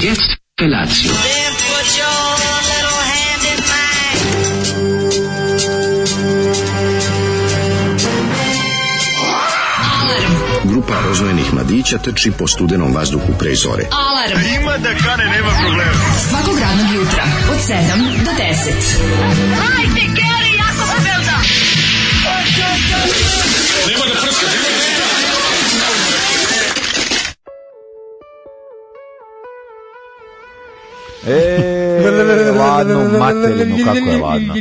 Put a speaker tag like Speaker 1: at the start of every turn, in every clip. Speaker 1: jetzt Felatio.
Speaker 2: Then put your little hand in mine.
Speaker 3: Grupa rozvojenih mladića trči po studenom vazduhu pre zore.
Speaker 4: Alarm. A ima da kane, nema problema. Svakog radnog jutra, od 7 do 10.
Speaker 5: E, ladno, materinu, kako je ladno.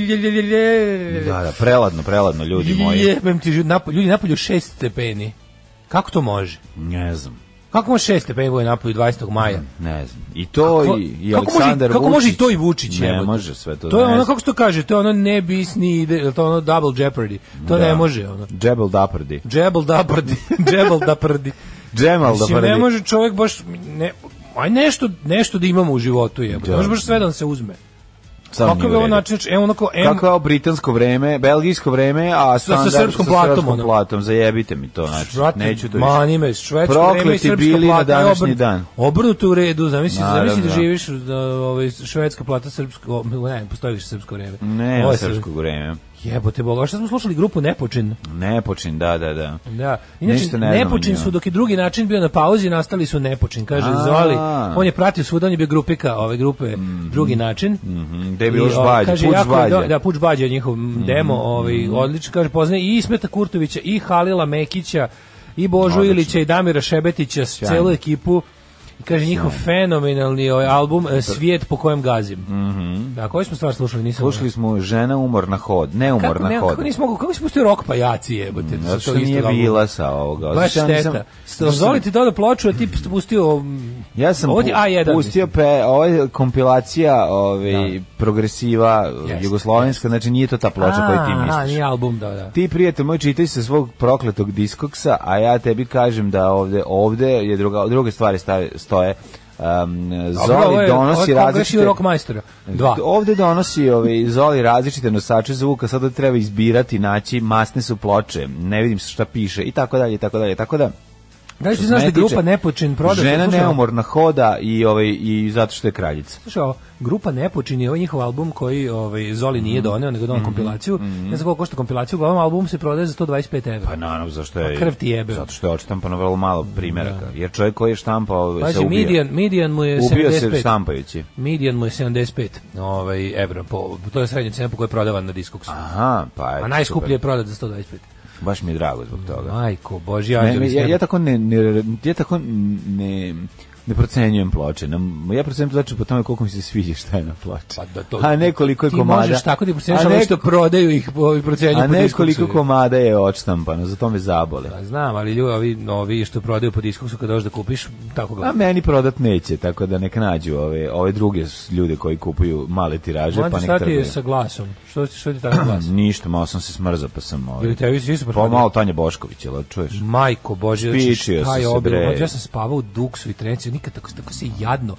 Speaker 5: Da, da, preladno, preladno, ljudi moji.
Speaker 6: Jebem ti, žu- napo- ljudi napolju 6 stepeni. Kako to može?
Speaker 5: Ne znam,
Speaker 6: Kako može 6 stepeni bude napolju 20. maja?
Speaker 5: ne znam. I to
Speaker 6: Kako-
Speaker 5: i, i
Speaker 6: kako može-
Speaker 5: Aleksandar
Speaker 6: kako
Speaker 5: Vučić.
Speaker 6: može i to i Vučić,
Speaker 5: Ne
Speaker 6: jebote?
Speaker 5: može sve to.
Speaker 6: To je
Speaker 5: ne
Speaker 6: ono,
Speaker 5: znam.
Speaker 6: kako se to kaže, to je ono ne bis ni ide, jel to ono double jeopardy. To
Speaker 5: Da.
Speaker 6: ne može, ono.
Speaker 5: Džebel Daprdi.
Speaker 6: Jebel da prdi, jebel da prdi.
Speaker 5: Džemal
Speaker 6: Mislim,
Speaker 5: Daprdi.
Speaker 6: ne može čovjek baš, ne, aj nešto, nešto da imamo u životu, jebote.
Speaker 5: Da.
Speaker 6: Ne može baš sve da nam se uzme.
Speaker 5: Samo
Speaker 6: Kako
Speaker 5: nije u
Speaker 6: je ono ovo
Speaker 5: redu.
Speaker 6: način, evo onako, em,
Speaker 5: Kako je ovo britansko vreme, belgijsko vreme, a standard
Speaker 6: srpskom platom,
Speaker 5: srpskom
Speaker 6: ono.
Speaker 5: platom, zajebite mi to, znači,
Speaker 6: Brate,
Speaker 5: neću to više.
Speaker 6: mani me, švedsko
Speaker 5: Prokleti
Speaker 6: vreme i srpska
Speaker 5: bili na
Speaker 6: plata je
Speaker 5: današnji
Speaker 6: obrn-
Speaker 5: dan.
Speaker 6: Obrnuto u redu, zamisli,
Speaker 5: Naravno.
Speaker 6: zamisli da živiš da, ovaj, švedska plata srpsko, o, ne, postoji više srpsko vreme.
Speaker 5: Ne,
Speaker 6: Ovo
Speaker 5: na
Speaker 6: je
Speaker 5: srpsko vreme.
Speaker 6: sve- Jebote boga, a šta smo slušali grupu Nepočin?
Speaker 5: Ne počin, da, da, da.
Speaker 6: Da.
Speaker 5: Ništa
Speaker 6: Inače,
Speaker 5: ne znam o
Speaker 6: Nepočin
Speaker 5: njima.
Speaker 6: su dok je drugi način bio na pauzi, nastali su Nepočin, kaže
Speaker 5: A.
Speaker 6: Zoli. On je pratio svuda, on je bio grupika ove grupe drugi način.
Speaker 5: Mhm, Gde je bilo
Speaker 6: I, ovaj,
Speaker 5: žbađe,
Speaker 6: kaže,
Speaker 5: put
Speaker 6: jako je
Speaker 5: žbađe.
Speaker 6: do- Da, Puč Bađe je njihov
Speaker 5: Mhm.
Speaker 6: demo, ovaj, odlično, kaže, poznaje i Ismeta Kurtovića, i Halila Mekića, i Božu
Speaker 5: Odlično.
Speaker 6: Ilića, i Damira Šebetića, s
Speaker 5: Sjajno.
Speaker 6: celu ekipu. I kaže, njihov fenomenalni ovaj album e, Svijet po kojem gazim. Da, koju smo stvar slušali? Nisam
Speaker 5: Mhm. Slušali smo žena umor na hod, ne umor
Speaker 6: kako,
Speaker 5: na
Speaker 6: ne,
Speaker 5: hod.
Speaker 6: kako nismo mogli, kako si pustio rok pa jaci jebote? sa
Speaker 5: Zato
Speaker 6: tog
Speaker 5: što
Speaker 6: istog
Speaker 5: nije
Speaker 6: albuma?
Speaker 5: bila sa ovoga.
Speaker 6: Baš
Speaker 5: Zato što ja nisam-
Speaker 6: šteta. Zoli ti doda ploču, a ti pustio... mm,
Speaker 5: Ja sam
Speaker 6: Ovdje
Speaker 5: pu-
Speaker 6: A1,
Speaker 5: pustio
Speaker 6: mislim.
Speaker 5: pe, ovo je kompilacija ovaj, progresiva
Speaker 6: Jeste,
Speaker 5: jugoslovenska, znači nije to ta ploča koju ti
Speaker 6: A, A,
Speaker 5: misliš.
Speaker 6: nije album, da, da.
Speaker 5: Ti prijatelj moj čitaj se svog prokletog diskoksa, a ja tebi kažem da ovde ovde je druga druge stvari stave, stoje. Um,
Speaker 6: Dobro, ovo
Speaker 5: Zoli
Speaker 6: je- ovo
Speaker 5: donosi
Speaker 6: je
Speaker 5: različite
Speaker 6: Ovo rok majstora. Dva.
Speaker 5: Ovde donosi ovaj Zoli različite nosače zvuka, sada treba izbirati, naći, masne su ploče, ne vidim šta piše i tako dalje i tako dalje. Tako da
Speaker 6: Da li
Speaker 5: što
Speaker 6: ti
Speaker 5: se
Speaker 6: znaš da
Speaker 5: mene
Speaker 6: grupa
Speaker 5: tiče,
Speaker 6: Nepočin prodaje?
Speaker 5: Žena neumorna hoda i ovaj i zato što je kraljica.
Speaker 6: Slušaj, ovo, grupa Nepočin je ovaj njihov album koji ovaj, Zoli
Speaker 5: Mhm.
Speaker 6: nije doneo, nego donao kompilaciju. Ne znam koliko košta kompilaciju, uglavnom album se prodaje za 125 evra.
Speaker 5: Pa naravno zašto je
Speaker 6: Pa krv ti jebe.
Speaker 5: Zato što je odštampano vrlo malo primjeraka. Jer čovjek koji je štampao se
Speaker 6: Pazi,
Speaker 5: ubio.
Speaker 6: Midian, Midian Znači, mu je
Speaker 5: ubio se
Speaker 6: 75.
Speaker 5: štampajući.
Speaker 6: Midian mu je 75 ovaj, evra. Po, to je srednja cena po kojoj je prodavan na Discogsu.
Speaker 5: Aha, pa je.
Speaker 6: A najskuplje je
Speaker 5: super.
Speaker 6: prodat za 125.
Speaker 5: Baš mi je drago zbog toga.
Speaker 6: Majko, boži,
Speaker 5: Ne,
Speaker 6: anđeli
Speaker 5: ne,
Speaker 6: s
Speaker 5: ja,
Speaker 6: neba.
Speaker 5: ja tako ne, ne, ja tako ne, ne procenjujem ploče. Ne, ja procenjujem ploče po tome koliko mi se sviđa šta je na ploči.
Speaker 6: Pa da to-
Speaker 5: a nekoliko je
Speaker 6: ti
Speaker 5: komada.
Speaker 6: možeš tako da procenjaš,
Speaker 5: A
Speaker 6: ali
Speaker 5: nek-
Speaker 6: što prodaju ih ovi procenjuju
Speaker 5: A
Speaker 6: po
Speaker 5: nekoliko
Speaker 6: diskoksu.
Speaker 5: komada je odštampano, zato me zabole.
Speaker 6: Pa znam, ali ljudi ovi, ovi što prodaju po diskoksu kad dođeš da kupiš, tako
Speaker 5: A
Speaker 6: gledam.
Speaker 5: meni prodat neće, tako da nek nađu ove, ove druge s- ljude koji kupuju male tiraže,
Speaker 6: Mlađe,
Speaker 5: pa
Speaker 6: šta
Speaker 5: nek
Speaker 6: ti je
Speaker 5: trguju.
Speaker 6: sa glasom? Što, ti- što ti tako glas?
Speaker 5: Ništa, malo sam se smrzao, pa sam... Ove,
Speaker 6: Ili tebi svi su
Speaker 5: Pa
Speaker 6: propadali?
Speaker 5: malo Tanja Bošković, jel, čuješ?
Speaker 6: Majko Bože, znači
Speaker 5: Spičio
Speaker 6: šta
Speaker 5: sam
Speaker 6: je
Speaker 5: se,
Speaker 6: obilo?
Speaker 5: bre.
Speaker 6: Mlađe, Ja sam spavao u duksu i trenciju, nikad tako, tako se jadno.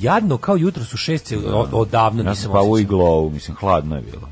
Speaker 6: Jadno kao jutro su šestce, o- odavno
Speaker 5: Ja sam
Speaker 6: nisam
Speaker 5: pa u
Speaker 6: osjećao.
Speaker 5: iglovu, mislim, hladno je bilo.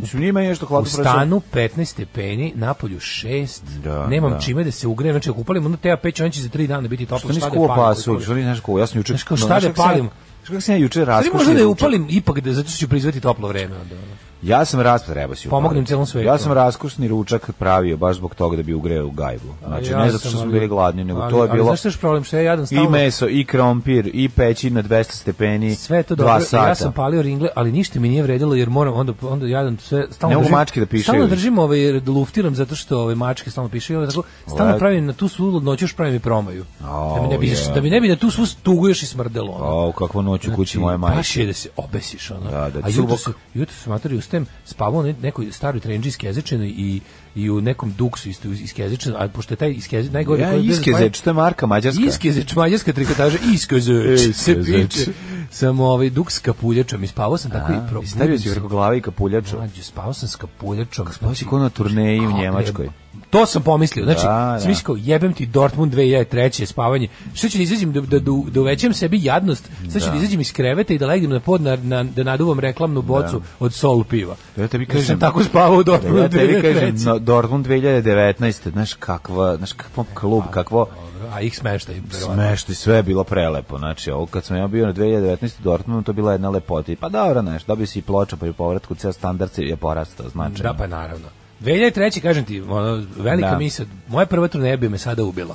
Speaker 5: Mislim, njima je nešto
Speaker 6: U
Speaker 5: hladno
Speaker 6: stanu 15 stepeni, napolju 6,
Speaker 5: Da,
Speaker 6: nemam
Speaker 5: da.
Speaker 6: čime da se ugrejem, znači ako upalim onda te peći, on će za 3 dana biti toplo.
Speaker 5: Što nisi
Speaker 6: šta da
Speaker 5: kuo
Speaker 6: palim koliko-
Speaker 5: pasulj, što nisi znaš kuo, ja sam juče...
Speaker 6: Znaš kao, šta
Speaker 5: znaš
Speaker 6: da
Speaker 5: kako sam ja-
Speaker 6: palim?
Speaker 5: Znaš kako sam ja juče
Speaker 6: Ali
Speaker 5: raskošio
Speaker 6: možda da je
Speaker 5: ručak?
Speaker 6: upalim ipak da zato što ću proizvesti toplo vreme onda. ono.
Speaker 5: Ja sam ras pa treba si
Speaker 6: Pomognem
Speaker 5: upaliti.
Speaker 6: celom svetu.
Speaker 5: Ja sam raskošni ručak pravio baš zbog toga da bi ugreo gajbu. Znači
Speaker 6: Ja
Speaker 5: ne zato što
Speaker 6: sam,
Speaker 5: smo
Speaker 6: ali-
Speaker 5: bili gladni, nego
Speaker 6: ali-
Speaker 5: to je
Speaker 6: Ali
Speaker 5: bilo
Speaker 6: znaš što je još problem, što ja jadan
Speaker 5: i
Speaker 6: stalno...
Speaker 5: meso i krompir i peći na 200 stepeni.
Speaker 6: sve je to
Speaker 5: dva
Speaker 6: dobro.
Speaker 5: sata.
Speaker 6: Ja sam pa- palio ringle, ali ništa mi nije vredilo jer moram onda onda jadan sve stalno
Speaker 5: Ne mogu
Speaker 6: držim-
Speaker 5: mačke da pišaju.
Speaker 6: Stalno držim ovaj luftiram zato što ove mačke stalno pišu i onda tako stalno
Speaker 5: Le-
Speaker 6: pravim na tu svu ludnoću još pravim i promaju.
Speaker 5: Au,
Speaker 6: da mi ne bi
Speaker 5: je.
Speaker 6: da mi ne bi na tu svu tugu još i smrdelo. ono.
Speaker 5: Au, kakvu noć u kući moje majke.
Speaker 6: Baš je da se obesiš, ono.
Speaker 5: Da, da,
Speaker 6: A jutro
Speaker 5: cubok.
Speaker 6: se, jutro se matori ustajem, spavao u ne- nekoj staroj trenđi iskezičenoj i, i u nekom duksu isto iskezičenoj, a pošto je taj iskezi, najgori...
Speaker 5: Ja
Speaker 6: koji je bio za
Speaker 5: iskezeč, to je marka mađarska.
Speaker 6: Iskezeč, mađarska trikotaža, iskezeč, se
Speaker 5: Iskezeč.
Speaker 6: piče. Sam ovaj duk s kapuljačom i spavao sam tako i
Speaker 5: A,
Speaker 6: probudim
Speaker 5: Stavio si preko glave i kapuljaču.
Speaker 6: Mlađe, spavao sam s kapuljačom.
Speaker 5: Spavao si ko na turneji u
Speaker 6: kako je-
Speaker 5: Njemačkoj.
Speaker 6: To sam pomislio. Znači,
Speaker 5: Da,
Speaker 6: da,
Speaker 5: da.
Speaker 6: jebem ti Dortmund 2003. spavanje. Što ću da izađem, da, da, da, da uvećam sebi jadnost? Sad ću da. izađem iz kreveta i da legnem na pod, na, na, da naduvam reklamnu bocu od sol piva.
Speaker 5: Ja tebi
Speaker 6: Jer
Speaker 5: kažem-
Speaker 6: sam tako spavao u Dortmund
Speaker 5: Ja tebi kažem,
Speaker 6: 2003.
Speaker 5: no, Dortmund 2019, znaš kakva, znaš kakvom klub, kakvo
Speaker 6: a ih smeštaj. verovatno.
Speaker 5: Smešti, sve je bilo prelepo. Znači, ovo kad sam ja bio na 2019. u Dortmundu, to je bila jedna lepota. I Pa dobro, znaš, dobio si i ploča pri povratku, ceo standard se je porastao, znači.
Speaker 6: Da, pa naravno. 2003. kažem ti, ono, velika
Speaker 5: Da.
Speaker 6: misa, moja prva turneja bi me sada ubila.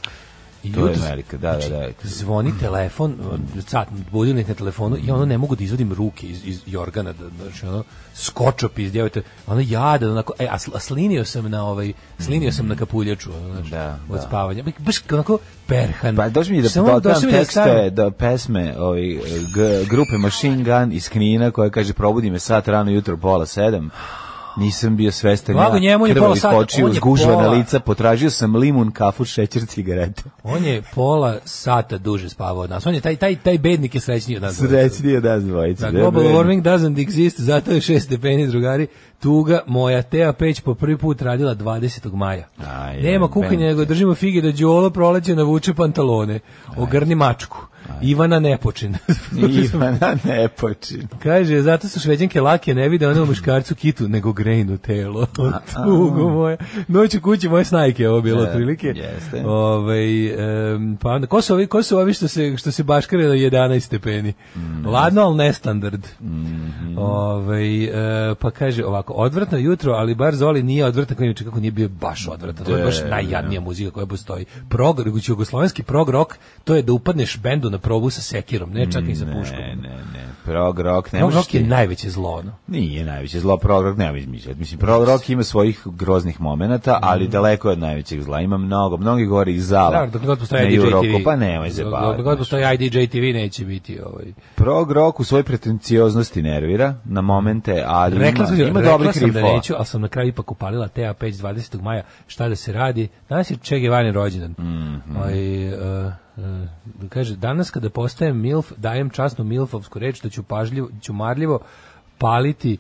Speaker 6: I
Speaker 5: To je
Speaker 6: jutros-
Speaker 5: velika, da,
Speaker 6: znači,
Speaker 5: da, da.
Speaker 6: Zvoni telefon, sat, budilnik na telefonu i ono ne mogu da izvodim ruke iz, iz jorgana, da, znači ono, skočop iz djevojte, ono jadan, onako, e, a, sl- a slinio sam na ovaj, slinio sam na kapuljaču, ono, znači,
Speaker 5: Da,
Speaker 6: od
Speaker 5: da.
Speaker 6: spavanja, Ba- baš onako perhan.
Speaker 5: Pa dođi mi da
Speaker 6: Samo
Speaker 5: dodam
Speaker 6: došao mi da
Speaker 5: tekste
Speaker 6: stavim-
Speaker 5: da pesme ovi, g, grupe Machine Gun iz Knina koja kaže probudi me sat rano jutro pola sedam. Nisam bio svestan.
Speaker 6: Blago
Speaker 5: ja.
Speaker 6: njemu je
Speaker 5: Krvavi
Speaker 6: pola sata,
Speaker 5: kočiju,
Speaker 6: on je
Speaker 5: zgužvana
Speaker 6: pola.
Speaker 5: lica, potražio sam limun, kafu, šećer, cigarete.
Speaker 6: On je pola sata duže spavao od nas. On je taj, taj, taj bednik je srećniji od nas.
Speaker 5: Srećni je nas dvojica.
Speaker 6: Da,
Speaker 5: ne
Speaker 6: global
Speaker 5: brini.
Speaker 6: warming doesn't exist, zato je šest stepeni, drugari. Tuga moja Teja Peć po prvi put radila 20. maja.
Speaker 5: Aj,
Speaker 6: Nema kukanja,
Speaker 5: jebem
Speaker 6: nego
Speaker 5: te.
Speaker 6: držimo fige da Đolo proleće navuče pantalone. Ogrni mačku. Ivana Nepočin.
Speaker 5: Ivana ne počin.
Speaker 6: Kaže, zato su šveđanke lake, ne vide one u muškarcu kitu, nego grejnu telo. Tugo moja. Noć u kući moje snajke, ovo bilo
Speaker 5: Da,
Speaker 6: otprilike.
Speaker 5: jeste.
Speaker 6: Ovaj, em, pa onda, ko su ovi, ko su ovi što se, što se baškare na 11 stepeni? Ladno, ali nestandard. Ovaj, e, pa kaže ovako, odvratno jutro, ali bar Zoli nije odvratan, koji kako nije bio baš odvratan. To je baš najjadnija muzika koja postoji. Prog, jugoslovenski prog rock, to je da upadneš bendu na probu sa sekirom, ne čak i sa puškom.
Speaker 5: Ne, ne, ne. Prog rock ne
Speaker 6: Prog
Speaker 5: možeš
Speaker 6: rock je
Speaker 5: ti.
Speaker 6: najveće zlo, ono.
Speaker 5: Nije najveće zlo, prog rock nema izmišljati. Mislim, prog rock ima svojih groznih
Speaker 6: Mhm.
Speaker 5: momenata, ali daleko je od najvećeg zla. Ima mnogo, mnogi gori i zala.
Speaker 6: Da, dok god postoje
Speaker 5: na
Speaker 6: IDJ
Speaker 5: Euroku,
Speaker 6: TV.
Speaker 5: Pa nemoj se
Speaker 6: Dok-
Speaker 5: baviti.
Speaker 6: Dok god
Speaker 5: znaš.
Speaker 6: postoje IDJ TV neće biti ovaj.
Speaker 5: Prog rock u svojoj pretencioznosti nervira na momente, ali
Speaker 6: Rekla sam,
Speaker 5: ima, ima
Speaker 6: rekla
Speaker 5: dobrih
Speaker 6: sam da
Speaker 5: rifova.
Speaker 6: neću, ali sam na kraju ipak upalila TA 5 20. maja. Šta da se radi? Danas je Che Guevara rođendan.
Speaker 5: Mhm.
Speaker 6: Ovaj, e, e, kaže, danas kada postajem MILF, dajem časnu MILFovsku reč da ću pažljivo, ću marljivo paliti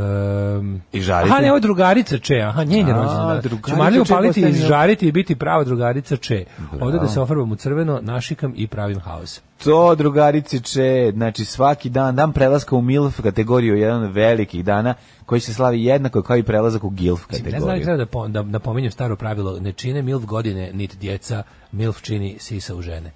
Speaker 6: Um,
Speaker 5: I žariti?
Speaker 6: Aha, ne, ovo je drugarica Če, aha, njen je
Speaker 5: A,
Speaker 6: rođendan. danas.
Speaker 5: drugarica
Speaker 6: Ću marljivo
Speaker 5: Che
Speaker 6: paliti i
Speaker 5: postaje MILF.
Speaker 6: žariti i biti prava drugarica Če. Ovdje da se ofarbam u crveno, našikam i pravim haos.
Speaker 5: To, drugarici Če, znači svaki dan, dan prelaska u MILF kategoriju je jedan od velikih dana koji se slavi jednako kao i prelazak u GILF
Speaker 6: Ne znam da li
Speaker 5: kategoriju.
Speaker 6: treba da, po, da napominjem staro pravilo, ne čine MILF godine, niti djeca, MILF čini sisa u žene.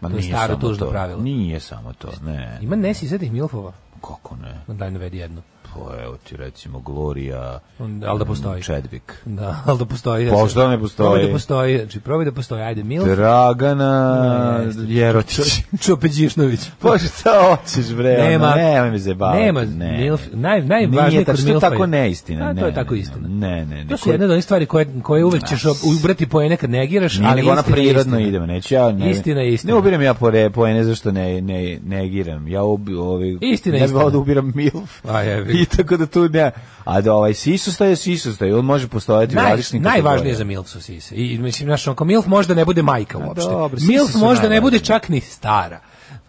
Speaker 5: Ma
Speaker 6: to je
Speaker 5: nije
Speaker 6: staro
Speaker 5: samo
Speaker 6: tužno
Speaker 5: to.
Speaker 6: pravilo.
Speaker 5: Nije samo to, ne.
Speaker 6: Ima nesisatih MILFova?
Speaker 5: Kako ne?
Speaker 6: Ma Daj navedi jednu.
Speaker 5: Pa evo ti recimo Gloria
Speaker 6: On- Ali da postoji.
Speaker 5: Chadwick.
Speaker 6: Da, ali da postoji. Da
Speaker 5: Pa
Speaker 6: se-
Speaker 5: što ne postoji?
Speaker 6: Probaj da postoji, znači probaj da postoji, ajde MILF.
Speaker 5: Dragana Jerotić.
Speaker 6: Čopeđišnović.
Speaker 5: Pa šta hoćeš bre? ono,
Speaker 6: Nema,
Speaker 5: nemoj me zajebavati.
Speaker 6: Nema,
Speaker 5: ne.
Speaker 6: MILF, naj,
Speaker 5: Nije,
Speaker 6: najvažnije
Speaker 5: tako
Speaker 6: kod
Speaker 5: što je
Speaker 6: MILF-a
Speaker 5: tako neistina.
Speaker 6: A,
Speaker 5: ne,
Speaker 6: to je tako
Speaker 5: ne,
Speaker 6: istina.
Speaker 5: Ne, ne, ne.
Speaker 6: To su jedne od onih stvari koje, koje uvek ćeš ob- ubrati poene kad negiraš,
Speaker 5: Nije,
Speaker 6: ali
Speaker 5: nego ona
Speaker 6: istina je
Speaker 5: prirodno
Speaker 6: istina.
Speaker 5: idemo, neću ja... Ne,
Speaker 6: Istina je istina.
Speaker 5: Ne ubiram ja po re, poene zašto ne, ne, ne giram. Ja ubi, ovi,
Speaker 6: Istina je
Speaker 5: ne bih volao
Speaker 6: istina.
Speaker 5: da ubiram milf.
Speaker 6: A, jebi ga.
Speaker 5: I tako da tu ne... A da ovaj sisusta je sisusta i on može postojati u
Speaker 6: Naj,
Speaker 5: različitim
Speaker 6: najvažnije za
Speaker 5: kategorijama.
Speaker 6: MILF su sise. I mislim znaš, onko MILF možda ne bude majka uopšte.
Speaker 5: dobro, sise
Speaker 6: MILF
Speaker 5: su
Speaker 6: možda ne bude
Speaker 5: najvažnije.
Speaker 6: čak ni stara.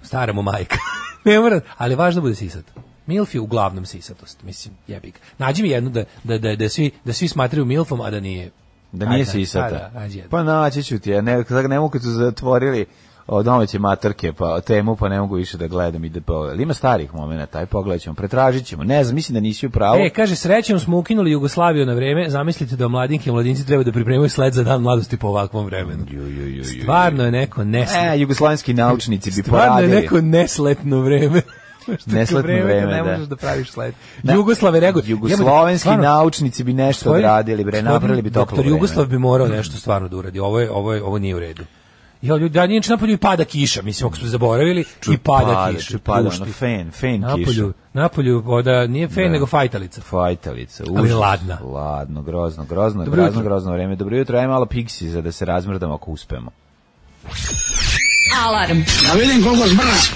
Speaker 6: Stara mu majka. ne mora, ali važno da bude sisat. MILF je uglavnom sisatost, mislim, jebik. Nađi mi jednu da, da, da, da, svi, da svi smatraju MILFom, a da nije...
Speaker 5: Da nije
Speaker 6: Ajde,
Speaker 5: sisata.
Speaker 6: ajde, nađi jednu.
Speaker 5: pa naći ću ti, ja ne, sad ne mogu kad su zatvorili od domaće matrke, pa temu, pa ne mogu više da gledam i da pogledam. Ima starih momenata, taj pogledat ćemo, pretražit ćemo. Ne znam, mislim da nisi u pravu.
Speaker 6: E, kaže, srećom smo ukinuli Jugoslaviju na vreme, zamislite da mladinke i mladinci treba da pripremaju sled za dan mladosti po ovakvom vremenu.
Speaker 5: Ju, ju, ju, ju, ju.
Speaker 6: Stvarno je neko nesletno,
Speaker 5: E, jugoslavenski naučnici bi
Speaker 6: stvarno je
Speaker 5: poradili.
Speaker 6: neko nesletno vreme. Što
Speaker 5: Nesletno
Speaker 6: vreme, kad
Speaker 5: vreme,
Speaker 6: ne
Speaker 5: da.
Speaker 6: možeš da praviš sled.
Speaker 5: Ne.
Speaker 6: Jugoslave reaguju. Jebote,
Speaker 5: Jugoslovenski
Speaker 6: stvarno,
Speaker 5: naučnici bi nešto
Speaker 6: Tvoj-
Speaker 5: odradili, bre,
Speaker 6: tvoj
Speaker 5: napravili bi toplo
Speaker 6: Doktor
Speaker 5: vreme.
Speaker 6: Jugoslav bi morao nešto stvarno da uradi. Ovo je, ovo je, ovo nije u redu. Ja, ljudi, da, nije napolju i pada kiša, mislim, ako smo zaboravili, i pada, kiša.
Speaker 5: ču pada,
Speaker 6: pušti.
Speaker 5: ono, fen, fen kiša.
Speaker 6: Napolju, napolju, voda, nije fen, nego fajtalica.
Speaker 5: Fajtalica,
Speaker 6: Ali ladna.
Speaker 5: Ladno, grozno, grozno,
Speaker 6: Dobro
Speaker 5: grozno,
Speaker 6: jutro.
Speaker 5: grozno vreme. Dobro jutro, ajmo malo piksi za da se razmrdamo ako uspemo.
Speaker 4: Alarm.
Speaker 3: Da vidim koliko zbrz.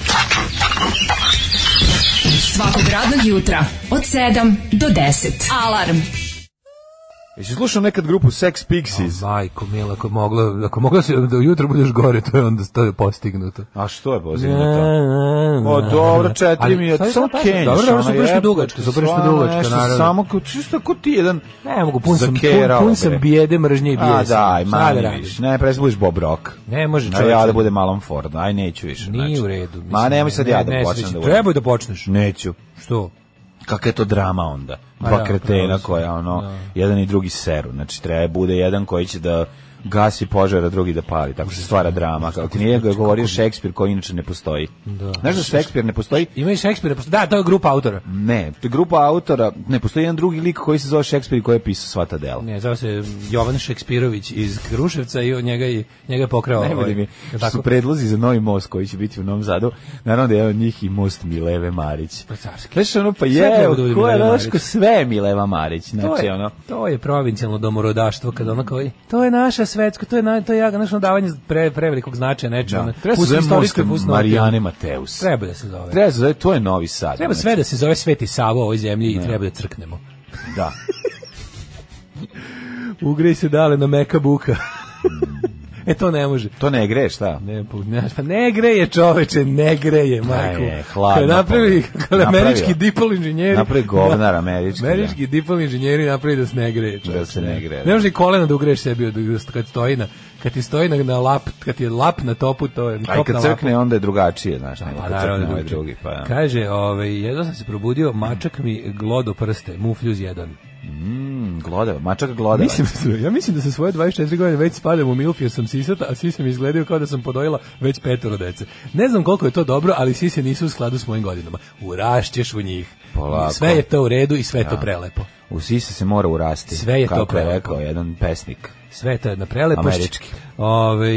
Speaker 4: Svakog radnog jutra od 7 do 10. Alarm.
Speaker 5: Jesi slušao nekad grupu Sex Pixies?
Speaker 6: Majko, mila, ako je moglo, ako je moglo se da ujutro budeš gore, to je onda to je postignuto.
Speaker 5: A što je pozivno to? O, dobro, četiri
Speaker 6: Ali,
Speaker 5: mi je,
Speaker 6: sad je
Speaker 5: samo
Speaker 6: sad
Speaker 5: Kenjaš.
Speaker 6: Dobro, dobro,
Speaker 5: ono,
Speaker 6: su prešli
Speaker 5: jebote,
Speaker 6: dugačka, su prešli
Speaker 5: stvarno
Speaker 6: dugačka,
Speaker 5: nešto,
Speaker 6: naravno.
Speaker 5: Samo, kao, čisto ko ti jedan...
Speaker 6: Ne mogu, pun sam, pun,
Speaker 5: zakerao,
Speaker 6: pun sam
Speaker 5: bre.
Speaker 6: bijede, mržnje i bijesa.
Speaker 5: A daj,
Speaker 6: Šta da
Speaker 5: manje
Speaker 6: radiš?
Speaker 5: više. Ne, prez budeš Bob Rock.
Speaker 6: Ne može
Speaker 5: A
Speaker 6: čovječe.
Speaker 5: ja da budem Malon Ford. Aj, neću više.
Speaker 6: Nije
Speaker 5: znači.
Speaker 6: u redu. Mislim,
Speaker 5: Ma nemoj sad ja da
Speaker 6: ne,
Speaker 5: počnem
Speaker 6: sreći.
Speaker 5: da
Speaker 6: Trebao je da počneš.
Speaker 5: Neću.
Speaker 6: Što?
Speaker 5: Kakva je to drama onda?
Speaker 6: Pa
Speaker 5: Dva
Speaker 6: da, pravo
Speaker 5: kretena
Speaker 6: si.
Speaker 5: koja ono,
Speaker 6: Da.
Speaker 5: jedan i drugi seru. Znači, treba bude jedan koji će da gasi požar, a drugi da pali. Tako se stvara drama. Kako nije ga govorio Šekspir koji inače ne postoji. Znaš da Šekspir ne postoji?
Speaker 6: Ima i Šekspira, posto- pa- da, to je grupa autora.
Speaker 5: Ne, to je grupa autora, ne, postoji jedan drugi lik koji se zove Šekspir i koji je pisao sva ta dela.
Speaker 6: Ne, zove se Jovan Šekspirović iz Kruševca i on njega, i- njega je pokrao.
Speaker 5: Ne
Speaker 6: ovaj,
Speaker 5: vidim mi,
Speaker 6: jel
Speaker 5: što su predlozi za novi most koji će biti u Novom Zadu. Naravno da je od njih i most Mileve Marić.
Speaker 6: Pa carski.
Speaker 5: Znaš ono, pa
Speaker 6: Sve
Speaker 5: je,
Speaker 6: treba da bude
Speaker 5: ko je
Speaker 6: Mileva
Speaker 5: Raško,
Speaker 6: Marić.
Speaker 5: sve je Mileva Marić. Znači,
Speaker 6: to je,
Speaker 5: ono,
Speaker 6: to je provincijalno domorodaštvo kad ono kao to je naša svetska, to je na, to je ja- naše davanje pre prevelikog značaja ono, nečemu.
Speaker 5: da.
Speaker 6: Da.
Speaker 5: Treba se zove most Marijane Mateus.
Speaker 6: Treba da se zove. Treba,
Speaker 5: Treba se zove, to je Novi Sad. znači,
Speaker 6: sve da se zove Sveti Savo u ovoj zemlji i treba da crknemo.
Speaker 5: Da.
Speaker 6: Ugrej se dale na meka buka. e to ne može.
Speaker 5: To ne gre, šta?
Speaker 6: Ne, pa, ne, pa ne greje čoveče, ne greje, majko.
Speaker 5: je, hladno
Speaker 6: Kad napravi,
Speaker 5: pogled.
Speaker 6: kad
Speaker 5: Napravio.
Speaker 6: američki dipol inženjeri...
Speaker 5: Napravi govnar američki, da.
Speaker 6: Američki dipol inženjeri napravi da se ne greje čoveče.
Speaker 5: Da se ne greje, da.
Speaker 6: Ne može i kolena da ugreš sebi od, kad stoji na, kad ti stoji na, na lap, kad ti je lap na topu, to je
Speaker 5: A i
Speaker 6: top na
Speaker 5: kad
Speaker 6: lapu.
Speaker 5: crkne, onda je drugačije, znaš, nego
Speaker 6: Pa
Speaker 5: kad
Speaker 6: naravno,
Speaker 5: crkne ovaj
Speaker 6: drugi.
Speaker 5: drugi, pa da.
Speaker 6: Kaže, ovaj, jedno sam se probudio, mačak mi glodo prste, mufljuz jedan.
Speaker 5: Mm, glodava, mačak glodava.
Speaker 6: Mislim, ja mislim da se svoje 24 godine već spadam u milf jer sam sisata, a sise mi izgledaju kao da sam podojila već petoro dece. Ne znam koliko je to dobro, ali sise nisu u skladu s mojim godinama. Urašćeš u njih.
Speaker 5: Polako.
Speaker 6: Sve je to u redu i sve je to prelepo.
Speaker 5: U sise se mora urasti.
Speaker 6: Sve je to
Speaker 5: kako je
Speaker 6: prelepo.
Speaker 5: rekao jedan pesnik.
Speaker 6: Sve je to jedna prelepošć.
Speaker 5: Američki.
Speaker 6: Ove,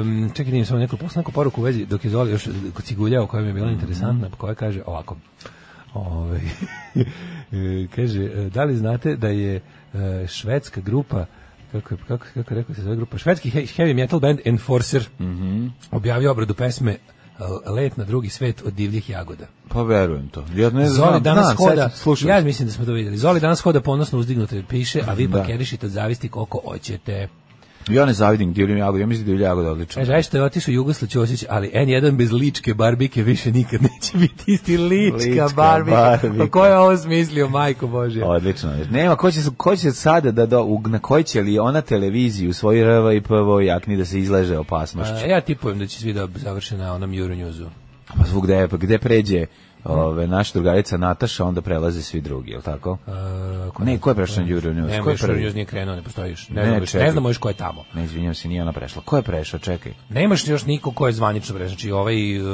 Speaker 6: um, čekaj, nije samo neku, posle neku poruku u vezi, dok je Zoli još kod cigulja, koja mi je bila
Speaker 5: Mhm.
Speaker 6: interesantna, koja kaže ovako. Ove, e, kaže, e, da li znate da je e, švedska grupa kako je, kako, kako je rekao se zove grupa švedski he- heavy metal band Enforcer
Speaker 5: Mhm.
Speaker 6: objavio obradu pesme e, Let na drugi svet od divljih jagoda
Speaker 5: Pa verujem to. Ja ne znam,
Speaker 6: Zoli danas
Speaker 5: znam,
Speaker 6: hoda,
Speaker 5: sad slušam.
Speaker 6: ja mislim da smo to vidjeli, Zoli danas hoda ponosno uzdignuto i piše, a vi pakerišite od zavisti koliko hoćete.
Speaker 5: Ja ne zavidim divljim jagodom, ja mislim da je divlja jagoda odlična.
Speaker 6: Kaže, aj E, što je otišao Jugoslav Ćosić, ali N1 bez ličke barbike više nikad neće biti isti lička,
Speaker 5: Lička
Speaker 6: barbika.
Speaker 5: barbika.
Speaker 6: Pa ko je ovo smislio, majko Bože?
Speaker 5: Odlično. Nema, ko će, ko će sada da, do, u- na koji će li ona televiziju svoj rva i pvo jakni da se izleže opasnošću?
Speaker 6: A, ja tipujem da će svi da završe na onom Euronewsu.
Speaker 5: Pa zvuk da je, pa gde pređe ove, naša drugarica Nataša, onda prelaze svi drugi, je li tako?
Speaker 6: E, ko-
Speaker 5: Ne, ko je prešao na Euronews?
Speaker 6: Nema
Speaker 5: Ko je
Speaker 6: još
Speaker 5: prvi?
Speaker 6: Euronews nije krenuo, ne postoji još. Ne,
Speaker 5: Ne,
Speaker 6: znam još,
Speaker 5: čekaj.
Speaker 6: ne znamo još ko je tamo.
Speaker 5: Ne, izvinjam se, nije ona prešla. Ko je prešao? Čekaj.
Speaker 6: Nemaš još niko ko je zvanično pre, znači ovaj... Uh,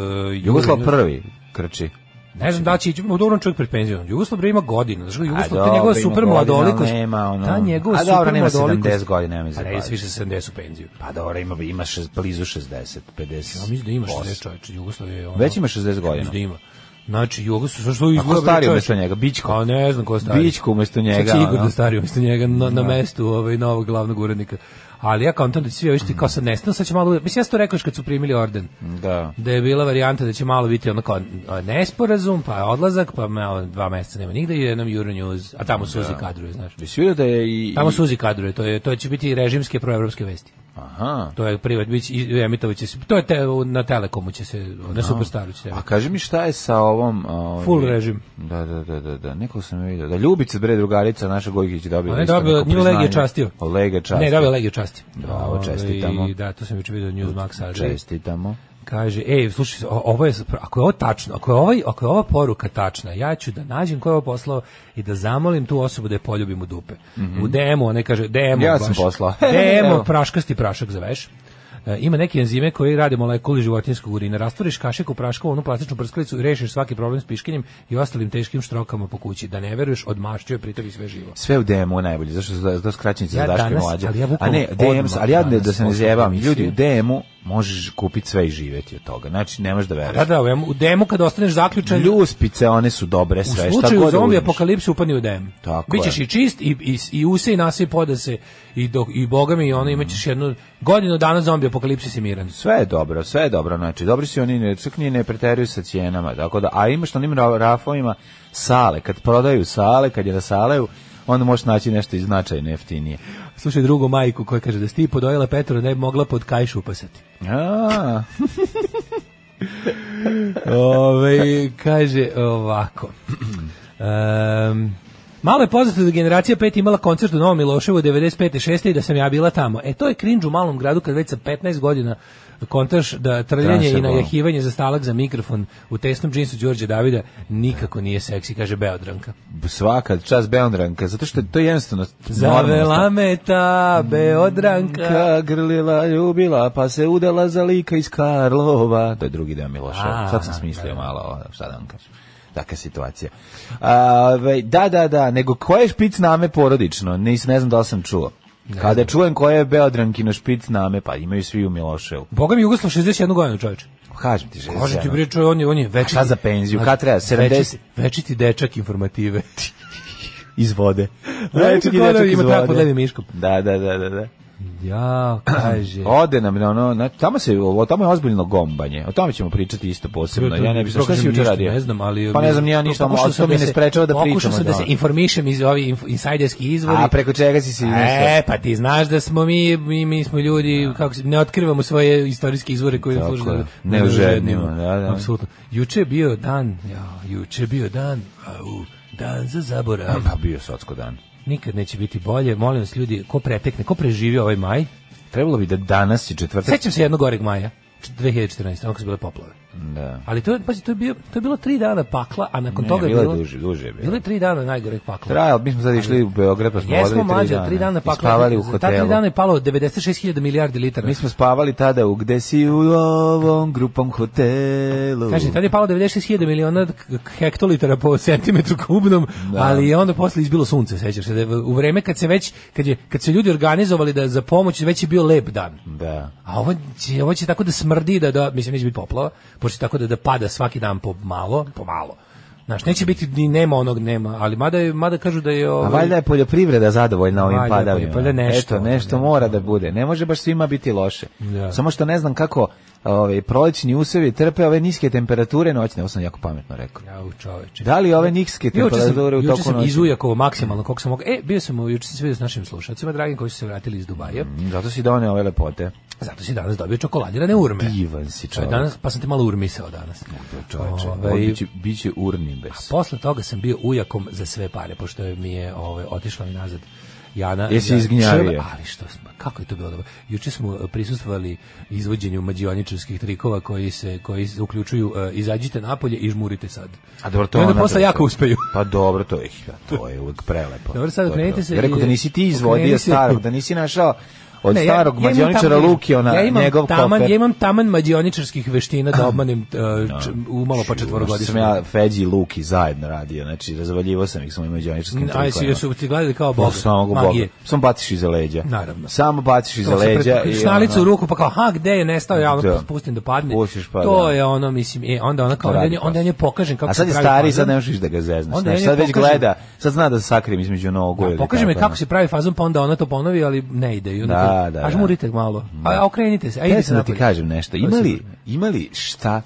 Speaker 5: Jugoslav prvi krči.
Speaker 6: Ne znam da li će ići, no, dobro, on čovjek pred penzijom. Jugoslav bre ima godinu. Znaš, kako, Jugoslav,
Speaker 5: dobro,
Speaker 6: ta njegova
Speaker 5: ima
Speaker 6: super
Speaker 5: godina,
Speaker 6: mladolikost.
Speaker 5: ali nema, ono-
Speaker 6: Ta njegova
Speaker 5: A
Speaker 6: super
Speaker 5: dobro, nema
Speaker 6: mladolikost-
Speaker 5: 70 godina, nema
Speaker 6: Pa
Speaker 5: za
Speaker 6: ne,
Speaker 5: plaći.
Speaker 6: više 70 u penziju.
Speaker 5: Pa dobro, ima, ima šest, blizu 60, 50.
Speaker 6: Ja mislim da ima 60 čovječe, Jugoslav je ono...
Speaker 5: Već ima 60
Speaker 6: Ja
Speaker 5: godina.
Speaker 6: Mislim da ima. Znači, Jugoslav, što što izgleda...
Speaker 5: stari
Speaker 6: bre,
Speaker 5: umjesto
Speaker 6: čovječe?
Speaker 5: njega? Bićko?
Speaker 6: A ne znam ko je stari.
Speaker 5: Bićko umjesto njega,
Speaker 6: Sad će Igor
Speaker 5: ono.
Speaker 6: da stari umjesto njega na, na mestu ovaj, novog glavnog urednika. Ali ja kontam da će svi ovi što ti kao sad nestano, sad će malo... Mislim, ja sam to rekao još kad su primili orden.
Speaker 5: Da.
Speaker 6: da je bila varijanta da će malo biti ono kao nesporazum, pa odlazak, pa malo dva meseca nema nigde i jednom Euronews, a tamo Suzi kadruje, znaš.
Speaker 5: Jesi vidio da je i...
Speaker 6: Tamo
Speaker 5: i-
Speaker 6: Suzi kadruje, to, je, to će biti režimske proevropske vesti.
Speaker 5: Aha.
Speaker 6: To je privat, bić, i- emitovaće se, to je te, na Telekomu će se, na Superstaru će se.
Speaker 5: A Pa kaži mi šta je sa ovom... ovaj-
Speaker 6: Full režim.
Speaker 5: Da, da, da, da, da. Neko sam je vidio. Da Ljubica, bre, drugarica naša Gojkić je dobila.
Speaker 6: Ona je
Speaker 5: isto
Speaker 6: dobila,
Speaker 5: neko
Speaker 6: nju Legija
Speaker 5: priznanje.
Speaker 6: častio.
Speaker 5: Legija častio.
Speaker 6: Ne, dobio Legiju časti.
Speaker 5: Bravo,
Speaker 6: Ovaj,
Speaker 5: čestitamo.
Speaker 6: Da, to sam već vidio Newsmax. ali-
Speaker 5: Čestitamo.
Speaker 6: Kaže, ej, slušaj, o- ovo je, ako je ovo tačno, ako je, ovaj, ako je ova poruka tačna, ja ću da nađem ko je ovo poslao i da zamolim tu osobu da je poljubim u dupe. U DM-u, ona kaže, DM-u
Speaker 5: Mhm. Ja
Speaker 6: baš.
Speaker 5: sam poslao. Evo.
Speaker 6: DM-u, praškasti prašak za veš. E, ima neke enzime koji rade molekuli životinjskog urina. Rastvoriš kašik u prašku, onu plastičnu prskalicu i rešiš svaki problem s piškinjem i ostalim teškim štrokama po kući. Da ne veruješ, odmašćuje pritom i sve živo.
Speaker 5: Sve u DM-u je najbolje, zašto su da, da skraćenice
Speaker 6: Ja
Speaker 5: za Daške
Speaker 6: danas,
Speaker 5: mlađe.
Speaker 6: ali ja
Speaker 5: A
Speaker 6: bukvalno
Speaker 5: ne, DM,
Speaker 6: odmah
Speaker 5: ali ja da,
Speaker 6: danas
Speaker 5: da se ne
Speaker 6: posle
Speaker 5: zjebam,
Speaker 6: emisije.
Speaker 5: ljudi, u DM-u možeš kupiti sve i živeti od toga. Znači, ne možeš da veruješ.
Speaker 6: Pa Da, da, u DM-u kada ostaneš zaključan,
Speaker 5: Ljuspice, one su dobre
Speaker 6: U
Speaker 5: sve. šta
Speaker 6: slučaju
Speaker 5: god da
Speaker 6: zombi
Speaker 5: uzmeš.
Speaker 6: apokalipse upadni u dem.
Speaker 5: Tako
Speaker 6: Bićeš
Speaker 5: je.
Speaker 6: i čist i, i, i use i nasip poda se i, do, i boga mi i ono imaćeš jednu godinu dana zombi apokalipse si miran.
Speaker 5: Sve je dobro, sve je dobro, znači dobri su oni, ne, čak ni ne preteruju sa cijenama, tako da, a imaš na onim ra- rafovima sale, kad prodaju sale, kad je na saleju, onda možeš naći nešto i značajno jeftinije.
Speaker 6: Slušaj drugu majku koja kaže da si ti podojela Petru ne bi mogla pod kajš upasati.
Speaker 5: A,
Speaker 6: Ove, kaže ovako. Ehm, Malo je poznato da generacija 5 imala koncert u Novom Miloševu 95. 6. i da sam ja bila tamo. E, to je cringe u malom gradu kad već sa 15 godina kontaš da trljanje i
Speaker 5: Transfer ball.
Speaker 6: najahivanje za stalak za mikrofon u tesnom džinsu Đorđe Davida nikako nije seksi, kaže Beodranka.
Speaker 5: Svaka čas Beondranka, zato što je to jednostavno
Speaker 6: Zavela me ta Beodranka.
Speaker 5: Mm, Ka grlila, ljubila, pa se udala za lika iz Karlova. To je drugi deo Miloša.
Speaker 6: A,
Speaker 5: Sad sam smislio malo, ono, šta da vam kažem. Taka situacija. A, ovaj, da, da, da, nego koje je špic name porodično? Nis, ne znam da li sam čuo. Kada čujem koje je Beodrankino špic name, pa imaju svi u Miloševu.
Speaker 6: Boga mi Jugoslav 61 godina čovječe.
Speaker 5: Kažem ti, žena.
Speaker 6: Može ti bre čovjek, on je, on je večiti.
Speaker 5: šta za penziju? Kad treba? 70?
Speaker 6: Večiti, večiti dečak informative.
Speaker 5: Iz vode.
Speaker 6: Znači,
Speaker 5: Dečki, dečak iz
Speaker 6: ima trak pod
Speaker 5: vode.
Speaker 6: levim miškom.
Speaker 5: Da, da, da, da, da.
Speaker 6: Ja, kaže.
Speaker 5: Ode nam na ono, na, tamo se o- tamo je ozbiljno gombanje. O tome ćemo pričati isto posebno. Ja ne bih
Speaker 6: Šta
Speaker 5: šta
Speaker 6: si
Speaker 5: si juče radio.
Speaker 6: Ne znam, ali...
Speaker 5: Pa ne znam ni ja ništa,
Speaker 6: Pokušao
Speaker 5: ali
Speaker 6: sam
Speaker 5: to mi
Speaker 6: da
Speaker 5: ne
Speaker 6: se-
Speaker 5: sprečava da pričamo.
Speaker 6: Pokušao sam da
Speaker 5: o
Speaker 6: se
Speaker 5: tome.
Speaker 6: informišem iz ovih inf- insajderskih izvori.
Speaker 5: A preko čega si si
Speaker 6: E, pa ti znaš da smo mi, mi, mi smo ljudi, kako se, ne otkrivamo svoje istorijske izvore koji nam
Speaker 5: Tako
Speaker 6: služe
Speaker 5: je.
Speaker 6: da
Speaker 5: Ne ožednimo, da, da.
Speaker 6: Apsolutno. Juče je bio dan, ja, juče je bio dan, au, dan za zaborav.
Speaker 5: Pa bio socko dan.
Speaker 6: Nikad neće biti bolje, molim vas ljudi, ko pretekne, ko preživi ovaj maj,
Speaker 5: Trebalo bi da danas i četvrtak.
Speaker 6: Sećam se jednog goreg maja, 2014. Ono kad su bile poplave.
Speaker 5: Da.
Speaker 6: Ali to, je, pazi, to, je bio, to je bilo tri dana pakla, a nakon
Speaker 5: Ne,
Speaker 6: toga je
Speaker 5: bilo
Speaker 6: bilo...
Speaker 5: je duže, duže je bilo.
Speaker 6: Bilo je tri dana najgoreg pakla.
Speaker 5: Trajal, mi smo sad išli u Beograd, pa smo
Speaker 6: Jesmo
Speaker 5: odali tri
Speaker 6: mlađe,
Speaker 5: dana.
Speaker 6: tri dana
Speaker 5: I
Speaker 6: pakla.
Speaker 5: Spavali u
Speaker 6: Za ta tri
Speaker 5: hotelu.
Speaker 6: dana je palo 96.000 milijardi litara.
Speaker 5: Mi smo spavali tada u gde si u ovom grupom hotelu.
Speaker 6: Kaže, tad je palo 96.000 miliona k- k- hektolitara po centimetru kubnom, ali je onda posle izbilo sunce, sećaš se, da je v- u vreme kad se već, kad, je, kad se ljudi organizovali da za pomoć, već je bio lep dan.
Speaker 5: Da.
Speaker 6: A ovo će, ovo će tako da smrdi, da, da mislim, neće biti poplava, pošto će tako da, da pada svaki dan po malo, po malo. Znaš, neće biti, ni nema onog, nema, ali mada, je, mada kažu da je...
Speaker 5: A
Speaker 6: Ovaj,
Speaker 5: valjda je poljoprivreda zadovoljna ovim
Speaker 6: Valjda je
Speaker 5: padavima.
Speaker 6: poljoprivreda nešto.
Speaker 5: Eto, nešto mora da bude. Ne može baš svima biti loše.
Speaker 6: Da.
Speaker 5: Samo što ne znam kako ovaj, prolećni usevi trpe ove niske temperature noćne. Ovo sam jako pametno rekao.
Speaker 6: Jau, čoveče.
Speaker 5: Da li ove niske
Speaker 6: Juče sam,
Speaker 5: temperature u
Speaker 6: juče
Speaker 5: toku
Speaker 6: sam
Speaker 5: noći?
Speaker 6: izujakovo maksimalno koliko sam mogao. E, bio sam, u- juče sam se vidio s našim slušacima, dragim, koji su se vratili iz Dubaja.
Speaker 5: Mm, Zato si doneo ove lepote.
Speaker 6: Zato si danas dobio čokoladirane urme.
Speaker 5: Divan si
Speaker 6: To je
Speaker 5: čovjek.
Speaker 6: danas, pa sam te malo urmisao danas.
Speaker 5: Čoveče,
Speaker 6: Ovaj,
Speaker 5: ovo biće, biće urnim bez.
Speaker 6: Posle toga sam bio ujakom za sve pare, pošto je mi je ovaj, otišla mi nazad Jana.
Speaker 5: Jesi
Speaker 6: Ja-
Speaker 5: izgnjavio?
Speaker 6: Čel- Ali što smo, kako je to bilo dobro? Juče smo eh, prisustvovali izvođenju mađioničarskih trikova koji se koji se uključuju eh, izađite napolje i žmurite sad.
Speaker 5: A dobro, to
Speaker 6: I onda
Speaker 5: ona
Speaker 6: posle
Speaker 5: drži.
Speaker 6: jako uspeju.
Speaker 5: Pa dobro, to je, to je uvek prelepo.
Speaker 6: Dobro, sad
Speaker 5: To je
Speaker 6: okrenite
Speaker 5: prelepo.
Speaker 6: se
Speaker 5: Ja rekao
Speaker 6: i-
Speaker 5: da nisi ti
Speaker 6: okreni
Speaker 5: izvodio
Speaker 6: se.
Speaker 5: starog, da nisi našao od
Speaker 6: Ne, ja-
Speaker 5: starog
Speaker 6: ja imam
Speaker 5: mađioničara
Speaker 6: taman-
Speaker 5: Lukijona,
Speaker 6: ja imam
Speaker 5: njegov
Speaker 6: taman,
Speaker 5: kofer.
Speaker 6: Ja imam taman mađioničarskih veština da obmanem eh, č- umalo pa
Speaker 5: Sam
Speaker 6: četvorogodišnje.
Speaker 5: ja Feđi i Luki zajedno radio, znači razvaljivo sam ih s mojim mađioničarskim
Speaker 6: Aj,
Speaker 5: trikovima.
Speaker 6: si, jesu ti gledali kao
Speaker 5: ono. Bog,
Speaker 6: bog,
Speaker 5: samo Boga.
Speaker 6: magije.
Speaker 5: Samo baciš iza leđa.
Speaker 6: Naravno.
Speaker 5: Samo baciš iza
Speaker 6: To se
Speaker 5: leđa.
Speaker 6: pret-
Speaker 5: i
Speaker 6: šnalicu
Speaker 5: ono-
Speaker 6: u ruku pa kao ha gde je nestao ja ono
Speaker 5: Da.
Speaker 6: pustim da padne
Speaker 5: Pustiš, pa
Speaker 6: to
Speaker 5: da.
Speaker 6: je ono mislim e onda ona kao
Speaker 5: To
Speaker 6: onda
Speaker 5: radi
Speaker 6: nje onda nje
Speaker 5: posao.
Speaker 6: pokažem kako
Speaker 5: A sad je
Speaker 6: se pravi
Speaker 5: stari,
Speaker 6: fazon.
Speaker 5: sad ne možeš da ga zeznaš.
Speaker 6: Onda
Speaker 5: Znači,
Speaker 6: ja
Speaker 5: sad
Speaker 6: njoj
Speaker 5: već
Speaker 6: pokažem-
Speaker 5: gleda, sad zna da sakrim između nogu.
Speaker 6: Da,
Speaker 5: ili
Speaker 6: pokaže mi
Speaker 5: tako,
Speaker 6: kako
Speaker 5: ono.
Speaker 6: se pravi fazon pa onda ona to ponovi ali ne ide i onda
Speaker 5: Da,
Speaker 6: kaže,
Speaker 5: da,
Speaker 6: a
Speaker 5: da.
Speaker 6: žmurite malo a, a okrenite se a
Speaker 5: Htio
Speaker 6: idite
Speaker 5: sam da ti
Speaker 6: napolje.
Speaker 5: kažem nešto.
Speaker 6: To je
Speaker 5: Imali,
Speaker 6: sigurno.
Speaker 5: imali šta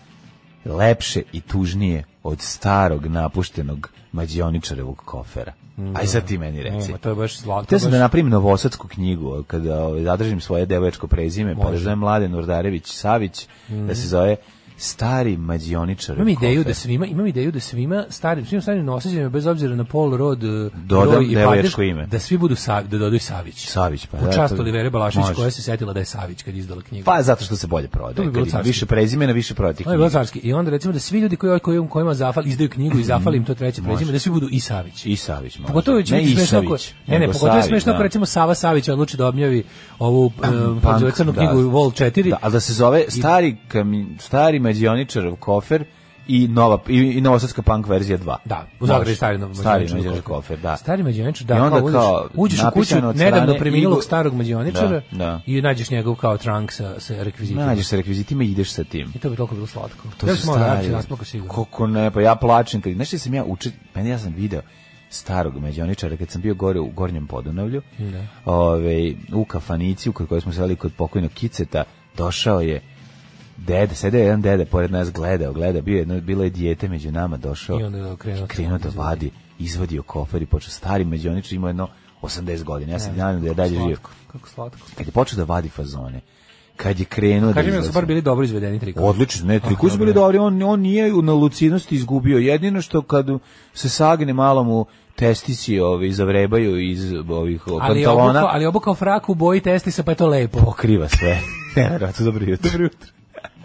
Speaker 5: lepše i tužnije od starog napuštenog mađioničarevog kofera? Aj sad ti meni reci.
Speaker 6: Nema, to je baš slatko
Speaker 5: Htio sam da napravim novosadsku knjigu, kada ovaj, zadržim svoje devoječko prezime, pa da
Speaker 6: Može.
Speaker 5: zovem Mladen Urdarević Savić, da se zove stari mađioničar.
Speaker 6: Imam ideju da svima, imam ideju da svima starim, svim starim nosaćima bez obzira na pol rod, e,
Speaker 5: Dodam
Speaker 6: broj i padež,
Speaker 5: devoječko ime.
Speaker 6: da svi budu Sav, da dodaju Savić.
Speaker 5: Savić, pa da,
Speaker 6: U čast
Speaker 5: to bi-
Speaker 6: Olivere Balašić
Speaker 5: Može.
Speaker 6: koja se setila da je Savić kad je izdala knjigu.
Speaker 5: Pa zato što se bolje
Speaker 6: To
Speaker 5: prodaje.
Speaker 6: bi bilo
Speaker 5: Kad
Speaker 6: carski.
Speaker 5: više prezimena, više prodaje
Speaker 6: To je bilo
Speaker 5: knjiga.
Speaker 6: carski. I onda recimo da svi ljudi koji koji kojima zafali izdaju knjigu i zafali im to treće prezime, da svi budu i Savić.
Speaker 5: I Savić može.
Speaker 6: Pogotovo će
Speaker 5: Mhm. ne
Speaker 6: biti smešno ako,
Speaker 5: Isavić,
Speaker 6: ne, ne,
Speaker 5: nego
Speaker 6: pogotovo je
Speaker 5: Savić,
Speaker 6: smešno ako
Speaker 5: da.
Speaker 6: recimo Sava Savić odluči da objavi ovu e, kako se zove,
Speaker 5: Punk,
Speaker 6: crnu
Speaker 5: da.
Speaker 6: knjigu Vol 4.
Speaker 5: Da, ali da se zove stari kami, stari mađioničarov kofer i nova i, i novosadska punk verzija 2.
Speaker 6: Da, u Zagradi
Speaker 5: Može.
Speaker 6: stari mađioničar.
Speaker 5: stari mađioničar kofer, da.
Speaker 6: Stari mađioničar, da,
Speaker 5: I onda
Speaker 6: kao, uđeš-
Speaker 5: kao
Speaker 6: uđeš u kuću
Speaker 5: napisano od
Speaker 6: nedavno
Speaker 5: strane
Speaker 6: preminulog
Speaker 5: Igo-
Speaker 6: starog mađioničara
Speaker 5: Da, da.
Speaker 6: i nađeš njegov kao trunk sa, sa rekvizitima.
Speaker 5: Nađeš se rekvizitima i ideš sa tim.
Speaker 6: I to bi toliko bilo slatko.
Speaker 5: To
Speaker 6: ja
Speaker 5: su
Speaker 6: sam morao
Speaker 5: stari.
Speaker 6: raditi naspako sigurno.
Speaker 5: Kako ne, pa ja plačem kad, znaš šta sam ja uče, meni ja sam video starog međoničara kad sam bio gore u Gornjem Podunavlju.
Speaker 6: Da.
Speaker 5: Ove, u kafanici u kojoj smo sedeli kod pokojnog Kiceta, došao je deda, sedeo je jedan deda pored nas gledao, gledao, bio je jedno, bilo je dijete među nama, došao.
Speaker 6: I onda je okrenuo.
Speaker 5: krenuo da vadi, izvadio kofer i počeo stari međoničar, imao jedno 80 godina. Ja sam nadam da je dalje živ.
Speaker 6: Slatko, Kako slatko.
Speaker 5: Kad je počeo da vadi fazone, kad je krenuo
Speaker 6: Kaži mi
Speaker 5: da
Speaker 6: da su bar
Speaker 5: izlazi-
Speaker 6: bili dobro izvedeni trikovi.
Speaker 5: Odlično, ne, trikovi
Speaker 6: Ah,
Speaker 5: su bili
Speaker 6: dobro.
Speaker 5: dobri, on, on nije na lucidnosti izgubio, jedino što kad se sagne malo mu testisi ovi zavrebaju iz ovih o,
Speaker 6: Ali je obukao,
Speaker 5: pantalona,
Speaker 6: ali je obukao fraku, boji testisa, pa je to lepo.
Speaker 5: pokriva sve. Nevjerojatno, dobro jutro. Dobro jutro.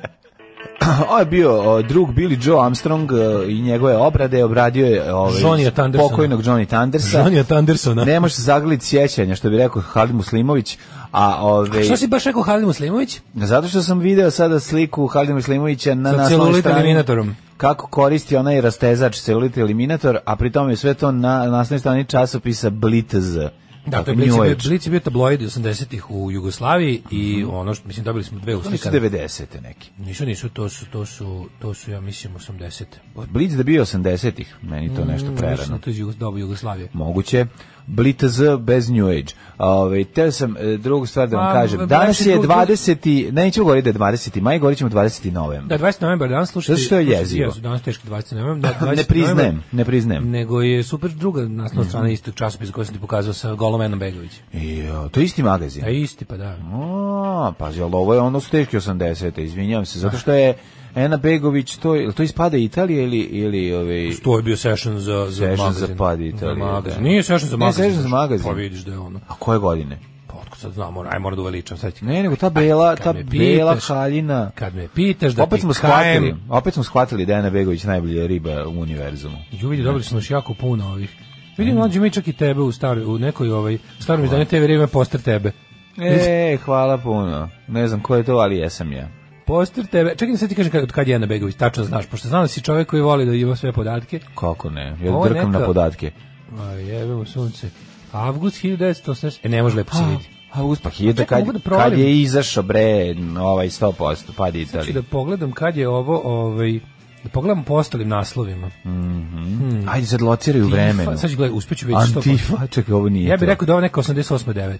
Speaker 5: Ovo je bio o, drug Billy Joe Armstrong e, i njegove obrade, obradio je ovaj,
Speaker 6: Johnnyja Thundersona.
Speaker 5: pokojnog Johnny Thundersa.
Speaker 6: Johnnyja Thundersona.
Speaker 5: Ne može se zagliti sjećanja, što bi rekao Halid Muslimović. A, ove,
Speaker 6: Što si baš rekao Halid Muslimović?
Speaker 5: Zato što sam video sada sliku Halida Muslimovića na
Speaker 6: Sa
Speaker 5: naslovnoj
Speaker 6: celulit
Speaker 5: strani.
Speaker 6: eliminatorom.
Speaker 5: Kako koristi onaj rastezač celulit eliminator, a pri tome je sve to na naslovnoj strani časopisa Blitz.
Speaker 6: Da, to je Blic, je bio- Blic je bio tabloid 80-ih u Jugoslaviji i ono što, mislim, dobili smo dve
Speaker 5: Mhm. Oni su
Speaker 6: uslikane.
Speaker 5: 90. neki.
Speaker 6: Nisu, nisu, to su, to su, to su, ja mislim, 80.
Speaker 5: Blitz da je bio 80-ih, meni to nešto
Speaker 6: Mislim,
Speaker 5: prerano.
Speaker 6: da to je Jugos- doba Jugoslavije.
Speaker 5: Moguće. Blitz bez New Age. Ove, teo sam e, drugu stvar da vam
Speaker 6: Pa,
Speaker 5: kažem.
Speaker 6: lepši
Speaker 5: Danas je
Speaker 6: drug-
Speaker 5: 20. Neću govoriti da je 20. maj, govorit ćemo 20. novembra.
Speaker 6: Da, 20. novembar danas slušati.
Speaker 5: Zato što je
Speaker 6: slušati
Speaker 5: jezivo.
Speaker 6: jezu, Danas teški 20. novembar. Da, 20.
Speaker 5: ne priznajem, Mhm.
Speaker 6: novembar,
Speaker 5: ne priznajem.
Speaker 6: Nego je super druga naslovna strana istog časopisa koju sam ti pokazao sa Golomenom Begovićem.
Speaker 5: Jo, to je isti magazin.
Speaker 6: Da, isti, pa da.
Speaker 5: A, pazi, ali ovo je ono su teški 80-te, izvinjavam se, zato što je Ena Begović, to, je- to ispada Italija ili... ili ovaj, ove,
Speaker 6: To je bio session za, za
Speaker 5: Session za
Speaker 6: magazin.
Speaker 5: pad Italije,
Speaker 6: Za magazin.
Speaker 5: da.
Speaker 6: Nije session za
Speaker 5: Ne,
Speaker 6: magazin.
Speaker 5: session za magazin.
Speaker 6: Pa vidiš da je ono.
Speaker 5: a koje godine?
Speaker 6: Pa otkud sad znam, mora, aj mora da uveličam. Sad ti
Speaker 5: Ne, nego ta bela,
Speaker 6: kad
Speaker 5: ta
Speaker 6: me
Speaker 5: bela
Speaker 6: pitaš-
Speaker 5: haljina...
Speaker 6: Kad me pitaš da
Speaker 5: opet
Speaker 6: ti
Speaker 5: smo
Speaker 6: kajem-
Speaker 5: shvatili, opet smo shvatili da je Ena Begović najbolja riba u univerzumu.
Speaker 6: Ju vidi, dobili smo još jako puno ovih. Vidim, mlađi mi čak i tebe u, staroj, u nekoj ovaj, starom izdanju TV vreme poster tebe.
Speaker 5: E, hvala puno. Ne znam ko je to, ali jesam ja.
Speaker 6: Poster tebe. Čekaj, sad ti kažem kad, od kad je Ana Begović, tačno znaš, pošto znam da si čovjek koji voli da ima sve podatke.
Speaker 5: Kako ne? Ja
Speaker 6: Ovo je
Speaker 5: drkam na
Speaker 6: neka-
Speaker 5: podatke.
Speaker 6: A jebemo sunce. Avgust 1980. E, ne može lepo se
Speaker 5: Ah.
Speaker 6: vidi.
Speaker 5: A uspa hiljada
Speaker 6: Čekaj,
Speaker 5: Pa kad,
Speaker 6: mogu da provalim?
Speaker 5: kad je izašao bre ovaj 100% pad
Speaker 6: Znači
Speaker 5: Italije.
Speaker 6: da pogledam kad je ovo, ovaj, da pogledam po ostalim naslovima.
Speaker 5: Ajde sad lociraj u vremenu.
Speaker 6: Sad ću gledati, uspeću vidjeti što... pa-
Speaker 5: Antifa, čekaj, ovo nije
Speaker 6: Ja bih
Speaker 5: to.
Speaker 6: rekao da je ovo neka 88. 9.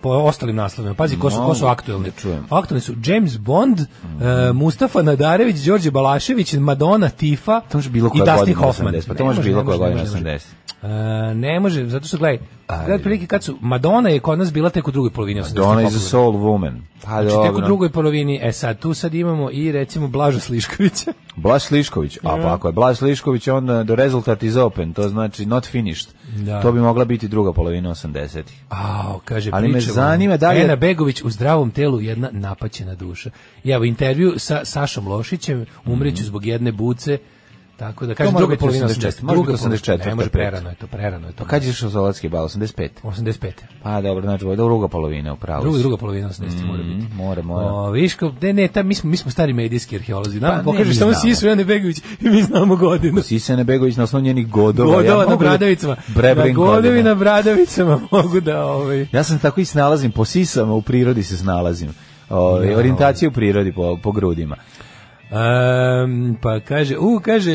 Speaker 6: Po ostalim naslovima. Pazi, ko su, ko su
Speaker 5: Mogu
Speaker 6: aktuelni.
Speaker 5: da čujem.
Speaker 6: Aktuelni su James Bond, eh, Mustafa Nadarević, Đorđe Balašević, Madonna, Tifa
Speaker 5: To može bilo
Speaker 6: i
Speaker 5: koja
Speaker 6: Dustin
Speaker 5: godina
Speaker 6: Hoffman.
Speaker 5: 80, pa
Speaker 6: Ne
Speaker 5: to može bilo
Speaker 6: ne
Speaker 5: koja
Speaker 6: ne
Speaker 5: godina
Speaker 6: može, ne može.
Speaker 5: 80.
Speaker 6: E, ne može, zato što gledaj, gledaj prilike kad su, Madonna je kod nas bila tek u drugoj polovini 80.
Speaker 5: Donna is a
Speaker 6: popularna.
Speaker 5: soul woman. Pa
Speaker 6: Znači, tek u
Speaker 5: dobro.
Speaker 6: drugoj polovini, e sad, tu sad imamo i recimo Blaža Sliškovića.
Speaker 5: Blaž Slišković, a pa ako je Blaž Slišković, onda the result is open, to znači not finished.
Speaker 6: Da.
Speaker 5: To bi mogla biti druga polovina 80-ih.
Speaker 6: A, kaže
Speaker 5: Ali me
Speaker 6: priča o-
Speaker 5: zanima da li je-
Speaker 6: Ena Begović u zdravom telu jedna napaćena duša. I evo intervju sa Sašom Lošićem, umreću zbog jedne buce. Tako da kažem
Speaker 5: Mhm. mora
Speaker 6: druga
Speaker 5: biti
Speaker 6: polovina
Speaker 5: 84.,
Speaker 6: 80.
Speaker 5: može
Speaker 6: druga
Speaker 5: biti
Speaker 6: polovina,
Speaker 5: 84.,
Speaker 6: Ne može
Speaker 5: pet.
Speaker 6: prerano je to, prerano je to.
Speaker 5: Pa kad je išao Zolatski bal, 85?
Speaker 6: 85.
Speaker 5: Pa dobro, znači, ovo je druga polovina, upravo.
Speaker 6: Druga, druga polovina 80 mora
Speaker 5: Mhm.
Speaker 6: biti.
Speaker 5: Mora, mora.
Speaker 6: O, viš kao, ne, ne, ta, mi, smo, mi smo stari medijski arheolozi. Nama
Speaker 5: Pa ne, mi
Speaker 6: pokažeš samo
Speaker 5: znamo.
Speaker 6: Sisu Ene Begović i mi znamo godinu.
Speaker 5: Sisene Begović na osnovu njenih godova. ja
Speaker 6: Godova
Speaker 5: mogu
Speaker 6: na
Speaker 5: da-
Speaker 6: bradavicama. Na
Speaker 5: Brebrin
Speaker 6: godovi
Speaker 5: godina.
Speaker 6: na bradavicama mogu da... Ovaj,
Speaker 5: Ja sam tako i snalazim, po sisama u prirodi se snalazim. Ove, orijentacija u
Speaker 6: ovaj.
Speaker 5: prirodi po, po grudima.
Speaker 6: Um, pa kaže, u, kaže,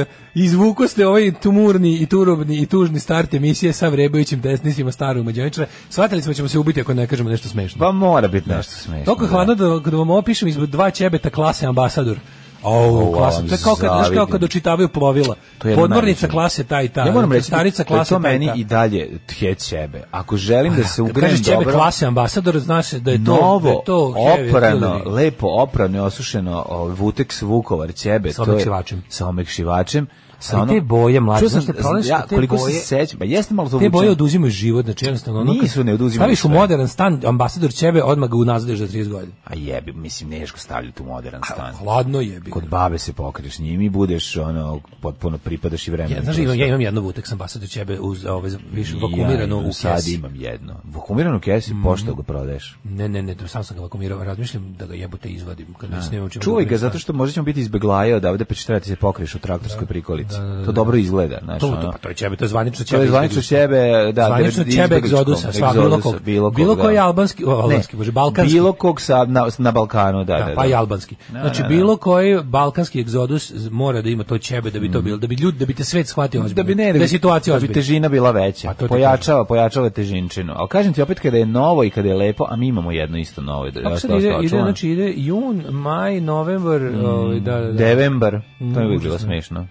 Speaker 6: uh, izvuko ste ovaj tumurni i turobni i tužni start emisije sa vrebajućim desnicima starog mađoničara. Shvatili smo da ćemo se ubiti ako ne kažemo nešto smešno.
Speaker 5: Pa mora biti nešto smešno.
Speaker 6: Toliko je
Speaker 5: da.
Speaker 6: hladno da, da vam opišem izbog dva ćebeta klase ambasador. O,
Speaker 5: O,
Speaker 6: klasa. To je kao kad, znaš, kao
Speaker 5: zavidim.
Speaker 6: kad očitavaju plovila.
Speaker 5: To je jedno
Speaker 6: Podmornica
Speaker 5: najveće.
Speaker 6: klase ta i ta.
Speaker 5: Ja moram reći da
Speaker 6: starica
Speaker 5: je
Speaker 6: klase
Speaker 5: to
Speaker 6: ta i
Speaker 5: meni
Speaker 6: ta. Pa
Speaker 5: i dalje tjet sebe. Ako želim da se
Speaker 6: Kad
Speaker 5: ugrem
Speaker 6: kažeš ćebe
Speaker 5: dobro,
Speaker 6: klase ambasador, znaš se da je to, da je
Speaker 5: novo,
Speaker 6: to heavy
Speaker 5: oprano,
Speaker 6: artillery.
Speaker 5: lepo oprano i osušeno o, Vutex Vukovar ćebe.
Speaker 6: Sa
Speaker 5: to je-
Speaker 6: omekšivačem.
Speaker 5: Sa omekšivačem. Sa ono-
Speaker 6: Ali te boje, mlađe,
Speaker 5: Čuo sam,
Speaker 6: znaš šta je problem, što
Speaker 5: ja,
Speaker 6: te
Speaker 5: koliko
Speaker 6: boje-
Speaker 5: se sećam, pa jeste malo to
Speaker 6: Te
Speaker 5: vuče.
Speaker 6: boje oduzimaju život, znači jednostavno ono... kad
Speaker 5: Nisu, ne oduzimaju
Speaker 6: Staviš u
Speaker 5: sve.
Speaker 6: modern stan, ambasador ćebe, odmah ga unazadiš za 30 godina.
Speaker 5: A jebi, mislim, neško stavljati u modern stan.
Speaker 6: Hladno je bilo.
Speaker 5: Kod babe se pokriš njim i budeš ono, potpuno pripadaš i vremenu.
Speaker 6: Ja, znaš, imam, ja imam jednu Vutex ambasador ćebe uz ove više vakumirano u
Speaker 5: Sad
Speaker 6: kesi. Mhm.
Speaker 5: imam jedno. Vakumirano u kesi, pošto ga prodaješ.
Speaker 6: Ne, ne, ne, sam sam ga vakumirao, razmišljam da ga jebote izvadim kad već nemam čemu.
Speaker 5: Čuvaj
Speaker 6: drugim
Speaker 5: ga
Speaker 6: stan.
Speaker 5: zato što možda ćemo biti izbeglaje odavde pa će trebati se pokriješ u traktorskoj prikolici. To dobro izgleda, znaš,
Speaker 6: To, to,
Speaker 5: ono.
Speaker 6: pa to je ćebe, to je zvanično ćebe.
Speaker 5: To je zvanično
Speaker 6: izbegličko.
Speaker 5: ćebe, da,
Speaker 6: zvanično
Speaker 5: devet-
Speaker 6: ćebe
Speaker 5: izbegličko,
Speaker 6: egzodusa, sva, bilo
Speaker 5: egzodusa,
Speaker 6: kog.
Speaker 5: bilo kog,
Speaker 6: Bilo koji
Speaker 5: da.
Speaker 6: albanski, o, albanski,
Speaker 5: Ne,
Speaker 6: bože, balkanski.
Speaker 5: Bilo kog sa, na, na Balkanu, da, da,
Speaker 6: da, pa i
Speaker 5: da.
Speaker 6: albanski. Znači bilo koji balkanski egzodus z- mora da ima to ćebe da bi to bilo, da bi ljudi, da bi te svet shvatio ozbiljno.
Speaker 5: Mm. da bi ne
Speaker 6: da je situacija
Speaker 5: da bi
Speaker 6: ozbiljna.
Speaker 5: težina bila veća
Speaker 6: Pa to ti
Speaker 5: pojačava pojačava težinčinu al kažem ti opet kada je novo i kada je lepo a mi imamo jedno isto novo da
Speaker 6: Kako
Speaker 5: da
Speaker 6: sad ide,
Speaker 5: ostalo
Speaker 6: ide,
Speaker 5: čuvano.
Speaker 6: znači ide jun, maj, novembar,
Speaker 5: Mm.
Speaker 6: ovaj, da, da, da.
Speaker 5: Devembar, to je uvijek bilo
Speaker 6: užasno.
Speaker 5: smešno.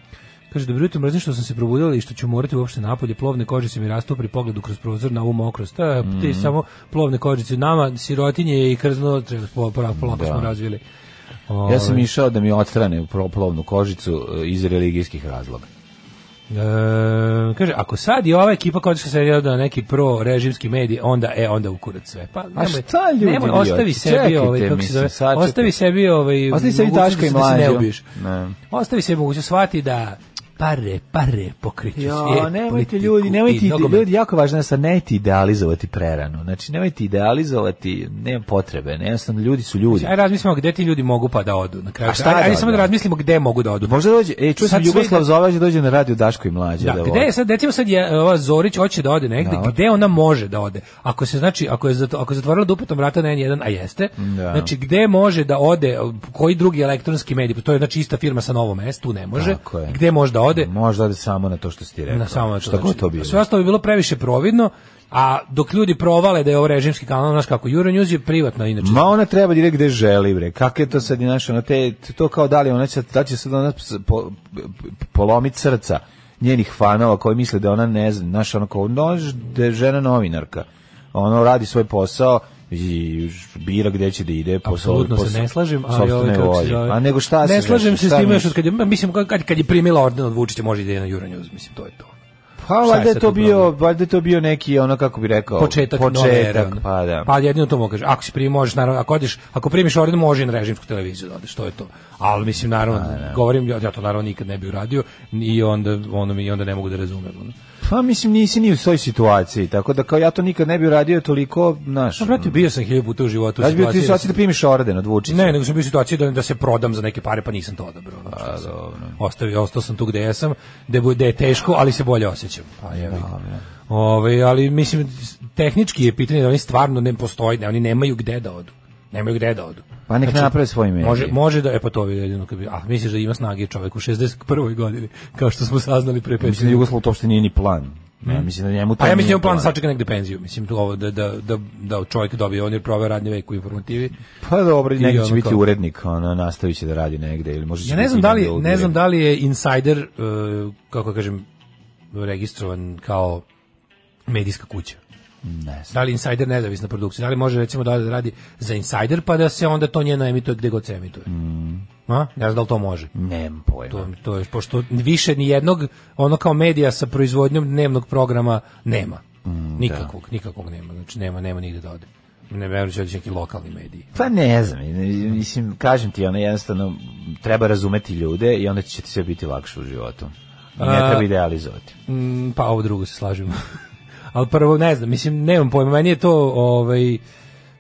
Speaker 6: Kaže, dobro jutro, mrzim što sam se probudila i što ću morati uopšte napolje, plovne kožice mi rastu pri pogledu kroz prozor na ovu mokrost. Ta,
Speaker 5: Mm.
Speaker 6: Ti samo plovne kožice, nama sirotinje i krzno, treba, po- po- polako smo razvili.
Speaker 5: Ovaj. Ja sam išao da mi odstrane pro- plovnu kožicu e, iz religijskih razloga.
Speaker 6: E, kaže, ako sad i ova ekipa koja se sredila na neki pro-režimski medij, onda, e, onda ukurac sve. Pa,
Speaker 5: A šta, ljudi,
Speaker 6: nemoj,
Speaker 5: idioti?
Speaker 6: ostavi sebi,
Speaker 5: Čekajte,
Speaker 6: ovaj, kako se
Speaker 5: mislim,
Speaker 6: zove,
Speaker 5: sad ćete-
Speaker 6: ostavi sebi, ovaj,
Speaker 5: Ostavi sebi
Speaker 6: mogućnost
Speaker 5: Daška i
Speaker 6: da se ne
Speaker 5: Mlađu.
Speaker 6: ubiješ.
Speaker 5: Ne.
Speaker 6: Ostavi sebi mogućnost, shvati da pare, pare E, pokriću
Speaker 5: Ja, nemojte ljudi, nemojte ide- ljudi, jako je važna stvar, nemojte idealizovati prerano. Znači nemojte idealizovati, nema potrebe, ne, jednostavno ljudi su ljudi.
Speaker 6: Aj razmislimo gde ti ljudi mogu pa da odu na kraju.
Speaker 5: A šta
Speaker 6: Ajde-
Speaker 5: da
Speaker 6: ajde
Speaker 5: odu?
Speaker 6: samo da razmislimo gde mogu da odu.
Speaker 5: Možda dođe, e, čuo sam
Speaker 6: Sad sve
Speaker 5: Jugoslav
Speaker 6: ide-
Speaker 5: Zovađe dođe na radio Daško i Mlađe.
Speaker 6: Da, gde je sad, recimo sad je e, ova Zorić hoće da ode negde,
Speaker 5: Da.
Speaker 6: gde ona može da ode? Ako se znači, ako je zato, ako je zatvorila dupetom vrata na N1, a jeste,
Speaker 5: Da.
Speaker 6: znači gde može da ode, koji drugi elektronski medij, to je znači ista firma sa novo mesto, tu ne može,
Speaker 5: Tako je.
Speaker 6: gde može da ode?
Speaker 5: Možda ode samo na to što si ti rekao.
Speaker 6: Na samo na to,
Speaker 5: Šta god
Speaker 6: znači,
Speaker 5: to bilo.
Speaker 6: Sve ostalo bi bilo previše providno, a dok ljudi provale da je ovo režimski kanal, znaš kako, Euronews je privatno inače.
Speaker 5: Ma ona treba direkt gde želi bre. Kak je to sad inače ona te to kao da li ona će da će sad ona ps- po, polomit srca njenih fanova koji misle da ona ne zna, znaš ona kao nož da je žena novinarka. Ona radi svoj posao i bira gde će da ide po
Speaker 6: Apsolutno
Speaker 5: svoj- po
Speaker 6: se ne
Speaker 5: s-
Speaker 6: slažem, ali
Speaker 5: sopstvenoj
Speaker 6: ovaj kako se
Speaker 5: volji.
Speaker 6: zove.
Speaker 5: A nego šta se znači,
Speaker 6: Ne slažem se s
Speaker 5: šta
Speaker 6: time
Speaker 5: misliš?
Speaker 6: još od kad je mislim kad kad je primila orden od Vučića može da ide na Euronews, mislim to je to.
Speaker 5: Pa
Speaker 6: je
Speaker 5: valjda je
Speaker 6: sad
Speaker 5: to
Speaker 6: tu
Speaker 5: bio,
Speaker 6: problem?
Speaker 5: valjda je to bio neki ono kako bi rekao
Speaker 6: početak, nove ere,
Speaker 5: početak
Speaker 6: ono.
Speaker 5: pa da.
Speaker 6: Pa jedino to mogu kažem. Ako si primi, možeš, naravno, ako odeš, ako primiš orden, može i na režimsku televiziju da odeš, to je to. Ali mislim, naravno, govorim, ja, ja to naravno nikad ne bi uradio i onda, ono, mi- i onda ne mogu da razumem. Ono.
Speaker 5: Pa mislim nisi ni u toj situaciji, tako da kao ja to nikad ne bi uradio toliko, znaš.
Speaker 6: Pa, brate, bio sam hiljadu puta u životu. u
Speaker 5: Da bi ti
Speaker 6: situaciji da
Speaker 5: sad da primiš orden od Vučića.
Speaker 6: Ne, nego sam bio u situaciji da, da se prodam za neke pare, pa nisam to odabrao. ono, što sam. Ostavio, ostao sam tu gde jesam, gde, bu- gde je teško, ali se bolje osjećam. Pa je, Ove, ali mislim, tehnički je pitanje da oni stvarno ne postoji, da oni nemaju gde da odu. Nemaju gde da odu. Znači,
Speaker 5: Pa nek naprave svoj medij.
Speaker 6: Može, može da, e pa to bi jedino kad bi, a misliš da ima snage čovjek u 61. godini, kao što smo saznali pre pet
Speaker 5: Mislim da Jugoslav to uopšte nije ni plan. Ja mislim da njemu to
Speaker 6: pa ja mislim
Speaker 5: nije
Speaker 6: da plan da sačeka negde penziju, mislim tu ovo da, da, da, da čovjek dobije, on je proveo radni vek u informativi.
Speaker 5: Pa dobro,
Speaker 6: I
Speaker 5: negdje će
Speaker 6: ono
Speaker 5: biti
Speaker 6: kao-
Speaker 5: urednik, ono, nastavit će da radi negde. Ili može će
Speaker 6: Ja ne
Speaker 5: biti
Speaker 6: znam da li
Speaker 5: jedan
Speaker 6: ne znam
Speaker 5: urednik.
Speaker 6: da li je insider uh, kako kažem registrovan kao medijska kuća.
Speaker 5: Ne znam.
Speaker 6: Da li je insider nezavisna produkcija? Da li može recimo da da radi za insider pa da se onda to njeno emituje gde god se emituje?
Speaker 5: Mm.
Speaker 6: A? Ne znam da li to može.
Speaker 5: Nemam pojma.
Speaker 6: To, to je, pošto više ni jednog ono kao medija sa proizvodnjom dnevnog programa nema.
Speaker 5: Mm,
Speaker 6: nikakvog, nikakvog nema. Znači nema, nema nigde da ode. Ne verujem da će neki lokalni mediji.
Speaker 5: Pa ne znam, mislim, kažem ti, ono, jednostavno, treba razumeti ljude i onda će ti sve biti lakše u životu. I ne
Speaker 6: A-
Speaker 5: treba idealizovati.
Speaker 6: Mm, pa ovo drugo se slažemo. Ali prvo, ne znam, mislim, nemam pojma, meni je to, ovaj,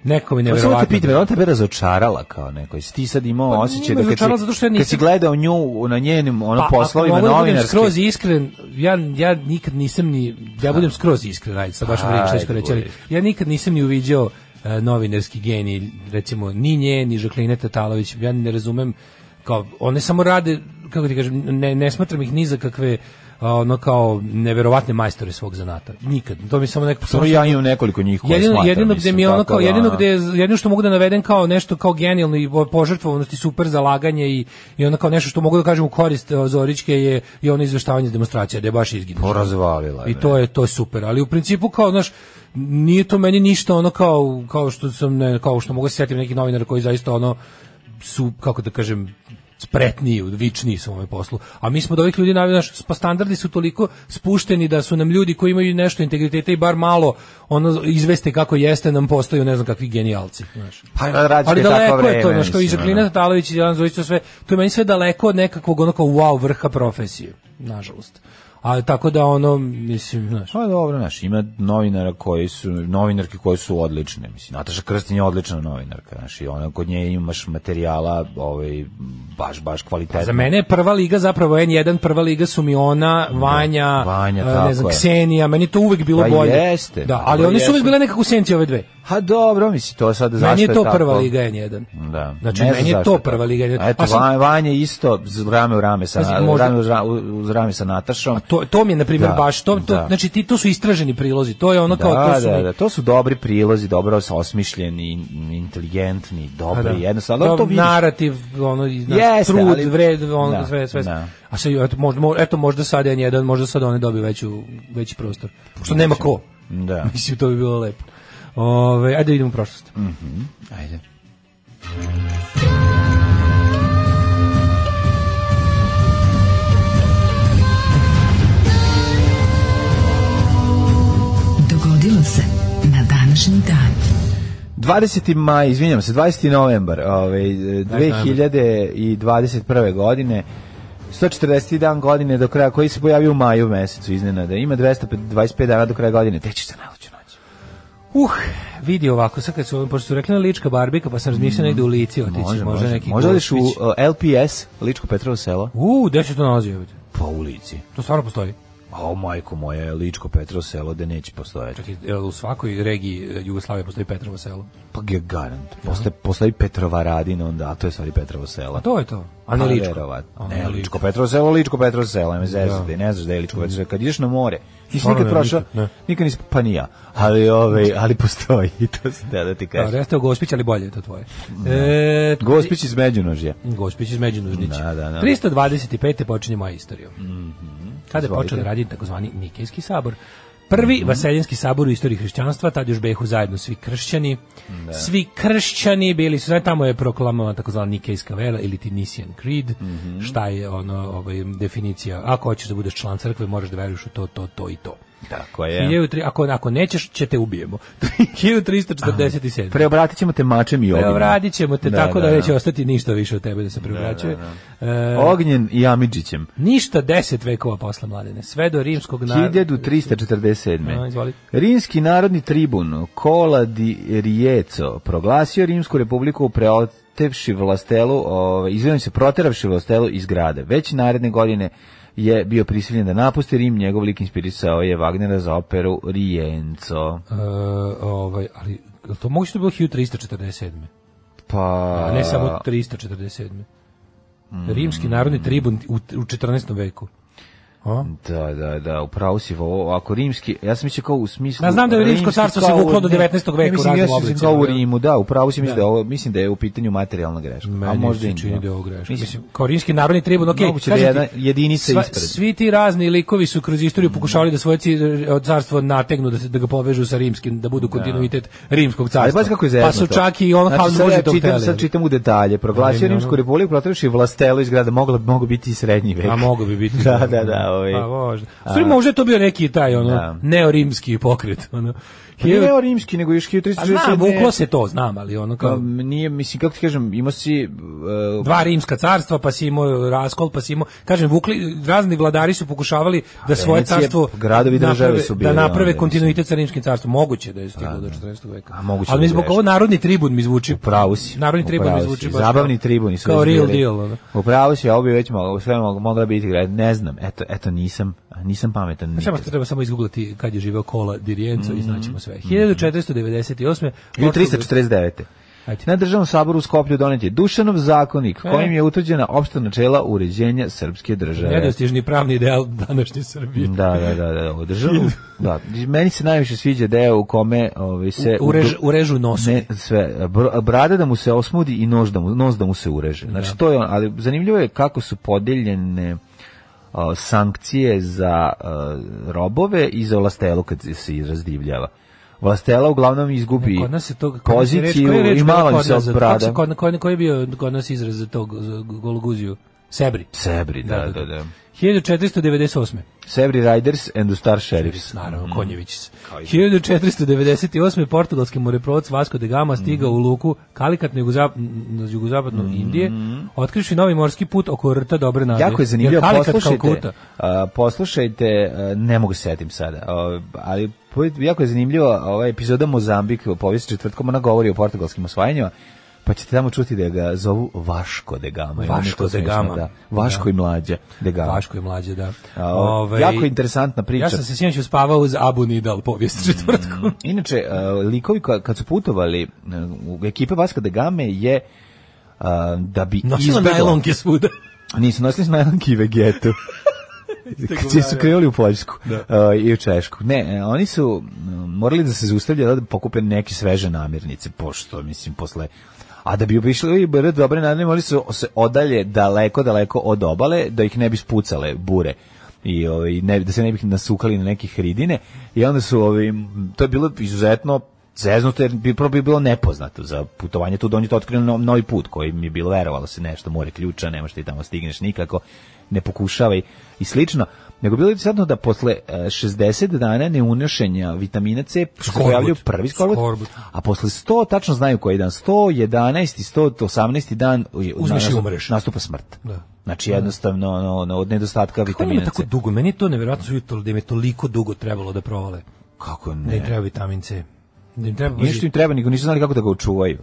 Speaker 6: nekako mi
Speaker 5: Pa samo
Speaker 6: nevjerovatno.
Speaker 5: te pitam, je li ona tebe razočarala kao neko? Jesi ti sad imao
Speaker 6: Pa
Speaker 5: osjećaj
Speaker 6: nije me
Speaker 5: da kad
Speaker 6: razočarala
Speaker 5: si,
Speaker 6: zato što ja
Speaker 5: kad si
Speaker 6: nisam-
Speaker 5: gledao nju na njenim ono,
Speaker 6: Pa, ako
Speaker 5: poslovima
Speaker 6: mogu da budem
Speaker 5: novinarskim?
Speaker 6: skroz iskren, ja, ja nikad nisam ni, ja budem skroz iskren, ajde, sa baš pričam,
Speaker 5: Ajde,
Speaker 6: što reći, ali
Speaker 5: budi.
Speaker 6: ja nikad nisam ni uviđao e, novinarski genij, recimo, ni nje, ni Žakline Tatalović, ja ne razumem, kao, one samo rade, kako ti kažem, ne, ne smatram ih ni za kakve, a, ono kao neverovatne majstore svog zanata. Nikad. To mi samo nekako
Speaker 5: Samo ja imam nekoliko njih koje
Speaker 6: jedino,
Speaker 5: smatram,
Speaker 6: jedino gde
Speaker 5: mislim,
Speaker 6: mi je ono
Speaker 5: tako
Speaker 6: kao
Speaker 5: da,
Speaker 6: jedino
Speaker 5: ono-
Speaker 6: gde jedino što mogu da navedem kao nešto kao genijalno i požrtvovanost i super zalaganje i i ono kao nešto što mogu da kažem u korist e, Zoričke je i ono izveštavanje demonstracija da je baš izginuo.
Speaker 5: Porazvalila je,
Speaker 6: I to je to je super, ali u principu kao znaš nije to meni ništa ono kao kao što sam ne, kao što mogu se setiti nekih novinara koji zaista ono su kako da kažem spretniji, vičniji su u ovome poslu. A mi smo od ovih ljudi, navi- znaš, pa standardi su toliko spušteni da su nam ljudi koji imaju nešto integriteta i bar malo ono izveste kako jeste nam postaju ne znam kakvi genijalci. Znaš.
Speaker 5: Pa rađe
Speaker 6: Ali
Speaker 5: je takvo
Speaker 6: daleko
Speaker 5: vreme.
Speaker 6: je to, znaš, kao i
Speaker 5: mislim,
Speaker 6: Žaklina
Speaker 5: ono.
Speaker 6: Tatalović i Jelan Zović, to sve, to je meni sve daleko od nekakvog ono kao wow vrha profesije, nažalost. Ali tako da ono, mislim, znaš,
Speaker 5: Pa dobro, znaš, ima novinara koji su, novinarke koje su odlične, mislim, Nataša Krstin je odlična novinarka, znaš, i ona kod nje imaš materijala, ovaj, baš, baš kvalitetno.
Speaker 6: Za mene je prva liga zapravo N1, prva liga su mi ona, Vanja,
Speaker 5: Vanja,
Speaker 6: e,
Speaker 5: tako
Speaker 6: ne znam,
Speaker 5: je.
Speaker 6: Ksenija, meni je to uvek bilo
Speaker 5: Pa
Speaker 6: bolje.
Speaker 5: jeste,
Speaker 6: Da,
Speaker 5: pa
Speaker 6: ali
Speaker 5: to
Speaker 6: one su uvek
Speaker 5: jeste.
Speaker 6: bile nekako u senci ove dve.
Speaker 5: Ha dobro, mislim, to sad zašto
Speaker 6: meni je to
Speaker 5: tako?
Speaker 6: prva liga N1.
Speaker 5: Da.
Speaker 6: Znači,
Speaker 5: ne znam
Speaker 6: meni je
Speaker 5: zašto
Speaker 6: to
Speaker 5: tako.
Speaker 6: prva liga N1.
Speaker 5: A Eto,
Speaker 6: A sam-
Speaker 5: Van- Vanja isto, z- rame u rame sa,
Speaker 6: Pazi, možda-
Speaker 5: rame uz ra- uz rame sa Natašom.
Speaker 6: A to, to mi je, na primjer,
Speaker 5: Da,
Speaker 6: baš, to, to,
Speaker 5: da.
Speaker 6: znači ti, to su istraženi prilozi, to je ono kao,
Speaker 5: da,
Speaker 6: to su
Speaker 5: da,
Speaker 6: mi-
Speaker 5: da, to su dobri prilozi, dobro sa osmišljeni, in- inteligentni,
Speaker 6: Pa
Speaker 5: dobri,
Speaker 6: da.
Speaker 5: jednostavno, ali to vidiš.
Speaker 6: narativ, ono, i, znaš,
Speaker 5: Jeste,
Speaker 6: trud,
Speaker 5: ali-
Speaker 6: vred, ono,
Speaker 5: Da,
Speaker 6: sve, sve.
Speaker 5: da.
Speaker 6: A sad, eto, možda, mo- eto, možda sad N1, možda sad oni dobiju veću, veći prostor. Što nema ko.
Speaker 5: Da.
Speaker 6: Mislim, to bi bilo lepo. Ove, ajde idemo u prošlost.
Speaker 5: Ajde. 20. maj, izvinjam se, 20. novembar ovaj, 2021. godine 140. dan godine do kraja koji se pojavio u maju mesecu iznenada. Ima 225 dana do kraja godine. Te ćeš se najluđu noć.
Speaker 6: Uh, vidi ovako, sad kad su, pošto su rekli na lička barbika, pa sam razmišljao negde u lici otići, možda, neki
Speaker 5: Možda odeš u
Speaker 6: Gospić.
Speaker 5: uh, LPS, Ličko Petrovo selo,
Speaker 6: U, gde se to nalazi? jebote?
Speaker 5: po ulici.
Speaker 6: To stvarno postoji.
Speaker 5: A o majko moje, Ličko Petrovo selo, da neće postojati.
Speaker 6: Čekaj, jel u svakoj regiji e, Jugoslavije postoji Petrovo selo.
Speaker 5: Pa je garant. Postoji, postoji Petrova radina onda, a to je stvari Petrovo selo.
Speaker 6: A to je to. A ne
Speaker 5: Pa,
Speaker 6: ličko.
Speaker 5: verovatno.
Speaker 6: A
Speaker 5: Ne, Ličko Petrovo selo, Ličko Petrovo selo, ne zezate, ne znaš da je Ličko Petrovo selo. Kad ideš na more, nisi
Speaker 6: Stvarno
Speaker 5: nikad
Speaker 6: ne,
Speaker 5: prošao,
Speaker 6: nikad, ne.
Speaker 5: nikad nisi, pa ni ja. ali, ove, ali postoji, i to se da, da ti
Speaker 6: Da,
Speaker 5: kažem.
Speaker 6: reste o Gospić, ali bolje je to tvoje. E,
Speaker 5: Gospić iz Međunožja.
Speaker 6: Gospić iz Međunužnića.
Speaker 5: Da, da, da.
Speaker 6: 325. počinje moja istorija. Kada je
Speaker 5: Izvolite. Mhm.
Speaker 6: počeo da radi takozvani Nikejski sabor. Prvi vaseljenski sabor u istoriji hrišćanstva, tad još behu zajedno svi kršćani. Svi kršćani bili su, znači, tamo je proklamovana takozvana Nikejska vela ili ti Nisian Creed,
Speaker 5: Mhm.
Speaker 6: šta je ono, ovaj, definicija, ako hoćeš da budeš član crkve, moraš da veruješ u to, to, to i to.
Speaker 5: Tako je.
Speaker 6: 1300 ako, ako nećeš, će te ubijemo. 1347.
Speaker 5: Preobratit ćemo te mačem i ognjem.
Speaker 6: Preobradit Pa ćemo te
Speaker 5: Da,
Speaker 6: tako da,
Speaker 5: da, da.
Speaker 6: neće ostati ništa više od tebe da se preobraćuje. E,
Speaker 5: Ognjen i Amidžićem.
Speaker 6: ništa deset vekova posle mladene, sve do rimskog naroda.
Speaker 5: 1347.
Speaker 6: A, izvoli. E,
Speaker 5: Rimski narodni tribun Kola di Rijeco proglasio Rimsku republiku preotevši vlastelu, ovaj, izvijem se, proteravši vlastelu iz grada. Već naredne godine je bio prisiljen da napusti Rim, njegov lik inspirisao je Wagnera za operu Rijenco.
Speaker 6: E, ovaj, ali jel to moguće da je bilo 1347.
Speaker 5: Pa... Mm.
Speaker 6: A ne samo 347. Rimski narodni tribun u, u 14. veku. A?
Speaker 5: Da, da, da, upravo si ovo, ako rimski, ja sam mislio kao u smislu...
Speaker 6: Ma znam da je rimsko
Speaker 5: rimski
Speaker 6: carstvo se
Speaker 5: kao-
Speaker 6: vuklo do
Speaker 5: ne,
Speaker 6: 19.
Speaker 5: ne,
Speaker 6: veka u
Speaker 5: mislim,
Speaker 6: raznim
Speaker 5: ja sam
Speaker 6: oblicima,
Speaker 5: Kao u
Speaker 6: da.
Speaker 5: Rimu, da, upravo si mislim da,
Speaker 6: Da.
Speaker 5: je ovo, mislim da je u pitanju materijalna greška. a
Speaker 6: Meni
Speaker 5: možda
Speaker 6: se
Speaker 5: i
Speaker 6: čini
Speaker 5: nije.
Speaker 6: da je ovo greška.
Speaker 5: Mislim,
Speaker 6: Mislim, kao rimski narodni tribun, okej.
Speaker 5: Moguće da je
Speaker 6: kažem ti,
Speaker 5: jedna jedinica
Speaker 6: sva-
Speaker 5: ispred. Mm.
Speaker 6: Svi ti razni likovi su kroz istoriju pokušavali da svoje ci- od carstvo nategnu, da, se, da ga povežu sa rimskim, da budu kontinuitet rimskog carstva.
Speaker 5: Ali baš kako je zezno
Speaker 6: Pa su čak i on
Speaker 5: znači,
Speaker 6: Hans
Speaker 5: sad ja
Speaker 6: Boži to
Speaker 5: čitam,
Speaker 6: hteli.
Speaker 5: sad čitam u detalje. Proglasio
Speaker 6: Ali,
Speaker 5: Rimsku
Speaker 6: ono-
Speaker 5: republiku, protivši vlastelu iz grada, moglo, mogu biti i srednji vek.
Speaker 6: A mogu bi biti.
Speaker 5: Da, da, da, ovaj.
Speaker 6: Pa možda. U stvari, možda je to bio neki taj, ono,
Speaker 5: Da.
Speaker 6: neorimski pokret, ono.
Speaker 5: Pa Nije o rimski, nego još
Speaker 6: A znam,
Speaker 5: 1367.
Speaker 6: vuklo se to, znam, ali ono
Speaker 5: Pa
Speaker 6: kao...
Speaker 5: Nije, mislim, kako ti kažem, imao si... uh,
Speaker 6: dva rimska carstva, pa si imao raskol, pa si imao, kažem, vukli, razni vladari su pokušavali da svoje
Speaker 5: Venecije,
Speaker 6: carstvo
Speaker 5: gradovi, države
Speaker 6: naprave-
Speaker 5: su bili
Speaker 6: da naprave
Speaker 5: onda,
Speaker 6: kontinuitet sa rimskim carstvom. Moguće da je stiglo do 14. veka.
Speaker 5: A moguće
Speaker 6: Ali mi
Speaker 5: da
Speaker 6: zbog
Speaker 5: grešim.
Speaker 6: ovo narodni tribun mi zvuči.
Speaker 5: Pravu si.
Speaker 6: Narodni tribun mi
Speaker 5: upravo
Speaker 6: zvuči
Speaker 5: si.
Speaker 6: baš.
Speaker 5: Zabavni
Speaker 6: kao-
Speaker 5: tribuni su
Speaker 6: Kao
Speaker 5: već
Speaker 6: real
Speaker 5: bili.
Speaker 6: deal. ono.
Speaker 5: Upravo si, a ovo bi već mogla, sve mogla, mogla biti grad. Ne znam, eto, eto nisam, nisam pametan.
Speaker 6: Samo
Speaker 5: nikad.
Speaker 6: što treba samo izgooglati kad je živeo Kola Dirijenco i znaćemo sve. 1498.
Speaker 5: Mhm. Ili 349.
Speaker 6: Ajde.
Speaker 5: Na državnom saboru u Skoplju donet je Dušanov zakonik
Speaker 6: E.
Speaker 5: kojim je utvrđena opšta načela uređenja srpske države.
Speaker 6: Nedostižni pravni ideal današnje Srbije.
Speaker 5: Da, da, da, da, u državu. Da, meni se najviše sviđa deo u kome ovaj se
Speaker 6: U- urež- urežu nosu.
Speaker 5: Ne, sve br- brada da mu se osmudi i nož da mu nos da mu se ureže. Znači to je on, ali zanimljivo je kako su podeljene a, sankcije za a, robove i za vlastelu kad se razdivljava. Vlastela uglavnom izgubi
Speaker 6: Kod nas je to kod nas je reč- koja
Speaker 5: poziciju
Speaker 6: je reč
Speaker 5: i
Speaker 6: bila
Speaker 5: malo im
Speaker 6: kod
Speaker 5: se
Speaker 6: nas za- kako se-
Speaker 5: brada.
Speaker 6: kod- kod- Koji je bio kod nas izraz za tog za gologuziju? Sebri.
Speaker 5: Sebri, da, da, da.
Speaker 6: 1498.
Speaker 5: Sebri Riders and the Star Sheriffs.
Speaker 6: Naravno, Konjević. 1498. portugalski moreplovac Vasco de Gama stigao u luku Kalikat na, jugozap, na jugozapadnu
Speaker 5: Mhm.
Speaker 6: Indije, otkrivši novi morski put oko rta Dobre nade.
Speaker 5: Jako je
Speaker 6: Jer
Speaker 5: zanimljivo,
Speaker 6: Kalikat
Speaker 5: poslušajte,
Speaker 6: Kalkuta.
Speaker 5: a, poslušajte, a, ne mogu se setim sada, a, ali po- jako je zanimljiva ova epizoda Mozambik u povijesti četvrtkom, ona govori o portugalskim osvajanjima, pa ćete tamo čuti da ga zovu Vaško de Gama.
Speaker 6: Vaško
Speaker 5: Ono je to
Speaker 6: de
Speaker 5: smiješno,
Speaker 6: Gama.
Speaker 5: Da. Vaško i mlađa de Gama.
Speaker 6: Vaško je mlađe, da.
Speaker 5: A, o,
Speaker 6: Ovaj,
Speaker 5: jako interesantna priča. Mhm.
Speaker 6: Ja sam se sinoć uspavao uz Abu Nidal povijest četvrtkom.
Speaker 5: Inače, a, likovi ka- kad su putovali, a, u ekipe Vaska de Game je a, da bi
Speaker 6: Nosila
Speaker 5: izbegla-
Speaker 6: najlonke svuda.
Speaker 5: Nisu nosili su najlonke i vegetu. Kada su krenuli u Poljsku uh, i u Češku. Ne, e, oni su mm, morali da se zaustavljaju da pokupe neke sveže namirnice, pošto, mislim, posle... A da bi obišli i brd dobre nadane, morali su se odalje daleko, daleko od obale, da ih ne bi spucale bure i ovaj, ne, da se ne bi nasukali na nekih ridine i onda su, ovaj, m, to je bilo izuzetno zeznuto jer bi prvo bi bilo nepoznato za putovanje tu, da on je to otkrio no, novi put koji mi je bilo verovalo se nešto, more ključa, nemaš ti tamo stigneš nikako, ne pokušavaj i slično. Nego bilo je sadno da posle e, 60 dana neunošenja vitamina C se
Speaker 6: Skorbut.
Speaker 5: pojavljaju prvi skorbut,
Speaker 6: Skorbut.
Speaker 5: a posle 100, tačno znaju koji dan, 111 i 118 dan je-
Speaker 6: Uzmeš i
Speaker 5: nastup-
Speaker 6: umreš.
Speaker 5: Nastupa smrt.
Speaker 6: Da.
Speaker 5: Znači jednostavno no, no, od nedostatka
Speaker 6: Kako ima
Speaker 5: vitamina
Speaker 6: tako
Speaker 5: C.
Speaker 6: dugo? Meni je to nevjerojatno zujutro da im je toliko dugo trebalo da provale.
Speaker 5: Kako
Speaker 6: Da im
Speaker 5: ne?
Speaker 6: treba vitamin C. Da im treba...
Speaker 5: Ništa im treba, nego nisu znali kako da ga očuvaju.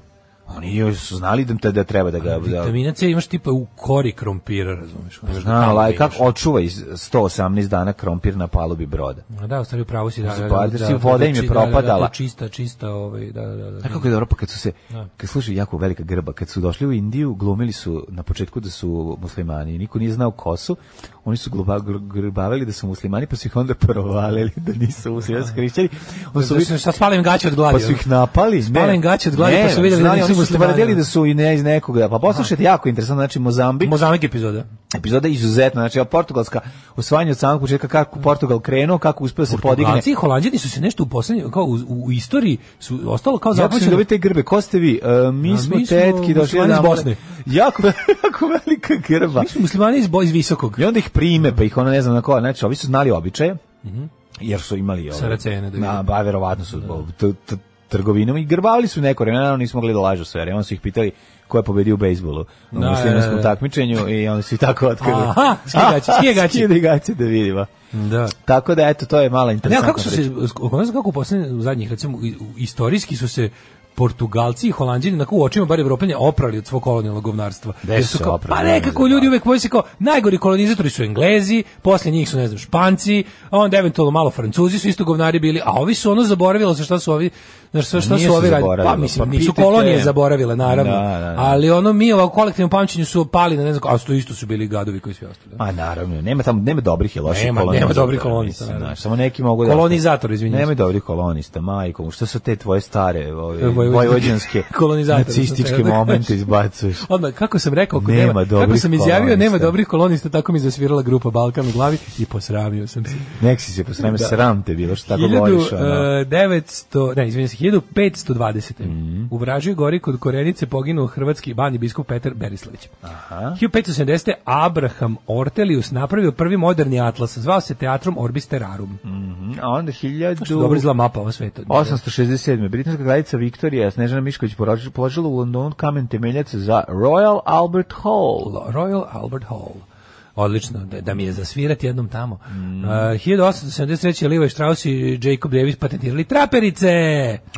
Speaker 5: Oni joj su znali da, da treba da ga... Da,
Speaker 6: Vitamina C imaš tipa u kori krompira, ono, razumiješ?
Speaker 5: Zna, laj, kako očuva iz 118 dana krompir na palubi broda.
Speaker 6: Da, u stvari u pravu si, da, da, da,
Speaker 5: Zapad-
Speaker 6: da,
Speaker 5: si,
Speaker 6: da,
Speaker 5: pa, voda im je
Speaker 6: da, da, da,
Speaker 5: propadala.
Speaker 6: to čista, čista, ovaj, da, da, da.
Speaker 5: Znaš kako je dobro, pa kad su se, kad slušaju jako velika grba, kad su došli u Indiju, glumili su na početku da su muslimani i niko nije znao ko su, oni su gluba, gr- grbavili da su muslimani, pa su ih onda provalili da nisu muslimani, da su hrišćani. Onda su
Speaker 6: Da su- Sad spalim gaće od gladi.
Speaker 5: pa su
Speaker 6: ono.
Speaker 5: ih napali.
Speaker 6: Spalim gaće od gladi, pa su vidjeli da
Speaker 5: znali,
Speaker 6: nisu
Speaker 5: oni su
Speaker 6: muslimani.
Speaker 5: tvrdili da su i ne iz nekoga. Pa poslušajte, jako interesantno, znači Mozambik,
Speaker 6: Mozamek epizoda.
Speaker 5: epizoda je izuzetna, znači a Portugalska osvajanje od samog početka kako Portugal krenuo, kako uspeo da se podigne.
Speaker 6: Portugalci i Holandjani su se nešto u poslednjem, kao u, u istoriji, su ostalo kao
Speaker 5: Jako ćemo
Speaker 6: zapamćeno.
Speaker 5: dobiti te grbe. Ko ste vi? E, mi,
Speaker 6: A,
Speaker 5: smo
Speaker 6: mi smo
Speaker 5: tetki došli
Speaker 6: muslimani iz
Speaker 5: odavde.
Speaker 6: Bosne.
Speaker 5: Jako, jako velika grba.
Speaker 6: Mi smo muslimani iz, bo- iz visokog.
Speaker 5: I onda ih prime, pa ih ona ne znam na koja. Znači, ovi su znali običaje, jer su imali... Ove,
Speaker 6: Saracene, Mhm. da
Speaker 5: na,
Speaker 6: vidim.
Speaker 5: ba, verovatno su t- t- trgovinom i grbavali su neko vremena, naravno nismo mogli da lažu sve, jer onda su ih pitali ko je pobedio u bejsbolu u
Speaker 6: Da,
Speaker 5: muslimanskom
Speaker 6: da, da.
Speaker 5: takmičenju i onda su i tako otkrili.
Speaker 6: Aha, Mhm. skije gaće, skije gaće.
Speaker 5: Skije gaće da vidimo.
Speaker 6: Da.
Speaker 5: Tako da, eto, to je mala
Speaker 6: Ne, a
Speaker 5: interesantna
Speaker 6: kako su
Speaker 5: priča.
Speaker 6: se, kako su- kako u poslednjem, u zadnjih, recimo, i- u- istorijski su se Portugalci i Holanđani na u očima bar Evropljanja oprali od svog kolonijalnog govnarstva.
Speaker 5: Gde
Speaker 6: Jer
Speaker 5: su se
Speaker 6: kao,
Speaker 5: oprali,
Speaker 6: pa nekako
Speaker 5: ne znam,
Speaker 6: ljudi
Speaker 5: da.
Speaker 6: uvek boje se kao najgori kolonizatori su Englezi, posle njih su ne znam Španci, a onda eventualno malo Francuzi su isto govnari bili, a ovi su ono zaboravilo se šta su ovi, znaš šta, šta
Speaker 5: Nije
Speaker 6: su
Speaker 5: se
Speaker 6: ovi radili.
Speaker 5: zaboravilo,
Speaker 6: Pa mislim
Speaker 5: pa
Speaker 6: nisu
Speaker 5: pitajte-
Speaker 6: kolonije zaboravile naravno,
Speaker 5: Da, da, da.
Speaker 6: ali ono mi u kolektivnom pamćenju su pali na ne znam, a to isto su bili gadovi koji svi ostali.
Speaker 5: Ma naravno, nema tamo nema dobrih i loših
Speaker 6: Nema-
Speaker 5: kolonista.
Speaker 6: nema dobrih kolonista,
Speaker 5: mislim,
Speaker 6: naravno.
Speaker 5: znaš, samo neki mogu da
Speaker 6: Kolonizator, izvinjam se.
Speaker 5: Nema dobrih kolonista, majko, što su te tvoje stare, ove,
Speaker 6: Vojvođanske-
Speaker 5: vojvođanske
Speaker 6: kolonizatori, sam
Speaker 5: nacističke
Speaker 6: teo da
Speaker 5: momente
Speaker 6: kažem.
Speaker 5: izbacuješ.
Speaker 6: Odmah, kako sam rekao, ako
Speaker 5: Nema
Speaker 6: nema, kako
Speaker 5: dobrih
Speaker 6: sam izjavio, nema
Speaker 5: kolonista.
Speaker 6: dobrih kolonista, tako mi je zasvirala grupa Balkan u glavi i posramio sam se.
Speaker 5: Nek si se posreme, sram te bilo što tako govoriš.
Speaker 6: e,
Speaker 5: Ono. Mhm.
Speaker 6: 1900, ne, izvinjam se, 1520. U Vražoj gori kod Korenice poginuo hrvatski bani biskup Petar Berislavić. Aha. 1570. Abraham Ortelius napravio prvi moderni atlas, zvao se Teatrum Orbis Terrarum.
Speaker 5: Mm, A onda hiljadu...
Speaker 6: Dobro izgleda mapa ova sveta.
Speaker 5: 867. Britanska kraljica Viktorija Snežana Mišković porož- položila u Londonu kamen temeljac za Royal Albert Hall.
Speaker 6: Royal Albert Hall. Odlično, da, da mi je zasvirati jednom tamo. Mm. Uh, 1873. Levi Strauss i Jacob Davis patentirali traperice.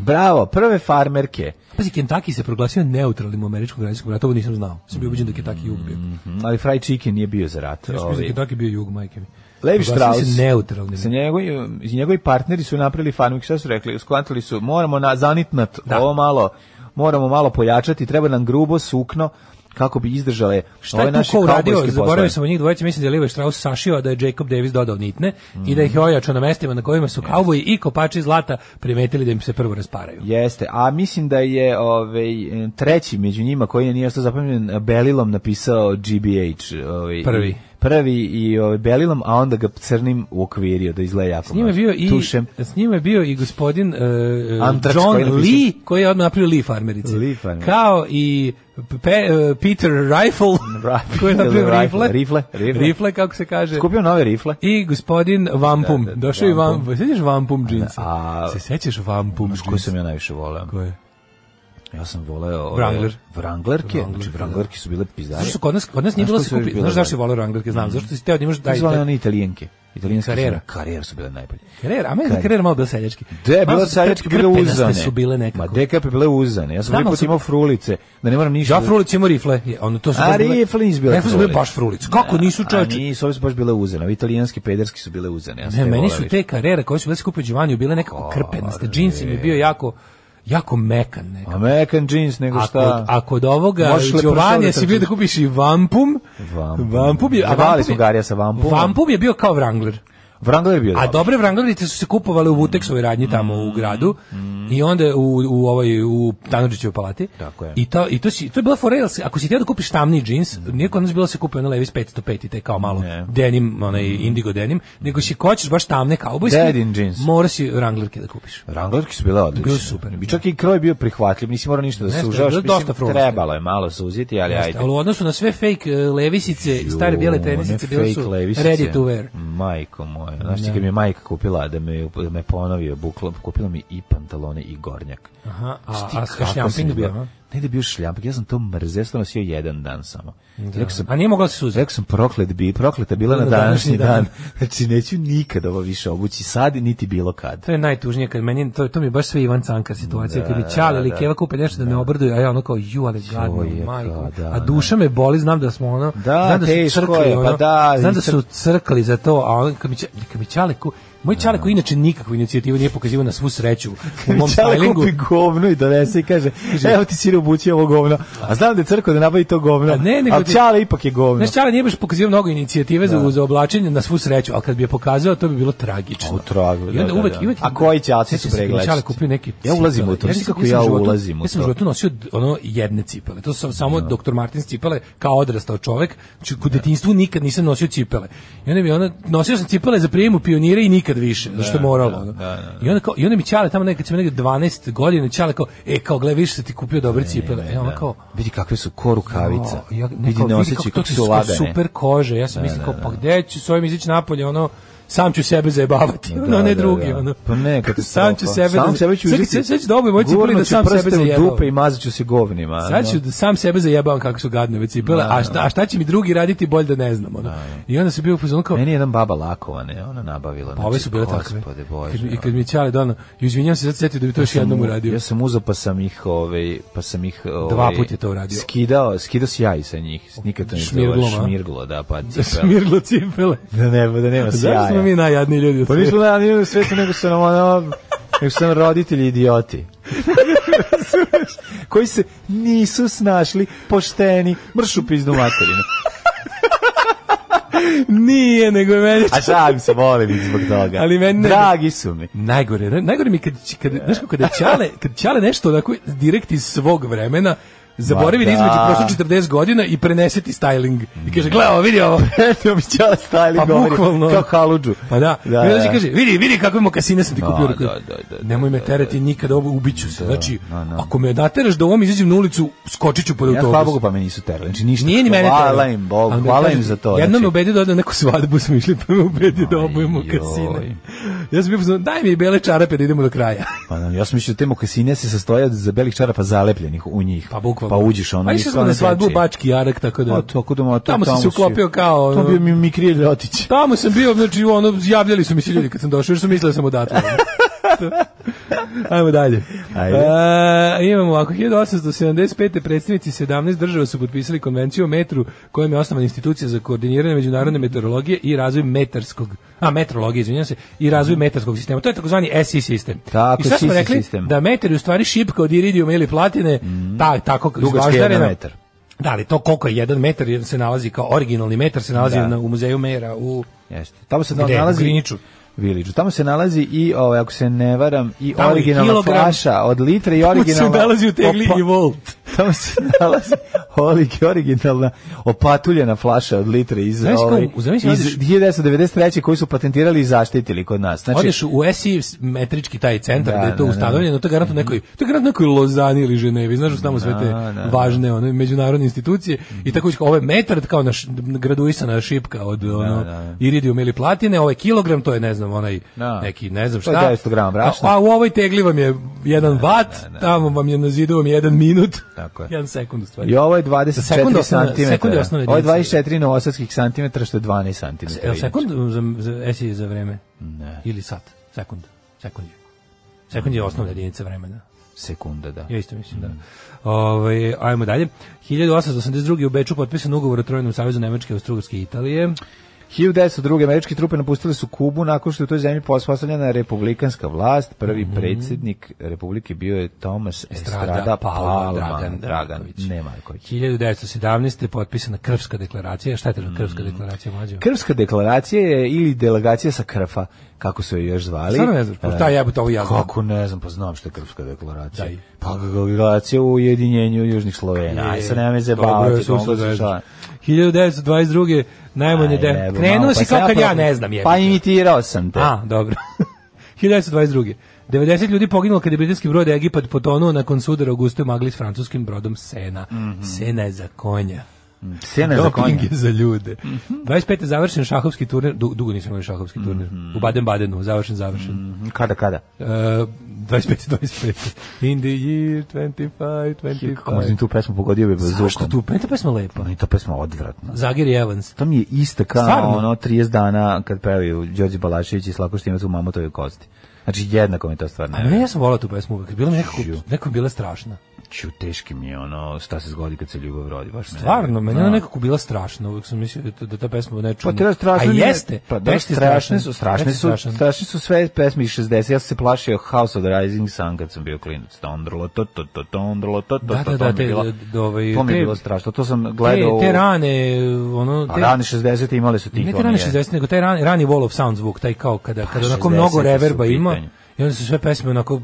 Speaker 5: Bravo, prve farmerke.
Speaker 6: Pazi, Kentucky se proglasio neutralnim u američkom građanskom ratu, ovo nisam znao. Sam bio ubeđen da je Kentucky jug bio.
Speaker 5: Mm, Ali Fry Chicken nije bio za rat.
Speaker 6: Ja sam
Speaker 5: ovaj.
Speaker 6: mislio da je Kentucky bio jug, majke mi.
Speaker 5: Levi
Speaker 6: Proglasili
Speaker 5: Strauss.
Speaker 6: se neutralnim.
Speaker 5: Sa njegovi, njegovi partneri su napravili farming, šta su rekli? Sklantili su, moramo na, zanitnat ovo malo, moramo malo pojačati, treba nam grubo sukno kako bi izdržale
Speaker 6: Šta je
Speaker 5: ove
Speaker 6: tu
Speaker 5: naše
Speaker 6: ko uradio?
Speaker 5: kaubojske
Speaker 6: Zaboravio
Speaker 5: poslove.
Speaker 6: sam o njih dvojice, mislim da je Levi Strauss sašio, a da je Jacob Davis dodao nitne i da ih
Speaker 5: Mm.
Speaker 6: je ojačao na mestima na kojima su kauboji i kopači zlata primetili da im se prvo rasparaju.
Speaker 5: Jeste, a mislim da je ovaj, treći među njima koji nije ostao zapamljen Belilom napisao GBH. Ovaj,
Speaker 6: Prvi.
Speaker 5: i- prvi i ovaj, Belilom, a onda ga crnim uokvirio da izgleda jako
Speaker 6: S njima je
Speaker 5: mlađe.
Speaker 6: bio i
Speaker 5: Tušem.
Speaker 6: s njima je bio i gospodin e, e,
Speaker 5: Antrax
Speaker 6: John
Speaker 5: koji je napisao-
Speaker 6: Lee koji je odmah napravio Lee farmerice.
Speaker 5: Lee farmerice.
Speaker 6: Kao i Pe, e, Peter Rifle
Speaker 5: Rifle,
Speaker 6: koji je napravio
Speaker 5: rifle,
Speaker 6: rifle.
Speaker 5: rifle, rifle.
Speaker 6: Rifle, kako se kaže.
Speaker 5: Skupio nove rifle.
Speaker 6: I gospodin Vampum.
Speaker 5: Da, da, da,
Speaker 6: Došao i Vampum.
Speaker 5: Vampum.
Speaker 6: Se sjećaš Vampum džinsa?
Speaker 5: a-
Speaker 6: se sjećaš Vampum
Speaker 5: Znaš
Speaker 6: džinsa?
Speaker 5: koju sam ja najviše voleo?
Speaker 6: Koje?
Speaker 5: Ja sam voleo... ove-
Speaker 6: Wrangler.
Speaker 5: Wranglerke,
Speaker 6: Wranglerke,
Speaker 5: znači
Speaker 6: da.
Speaker 5: Wranglerke su bile pizdare.
Speaker 6: Zašto su kod nas, kod nas
Speaker 5: Znaš
Speaker 6: nije bilo
Speaker 5: koje
Speaker 6: se
Speaker 5: su još
Speaker 6: kupi?
Speaker 5: bile
Speaker 6: Znaš zašto je
Speaker 5: dobre?
Speaker 6: volio Wranglerke? Znam, zašto si teo da imaš...
Speaker 5: Da,
Speaker 6: Daj,
Speaker 5: Zvali
Speaker 6: daj,
Speaker 5: one italijenke. Italijanske
Speaker 6: Carrera.
Speaker 5: su- Carrera su bile najbolje.
Speaker 6: Karijer, a meni je
Speaker 5: Karijer.
Speaker 6: karijer malo bio seljački.
Speaker 5: De,
Speaker 6: Malo
Speaker 5: bilo
Speaker 6: su
Speaker 5: seljačke
Speaker 6: krp-
Speaker 5: bile
Speaker 6: krpenaste
Speaker 5: uzane.
Speaker 6: su bile nekako.
Speaker 5: Ma dekape bile uzane. Ja sam
Speaker 6: Znam,
Speaker 5: prvi
Speaker 6: ali
Speaker 5: put
Speaker 6: su-
Speaker 5: imao frulice, da ne moram ništa.
Speaker 6: Ja frulicu imam rifle. Je, Ono, to su
Speaker 5: A,
Speaker 6: baš bile-
Speaker 5: rifle nisu bile
Speaker 6: Rifle su bile
Speaker 5: frulice.
Speaker 6: baš frulice. Kako nisu
Speaker 5: A
Speaker 6: čoveče?
Speaker 5: nisu, ove su baš bile uzane. Ove italijanske pederski su bile uzane. Ja sam
Speaker 6: Ne,
Speaker 5: te
Speaker 6: meni
Speaker 5: voleo
Speaker 6: su
Speaker 5: više.
Speaker 6: te karijere koje su bile skupio Giovanni bile nekako krpenaste. Džins im je bio jako, jako mekan nekako.
Speaker 5: American jeans, nego
Speaker 6: Ako,
Speaker 5: šta?
Speaker 6: ako od ovoga
Speaker 5: Možeš lepršavu
Speaker 6: Giovanni
Speaker 5: da
Speaker 6: si bio da
Speaker 5: trčiš.
Speaker 6: kupiš i Vampum.
Speaker 5: Vampum.
Speaker 6: je, a
Speaker 5: Zavali
Speaker 6: Vampum
Speaker 5: smo
Speaker 6: je-
Speaker 5: Garija sa Vampumom.
Speaker 6: Vampum je bio kao Wrangler.
Speaker 5: Vrangler je bio
Speaker 6: A
Speaker 5: dobar.
Speaker 6: dobre Vrangarice su se kupovale u Vuteksovoj radnji tamo
Speaker 5: Mm,
Speaker 6: u gradu i onda u u ovoj u Tanurićevoj palati.
Speaker 5: Tako je.
Speaker 6: I to i to si to je bila fora, jel si- ako si htio da kupiš tamni džins, nije kod nas bilo da se kupuje na Levi's 505 i te kao malo
Speaker 5: Mm. Ne. Mm.
Speaker 6: denim, onaj indigo denim, nego si hoćeš baš tamne kaubojske.
Speaker 5: Dedin džins.
Speaker 6: Mora si Wranglerke da kupiš.
Speaker 5: Wranglerki su bile odlične.
Speaker 6: Bili su super.
Speaker 5: I čak i kroj bio prihvatljiv, nisi morao ništa da
Speaker 6: Nešto,
Speaker 5: sužavaš.
Speaker 6: dosta
Speaker 5: mislim,
Speaker 6: frulaste.
Speaker 5: Trebalo je malo suziti, ali ajde.
Speaker 6: Ali u odnosu na sve fake e, levisice, i stare bijele tenisice
Speaker 5: One
Speaker 6: bile su
Speaker 5: fake levisice.
Speaker 6: ready to wear.
Speaker 5: Majko moja, znaš ti kad mi je majka kupila da me, da me ponovio bukla, kupila mi i pantalone i gornjak.
Speaker 6: Aha, a,
Speaker 5: Znaš ti
Speaker 6: a,
Speaker 5: kako
Speaker 6: a šljamping
Speaker 5: sam
Speaker 6: bio,
Speaker 5: izgledao?
Speaker 6: aha.
Speaker 5: Ne da je bio šljampak, ja sam to mrzio, ja sam to nosio jedan dan samo. Da. Rekao sam,
Speaker 6: A nije mogla da se suzeti.
Speaker 5: Rekao sam proklet bi, prokleta bila na,
Speaker 6: Na
Speaker 5: današnji,
Speaker 6: današnji
Speaker 5: dan.
Speaker 6: dan.
Speaker 5: Znači neću nikad ovo više obući sad niti bilo kad.
Speaker 6: To je najtužnije kad meni to to mi je baš sve Ivan Cankar situacija kad mi
Speaker 5: Da,
Speaker 6: ćale ili
Speaker 5: da.
Speaker 6: keva kupe nešto da, me obrduju a ja ono kao ju ali gadno
Speaker 5: je
Speaker 6: majko
Speaker 5: to, da,
Speaker 6: a duša me boli znam da smo ono
Speaker 5: Da,
Speaker 6: znam da su
Speaker 5: teško
Speaker 6: crkli
Speaker 5: je, pa
Speaker 6: ono,
Speaker 5: da,
Speaker 6: znam
Speaker 5: i
Speaker 6: da
Speaker 5: cr-
Speaker 6: su crkli za to a on kad mi ća- kad mi ćale ku moj ćale koji inače nikakvu inicijativu nije pokazivao na svu sreću u mom
Speaker 5: Čale
Speaker 6: stylingu
Speaker 5: kupi govno i donese i kaže, evo ti si obući ovo govno. A znam da je crkva da nabavi to govno,
Speaker 6: A ne, nego
Speaker 5: ali
Speaker 6: ti-
Speaker 5: Čale ipak je govno.
Speaker 6: Znaš, Čale nije baš pokazivao mnogo inicijative za, za oblačenje na svu sreću, ali kad bi je pokazao, to bi bilo tragično.
Speaker 5: U tragu,
Speaker 6: I onda
Speaker 5: da, da,
Speaker 6: uvek,
Speaker 5: da.
Speaker 6: uvek,
Speaker 5: A koji ćaci su
Speaker 6: Sjećam se kad mi
Speaker 5: pregledačci?
Speaker 6: Čale kupio neke
Speaker 5: Ja ulazim
Speaker 6: cipele.
Speaker 5: u to, znaš ti
Speaker 6: sam-
Speaker 5: kako ja
Speaker 6: sam životu-
Speaker 5: ulazim u
Speaker 6: Ja sam
Speaker 5: to?
Speaker 6: životu nosio d- ono jedne cipele. To su samo doktor Martins cipele kao odrastao čovek. Znači, u detinjstvu nikad nisam nosio cipele. I onda mi ona nosio sam cipele za prijem u pionire i nikad više, zato što je moralo. ono. I onda kao i onda mi Čale tamo nekad sam negde 12 godina Čale kao e kao gle više se ti kupio dobre cipele. E ona kao
Speaker 5: Vidi kakve su ko rukavica.
Speaker 6: ja, ja,
Speaker 5: vidi ne osjećaj kako su lagane.
Speaker 6: Super kože, ja sam mislio kao, pa gde ću s ovim izići napolje, ono, sam ću sebe zajebavati,
Speaker 5: Da,
Speaker 6: ono, ne
Speaker 5: da,
Speaker 6: drugi,
Speaker 5: da.
Speaker 6: ono.
Speaker 5: Pa ne, kad
Speaker 6: sam ću sebe,
Speaker 5: sam sebe ću uzeti.
Speaker 6: Sve, sve ću da obujem moje cipele i da
Speaker 5: gurnut ću
Speaker 6: sam sebe
Speaker 5: prste u
Speaker 6: zajebavam.
Speaker 5: dupe i mazat ću se govnima.
Speaker 6: Sad ću
Speaker 5: ono.
Speaker 6: da sam sebe zajebavam kako su gadne ove cipele, a šta, a šta će mi drugi raditi bolje da ne znam, ono. I onda se bio u fazonu kao,
Speaker 5: Meni je jedan baba lakovane, ona nabavila. znači,
Speaker 6: pa ove su bile takve.
Speaker 5: Gospode
Speaker 6: Kad mi- I
Speaker 5: Bože. ono.
Speaker 6: kad mi je Ćale dono, i izvinjam se, sad se setio da bi to još jednom uradio.
Speaker 5: Ja sam uzeo pa sam ih, ovaj, pa sam ih ovaj,
Speaker 6: Dva put je to uradio.
Speaker 5: Skidao, skidao si ja i sa njih. Nikad to ne
Speaker 6: Šmirglom, a?
Speaker 5: Šmirglo, da, pa
Speaker 6: Da
Speaker 5: cipela.
Speaker 6: smirglo cipele.
Speaker 5: Da nema, da nema sjaja.
Speaker 6: Zašto smo mi najjadniji ljudi?
Speaker 5: Pa
Speaker 6: u svetu?
Speaker 5: nismo na nijednom svetu, nego su nam ono, nego su nam roditelji idioti. koji se nisu snašli pošteni, mršu pizdu materinu.
Speaker 6: Nije, nego je meni
Speaker 5: A šalim se, volim ih zbog toga.
Speaker 6: Ali meni ne-
Speaker 5: Dragi su mi.
Speaker 6: Najgore, ne- najgore mi je kad kad znaš kako kada ćale, kad ćale nešto onako direkt iz svog vremena zaboravi
Speaker 5: Ma
Speaker 6: da između
Speaker 5: da.
Speaker 6: prošlo 40 godina i prenese ti styling. I kaže, gle, ovo, vidi ovo.
Speaker 5: Eto mi ćala stajli
Speaker 6: Pa
Speaker 5: govori,
Speaker 6: bukvalno.
Speaker 5: kao haludžu.
Speaker 6: Pa da,
Speaker 5: da,
Speaker 6: i onda
Speaker 5: da.
Speaker 6: će kaže, vidi, vidi kakve mokasine sam ti kupio.
Speaker 5: Da,
Speaker 6: Rekao,
Speaker 5: da, da, da, da,
Speaker 6: Nemoj me terati nikada, ovo ubiću se. Znači, ako me nateraš da ovom izađem na ulicu, skočit ću pod
Speaker 5: Ja hvala Bogu
Speaker 6: autobus.
Speaker 5: pa me nisu terali. Znači ništa.
Speaker 6: Nije ni mene
Speaker 5: Hvala
Speaker 6: terao.
Speaker 5: im, Bogu,
Speaker 6: Ali mi
Speaker 5: hvala
Speaker 6: kaže,
Speaker 5: im za to.
Speaker 6: Jednom
Speaker 5: znači.
Speaker 6: me ubedio da odem na neku svadbu smo išli, pa me ubedio da obujemo
Speaker 5: Ajoj.
Speaker 6: kasine. Ja sam bio, pozvan, daj mi bele čarape da idemo do kraja.
Speaker 5: Pa da, ja sam mislio da te mokasine se sastoje od za belih čarapa zalepljenih u njih.
Speaker 6: Pa bukvalno.
Speaker 5: Pa uđeš ono
Speaker 6: Pa
Speaker 5: i
Speaker 6: išli smo
Speaker 5: stvarno
Speaker 6: na svadbu u
Speaker 5: tečije.
Speaker 6: Bački Jarak, tako da...
Speaker 5: A to kod ma to
Speaker 6: tamo, sam Tá, se uklopio kao...
Speaker 5: To
Speaker 6: ono,
Speaker 5: bio mi Mikrije Ljotić.
Speaker 6: Tamo sam bio, znači, ono, javljali su mi se ljudi kad sam došao, jer su mislili da sam odatle. Ajmo dalje.
Speaker 5: Ajde.
Speaker 6: E, imamo ovako, 1875. predstavnici 17 država su potpisali konvenciju o metru, kojom je osnovana institucija za koordiniranje međunarodne meteorologije i razvoj metarskog, a metrologije, izvinjam se, i razvoj metarskog sistema. To je takozvani SI sistem.
Speaker 5: Mhm. Tako,
Speaker 6: I sad smo
Speaker 5: SI
Speaker 6: rekli
Speaker 5: sistem.
Speaker 6: da meter je u stvari šipka od iridijuma ili platine, ta, tako,
Speaker 5: Dugačka je
Speaker 6: izvaždarena.
Speaker 5: jedan metar.
Speaker 6: Da, ali to koliko je jedan metar jer se nalazi kao originalni metar se nalazi na, u muzeju Mera u
Speaker 5: Jeste. Tamo se
Speaker 6: Gde?
Speaker 5: nalazi
Speaker 6: U Griniću?
Speaker 5: Village. Tamo se nalazi i, ovaj, ako se ne varam, i
Speaker 6: Tamo i
Speaker 5: originalna
Speaker 6: kilogram.
Speaker 5: flaša od litre i
Speaker 6: se
Speaker 5: originalna...
Speaker 6: nalazi u tegli
Speaker 5: Opa-
Speaker 6: i volt.
Speaker 5: Tamo se nalazi olik originalna opatuljena flaša od litre iz,
Speaker 6: Znaš kako,
Speaker 5: ovaj,
Speaker 6: zamisli,
Speaker 5: iz
Speaker 6: odeš-
Speaker 5: 1993. koju su patentirali i zaštitili kod nas. Znači,
Speaker 6: Odeš u SI metrički taj centar
Speaker 5: Da,
Speaker 6: gde je
Speaker 5: da,
Speaker 6: to
Speaker 5: da.
Speaker 6: ustanovljeno, to je garantno nekoj, to je garantno nekoj Lozani ili Ženevi, znaš da su tamo sve te
Speaker 5: Da, da. Mhm.
Speaker 6: važne one međunarodne institucije i tako kao ovaj metar kao naš graduisana šipka od ono
Speaker 5: da.
Speaker 6: iridijuma ili platine, ovaj kilogram to je ne znam onaj
Speaker 5: Da.
Speaker 6: neki ne znam
Speaker 5: To je
Speaker 6: šta.
Speaker 5: 900 grama brašna.
Speaker 6: A, a u ovoj tegli vam je jedan vat, tamo vam je na zidu vam je jedan minut.
Speaker 5: Tako je.
Speaker 6: Jedan sekund u stvari.
Speaker 5: I ovo je
Speaker 6: Sekund
Speaker 5: 24
Speaker 6: osnovne- sekund je
Speaker 5: cm.
Speaker 6: osnovne
Speaker 5: Ovo je
Speaker 6: jedinice.
Speaker 5: 24 novosadskih centimetara, što je 12 centimetara.
Speaker 6: Jel
Speaker 5: inače.
Speaker 6: sekund za, za, SI za vreme? Ne. Ili sat? Sekund. Sekund je. Sekund je osnovna jedinica vremena.
Speaker 5: Sekunda, da.
Speaker 6: Ja isto mislim, da. Ovaj, ajmo dalje. 1882. u Beču potpisan ugovor o Trojnom savjezu Nemačke, Austrougarske i Italije.
Speaker 5: 1902. američke trupe napustile su Kubu nakon što je u toj zemlji pospostavljena republikanska vlast. Prvi predsjednik republike bio je Thomas Estrada,
Speaker 6: Mhm. Estrada Palma,
Speaker 5: Palma,
Speaker 6: Dragan-
Speaker 5: Dragan,
Speaker 6: Draganković.
Speaker 5: Ne Marković.
Speaker 6: 1917. je potpisana Krvska deklaracija. Šta je
Speaker 5: Mm.
Speaker 6: to Krvska deklaracija mlađe?
Speaker 5: Krvska deklaracija je ili delegacija sa Krfa, kako su je još zvali. E,
Speaker 6: Stvarno ne znaš, pa šta jebote, ovo ja znam.
Speaker 5: Kako ne znam, pa znam što je Krvska deklaracija.
Speaker 6: Daj.
Speaker 5: Pa deklaracija u ujedinjenju Južnih Slovena. Aj, sad nema me
Speaker 6: E, Dobro,
Speaker 5: zebavati.
Speaker 6: sve
Speaker 5: Dobro,
Speaker 6: se
Speaker 5: šta.
Speaker 6: zvezda. 1922. najmanje
Speaker 5: Aj,
Speaker 6: de.
Speaker 5: jebo,
Speaker 6: Krenuo
Speaker 5: malo,
Speaker 6: si
Speaker 5: pa
Speaker 6: kao
Speaker 5: sam
Speaker 6: kad ja
Speaker 5: probao.
Speaker 6: ne znam je.
Speaker 5: Pa imitirao sam te.
Speaker 6: A, dobro. 1922. 90 ljudi poginulo kada je britanski brod Egipat potonuo nakon sudara u gustoj magli s francuskim brodom Sena.
Speaker 5: Mhm.
Speaker 6: Sena je za konja.
Speaker 5: Sjena je za konja. Mhm.
Speaker 6: Doping je za ljude. 25. je završen šahovski turnir, du- dugo nisam imali šahovski turnir, u Baden-Badenu, završen, završen.
Speaker 5: Kada, kada?
Speaker 6: Uh, 25. 25. In the year 25,
Speaker 5: Kako možda
Speaker 6: 25.
Speaker 5: tu pesmu pogodio bi bez
Speaker 6: Zašto tu? Pa je ta pesma lepa.
Speaker 5: Pa i ta pesma odvratna.
Speaker 6: Zagir i Evans.
Speaker 5: To mi je ista kao
Speaker 6: Stvarno?
Speaker 5: ono 30 dana kad pevaju Đorđe Balašević i Slako Štimac u mamotovoj kosti. Znači jednako mi je to stvarno.
Speaker 6: A ne, ja sam volao tu pesmu uvek. Bila mi nekako,
Speaker 5: Žiju.
Speaker 6: nekako mi bila strašna.
Speaker 5: Ču, teški mi je ono šta se zgodi kad se ljubav rodi. Baš me-
Speaker 6: Stvarno, meni je ono
Speaker 5: Da.
Speaker 6: ona nekako bila strašna. Uvek sam mislio da, to- da ta pesma ne
Speaker 5: Pa
Speaker 6: čudna.
Speaker 5: te da strašno
Speaker 6: A
Speaker 5: nije-
Speaker 6: jeste.
Speaker 5: Pa da,
Speaker 6: tekst je
Speaker 5: strašne
Speaker 6: strašan.
Speaker 5: su, strašne
Speaker 6: Tekst je
Speaker 5: su,
Speaker 6: strašan.
Speaker 5: strašne su sve pesme iz 60. Ja sam se plašio House of the Rising Sun kad sam bio klinac. Tondrlo, to, to, to, tondrlo, to, to,
Speaker 6: Da,
Speaker 5: to, to
Speaker 6: da, da,
Speaker 5: mi je
Speaker 6: te,
Speaker 5: bilo-
Speaker 6: da, ovaj,
Speaker 5: To mi je
Speaker 6: te-
Speaker 5: bilo strašno. To sam
Speaker 6: Te,
Speaker 5: gledao...
Speaker 6: te
Speaker 5: u-
Speaker 6: rane, ono...
Speaker 5: Pa
Speaker 6: te-
Speaker 5: rane 60. imali su tih ono,
Speaker 6: Ne te rane 60, nego taj rani, rani wall of sound zvuk, taj kao kada, kada onako
Speaker 5: 60
Speaker 6: mnogo
Speaker 5: Pa, su
Speaker 6: reverba
Speaker 5: u
Speaker 6: ima
Speaker 5: pitanju.
Speaker 6: i onda su sve pesme onako...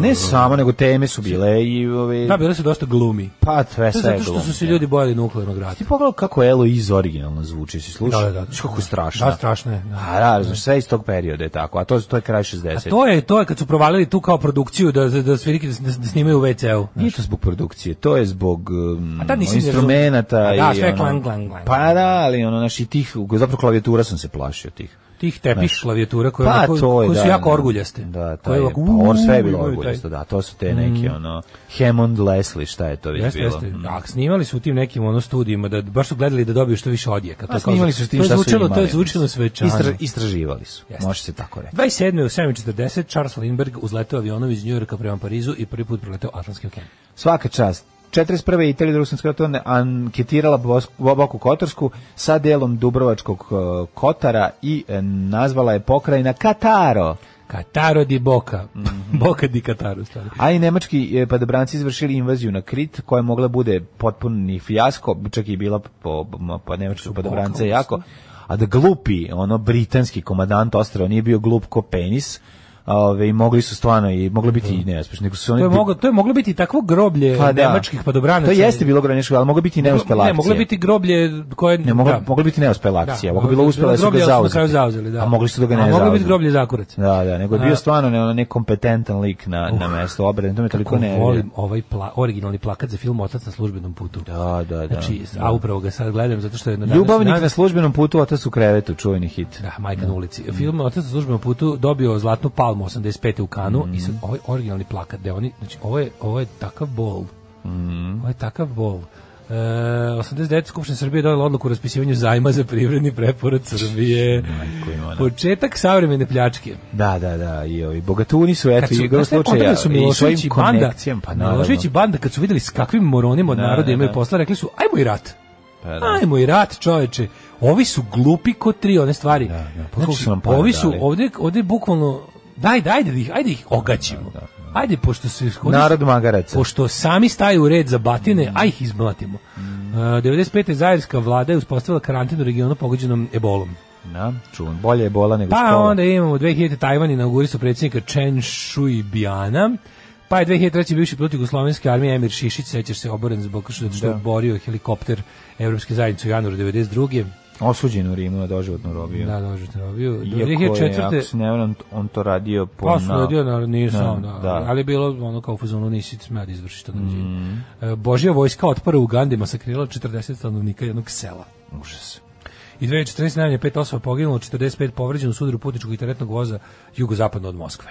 Speaker 5: Ne samo, nego teme su bile i ove...
Speaker 6: Da, bile su dosta glumi.
Speaker 5: pa sve
Speaker 6: To
Speaker 5: sve.
Speaker 6: je zato što
Speaker 5: glumi,
Speaker 6: su se
Speaker 5: da.
Speaker 6: ljudi bojali nuklearnog rata.
Speaker 5: Ti pogledao kako Eloise originalno zvuči, si slušao?
Speaker 6: Da, da, da.
Speaker 5: Znaš kako je strašno.
Speaker 6: Da, strašno je, da.
Speaker 5: A da, znaš, sve iz tog perioda je tako, a to, to je kraj 60.
Speaker 6: A to je, to je kad su provalili tu kao produkciju da, da, da svirike da, da snimaju u WC-u.
Speaker 5: Nije to zbog produkcije, to je zbog um,
Speaker 6: A tad nisi ni
Speaker 5: instrumenta
Speaker 6: razumeo. A da,
Speaker 5: i
Speaker 6: sve
Speaker 5: ono-
Speaker 6: klang, klang, klang.
Speaker 5: Pa da, ali ono naši tih, zapravo klavijatura sam se plašio tih.
Speaker 6: Tih tepiš
Speaker 5: Znaš.
Speaker 6: klavijatura koje,
Speaker 5: Pa
Speaker 6: onako-
Speaker 5: to je,
Speaker 6: koje
Speaker 5: da.
Speaker 6: su jako
Speaker 5: da.
Speaker 6: orguljaste.
Speaker 5: Da, to
Speaker 6: Koje
Speaker 5: je,
Speaker 6: ovako,
Speaker 5: pa ovo sve je bilo
Speaker 6: uuu, imaju taj- Mhm.
Speaker 5: orguljasto, da, to su te neke, ono, Hammond Leslie, šta je to već
Speaker 6: Jeste,
Speaker 5: bilo. Mhm. Mm.
Speaker 6: jeste. Da, snimali su u tim nekim ono studijima da baš su gledali da dobiju što više odjeka.
Speaker 5: A Pa snimali su s tim šta su
Speaker 6: zvučilo,
Speaker 5: imali. ono.
Speaker 6: Pa To je zvučilo svečano.
Speaker 5: Istra- istraživali su,
Speaker 6: Jeste.
Speaker 5: može se tako reći.
Speaker 6: 27. u 7.40 Charles Lindbergh uzletao avionom iz Njujorka prema Parizu i prvi put proletao Atlantskim okeanom.
Speaker 5: Svaka čast. 41. Italija drugog svjetskog rata anketirala Bos- Boku Kotorsku sa delom Dubrovačkog e, Kotara i e, nazvala je pokrajina Kataro.
Speaker 6: Kataro di Boka.
Speaker 5: Mhm.
Speaker 6: Boka di Kataro, u stvari.
Speaker 5: A i nemački e, padobranci izvršili invaziju na Krit, koja je mogla bude potpuni fijasko, čak i bila po, po nemačku padobrance jako. A da glupi, ono britanski komadant ostrava nije bio glup ko penis, ove, i mogli su stvarno, i moglo biti i neuspešni. Nego su
Speaker 6: To
Speaker 5: oni
Speaker 6: je,
Speaker 5: bi-
Speaker 6: moglo, to je moglo biti takvo groblje
Speaker 5: Pa da.
Speaker 6: nemačkih padobranaca.
Speaker 5: To jeste bilo granično, ali moglo biti i neuspela
Speaker 6: Ne, moglo
Speaker 5: akcija.
Speaker 6: biti groblje koje...
Speaker 5: Ne, mogla,
Speaker 6: da.
Speaker 5: mogla biti neuspela akcija. Da, mogla bilo uspela su
Speaker 6: Groblje,
Speaker 5: ga
Speaker 6: ali na kraju
Speaker 5: zauzeti.
Speaker 6: zauzeli, da.
Speaker 5: A mogli su da ga
Speaker 6: A
Speaker 5: ne
Speaker 6: moglo
Speaker 5: zauzeti.
Speaker 6: biti groblje Zakurac.
Speaker 5: Da, da, nego je
Speaker 6: A.
Speaker 5: bio stvarno ne, ono, nekompetentan lik na, na mesto obrane. To me toliko
Speaker 6: Kako
Speaker 5: ne
Speaker 6: volim ovaj pla, originalni plakat za film Otac na službenom putu.
Speaker 5: Da, da, da.
Speaker 6: Znači, a upravo ga sad gledam zato što je na
Speaker 5: Ljubavnik
Speaker 6: današnji dan-
Speaker 5: na službenom putu, otac u krevetu, čuveni hit.
Speaker 6: Da, majka na ulici. Film Otac na službenom putu dobio zlatnu palmu 85. u Kanu i sad ovaj originalni plakat da oni, znači ovo je, ovo je takav bol. Ovo je takav bol. E, 89. Skupština Srbije donela odluku o raspisivanju zajma za privredni preporod Srbije.
Speaker 5: imala.
Speaker 6: Početak savremene pljačke.
Speaker 5: Da, da, da, i ovi bogatuni su, eto,
Speaker 6: su-
Speaker 5: igrom
Speaker 6: Znači, znaš šta
Speaker 5: slučaja,
Speaker 6: je kontakt da su
Speaker 5: i svojim
Speaker 6: Milošević i banda,
Speaker 5: konekcijama, pa naravno.
Speaker 6: Milošević i banda, kad su vidjeli s kakvim moronima od
Speaker 5: Da,
Speaker 6: naroda
Speaker 5: da,
Speaker 6: imaju
Speaker 5: da.
Speaker 6: posla, rekli su, ajmo i rat.
Speaker 5: Pa da.
Speaker 6: Ajmo i rat, čoveče. Ovi su glupi ko tri one stvari. Znači,
Speaker 5: da, pa koliko su nam para
Speaker 6: ovi su
Speaker 5: dali?
Speaker 6: ovdje, ovdje bukvalno, daj, daj, da ih, ajde ih ogaćimo. Ajde, pošto se... ovdje
Speaker 5: Narod Mm.
Speaker 6: su-
Speaker 5: magaraca.
Speaker 6: Pošto sami staju u red za batine, a ih izblatimo.
Speaker 5: Mm.
Speaker 6: Uh, 95. zajerska vlada je uspostavila karantin u regionu pogođenom ebolom.
Speaker 5: Da, čuvan, bolje je bola nego
Speaker 6: Pa
Speaker 5: škola.
Speaker 6: onda imamo 2000 Tajvan inaugurisao predsjednika Chen Shui-biana. Pa je 2003. bivši pilot Jugoslovenske armije Emir Šišić, sećaš se oboren zbog što, što je borio helikopter Evropske zajednice u januaru 92.
Speaker 5: Osuđen u Rimu na doživotnu robiju.
Speaker 6: Da, dobro što je robio.
Speaker 5: Iako je, ako se
Speaker 6: 2004.
Speaker 5: ne varam, on to radio po...
Speaker 6: Pa su
Speaker 5: na-
Speaker 6: radio, naravno, nisam,
Speaker 5: Na-
Speaker 6: da,
Speaker 5: da. Mm.
Speaker 6: ali je bilo ono kao u fazonu, nisi smed izvršiti to nađenje. E, Božja vojska otpora u Ugandi masakrirala 40 stanovnika jednog sela.
Speaker 5: Užas.
Speaker 6: I 2014. najmanje pet osoba poginulo, 45 povređeno u sudaru putničkog i teretnog voza jugozapadno od Moskve.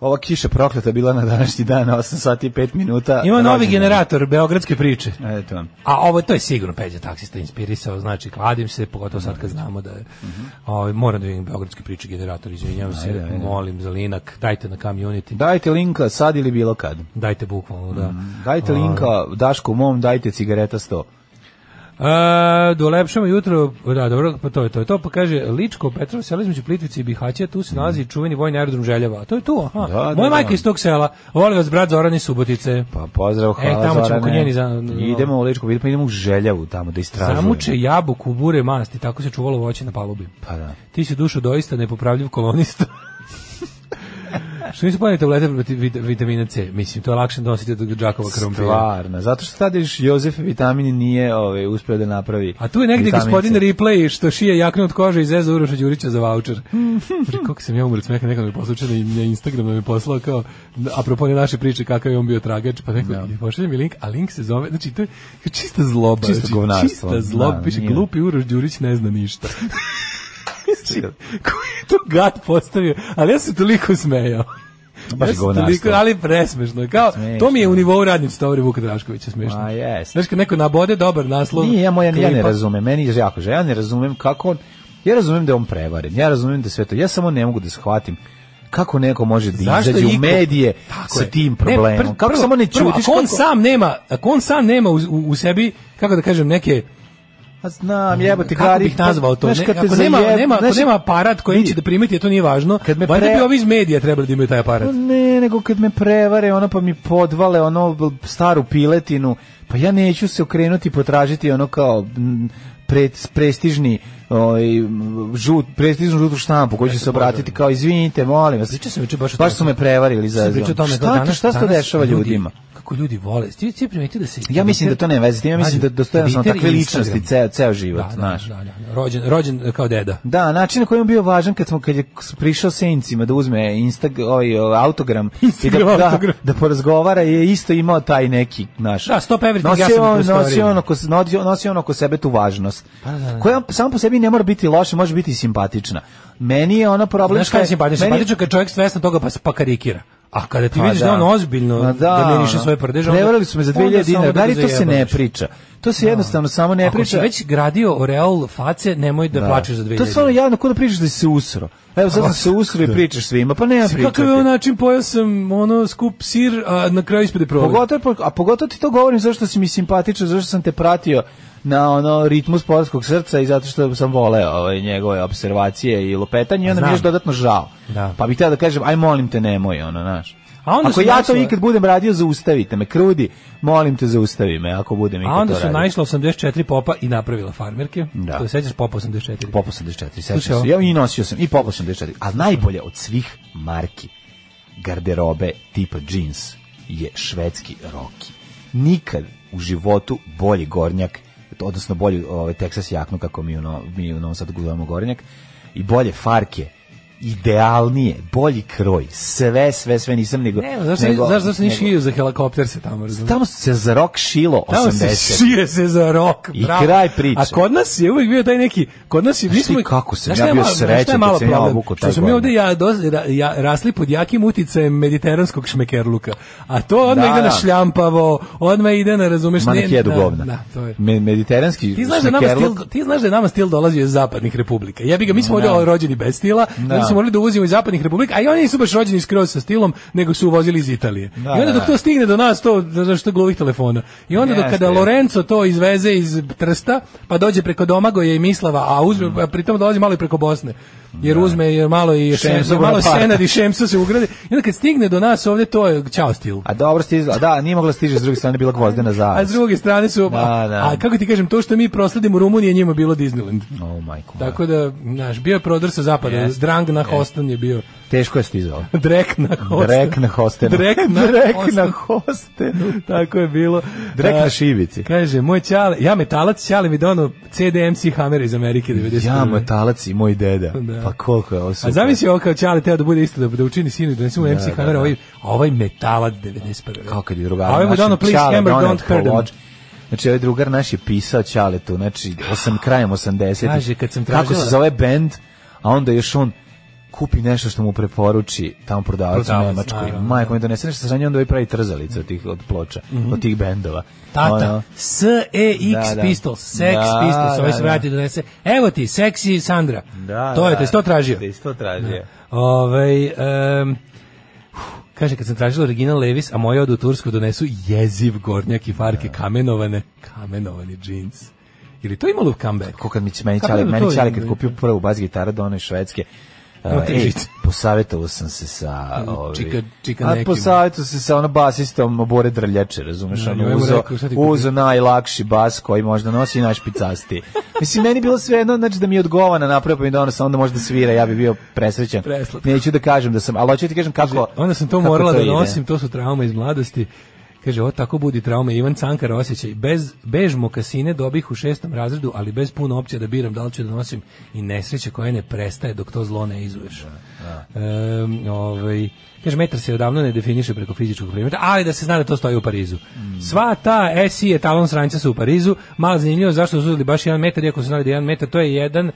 Speaker 5: Ova kiša prokleta bila na današnji dan, 8 sati i 5 minuta.
Speaker 6: Ima novi
Speaker 5: Rođendan.
Speaker 6: generator beogradske priče.
Speaker 5: Eto.
Speaker 6: A ovo to je sigurno Peđa taksista inspirisao, znači kladim se, pogotovo sad kad znamo da je.
Speaker 5: Mhm.
Speaker 6: Ovaj moram da vidim beogradske priče generator, izvinjavam se, molim za linak, dajte na community.
Speaker 5: Dajte linka sad ili bilo kad.
Speaker 6: Dajte bukvalno, da.
Speaker 5: Mhm. Dajte linka Dašku mom, dajte cigareta 100.
Speaker 6: E, dolepšamo jutro, da, dobro, pa to je to. Je to pa kaže, Ličko, Petrovo selo između Plitvice i Bihaća, tu se nalazi čuveni vojni aerodrom Željeva. A To je tu, aha.
Speaker 5: Mhm. Da, da,
Speaker 6: Moja
Speaker 5: da.
Speaker 6: majka iz tog sela, voli vas brat Zoran iz Subotice.
Speaker 5: Pa pozdrav, hvala
Speaker 6: E, tamo ćemo
Speaker 5: Zorane.
Speaker 6: kod njeni za-
Speaker 5: Idemo u Ličku, vidim, pa idemo u Željavu tamo da istražujemo.
Speaker 6: Zamuče jabuku, bure masti, tako se čuvalo voće na palubi.
Speaker 5: Pa da.
Speaker 6: Ti si dušo doista nepopravljiv kolonista. Što nisu ponijeli tablete protiv vit- vitamina C? Mislim, to je lakše nositi od džakova krompira.
Speaker 5: Stvarno, zato što tada još Jozef Vitamin nije ovaj, uspio da napravi
Speaker 6: A tu je negdje
Speaker 5: vitamin C.
Speaker 6: gospodin Ripley što šije jaknu od kože iz Eza Uroša Đurića za voucher. Pri kako sam ja umro od smeka, nekada mi poslučio na, na Instagram da mi je poslao kao, apropo ne naše priče kakav je on bio tragač, pa neko, i pošalje mi link, a link se zove, znači to je čista zloba.
Speaker 5: Čisto
Speaker 6: znači,
Speaker 5: govnarstvo.
Speaker 6: Čista zloba,
Speaker 5: Da,
Speaker 6: piše
Speaker 5: nije.
Speaker 6: glupi Uroš Đurić ne zna ništa. Znači, Koji je to gad postavio? Ali ja sam toliko smejao.
Speaker 5: Pa Baš
Speaker 6: ja sam
Speaker 5: govnarstvo.
Speaker 6: toliko, ali presmešno. je, Kao, to mi je u nivou radnice Tovri Vuka Draškovića smešno.
Speaker 5: Ma, Pa jest.
Speaker 6: Znaš, kad neko nabode dobar naslov.
Speaker 5: Nije, ja, moja, ja ne
Speaker 6: klipa.
Speaker 5: razumem, meni je jako žao, ja ne razumem kako on, ja razumem da je on prevaren, ja razumem da je sve to, ja samo ne mogu da shvatim kako neko može da
Speaker 6: Zašto
Speaker 5: izađe u
Speaker 6: iko-
Speaker 5: medije
Speaker 6: Tako
Speaker 5: sa
Speaker 6: je.
Speaker 5: tim
Speaker 6: Ne,
Speaker 5: problemom.
Speaker 6: pr-
Speaker 5: kako
Speaker 6: prvo-
Speaker 5: samo ne
Speaker 6: prvo,
Speaker 5: čutiš
Speaker 6: Ako on
Speaker 5: kako...
Speaker 6: sam nema, ako on sam nema u, u, u sebi, kako da kažem, neke
Speaker 5: A znam, jebote,
Speaker 6: kako
Speaker 5: gari. pa
Speaker 6: bih nazvao to,
Speaker 5: Znaš,
Speaker 6: ne,
Speaker 5: kad te
Speaker 6: ako nema,
Speaker 5: zajeb-
Speaker 6: nema, ako
Speaker 5: znaš,
Speaker 6: nema aparat koji
Speaker 5: vidi,
Speaker 6: će da primeti, a to nije važno,
Speaker 5: Kad me
Speaker 6: valjda
Speaker 5: pre- Pa
Speaker 6: bi ovi iz medija trebali da imaju taj aparat.
Speaker 5: Ne, nego kad me prevare, ono pa mi podvale ono bl- staru piletinu, pa ja neću se okrenuti i potražiti ono kao m, pre, prestižni ovaj m, žut prestižnu žutu štampu koji će se obratiti kao izvinite, molim vas.
Speaker 6: Pričao sam juče baš o
Speaker 5: Baš
Speaker 6: tome.
Speaker 5: su me prevarili
Speaker 6: Sad
Speaker 5: za.
Speaker 6: pričao o tome
Speaker 5: Šta,
Speaker 6: kao
Speaker 5: to-
Speaker 6: danas-
Speaker 5: šta se to
Speaker 6: danas
Speaker 5: dešava
Speaker 6: ljudi-
Speaker 5: ljudima?
Speaker 6: Kako ljudi vole. Ti ti primetio da se
Speaker 5: Ja mislim da to nema veze s tim, ja mislim da dostojan sam
Speaker 6: Twitter i
Speaker 5: takve
Speaker 6: Instagram.
Speaker 5: ličnosti ceo, ceo život,
Speaker 6: Da, da,
Speaker 5: znaš.
Speaker 6: da, da. Rođen, rođen kao deda.
Speaker 5: Da, način na koji je on bio važan kad smo kad je s- prišao Sencima da uzme Instag ovaj o, autogram i da,
Speaker 6: Instagram
Speaker 5: da,
Speaker 6: autogram.
Speaker 5: da porazgovara je isto imao taj neki naš.
Speaker 6: Da, stop everything,
Speaker 5: nosio,
Speaker 6: ja sam u
Speaker 5: on,
Speaker 6: prostoriji.
Speaker 5: nosio on oko nosio, nosio on oko sebe tu važnost.
Speaker 6: Pa
Speaker 5: Koja samo po sebi ne mora biti loša, može biti i simpatična. Meni je ona problem
Speaker 6: Znaš
Speaker 5: što
Speaker 6: šta je simpatično?
Speaker 5: meni-
Speaker 6: Simpatično kad čovjek svesno toga pa, pa karikira. A kada ti
Speaker 5: Pa
Speaker 6: vidiš da, on ozbiljno
Speaker 5: Ma
Speaker 6: da, dominiše
Speaker 5: ono.
Speaker 6: svoje prdeže, onda-
Speaker 5: Prevarili su me za
Speaker 6: onda
Speaker 5: 2000
Speaker 6: samo
Speaker 5: dinara. Da li to se ne
Speaker 6: zajebavaš.
Speaker 5: priča? To se jednostavno samo ne
Speaker 6: Ako si
Speaker 5: priča.
Speaker 6: već gradio oreol face, nemoj da, plačeš za 2000
Speaker 5: To je stvarno javno, kod da pričaš da si se usro. Evo, sad sam se usro i pričaš svima, pa nema pričati.
Speaker 6: Kakav je on način, pojao sam ono skup sir, a na kraju ispade probe.
Speaker 5: Pogotovo, a pogotovo ti to govorim zašto si mi simpatičan, zašto sam te pratio na ono ritmu sportskog srca i zato što sam voleo ovaj, njegove observacije i lopetanje i onda mi je još
Speaker 6: Znam.
Speaker 5: dodatno žao.
Speaker 6: Da.
Speaker 5: Pa bih teo da kažem, aj molim te nemoj, ono, znaš.
Speaker 6: A onda
Speaker 5: ako
Speaker 6: su
Speaker 5: ja to
Speaker 6: našle-
Speaker 5: ikad budem radio, zaustavite me, krudi, molim te zaustavi me ako budem ikad
Speaker 6: A onda
Speaker 5: to
Speaker 6: su
Speaker 5: radio.
Speaker 6: naišla 84 popa i napravila farmerke.
Speaker 5: Da.
Speaker 6: To se sećaš popa 84.
Speaker 5: Pop 84, sećam
Speaker 6: Slušaj,
Speaker 5: se.
Speaker 6: ovo.
Speaker 5: Ja i nosio sam i Pop 84, a najbolje od svih marki garderobe tipa jeans je švedski Roki. Nikad u životu bolji gornjak, odnosno bolju ovaj Texas jaknu kako mi u, no, mi u Novom Sadu gledamo gornjak i bolje farke idealnije, bolji kroj, sve, sve, sve nisam nego...
Speaker 6: Ne, zašto,
Speaker 5: nego-
Speaker 6: zašto, zašto
Speaker 5: nego-
Speaker 6: nisi šio za helikopter se tamo, razumiješ?
Speaker 5: Tamo se za rok šilo 80.
Speaker 6: Tamo se šije se za rok.
Speaker 5: I
Speaker 6: bravo.
Speaker 5: kraj priče.
Speaker 6: A kod nas je uvijek bio taj neki, kod nas je, mi
Speaker 5: ti
Speaker 6: smo...
Speaker 5: kako sam
Speaker 6: Znaš
Speaker 5: ja
Speaker 6: šta je
Speaker 5: bio
Speaker 6: malo- znaš šta je
Speaker 5: srećan kad
Speaker 6: malo
Speaker 5: sam ja
Speaker 6: problem?
Speaker 5: obukao taj
Speaker 6: Što smo mi
Speaker 5: gornjak.
Speaker 6: ovdje ja, dos, ra- ja, rasli pod jakim uticajem mediteranskog šmekerluka. A to odmah
Speaker 5: Da,
Speaker 6: ide
Speaker 5: da.
Speaker 6: na šljampavo, odmah ide na, razumeš...
Speaker 5: Ma
Speaker 6: ne-
Speaker 5: nek jedu
Speaker 6: da,
Speaker 5: govna.
Speaker 6: Da, to je.
Speaker 5: Me- mediteranski
Speaker 6: Ti znaš, da nama
Speaker 5: šmekerluk-
Speaker 6: stil, ti znaš da je nama stil dolazio iz zapadnih republika. Ja bi ga, mi smo ovdje rođeni bez stila,
Speaker 5: Da.
Speaker 6: da. smo morali da uvozimo iz zapadnih republika, a i oni nisu baš rođeni skroz sa stilom, nego su uvozili iz Italije. I
Speaker 5: da,
Speaker 6: onda
Speaker 5: da.
Speaker 6: dok to stigne do nas, to znaš što glovih telefona. I onda dok
Speaker 5: Jeste,
Speaker 6: kada
Speaker 5: jeste.
Speaker 6: Lorenzo to izveze iz Trsta, pa dođe preko Domagoje i Mislava, a uzme, a pritom dolazi malo i preko Bosne. Jer uzme jer malo i
Speaker 5: Šemso
Speaker 6: Šem- malo
Speaker 5: Bonaparte.
Speaker 6: Senad i Šemso se ugrade. I onda kad stigne do nas ovdje, to je čao stil.
Speaker 5: A dobro stizla, da, nije mogla stiže s druge strane, bila gvozdena
Speaker 6: A
Speaker 5: zavac.
Speaker 6: s druge strane su,
Speaker 5: Da,
Speaker 6: a,
Speaker 5: da.
Speaker 6: a kako ti kažem, to što mi prosledimo u Rumuniji je njima bilo Disneyland.
Speaker 5: O, majko. moja.
Speaker 6: Tako da, znaš, bio je prodor sa zapada,
Speaker 5: Jeste.
Speaker 6: Drang na Hostan je bio,
Speaker 5: Teško je stizala.
Speaker 6: Drek na Hostan.
Speaker 5: Drek na hostenu.
Speaker 6: Drek na
Speaker 5: Drek
Speaker 6: hostenu.
Speaker 5: na hostenu.
Speaker 6: Tako je bilo.
Speaker 5: Drek na
Speaker 6: A,
Speaker 5: šibici.
Speaker 6: Kaže, moj čale, ja metalac, čale mi dono CDMC Hammer iz Amerike 90.
Speaker 5: Ja, moj talac i moj deda.
Speaker 6: Da.
Speaker 5: Pa koliko je ovo super.
Speaker 6: A zamisli ovo kao čale, teo da bude isto, da, da učini sinu i donesemo MC
Speaker 5: da,
Speaker 6: Hammer,
Speaker 5: da.
Speaker 6: a ovaj, a ovaj metalac 91.
Speaker 5: Kao kad je
Speaker 6: A
Speaker 5: drugar
Speaker 6: ovaj mu
Speaker 5: naš
Speaker 6: dono, please,
Speaker 5: Ćale
Speaker 6: Hammer,
Speaker 5: doneo
Speaker 6: don't hurt
Speaker 5: poloč.
Speaker 6: them.
Speaker 5: Znači, ovaj drugar naš je pisao Ćale tu, znači, osam, krajem 80.
Speaker 6: Kaže, kad sam tražila-
Speaker 5: Kako se zove band, a onda još on kupi nešto što mu preporuči tamo prodavac u
Speaker 6: Prodavac,
Speaker 5: Nemačkoj.
Speaker 6: naravno,
Speaker 5: Majko mi donese nešto sranje, onda ovaj pravi trzalice od tih od ploča, od tih bendova.
Speaker 6: Mhm. Tata,
Speaker 5: Ono,
Speaker 6: S-E-X
Speaker 5: Da, da.
Speaker 6: Pistols, Sex
Speaker 5: Da,
Speaker 6: Pistols, ovaj
Speaker 5: da,
Speaker 6: se
Speaker 5: da.
Speaker 6: vrati i donese, evo ti, seksi Sandra. to je, te si to tražio.
Speaker 5: Te si to tražio.
Speaker 6: Ovaj em, kaže, kad sam tražila original Levis, a moje od u Tursku donesu jeziv gornjak i farke kamenovane, kamenovani džins. Ili to imalo u comeback?
Speaker 5: Ko kad mi meni
Speaker 6: Kako
Speaker 5: čali,
Speaker 6: je to
Speaker 5: meni čali
Speaker 6: ime?
Speaker 5: kad kupio prvu bas gitaru do one švedske, Uh,
Speaker 6: Imate
Speaker 5: ej,
Speaker 6: žice.
Speaker 5: posavetovo sam se sa ovi,
Speaker 6: Čika- čika
Speaker 5: a
Speaker 6: nekim.
Speaker 5: posavetovo sam se sa ono basistom Bore Drljače, razumeš,
Speaker 6: Da,
Speaker 5: ono
Speaker 6: ja mu
Speaker 5: uzo,
Speaker 6: rekao, šta ti
Speaker 5: uzo najlakši bas koji možda nosi i najšpicasti. Mislim, meni bilo sve jedno, znači da mi je odgovana napravio pa mi donosa, onda možda svira, ja bi bio presrećan.
Speaker 6: Preslatko.
Speaker 5: Neću da kažem da sam, ali hoću ti kažem kako
Speaker 6: Onda sam to
Speaker 5: kako
Speaker 6: morala da
Speaker 5: ide.
Speaker 6: nosim, to su traume iz mladosti. Kaže, o, tako budi traume. Ivan Cankar osjećaj. Bez, bež mokasine dobih u šestom razredu, ali bez puno opcija da biram da li ću da nosim i nesreće koje ne prestaje dok to zlo ne izuješ. Em, ovaj, kaže, metar se odavno ne definiše preko fizičkog primjera, ali da se zna da to stoji u Parizu. Sva ta SI etalon sranjca su u Parizu. Malo zanimljivo zašto su uzeli baš jedan metar, iako su znali da je jedan metar, to je jedan mm,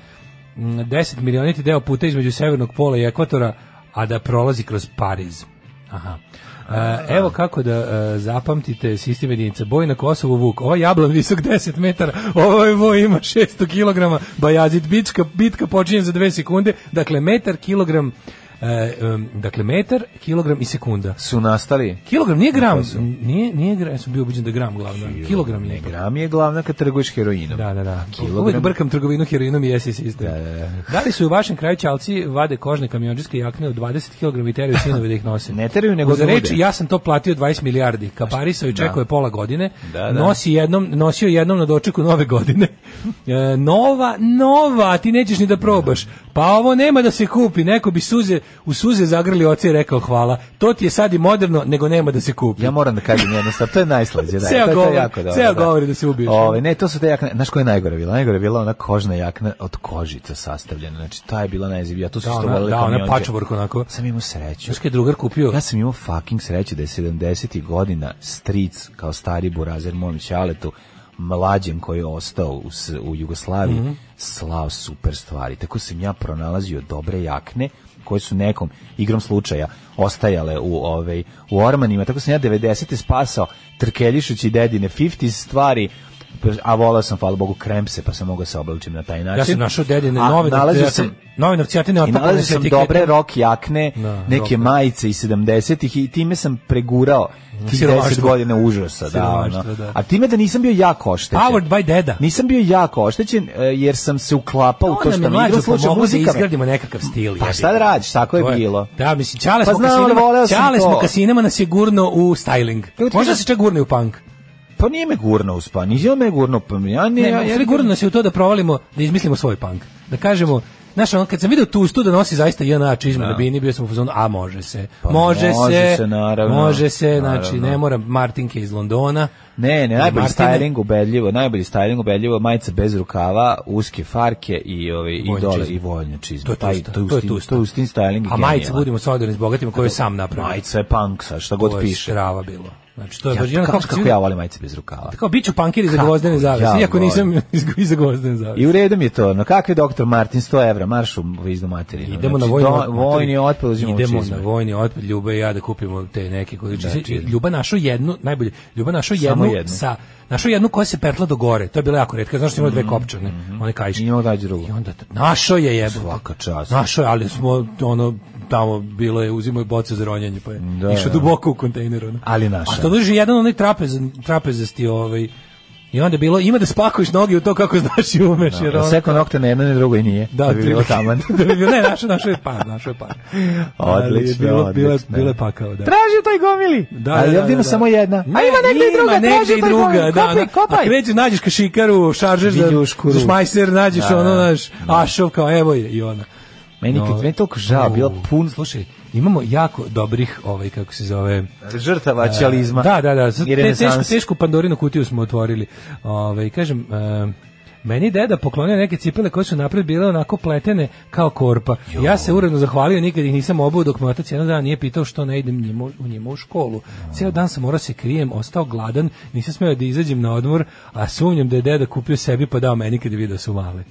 Speaker 6: 10 milioniti deo puta između severnog pola i ekvatora, a da prolazi kroz Pariz. Aha. E, evo kako da e, zapamtite sistem jedinice. Boj na Kosovu Vuk. Ovaj jablan visok 10 metara, ovaj voj ima 600 kg, Bajazit bitka, bitka počinje za 2 sekunde, dakle metar, kilogram, e, em, dakle metar, kilogram i sekunda.
Speaker 5: su nastali
Speaker 6: Kilogram nije gram, nije, nije gram, ja sam bio ubiđen da je gram glavno, kilogram je.
Speaker 5: Gram je glavna kad trguješ heroinom.
Speaker 6: Da, da, da.
Speaker 5: Kilogram.
Speaker 6: Uvijek brkam trgovinu heroinom i SS sistem. Da,
Speaker 5: da, da.
Speaker 6: li su u vašem kraju čalci vade kožne kamionđiske jakne od 20 kg i teraju sinove da ih nose?
Speaker 5: Ne teraju, nego
Speaker 6: Uz reč,
Speaker 5: nude.
Speaker 6: ja sam to platio 20 milijardi. Kaparisa joj čekao je pola godine.
Speaker 5: Da, da.
Speaker 6: Nosi jednom, nosio je jednom na dočeku nove godine. E, nova, nova, a ti nećeš ni da probaš. Pa ovo nema da se kupi. Neko bi suze, u suze zagrli oce i rekao hvala. To ti je sad i moderno, nego nema da se kupi.
Speaker 5: Ja moram da kažem jednu stvar, to je najslađe, da.
Speaker 6: Ceo
Speaker 5: to je, to je
Speaker 6: govor-
Speaker 5: jako dobro.
Speaker 6: ceo govori da se ubiješ.
Speaker 5: Ove, ne, to su te jakne, znaš koja je najgore bila? Najgore je bila ona kožna jakna od kožica sastavljena, znači ta je bila najzivija, tu su
Speaker 6: Da,
Speaker 5: isto
Speaker 6: ona,
Speaker 5: volele
Speaker 6: da, ona
Speaker 5: kamionđe.
Speaker 6: patchwork onako.
Speaker 5: Sam imao sreću.
Speaker 6: Znaš kaj je drugar kupio?
Speaker 5: Ja sam imao fucking sreće da je 70. godina stric kao stari burazer mom Ćaletu mlađem koji je ostao u, s- u Jugoslaviji
Speaker 6: Mhm.
Speaker 5: slao super stvari. Tako sam ja pronalazio dobre jakne koje su nekom igrom slučaja ostajale u ovaj u ormanima. Tako sam ja 90. spasao trkeljišući dedine 50 stvari a volao sam, hvala Bogu, krempse, pa sam mogao se oblačim na taj način.
Speaker 6: Ja sam našao dedine
Speaker 5: Znači, A
Speaker 6: nove
Speaker 5: nalazio
Speaker 6: novcijatine.
Speaker 5: sam-
Speaker 6: Nove novcijatine
Speaker 5: i
Speaker 6: otpakane
Speaker 5: nalazio
Speaker 6: sa
Speaker 5: sam
Speaker 6: etiketom.
Speaker 5: dobre rok jakne,
Speaker 6: Da,
Speaker 5: neke
Speaker 6: rok.
Speaker 5: majice iz 70-ih i time sam pregurao tih
Speaker 6: Mm-hmm. Siromaštvo.
Speaker 5: 10 godina užasa. Da,
Speaker 6: Siromaštvo,
Speaker 5: ono.
Speaker 6: da. Pa,
Speaker 5: A time da nisam bio jako oštećen.
Speaker 6: Powered by deda.
Speaker 5: Nisam bio jako oštećen e, jer sam se uklapao u to
Speaker 6: Ona
Speaker 5: što
Speaker 6: mi
Speaker 5: mi
Speaker 6: je
Speaker 5: igra
Speaker 6: Pa mlađo
Speaker 5: slučaj
Speaker 6: pomogla da
Speaker 5: muzika. me-
Speaker 6: izgradimo nekakav stil.
Speaker 5: Pa
Speaker 6: jebi
Speaker 5: šta da
Speaker 6: ga.
Speaker 5: radiš, tako je
Speaker 6: To
Speaker 5: bilo.
Speaker 6: Da, mislim, čale
Speaker 5: Pa
Speaker 6: smo
Speaker 5: znam, ali
Speaker 6: kasinama,
Speaker 5: voleo sam
Speaker 6: čale
Speaker 5: to.
Speaker 6: smo kasinama nas je gurno u styling.
Speaker 5: Kako ti
Speaker 6: Možda
Speaker 5: kažem?
Speaker 6: se čak gurne u punk.
Speaker 5: Pa nije me gurno uspa, nije me gurno pa ja
Speaker 6: Ne,
Speaker 5: nije,
Speaker 6: ja,
Speaker 5: ja, ja,
Speaker 6: gurno nas je u to da provalimo, da izmislimo svoj punk. Da kažemo, Znaš, ono, kad sam vidio tu stu da nosi zaista JNA čizme na bini, bio sam u fazonu, a može se.
Speaker 5: Pa
Speaker 6: može,
Speaker 5: može
Speaker 6: se,
Speaker 5: se, naravno.
Speaker 6: Može se, znači,
Speaker 5: Naravno.
Speaker 6: ne moram Martinke iz Londona.
Speaker 5: Ne, ne, najbolji
Speaker 6: Martine.
Speaker 5: styling ubedljivo, najbolji styling ubedljivo, majica bez rukava, uske farke i ove i
Speaker 6: Vojne
Speaker 5: dole
Speaker 6: čizme.
Speaker 5: Pa i voljne čizme.
Speaker 6: To je
Speaker 5: Taj-
Speaker 6: tusta,
Speaker 5: to je
Speaker 6: to je
Speaker 5: ustin,
Speaker 6: tusta.
Speaker 5: to je ustin styling.
Speaker 6: A majice
Speaker 5: genijalan.
Speaker 6: budimo solidarni s bogatima koje je sam napravio.
Speaker 5: Majica Pa, je punk, sa šta god
Speaker 6: To je
Speaker 5: piše.
Speaker 6: strava bilo. Znači, to je
Speaker 5: Ja, pa
Speaker 6: baš jedan
Speaker 5: kako,
Speaker 6: kako-
Speaker 5: kako ja volim majice bez rukava.
Speaker 6: Kao bit ću punker iza
Speaker 5: Kako
Speaker 6: gvozdene zavese,
Speaker 5: ja
Speaker 6: iako nisam
Speaker 5: volim.
Speaker 6: iza gvozdene zavese.
Speaker 5: I u redu mi je to, no kakvi doktor Martin, 100 evra, marš u viznu materinu.
Speaker 6: Idemo na
Speaker 5: Znači,
Speaker 6: vojni
Speaker 5: do-
Speaker 6: otpad.
Speaker 5: vojni otpad, uzimamo
Speaker 6: Idemo
Speaker 5: čizme. Znači-
Speaker 6: na vojni otpad, Ljuba i ja da kupimo te neke količine. Ljuba našo jednu, najbolje, Ljuba našo
Speaker 5: Samo
Speaker 6: jednu,
Speaker 5: jednu.
Speaker 6: sa, našo jednu koja se perla do gore. To je bila jako retka, znaš što ima dve
Speaker 5: Mm-hmm.
Speaker 6: kopčane, one kajiške.
Speaker 5: Nije mogu dađe drugo.
Speaker 6: I onda, t- našo je jebo.
Speaker 5: Svaka čast.
Speaker 6: Našo je, ali smo, ono, tamo bilo je, uzimo i boce za ronjanje, pa je
Speaker 5: Da,
Speaker 6: išao
Speaker 5: da.
Speaker 6: duboko u kontejner. Ono.
Speaker 5: Ali naša.
Speaker 6: A to duži jedan onaj trapez, trapezasti ovaj, I onda je bilo, ima da spakuješ noge u to kako znaš i umeš. jer
Speaker 5: Ja
Speaker 6: ono-
Speaker 5: Seko nokte na jedno, na drugo i nije.
Speaker 6: da,
Speaker 5: e, Da, bi bilo
Speaker 6: otprilike.
Speaker 5: taman.
Speaker 6: da bi bilo, ne, našo, našo je par, našo je par. Ali je
Speaker 5: Odlično,
Speaker 6: bilo, bilo, je-
Speaker 5: odlično.
Speaker 6: bilo je pakao, da.
Speaker 5: Traži u toj gomili.
Speaker 6: Da,
Speaker 5: Ali
Speaker 6: da, da,
Speaker 5: ovdje ima
Speaker 6: da.
Speaker 5: samo jedna. A
Speaker 6: Ne,
Speaker 5: ima negdje i druga,
Speaker 6: ima negdje
Speaker 5: traži u
Speaker 6: i
Speaker 5: toj
Speaker 6: druga,
Speaker 5: gomili.
Speaker 6: da,
Speaker 5: Kopaj,
Speaker 6: da.
Speaker 5: kopaj.
Speaker 6: A krećeš, nađeš kašikaru, šaržeš
Speaker 5: Viljušku,
Speaker 6: za, za
Speaker 5: ru.
Speaker 6: šmajser, nađeš
Speaker 5: Da,
Speaker 6: ono,
Speaker 5: da.
Speaker 6: naš, ašov, kao evo je, i ona.
Speaker 5: Meni kad
Speaker 6: No.
Speaker 5: meni je toliko žao, bilo pun
Speaker 6: Slušaj, imamo jako dobrih, ovaj, kako se zove...
Speaker 5: žrtava ćalizma.
Speaker 6: Da, da, da,
Speaker 5: i
Speaker 6: sad te, tešku,
Speaker 5: renesanse.
Speaker 6: tešku pandorinu kutiju smo otvorili. Ove, kažem, e, meni je deda poklonio neke cipele koje su napred bile onako pletene kao korpa. Ja se uredno zahvalio, nikad ih nisam obuo dok me otac jedan dan nije pitao što ne idem njima, u njima u školu. Cijel dan sam morao se krijem, ostao gladan, nisam smeo da izađem na odmor, a sumnjam da je deda kupio sebi pa dao meni kad je vidio da su male.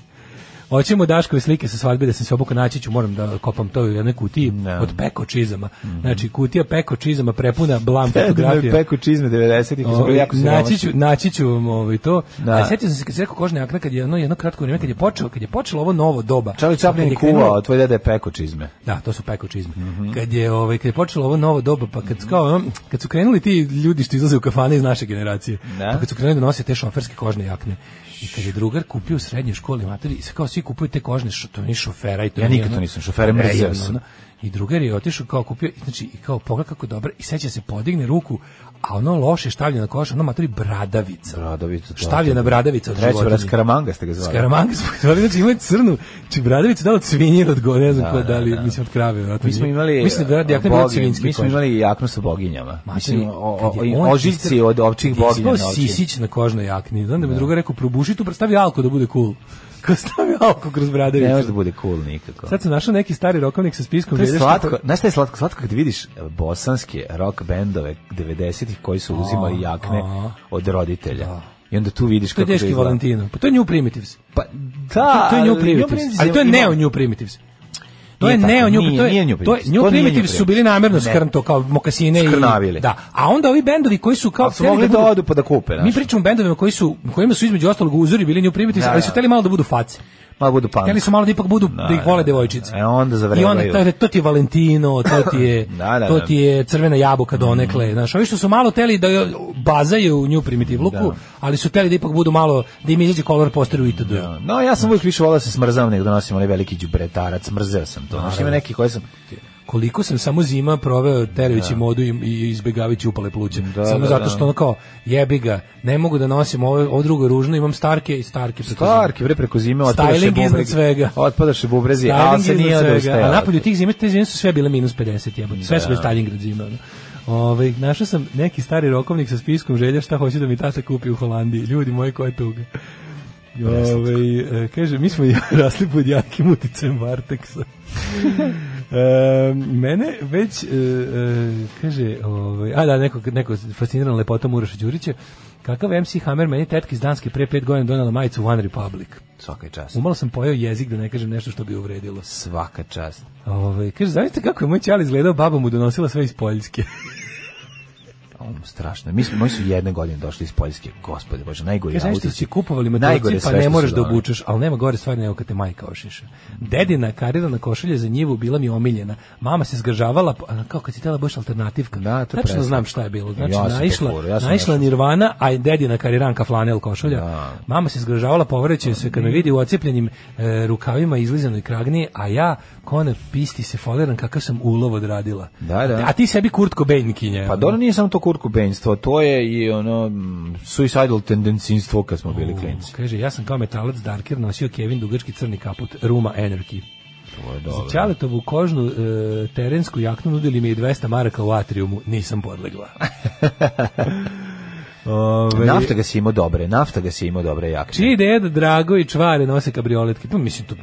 Speaker 6: Hoćemo Daškove slike sa svadbe da sam se obukao naći ću, moram da kopam to u jednoj kutiji od peko čizama. Znači kutija peko čizama prepuna blam fotografija.
Speaker 5: Peku čizme 90-ih, su bili jako
Speaker 6: naći ću,
Speaker 5: siromašni.
Speaker 6: naći ću vam ovaj to.
Speaker 5: Da.
Speaker 6: A sjetio sam se kad se rekao kožne jakne, kad je jedno, jedno kratko vrijeme, kad je počelo, kad je počelo ovo novo doba.
Speaker 5: Charlie Chaplin
Speaker 6: kad
Speaker 5: je
Speaker 6: je krenulo-
Speaker 5: kuvao, a tvoj deda je peko čizme.
Speaker 6: Da, to su peko čizme.
Speaker 5: Mhm.
Speaker 6: Kad je ovaj kad je počelo ovo novo doba, pa kad kao ono, kad su krenuli ti ljudi što izlaze u kafane iz naše generacije,
Speaker 5: Da.
Speaker 6: pa kad su krenuli da nose te šoferske kožne jakne. I kad je drugar kupio u srednjoj školi mater i sad kao svi kupuju te kožne što to nije šofera i to
Speaker 5: Ja
Speaker 6: nije
Speaker 5: nikad to
Speaker 6: ono-
Speaker 5: nisam, šofere mrzeo
Speaker 6: Ejebno,
Speaker 5: sam.
Speaker 6: ono. I drugar je otišao kao kupio, i znači i kao pogled kako dobro i seća se podigne ruku, a ono loše stavljena koša, ono materi bradavica.
Speaker 5: Bradavica, da.
Speaker 6: Stavljena bradavica od
Speaker 5: Treći brat
Speaker 6: životinje.
Speaker 5: Skaramanga ste ga zvali.
Speaker 6: Skaramanga smo ga zvali, znači imaju crnu, či bradavicu da li od svinje ili od gore, ne znam ko da li, mislim od krave. vjerojatno
Speaker 5: Mi smo
Speaker 6: nije.
Speaker 5: imali
Speaker 6: mislim da je jakna bila od
Speaker 5: bogi,
Speaker 6: svinjske
Speaker 5: mi smo
Speaker 6: kože.
Speaker 5: imali jaknu sa boginjama.
Speaker 6: Ma,
Speaker 5: Mislim,
Speaker 6: kad
Speaker 5: o,
Speaker 6: je-
Speaker 5: o,
Speaker 6: kad je on
Speaker 5: o, ožiljci
Speaker 6: istrao-
Speaker 5: od općih
Speaker 6: je
Speaker 5: boginja. znači,
Speaker 6: ispao
Speaker 5: na oči.
Speaker 6: sisić na kožnoj jakni, onda bi druga rekao, probuši tu, stavi alko da bude cool. Kao stavi alko kroz
Speaker 5: Ne može da
Speaker 6: bradavicu.
Speaker 5: bude cool nikako.
Speaker 6: Sad sam našao neki stari rokovnik sa spiskom.
Speaker 5: To je
Speaker 6: želja što-
Speaker 5: slatko, znaš šta je slatko? Slatko kad vidiš e, bosanske rock bendove 90-ih koji su uzimali jakne od roditelja. I onda tu vidiš
Speaker 6: To je
Speaker 5: kako
Speaker 6: deški
Speaker 5: izgleda.
Speaker 6: Valentino. Pa to je New Primitives.
Speaker 5: Pa, da,
Speaker 6: to je New
Speaker 5: ali
Speaker 6: Primitives. Ali to je
Speaker 5: ima-
Speaker 6: Neo New Primitives. To
Speaker 5: Nije
Speaker 6: je
Speaker 5: tako,
Speaker 6: Neo New
Speaker 5: nije,
Speaker 6: to je,
Speaker 5: nije New
Speaker 6: to je-
Speaker 5: Primitives. To nije New
Speaker 6: Primitives su bili
Speaker 5: Primitives.
Speaker 6: namjerno
Speaker 5: Ne.
Speaker 6: skrnto kao mokasine i
Speaker 5: Skrnavili.
Speaker 6: da. A onda ovi bendovi koji su kao
Speaker 5: Ali su mogli da
Speaker 6: budu-
Speaker 5: odu pa da kupe,
Speaker 6: Mi
Speaker 5: znaš.
Speaker 6: pričamo o bendovima koji su kojima su između ostalog uzori bili New Primitives,
Speaker 5: Da,
Speaker 6: ali
Speaker 5: da.
Speaker 6: su teli malo da budu face.
Speaker 5: Malo budu punk.
Speaker 6: Hteli su malo da ipak budu da ih
Speaker 5: da,
Speaker 6: vole
Speaker 5: da.
Speaker 6: devojčice.
Speaker 5: E, onda
Speaker 6: I
Speaker 5: zavrebaju.
Speaker 6: onda to, to ti je Valentino, to ti je,
Speaker 5: Da, da,
Speaker 6: to
Speaker 5: da. Mm.
Speaker 6: ti je crvena jabuka donekle. Znaš, ovi što su malo teli da joj bazaju u New Primitive luku, ali su teli da ipak budu malo, da im izađe kolor posteru i itd.
Speaker 5: No, ja sam uvijek više volao da se smrzam nego da nosim onaj veliki đubretarac, mrzeo sam to. Znaš, ima neki koji sam...
Speaker 6: Koliko sam samo zima proveo terajući modu i, i izbegavajući upale pluće. samo
Speaker 5: da,
Speaker 6: zato
Speaker 5: da.
Speaker 6: što ono kao, jebi ga, ne mogu da nosim ovo, ovo drugo ružno, imam starke i starke. preko zime.
Speaker 5: Starki, bre, preko zime otpadaš
Speaker 6: Styling iznad svega.
Speaker 5: Otpadaš i bubrezi, ali
Speaker 6: Styling
Speaker 5: se nije
Speaker 6: iznad svega.
Speaker 5: odustajao.
Speaker 6: A napolju tih zime, te zime su sve bile minus 50, jebote. Sve su bile Stalingrad zime. Ono. Ove, našao sam neki stari rokovnik sa spiskom želja šta hoću da mi tata kupi u Holandiji. Ljudi moji, koja tuga. Ove, e, kaže, mi smo ja- rasli pod jakim uticajem Varteksa. E, mene već e, e, kaže ovaj a da neko neko fasciniran lepotom Uroša Đurića kakav MC Hammer meni tetka iz Danske pre 5 godina donela majicu One Republic
Speaker 5: Svaka je čast.
Speaker 6: umalo sam pojeo jezik da ne kažem nešto što bi uvredilo
Speaker 5: Svaka čast.
Speaker 6: Ove, Ovaj, kaže, zamislite kako je moj ćali izgledao, baba mu donosila sve iz Poljske.
Speaker 5: Um, strašno. je. Mi smo, moji su jedne godine došli iz Poljske. Gospode Bože, najgori
Speaker 6: Kaže, znaš ti
Speaker 5: auti.
Speaker 6: si kupovali motorci,
Speaker 5: Najgore
Speaker 6: pa
Speaker 5: sve
Speaker 6: ne
Speaker 5: što
Speaker 6: moraš
Speaker 5: su
Speaker 6: da
Speaker 5: doneli.
Speaker 6: obučeš, ali nema gore stvari nego kad te majka ošiša. Dedina karirana košulja za njivu bila mi omiljena. Mama se zgražavala, pa- a kao kad si tela baš alternativka.
Speaker 5: Da, to
Speaker 6: Tačno
Speaker 5: preslatko.
Speaker 6: znam šta je bilo. Znači,
Speaker 5: Ja sam to
Speaker 6: naišla,
Speaker 5: furao, ja sam
Speaker 6: naišla
Speaker 5: našao.
Speaker 6: nirvana, a i dedina kariranka flanel košulja. Mama se zgražavala, povreće se kad me vidi u ocepljenim e, rukavima, izlizanoj kragni, a ja, kona pisti se foliran kakav sam ulov odradila.
Speaker 5: Da, da.
Speaker 6: A ti sebi kurtko bejnikinje.
Speaker 5: Pa dobro, nije samo to kurkubenjstvo, to je i ono mm, suicidal tendencinstvo kad smo bili klinci.
Speaker 6: Kaže, ja sam kao metalac Darker nosio Kevin Dugački crni kaput Ruma Energy.
Speaker 5: To je
Speaker 6: Za
Speaker 5: dobro.
Speaker 6: Ćaletovu kožnu e, terensku jaknu nudili mi je 200 maraka u atriumu. Nisam podlegla. Ove,
Speaker 5: Nafta ga si imao dobre, nafta ga si imao dobre jakne.
Speaker 6: Čija ideja je da Drago i Čvare nose kabrioletke? Pa mislim, to,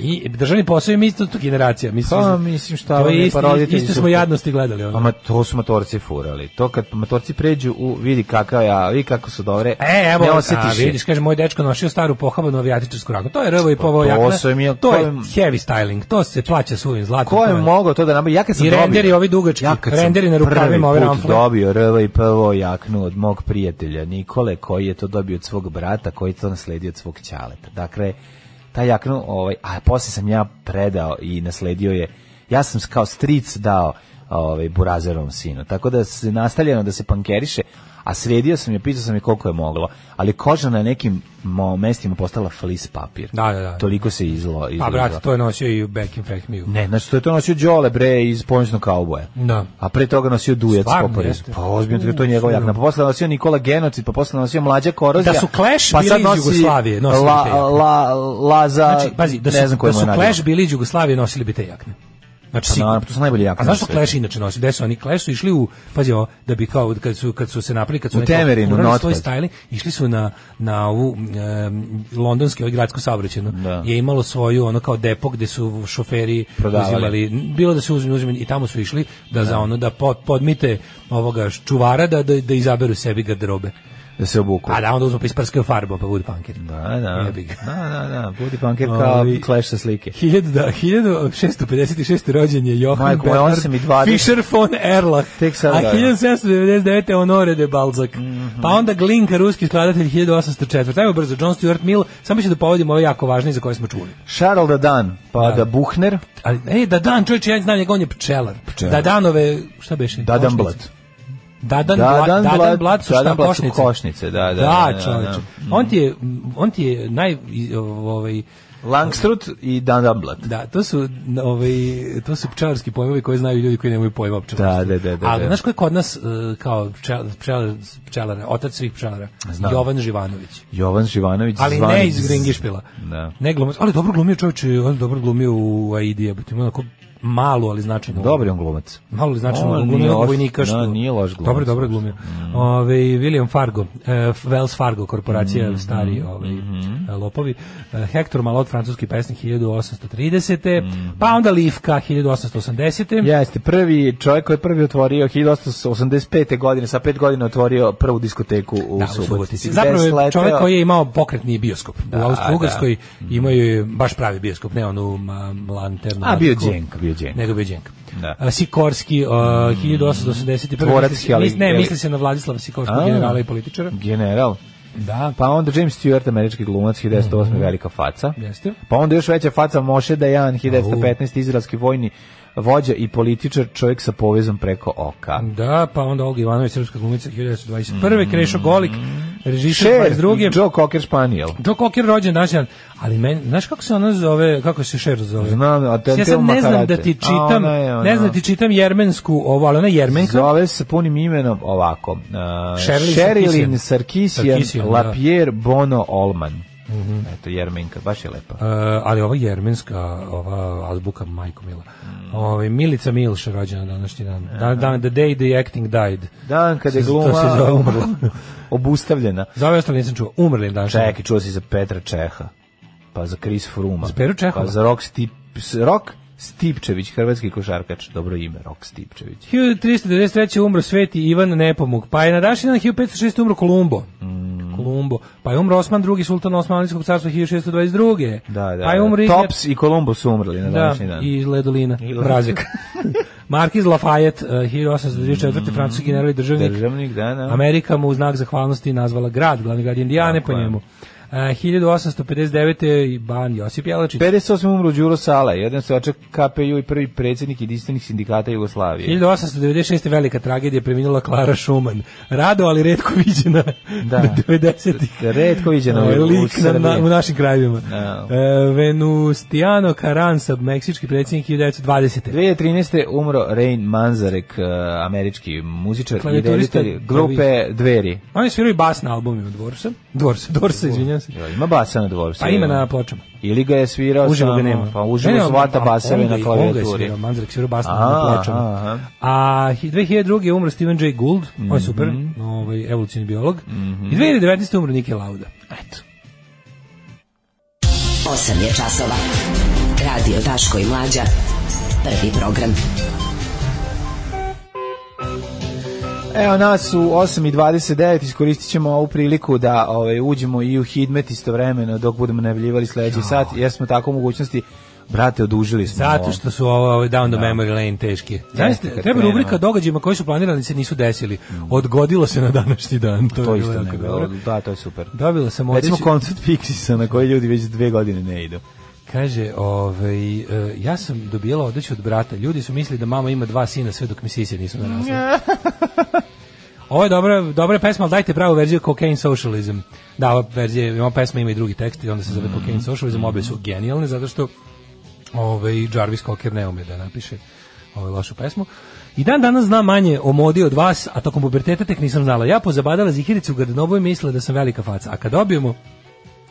Speaker 6: mi, državni posao je mi isto tu generacija. Mislim,
Speaker 5: Pa, mislim, šta
Speaker 6: to
Speaker 5: vam
Speaker 6: je
Speaker 5: je,
Speaker 6: isto,
Speaker 5: pa roditelji
Speaker 6: isto
Speaker 5: su-
Speaker 6: smo jadnosti gledali. Ono.
Speaker 5: A ma to su motorci furali. To kad motorci pređu u vidi kakav ja, vidi kako su dobre.
Speaker 6: E, evo,
Speaker 5: ne
Speaker 6: a,
Speaker 5: osjetiš je.
Speaker 6: vidiš, kaže, moj dečko nosio staru pohabanu avijatičarsku ragu. To je rvo i povo
Speaker 5: Pa to
Speaker 6: jakna.
Speaker 5: sam ja-
Speaker 6: to je
Speaker 5: kojem-
Speaker 6: heavy styling. To se plaća suvim zlatom.
Speaker 5: Ko
Speaker 6: to
Speaker 5: je
Speaker 6: je-
Speaker 5: mogao to da nabavi? Ja kad sam
Speaker 6: I
Speaker 5: dobio,
Speaker 6: renderi ovi dugački,
Speaker 5: ja kad
Speaker 6: renderi
Speaker 5: sam
Speaker 6: na rukavima, ove
Speaker 5: prvi put
Speaker 6: ramfle.
Speaker 5: dobio rv i prvo jaknu od mog prijatelja Nikole, koji je to dobio od svog brata, koji je to nasledio od svog ćaleta. Dakle, ta jaknu, ovaj, a posle sam ja predao i nasledio je, ja sam kao stric dao ovaj, burazerovom sinu. Tako da se nastavljeno da se pankeriše, a sredio sam je, pitao sam je koliko je moglo, ali koža na nekim mo, mestima postala flis papir.
Speaker 6: Da, da, da.
Speaker 5: Toliko se izlo, izlo.
Speaker 6: Pa, brate, to je nosio i Back in Fact Me.
Speaker 5: Ne, znači to je to nosio Đole bre iz ponosnog kauboja.
Speaker 6: Da.
Speaker 5: A pre toga nosio Dujac
Speaker 6: Stvarno
Speaker 5: Popariz.
Speaker 6: jeste.
Speaker 5: Pa ozbiljno to je njegov jakna. Pa posle nosio Nikola Genocid, pa posle nosio Mlađa Korozija.
Speaker 6: Da su Clash
Speaker 5: pa
Speaker 6: bili
Speaker 5: sad
Speaker 6: iz
Speaker 5: nosi
Speaker 6: Jugoslavije, nosili
Speaker 5: la,
Speaker 6: te
Speaker 5: la,
Speaker 6: jakne.
Speaker 5: la, Laza,
Speaker 6: Znači, pazi, da su,
Speaker 5: ne znam koje
Speaker 6: da su Clash bili iz Jugoslavije, nosili bi te jakne. Znači, sigurno.
Speaker 5: Pa naravno, to su najbolje jakne na
Speaker 6: A znaš što
Speaker 5: svetu.
Speaker 6: Clash inače nosi? Gde su oni Clash su išli u, pazi ovo, da bi kao, kad su, kad su se napili, kad su
Speaker 5: U
Speaker 6: neko
Speaker 5: Temerinu,
Speaker 6: furali
Speaker 5: notpad.
Speaker 6: svoj styling, išli su na, na ovu em, londonski, ovaj gradsko saobraćajno,
Speaker 5: Da.
Speaker 6: je imalo svoju, ono kao depo gde su šoferi
Speaker 5: Prodavali.
Speaker 6: uzimali, bilo da se uzme, uzme, i tamo su išli, da, za ono, da pod, podmite ovoga čuvara, da, da, da izaberu sebi garderobe.
Speaker 5: da se obuku.
Speaker 6: A da onda uzmu pa isprskaju farbom, pa budu punkeri.
Speaker 5: Da, da.
Speaker 6: Jebi ga.
Speaker 5: Da, da, da. Budi punker kao
Speaker 6: Ovi-
Speaker 5: Clash sa slike.
Speaker 6: 1000, da, 1656. rođen je Johan
Speaker 5: Majko moja, osam i
Speaker 6: Bernard
Speaker 5: dvadeset.
Speaker 6: Fischer von Erlach,
Speaker 5: Tek sad,
Speaker 6: a
Speaker 5: da, Mhm. da.
Speaker 6: 1799. Honore de Balzac. Pa onda Glinka, ruski skladatelj 1804. Ajmo brzo, John Stuart Mill, samo ću da povodim ove jako važne za koje smo čuli.
Speaker 5: Charles da Dan, pa da, Buchner,
Speaker 6: Ali, ej, Dadan, čovječe, ja znam njega, on je pčelar.
Speaker 5: Pčelar.
Speaker 6: Dadanove, šta beše?
Speaker 5: Dadan
Speaker 6: Košnice.
Speaker 5: Blad.
Speaker 6: Dadan,
Speaker 5: Dadan
Speaker 6: Bla- Dadan,
Speaker 5: Blad-
Speaker 6: Blad su
Speaker 5: Dadan
Speaker 6: šta,
Speaker 5: Blad su
Speaker 6: košnice?
Speaker 5: košnice, da, da, da,
Speaker 6: Da,
Speaker 5: da,
Speaker 6: čovječe.
Speaker 5: da.
Speaker 6: On ti je, on ti je naj, i, ovaj,
Speaker 5: Langstrut i Dan Blad.
Speaker 6: Da, to su n- ovaj to su pčelarski pojmovi koje znaju ljudi koji nemaju pojma o pčelarstvu.
Speaker 5: Da, da, da, da,
Speaker 6: Ali
Speaker 5: da.
Speaker 6: znaš ko je kod nas e, kao pčelar, pčelar, pčelara, otac svih pčelara?
Speaker 5: Znam.
Speaker 6: Jovan Živanović.
Speaker 5: Jovan Živanović
Speaker 6: Ali
Speaker 5: zvani
Speaker 6: ne iz Gringišpila.
Speaker 5: Da.
Speaker 6: Ne glumac, ali dobro glumio čovječe, on dobro glumio u Aidi, jebote, ima onako malo, ali značajno.
Speaker 5: Dobar je on glumac.
Speaker 6: Malo li znači
Speaker 5: On
Speaker 6: malo
Speaker 5: nije
Speaker 6: glumio
Speaker 5: loš,
Speaker 6: vojnika što...
Speaker 5: da, nije loš glumac. mm-hmm.
Speaker 6: Dobro, dobro je glumio. Ovaj William Fargo, eh, Wells Fargo korporacija
Speaker 5: Mm-hmm.
Speaker 6: stari ovaj eh, lopovi. Eh, Hector Malot francuski pesnik 1830.
Speaker 5: Mm-hmm.
Speaker 6: Pa onda Livka 1880.
Speaker 5: Jeste, prvi čovjek koji je prvi otvorio 1885. godine, sa pet godina otvorio prvu diskoteku u
Speaker 6: Da, u Subotici. Zapravo je
Speaker 5: Desleteo-
Speaker 6: čovjek koji je imao pokretni bioskop.
Speaker 5: Da, Mm-hmm.
Speaker 6: u Austro-Ugarskoj imaju je baš pravi bioskop, ne onu ma, lanternu.
Speaker 5: A, bio je
Speaker 6: veliku,
Speaker 5: Đenka, bio je Đenka.
Speaker 6: Nego bio je Đenka.
Speaker 5: Da.
Speaker 6: A, Sikorski, uh, 1881.
Speaker 5: Tvorac
Speaker 6: misli se-
Speaker 5: Heli-
Speaker 6: mis- Ne,
Speaker 5: Heli-
Speaker 6: misli se na Vladislava Sikorskog,
Speaker 5: A.
Speaker 6: generala i političara.
Speaker 5: General.
Speaker 6: Da,
Speaker 5: Pa onda James Stewart, američki glumac, 1908. velika faca.
Speaker 6: Mhm. Jeste.
Speaker 5: Pa onda još veća faca Moshe Dayan, 1915. izraelski vojni vođa i političar, čovjek sa povezom preko oka.
Speaker 6: Da, pa onda Olga Ivanović, srpska glumica 1921.
Speaker 5: Mm.
Speaker 6: Krešo Golik, režiser
Speaker 5: Cher,
Speaker 6: 22.
Speaker 5: Joe Cocker Spaniel.
Speaker 6: Joe Cocker rođen naš dan. Ali men, znaš kako se ona zove, kako se Šer zove?
Speaker 5: Znam, a te-
Speaker 6: ja
Speaker 5: te
Speaker 6: sad ne znam
Speaker 5: Makarate.
Speaker 6: da ti
Speaker 5: A,
Speaker 6: čitam,
Speaker 5: ona je, ona.
Speaker 6: ne znam da ti čitam jermensku, ovo, ali ona je jermenka.
Speaker 5: Zove se punim imenom ovako. Uh,
Speaker 6: Sherilyn
Speaker 5: Sherilyn
Speaker 6: Sarkisian.
Speaker 5: Sarkisian,
Speaker 6: Sarkisian, da. Mhm.
Speaker 5: Lapierre Bono Olman. Eto, Jermenka, baš je lepa.
Speaker 6: E, ali ova jermenska, ova azbuka majko mila.
Speaker 5: Mm.
Speaker 6: Ovaj Milica Milš je rođena današnji dan. Dan, dan, the day the acting died.
Speaker 5: Dan kada je
Speaker 6: To se
Speaker 5: gluma
Speaker 6: zove
Speaker 5: umrla. obustavljena.
Speaker 6: Za ove ostale nisam čuo. Umrli je današnji dan.
Speaker 5: Čekaj, čuo si za Petra Čeha, pa za Chris Fruma.
Speaker 6: Za Peru Čehova?
Speaker 5: Pa za Rok, Stip, Rok Stipčević, hrvatski košarkač. Dobro ime, Rok Stipčević.
Speaker 6: 1393. umro Sveti Ivan Nepomuk, pa je na današnji dan 1506. umro Kolumbo.
Speaker 5: Mm.
Speaker 6: Kolumbo. Pa je umro Osman II, sultan Osmanlijskog carstva 1622.
Speaker 5: Da, da.
Speaker 6: Pa je umro Ignat-
Speaker 5: Tops i Kolumbo su umrli na
Speaker 6: da,
Speaker 5: današnji dan.
Speaker 6: i Ledolina,
Speaker 5: Ledolina.
Speaker 6: Mrazek. Markiz Lafayette, eh, 1824. francuski general i državnik.
Speaker 5: Mm. Državnik, da, da.
Speaker 6: Amerika mu u znak zahvalnosti nazvala grad, glavni grad Indijane
Speaker 5: Tako
Speaker 6: po
Speaker 5: je.
Speaker 6: njemu. Eh, 1859. i ban Josip Jelačić.
Speaker 5: 58. umro Đuro Sala, jedan se očak KPU i prvi predsjednik jedinstvenih sindikata Jugoslavije.
Speaker 6: 1896. velika tragedija preminula Klara Šuman. Rado, ali redko viđena
Speaker 5: Da.
Speaker 6: da. 90-ih.
Speaker 5: Redko viđena u-
Speaker 6: E, Lik
Speaker 5: u
Speaker 6: na- na-
Speaker 5: Srbiji.
Speaker 6: u našim krajevima.
Speaker 5: Da.
Speaker 6: E, Venustiano Carranza, meksički predsjednik 1920.
Speaker 5: 2013. umro Rain Manzarek, eh, američki muzičar i
Speaker 6: Klavijaturista,
Speaker 5: reditelj grupe
Speaker 6: klavi-
Speaker 5: Dveri.
Speaker 6: Oni sviraju bas na albumima Dvorsa. Dorsa, Dorsa, izvinjam se.
Speaker 5: Jel, Ima basa na dvoru.
Speaker 6: Pa ima na pločama.
Speaker 5: Ili ga je svirao
Speaker 6: Uživo ga
Speaker 5: samo,
Speaker 6: nema.
Speaker 5: Pa uživo
Speaker 6: Ne, ne,
Speaker 5: su vata
Speaker 6: a
Speaker 5: baseve
Speaker 6: onda
Speaker 5: na
Speaker 6: i- Onda je
Speaker 5: klavijaturi.
Speaker 6: svirao, Manzarek svirao bas na
Speaker 5: Aha,
Speaker 6: pločama.
Speaker 5: aha.
Speaker 6: A hi- 2002. je umro Steven J. Gould, on je super,
Speaker 5: Mhm.
Speaker 6: ovaj, evolucijni biolog. I 2019. je umro Nike Lauda. Eto.
Speaker 4: 8 je časova. Radio Daško i Mlađa. Prvi program.
Speaker 5: Evo nas u 8.29 iskoristit ćemo ovu priliku da ovaj, uđemo i u Hidmet istovremeno dok budemo najavljivali sledeći sat jer smo tako u mogućnosti Brate, odužili smo. ovo.
Speaker 6: Zato što su ovo ove down the memory lane teški. Zaista,
Speaker 5: kad krenu.
Speaker 6: treba
Speaker 5: Mm.
Speaker 6: rubrika o događajima koji su planirani se nisu desili. Odgodilo se na današnji dan. To,
Speaker 5: To
Speaker 6: je
Speaker 5: isto
Speaker 6: bilo
Speaker 5: ne
Speaker 6: jako
Speaker 5: bilo.
Speaker 6: dobro.
Speaker 5: Da, to je super.
Speaker 6: Dobila sam
Speaker 5: Recimo
Speaker 6: odeću.
Speaker 5: koncert Pixisa na koji ljudi već dve godine ne idu.
Speaker 6: Kaže, ovaj, e, ja sam dobijela odeću od brata. Ljudi su mislili da mama ima dva sina sve dok mi sise nisu narasle. Ovo je dobra, dobra pesma, ali dajte pravu verziju Cocaine Socialism. Da, ova verzija, ova pesma ima i drugi tekst i onda se zove Cocaine Socialism. Obe su genijalne zato što ovaj Jarvis Cocker ne ume da napiše ovaj lošu pesmu. I dan danas znam manje o modi od vas, a tokom puberteta tek nisam znala. Ja pozabadala zihiricu u garderobu i mislila da sam velika faca. A kad dobijemo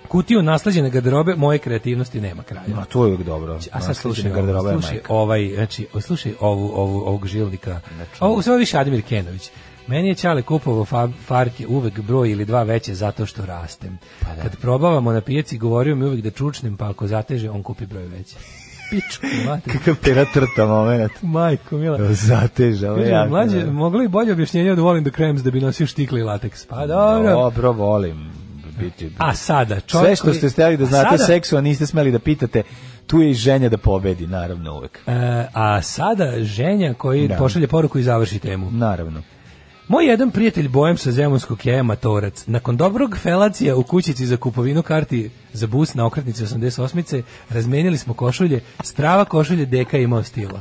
Speaker 6: kutiju nasleđene garderobe, moje kreativnosti nema kraja.
Speaker 5: A to je uvijek dobro.
Speaker 6: A sad slušaj,
Speaker 5: Nasleđena
Speaker 6: garderoba
Speaker 5: garderoba je
Speaker 6: slušaj
Speaker 5: majka. Znači.
Speaker 6: ovaj, znači, o, slušaj ovu, ovu, ovog žilnika. Ovo, sve ovo više Admir Kenović. Meni je Ćale kupovo fa, farke uvek broj ili dva veće zato što pa rastem. Kad probavamo na pijaci, govorio mi uvek da čučnem, pa ako zateže, on kupi broj veći. pičku, mate.
Speaker 5: Kakav pera trta moment.
Speaker 6: Majko, mila.
Speaker 5: Zateža, ovo je
Speaker 6: Kaže,
Speaker 5: jako.
Speaker 6: mlađe,
Speaker 5: dobro.
Speaker 6: mogli bi bolje objašnjenje od volim da krems da bi nosio štikle i lateks. Pa dobro.
Speaker 5: Dobro, volim biti.
Speaker 6: A sada, čovjek...
Speaker 5: Sve što
Speaker 6: koji-
Speaker 5: ste steli da
Speaker 6: A
Speaker 5: znate
Speaker 6: sada-
Speaker 5: o seksu, a niste smeli da pitate, tu je i ženja da pobedi, naravno uvek.
Speaker 6: E, a sada ženja koji
Speaker 5: Da.
Speaker 6: pošalje poruku i završi temu.
Speaker 5: Naravno.
Speaker 6: Moj jedan prijatelj bojem sa zemunskog je matorac. Nakon dobrog felacija u kućici za kupovinu karti za bus na okretnici 88-ice, razmenili smo košulje, strava košulje deka je imao stila.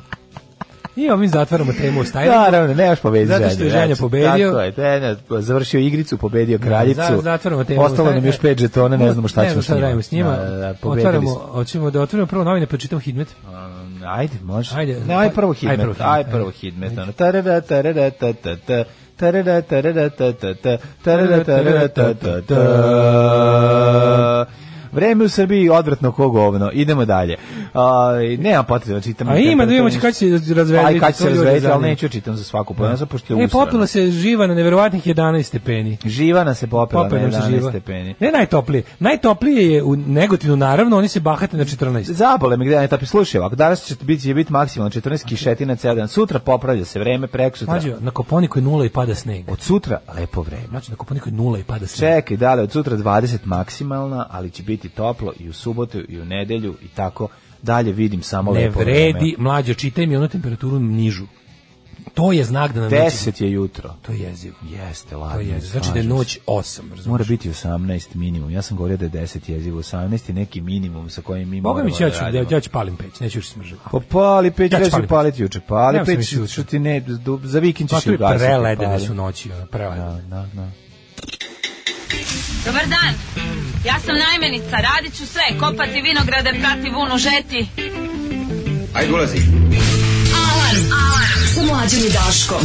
Speaker 6: I evo mi zatvaramo temu o stylingu.
Speaker 5: Naravno, nemaš pobedi
Speaker 6: E, Zato što
Speaker 5: ženju,
Speaker 6: je Ženja
Speaker 5: znači,
Speaker 6: pobedio.
Speaker 5: Tako je, te, ne, završio igricu, pobedio kraljicu.
Speaker 6: Za- zatvaramo temu.
Speaker 5: Ostalo nam još pet žetona, ne znamo šta ćemo s njima.
Speaker 6: radimo s njima.
Speaker 5: Da, da, da, pobedili
Speaker 6: Otvaramo,
Speaker 5: smo.
Speaker 6: hoćemo da otvorimo prvo novine, pa čitamo Hidmet.
Speaker 5: Um, Ajde, može.
Speaker 6: Ajde.
Speaker 5: ne, aj prvo hidmet.
Speaker 6: Ajde
Speaker 5: Aj
Speaker 6: prvo
Speaker 5: prvo
Speaker 6: hidmet,
Speaker 5: hidmet. Aj prvo hidmet. ono, tarara, tarara, ta, ta, ta, tarara, tarara, ta, ta, ta, tarara, tarara, ta, ta, ta. Vreme u Srbiji odvratno ko govno. Idemo dalje. Aj, nema potrebe da čitam.
Speaker 6: A ima da vidimo će kad će razvediti.
Speaker 5: Aj, kad će
Speaker 6: to
Speaker 5: se
Speaker 6: ljude
Speaker 5: razvediti, ali
Speaker 6: zanima.
Speaker 5: neću čitam za svaku pojedinačno, pošto je
Speaker 6: E,
Speaker 5: usrano.
Speaker 6: popila se živa na neverovatnih 11 stepeni.
Speaker 5: Živana se popela na
Speaker 6: Popela se
Speaker 5: 11
Speaker 6: živa.
Speaker 5: stepeni.
Speaker 6: Ne najtoplije. Najtoplije je u Negotinu, naravno, oni se bahate na 14.
Speaker 5: Zabole me gde ne tapi. Slušaj, ovako, danas će biti, će biti maksimalno 14 kišetina ceo dan. Sutra popravlja se vreme, preko sutra.
Speaker 6: Mađo, na Koponiku je nula i pada sneg.
Speaker 5: Od sutra lepo vreme.
Speaker 6: Mađo, na Koponiku je nula i pada sneg.
Speaker 5: Čekaj, da li od sutra 20 maksimalna, ali će biti toplo i u subotu i u nedelju i tako dalje vidim samo
Speaker 6: ne
Speaker 5: lepo
Speaker 6: vredi,
Speaker 5: vreme.
Speaker 6: mlađo, čitaj mi onu temperaturu nižu. To je znak da nam neće...
Speaker 5: 10 je jutro.
Speaker 6: To je jezivo.
Speaker 5: Jeste,
Speaker 6: To
Speaker 5: ladno.
Speaker 6: je
Speaker 5: je,
Speaker 6: jezivo. Znači da je noć 8, razumiješ?
Speaker 5: Mora biti 18 minimum. Ja sam govorio da je 10 jezivo. 18 je neki minimum sa kojim mi
Speaker 6: Boga
Speaker 5: moramo
Speaker 6: mi će, ja ću,
Speaker 5: da radimo.
Speaker 6: ja, ja ću palim peć, neću još smržiti.
Speaker 5: Pa pali peć,
Speaker 6: Ja ću
Speaker 5: ja ću
Speaker 6: paliti.
Speaker 5: paliti juče. Pali
Speaker 6: Ja sam
Speaker 5: peć,
Speaker 6: mislio juče.
Speaker 5: što ti ne, do- za vikend
Speaker 6: Pa
Speaker 5: ćeš
Speaker 6: tu
Speaker 5: ju
Speaker 6: je
Speaker 5: ugasiti.
Speaker 6: preledene
Speaker 5: pali.
Speaker 6: su noći, ono, preledene.
Speaker 5: Da, da.
Speaker 4: Dobar dan. Ja sam najmenica, radit ću sve, kopati vinograde, prati vunu, žeti.
Speaker 3: Ajde, ulazi.
Speaker 4: Alarm, alarm, sa mlađom i Daškom.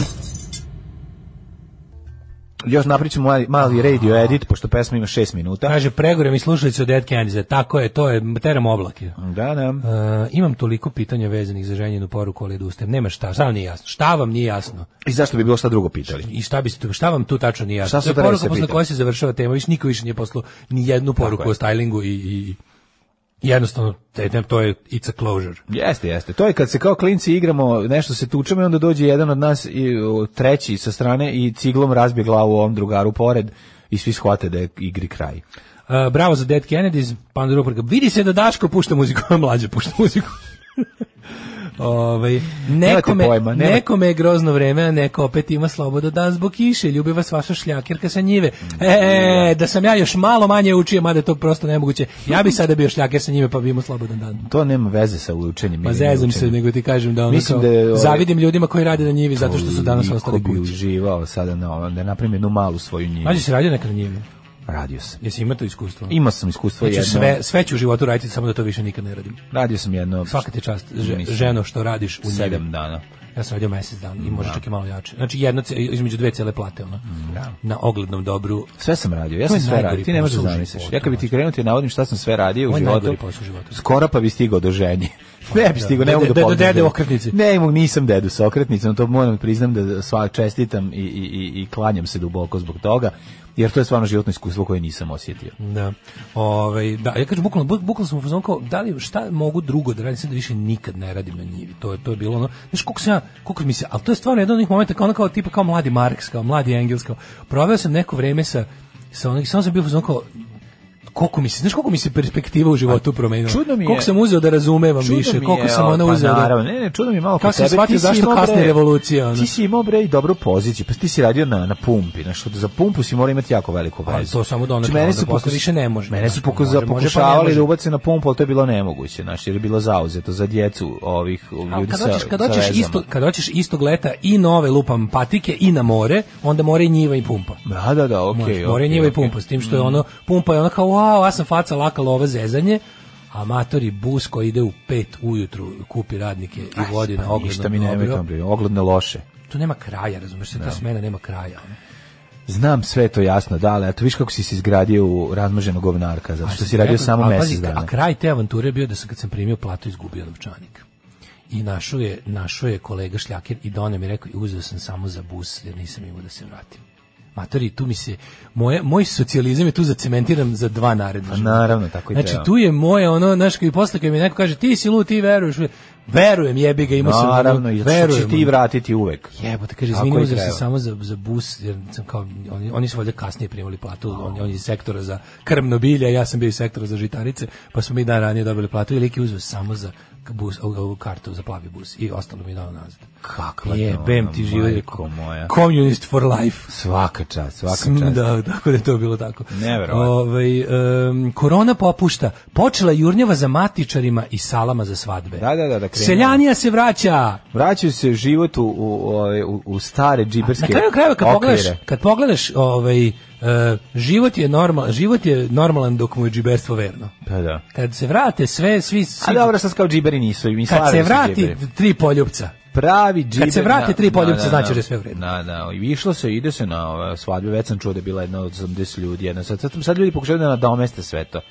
Speaker 5: Još napričam mali, mali radio edit, pošto pesma ima 6 minuta.
Speaker 6: Kaže, pregore mi slušalice od Ed Kennedyza. Tako je, to je, teram oblake.
Speaker 5: Da, da.
Speaker 6: Uh, imam toliko pitanja vezanih za ženjenu poruku, ali odustajem. Nema šta, šta vam nije jasno? Šta vam nije jasno?
Speaker 5: I zašto bi bilo šta drugo pitali?
Speaker 6: I šta bi se tu, šta vam tu tačno nije
Speaker 5: Šta
Speaker 6: jasno?
Speaker 5: su
Speaker 6: To je
Speaker 5: treba
Speaker 6: poruka
Speaker 5: se
Speaker 6: posle
Speaker 5: pitati?
Speaker 6: koje se završava tema, više niko više nije poslao ni jednu poruku
Speaker 5: je.
Speaker 6: o stylingu i, i, i jednostavno, te- te- to je it's a closure.
Speaker 5: Jeste, jeste. To je kad se kao klinci igramo, nešto se tučemo i onda dođe jedan od nas i o, treći sa strane i ciglom razbije glavu ovom drugaru pored i svi shvate da je igri kraj.
Speaker 6: Uh, bravo za Dead Kennedys, pa onda rubrika. Vidi se da Daško pušta muziku, a mlađe pušta muziku. Ovaj nekome,
Speaker 5: pojma, nemate-
Speaker 6: nekome je grozno vreme, a neko opet ima slobodu dan zbog kiše, ljubi vas vaša šljakerka sa njive. E, da sam ja još malo manje učio, mada je to prosto nemoguće, ja bi sada bio šljaker sa njive, pa bi imao slobodan dan.
Speaker 5: To nema veze sa učenjem.
Speaker 6: Ma
Speaker 5: ili
Speaker 6: Pa zezam se,
Speaker 5: neučenjem.
Speaker 6: nego ti kažem da ono
Speaker 5: Mislim
Speaker 6: kao,
Speaker 5: da je, ovaj,
Speaker 6: zavidim ljudima koji rade na njivi zato što su danas
Speaker 5: Koliko
Speaker 6: ostali
Speaker 5: bi
Speaker 6: kući.
Speaker 5: uživao sada na ovom, da napravim jednu malu svoju njivu.
Speaker 6: Mađe se radio neka na njivi.
Speaker 5: Radio sam.
Speaker 6: Jesi ima to iskustvo?
Speaker 5: Imao sam iskustvo
Speaker 6: Ja ću
Speaker 5: jedno.
Speaker 6: sve, sve ću u životu raditi, samo da to više nikad ne radim.
Speaker 5: Radio sam jedno.
Speaker 6: Svaka ti čast, že-
Speaker 5: Mislim,
Speaker 6: ženo, što radiš u njivi.
Speaker 5: Sedam dana.
Speaker 6: Ja sam radio mesec dana i možda čak i malo jače. Znači, jedno, ce- između dve cele plate, ono, na oglednom dobru.
Speaker 5: Sve sam radio, ja
Speaker 6: To
Speaker 5: sam
Speaker 6: je
Speaker 5: sve
Speaker 6: najgori
Speaker 5: radio, ti ne možeš da
Speaker 6: posao u
Speaker 5: zamisliš.
Speaker 6: životu,
Speaker 5: Ja kad bi ti
Speaker 6: znači.
Speaker 5: krenuo ti navodim šta sam sve radio u
Speaker 6: Ovo je
Speaker 5: životu,
Speaker 6: najgori posao u životu.
Speaker 5: skoro pa bi stigao do ženje. Ne bi stigao, ne
Speaker 6: Pa Do-
Speaker 5: mogu da
Speaker 6: do- do
Speaker 5: pogledam.
Speaker 6: dede okretnice.
Speaker 5: Ne, mogu, nisam dedu sa okretnicom, to moram da priznam da sva čestitam i, i, i, i klanjam se duboko zbog toga, jer to je stvarno životno iskustvo koje nisam osjetio.
Speaker 6: Da. Ovaj, da, ja kažem, bukvalno, buk- bukvalno sam u fazonu kao, da li, šta mogu drugo da radim, sad da više nikad ne radim na njivi. To je, to je bilo ono, znaš, koliko sam ja, koliko mi se, ali to je stvarno jedan od onih momenta kao ono kao, tipa kao mladi Marks, kao mladi Engels, kao, proveo sam neko vreme sa, sa onih, samo sam bio u fazonu kao, koliko mi se, znaš koliko mi se perspektiva u životu promenila.
Speaker 5: Pa, čudno mi je-
Speaker 6: Koliko sam uzeo da razumevam
Speaker 5: Čudno
Speaker 6: Pa više,
Speaker 5: mi
Speaker 6: koliko
Speaker 5: je,
Speaker 6: sam ono
Speaker 5: pa
Speaker 6: uzeo da...
Speaker 5: naravno, ne, ne, čudno mi je malo
Speaker 6: Kako
Speaker 5: kod
Speaker 6: sam
Speaker 5: tebe,
Speaker 6: shvatio
Speaker 5: ti si
Speaker 6: zašto
Speaker 5: imao,
Speaker 6: kasne
Speaker 5: bre,
Speaker 6: revolucije, ono.
Speaker 5: Ti si imao bre i dobru poziciju, pa ti si radio na, na pumpi, znaš, za pumpu si morao imati jako veliku vezu.
Speaker 6: Ali Pa to samo donekle,
Speaker 5: Znači, mene
Speaker 6: onda
Speaker 5: su
Speaker 6: posle
Speaker 5: pokus-
Speaker 6: više ne može,
Speaker 5: Mene su
Speaker 6: znaš,
Speaker 5: pokus-
Speaker 6: može, može, pa ne
Speaker 5: pokušavali
Speaker 6: može.
Speaker 5: da ubace na pumpu, ali to je bilo nemoguće, znaš, jer je bilo zauzeto za djecu ovih
Speaker 6: A
Speaker 5: ljudi
Speaker 6: kad
Speaker 5: sa,
Speaker 6: hoćeš kad
Speaker 5: sa
Speaker 6: hoćeš
Speaker 5: vezama.
Speaker 6: isto kad hoćeš istog leta i nove lupam patike i na more, onda more i njiva i pumpa.
Speaker 5: Da, da, da, okej. Mm.
Speaker 6: Okay,
Speaker 5: Okay,
Speaker 6: more i njiva i pumpa, s tim što je ono pumpa je ono kao wow, ja sam faca laka lova zezanje. Amatori bus koji ide u pet ujutru kupi radnike i vodi na
Speaker 5: pa Ništa
Speaker 6: ogledno
Speaker 5: mi nemoj
Speaker 6: dobro.
Speaker 5: tamo, bre, ogledne loše.
Speaker 6: Tu nema kraja, razumeš, se, ta smena nema kraja. ono.
Speaker 5: Znam sve to jasno, da, ali eto, viš kako si se izgradio u razmaženog govnarka, zato što si radio
Speaker 6: Rekao-
Speaker 5: samo
Speaker 6: a,
Speaker 5: mesec
Speaker 6: pazi,
Speaker 5: dana.
Speaker 6: A kraj te avanture je bio da sam kad sam primio platu izgubio novčanik. I našao je, našao je kolega šljaker i donio mi rekao i uzeo sam samo za bus jer nisam imao da se vratim. Matori, tu mi se moje moj socijalizam je tu zacementiran za dva naredna. života.
Speaker 5: Pa naravno, tako i
Speaker 6: Znači
Speaker 5: treba.
Speaker 6: tu je moje ono, znaš, i posle kad mi neko kaže ti si lud, ti veruješ, verujem, jebi ga, imao sam ono,
Speaker 5: Naravno, i zato što će
Speaker 6: verujem,
Speaker 5: ti
Speaker 6: ono.
Speaker 5: vratiti uvek.
Speaker 6: Jebote, kaže,
Speaker 5: Tako
Speaker 6: izvini,
Speaker 5: i
Speaker 6: uzeo sam
Speaker 5: treba.
Speaker 6: samo za, za bus, jer sam kao, oni, oni su valjda kasnije primali platu, oni, oni iz sektora za krmno bilje, ja sam bio iz sektora za žitarice, pa smo mi dan ranije dobili platu i lik je uzeo samo za bus, ovu- ovu kartu za plavi bus i ostalo mi je dao nazad.
Speaker 5: Kakva
Speaker 6: Jebem ti
Speaker 5: ono,
Speaker 6: živo,
Speaker 5: majko moja.
Speaker 6: communist for life.
Speaker 5: Svaka čast, svaka
Speaker 6: Mm,
Speaker 5: čast.
Speaker 6: Da, tako da je to bilo tako.
Speaker 5: Neverovatno.
Speaker 6: Ovaj, em, korona popušta. Počela jurnjava za matičarima i salama za svadbe.
Speaker 5: Da, da, da, da krenu.
Speaker 6: Seljanija se vraća.
Speaker 5: Vraćaju se život u, u, ove, u, u stare džiberske
Speaker 6: Na kraju krajeva kad pogledaš,
Speaker 5: okvire.
Speaker 6: kad pogledaš ovaj e, život je normal, život je normalan dok mu je džiberstvo verno.
Speaker 5: Pa da.
Speaker 6: Kad se vrate sve, svi,
Speaker 5: A
Speaker 6: svi
Speaker 5: dobro, sad kao džiberi nisu. i Mi
Speaker 6: kad se
Speaker 5: slavili su
Speaker 6: vrati
Speaker 5: džiberi.
Speaker 6: tri poljupca.
Speaker 5: pravi džiber...
Speaker 6: se vrate
Speaker 5: na-
Speaker 6: tri
Speaker 5: na-
Speaker 6: poljupca,
Speaker 5: na-
Speaker 6: znači da je sve u redu.
Speaker 5: Na, na, i išlo se, ide se na ove svadbe, već sam čuo da je bila jedna od 80 ljudi, jedna, sad, sad, sad ljudi pokušaju da nadomeste sve to.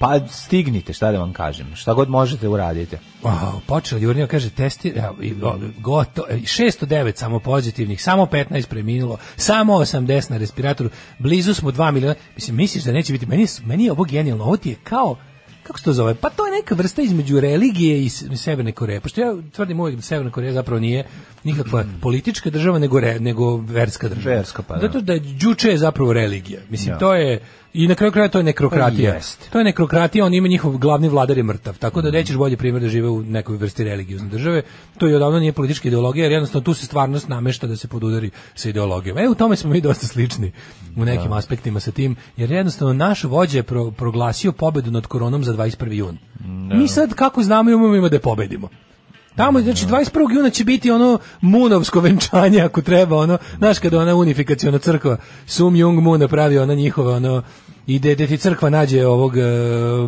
Speaker 5: Pa stignite, šta da vam kažem, šta god možete uradite.
Speaker 6: Wow, počela Jurnjeva, kaže, testi, evo, i- o, gotovo, e, 609 samo pozitivnih, samo 15 preminulo, samo 80 na respiratoru, blizu smo 2 miliona, mislim, misliš da neće biti, meni, je- meni je ovo genijalno, ovo ti je kao, kako se to zove, pa to je neka vrsta između religije i s- Severne Koreje, pošto ja tvrdim uvijek da Severna Koreja zapravo nije nikakva politička država, nego, re, nego verska država.
Speaker 5: Verska, pa da.
Speaker 6: Zato da je Đuče je zapravo religija, mislim, to je, i na kraju kraja to je
Speaker 5: Pa
Speaker 6: nekrokratija.
Speaker 5: jest. Mhm.
Speaker 6: To je nekrokratija, on ima njihov glavni vladar je mrtav. Tako da nećeš bolje primjer da žive u nekoj vrsti religiozne države. To je odavno nije politička ideologija, jer jednostavno tu se stvarnost namešta da se podudari sa ideologijom. E, u tome smo mi dosta slični u nekim aspektima sa tim, jer jednostavno naš vođa je pro- proglasio pobedu nad koronom za 21. jun. Mi sad kako znamo i umemo ima da je pobedimo. Tamo, znači, 21. juna će biti ono munovsko venčanje, ako treba, ono, znaš, kada ona unifikaciona crkva, Sum Jung Mu napravi ona njihova, ono, ide, gde ti crkva nađe ovog e,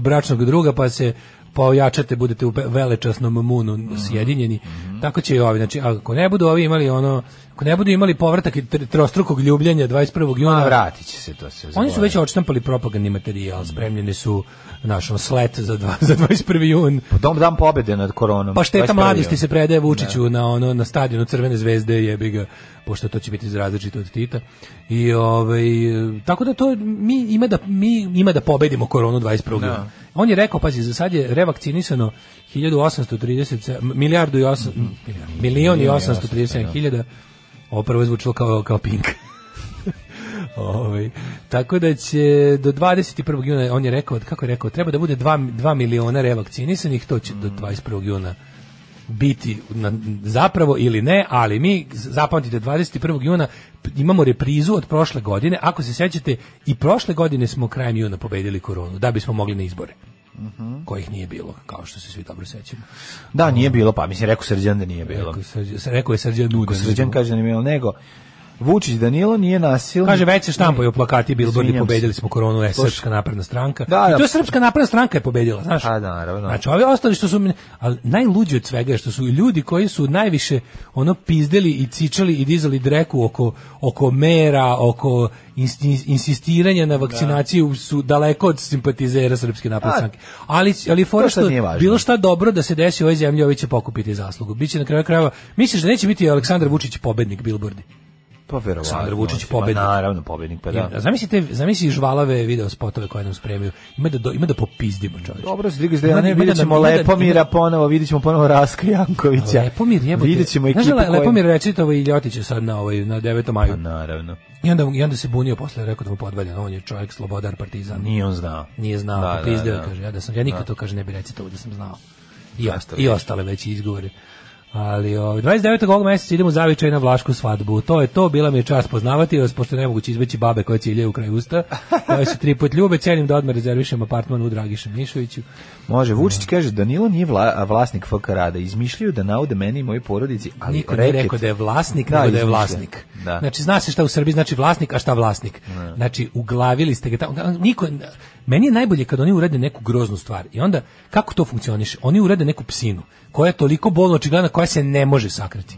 Speaker 6: bračnog druga, pa se pojačate, budete u ve- velečasnom munu sjedinjeni. Tako će i ovi, znači, ako ne budu ovi imali ono, ako ne budu imali povratak i tr- trostrukog ljubljenja 21.
Speaker 5: Pa
Speaker 6: juna,
Speaker 5: vratit će se to sve.
Speaker 6: oni su već odštampali propagandni materijal, spremljeni su našom slet za, dva, za 21. jun.
Speaker 5: Pa Dom dan pobede nad koronom. ono.
Speaker 6: Pa šteta
Speaker 5: 21.
Speaker 6: mladosti se predaje Vučiću na ono na stadionu Crvene zvezde jebi ga pošto to će biti različito od Tita. I ovaj tako da to mi ima da mi ima da pobedimo koronu 21. juna. On je rekao pazi za sad je revakcinisano 1830 milijardu i 8 milion i 837 hiljada. Ovo prvo je zvučilo kao kao Pink. Ovaj, tako da će do 21. juna, on je rekao, kako je rekao, treba da bude 2, 2 miliona revakcinisanih, to će do
Speaker 5: Mm.
Speaker 6: 21. juna biti na, zapravo ili ne, ali mi, zapamtite, 21. juna p- imamo reprizu od prošle godine, ako se sjećate, i prošle godine smo krajem juna pobedili koronu, da bismo mogli na izbore.
Speaker 5: Mhm.
Speaker 6: kojih nije bilo, kao što se svi dobro sećamo.
Speaker 5: Da, nije bilo, pa mislim, rekao Srđan da nije bilo.
Speaker 6: Rekao je Srđan- Rekao je Srđan Nudan.
Speaker 5: Srđan kaže da nije bilo, nego Vučić Danilo nije nasilnik.
Speaker 6: Kaže već se štampaju plakati bilbordi
Speaker 5: Izvinjam se.
Speaker 6: pobedili smo koronu je
Speaker 5: Slušaj.
Speaker 6: srpska napredna stranka.
Speaker 5: Da, da.
Speaker 6: I to je srpska napredna stranka je pobedila, znaš?
Speaker 5: A, da, naravno.
Speaker 6: Znači, ovi ostali što su mi- ali najluđi od svega je što su ljudi koji su najviše ono pizdeli i cičali i dizali dreku oko oko mera, oko insti- insistiranja na vakcinaciju su daleko od simpatizera srpske napredne
Speaker 5: A,
Speaker 6: stranke. Ali ali fora
Speaker 5: to sad
Speaker 6: što
Speaker 5: nije važno.
Speaker 6: bilo šta dobro da se desi u ovoj zemlji, ovi će pokupiti zaslugu. Biće na kraju krajeva. Misliš da neće biti Aleksandar Vučić pobednik bilbordi?
Speaker 5: Pa verovatno.
Speaker 6: Aleksandar Vučić
Speaker 5: Pa
Speaker 6: pobednik.
Speaker 5: Naravno, pobednik, pa da.
Speaker 6: Da. Zamislite, zamisli žvalave video spotove koje nam spremaju. Ima da do- ima da popizdimo, čoveče.
Speaker 5: Dobro, Zdigas
Speaker 6: Ima da-
Speaker 5: Dejane,
Speaker 6: ima da
Speaker 5: vidjet ćemo
Speaker 6: nam- ima da-
Speaker 5: Lepomira
Speaker 6: ima
Speaker 5: ponovo, vidjet ćemo ponovo Raska Jankovića.
Speaker 6: da- Lepomir jebote.
Speaker 5: Vidjet ćemo ekipu
Speaker 6: Znaš da Le-
Speaker 5: koja- Pa,
Speaker 6: Lepomir recitova i Ljotića sad na ovaj na 9. maju.
Speaker 5: Naravno.
Speaker 6: I onda i onda se bunio posle rekao da mu podvaljen, on je čovjek slobodar partizan.
Speaker 5: Nije on znao.
Speaker 6: Nije znao,
Speaker 5: Da,
Speaker 6: da,
Speaker 5: da,
Speaker 6: popizdeo je,
Speaker 5: da.
Speaker 6: kaže, ja da sam ja nikad to kaže ne bi recitovao da sam znao. I, ost-
Speaker 5: Ostale
Speaker 6: i ostale već izgovore. Ali ovaj 29. ovog mjeseca idemo zavičaj na vlašku svadbu. To je to, bila mi je čast poznavati vas, pošto ne mogu izbeći babe koje ciljaju u kraj usta, koje se tri put ljube, cenim da odmah rezervišem apartman u Dragišu Mišoviću.
Speaker 5: Može, Vučić kaže, Danilo nije vla, a vlasnik FK Rada, izmišljaju da naude meni i moji porodici, ali
Speaker 6: Niko nije
Speaker 5: reket-
Speaker 6: rekao da je vlasnik,
Speaker 5: Da,
Speaker 6: nego da je
Speaker 5: izmišlja.
Speaker 6: vlasnik.
Speaker 5: Da.
Speaker 6: Znači, zna se šta u Srbiji znači vlasnik, a šta vlasnik. Znači, uglavili ste ga tamo. Niko, meni je najbolje kad oni urade neku groznu stvar. I onda, kako to funkcioniše? Oni urade neku psinu, koja je toliko bolno očigledna, koja se ne može sakriti.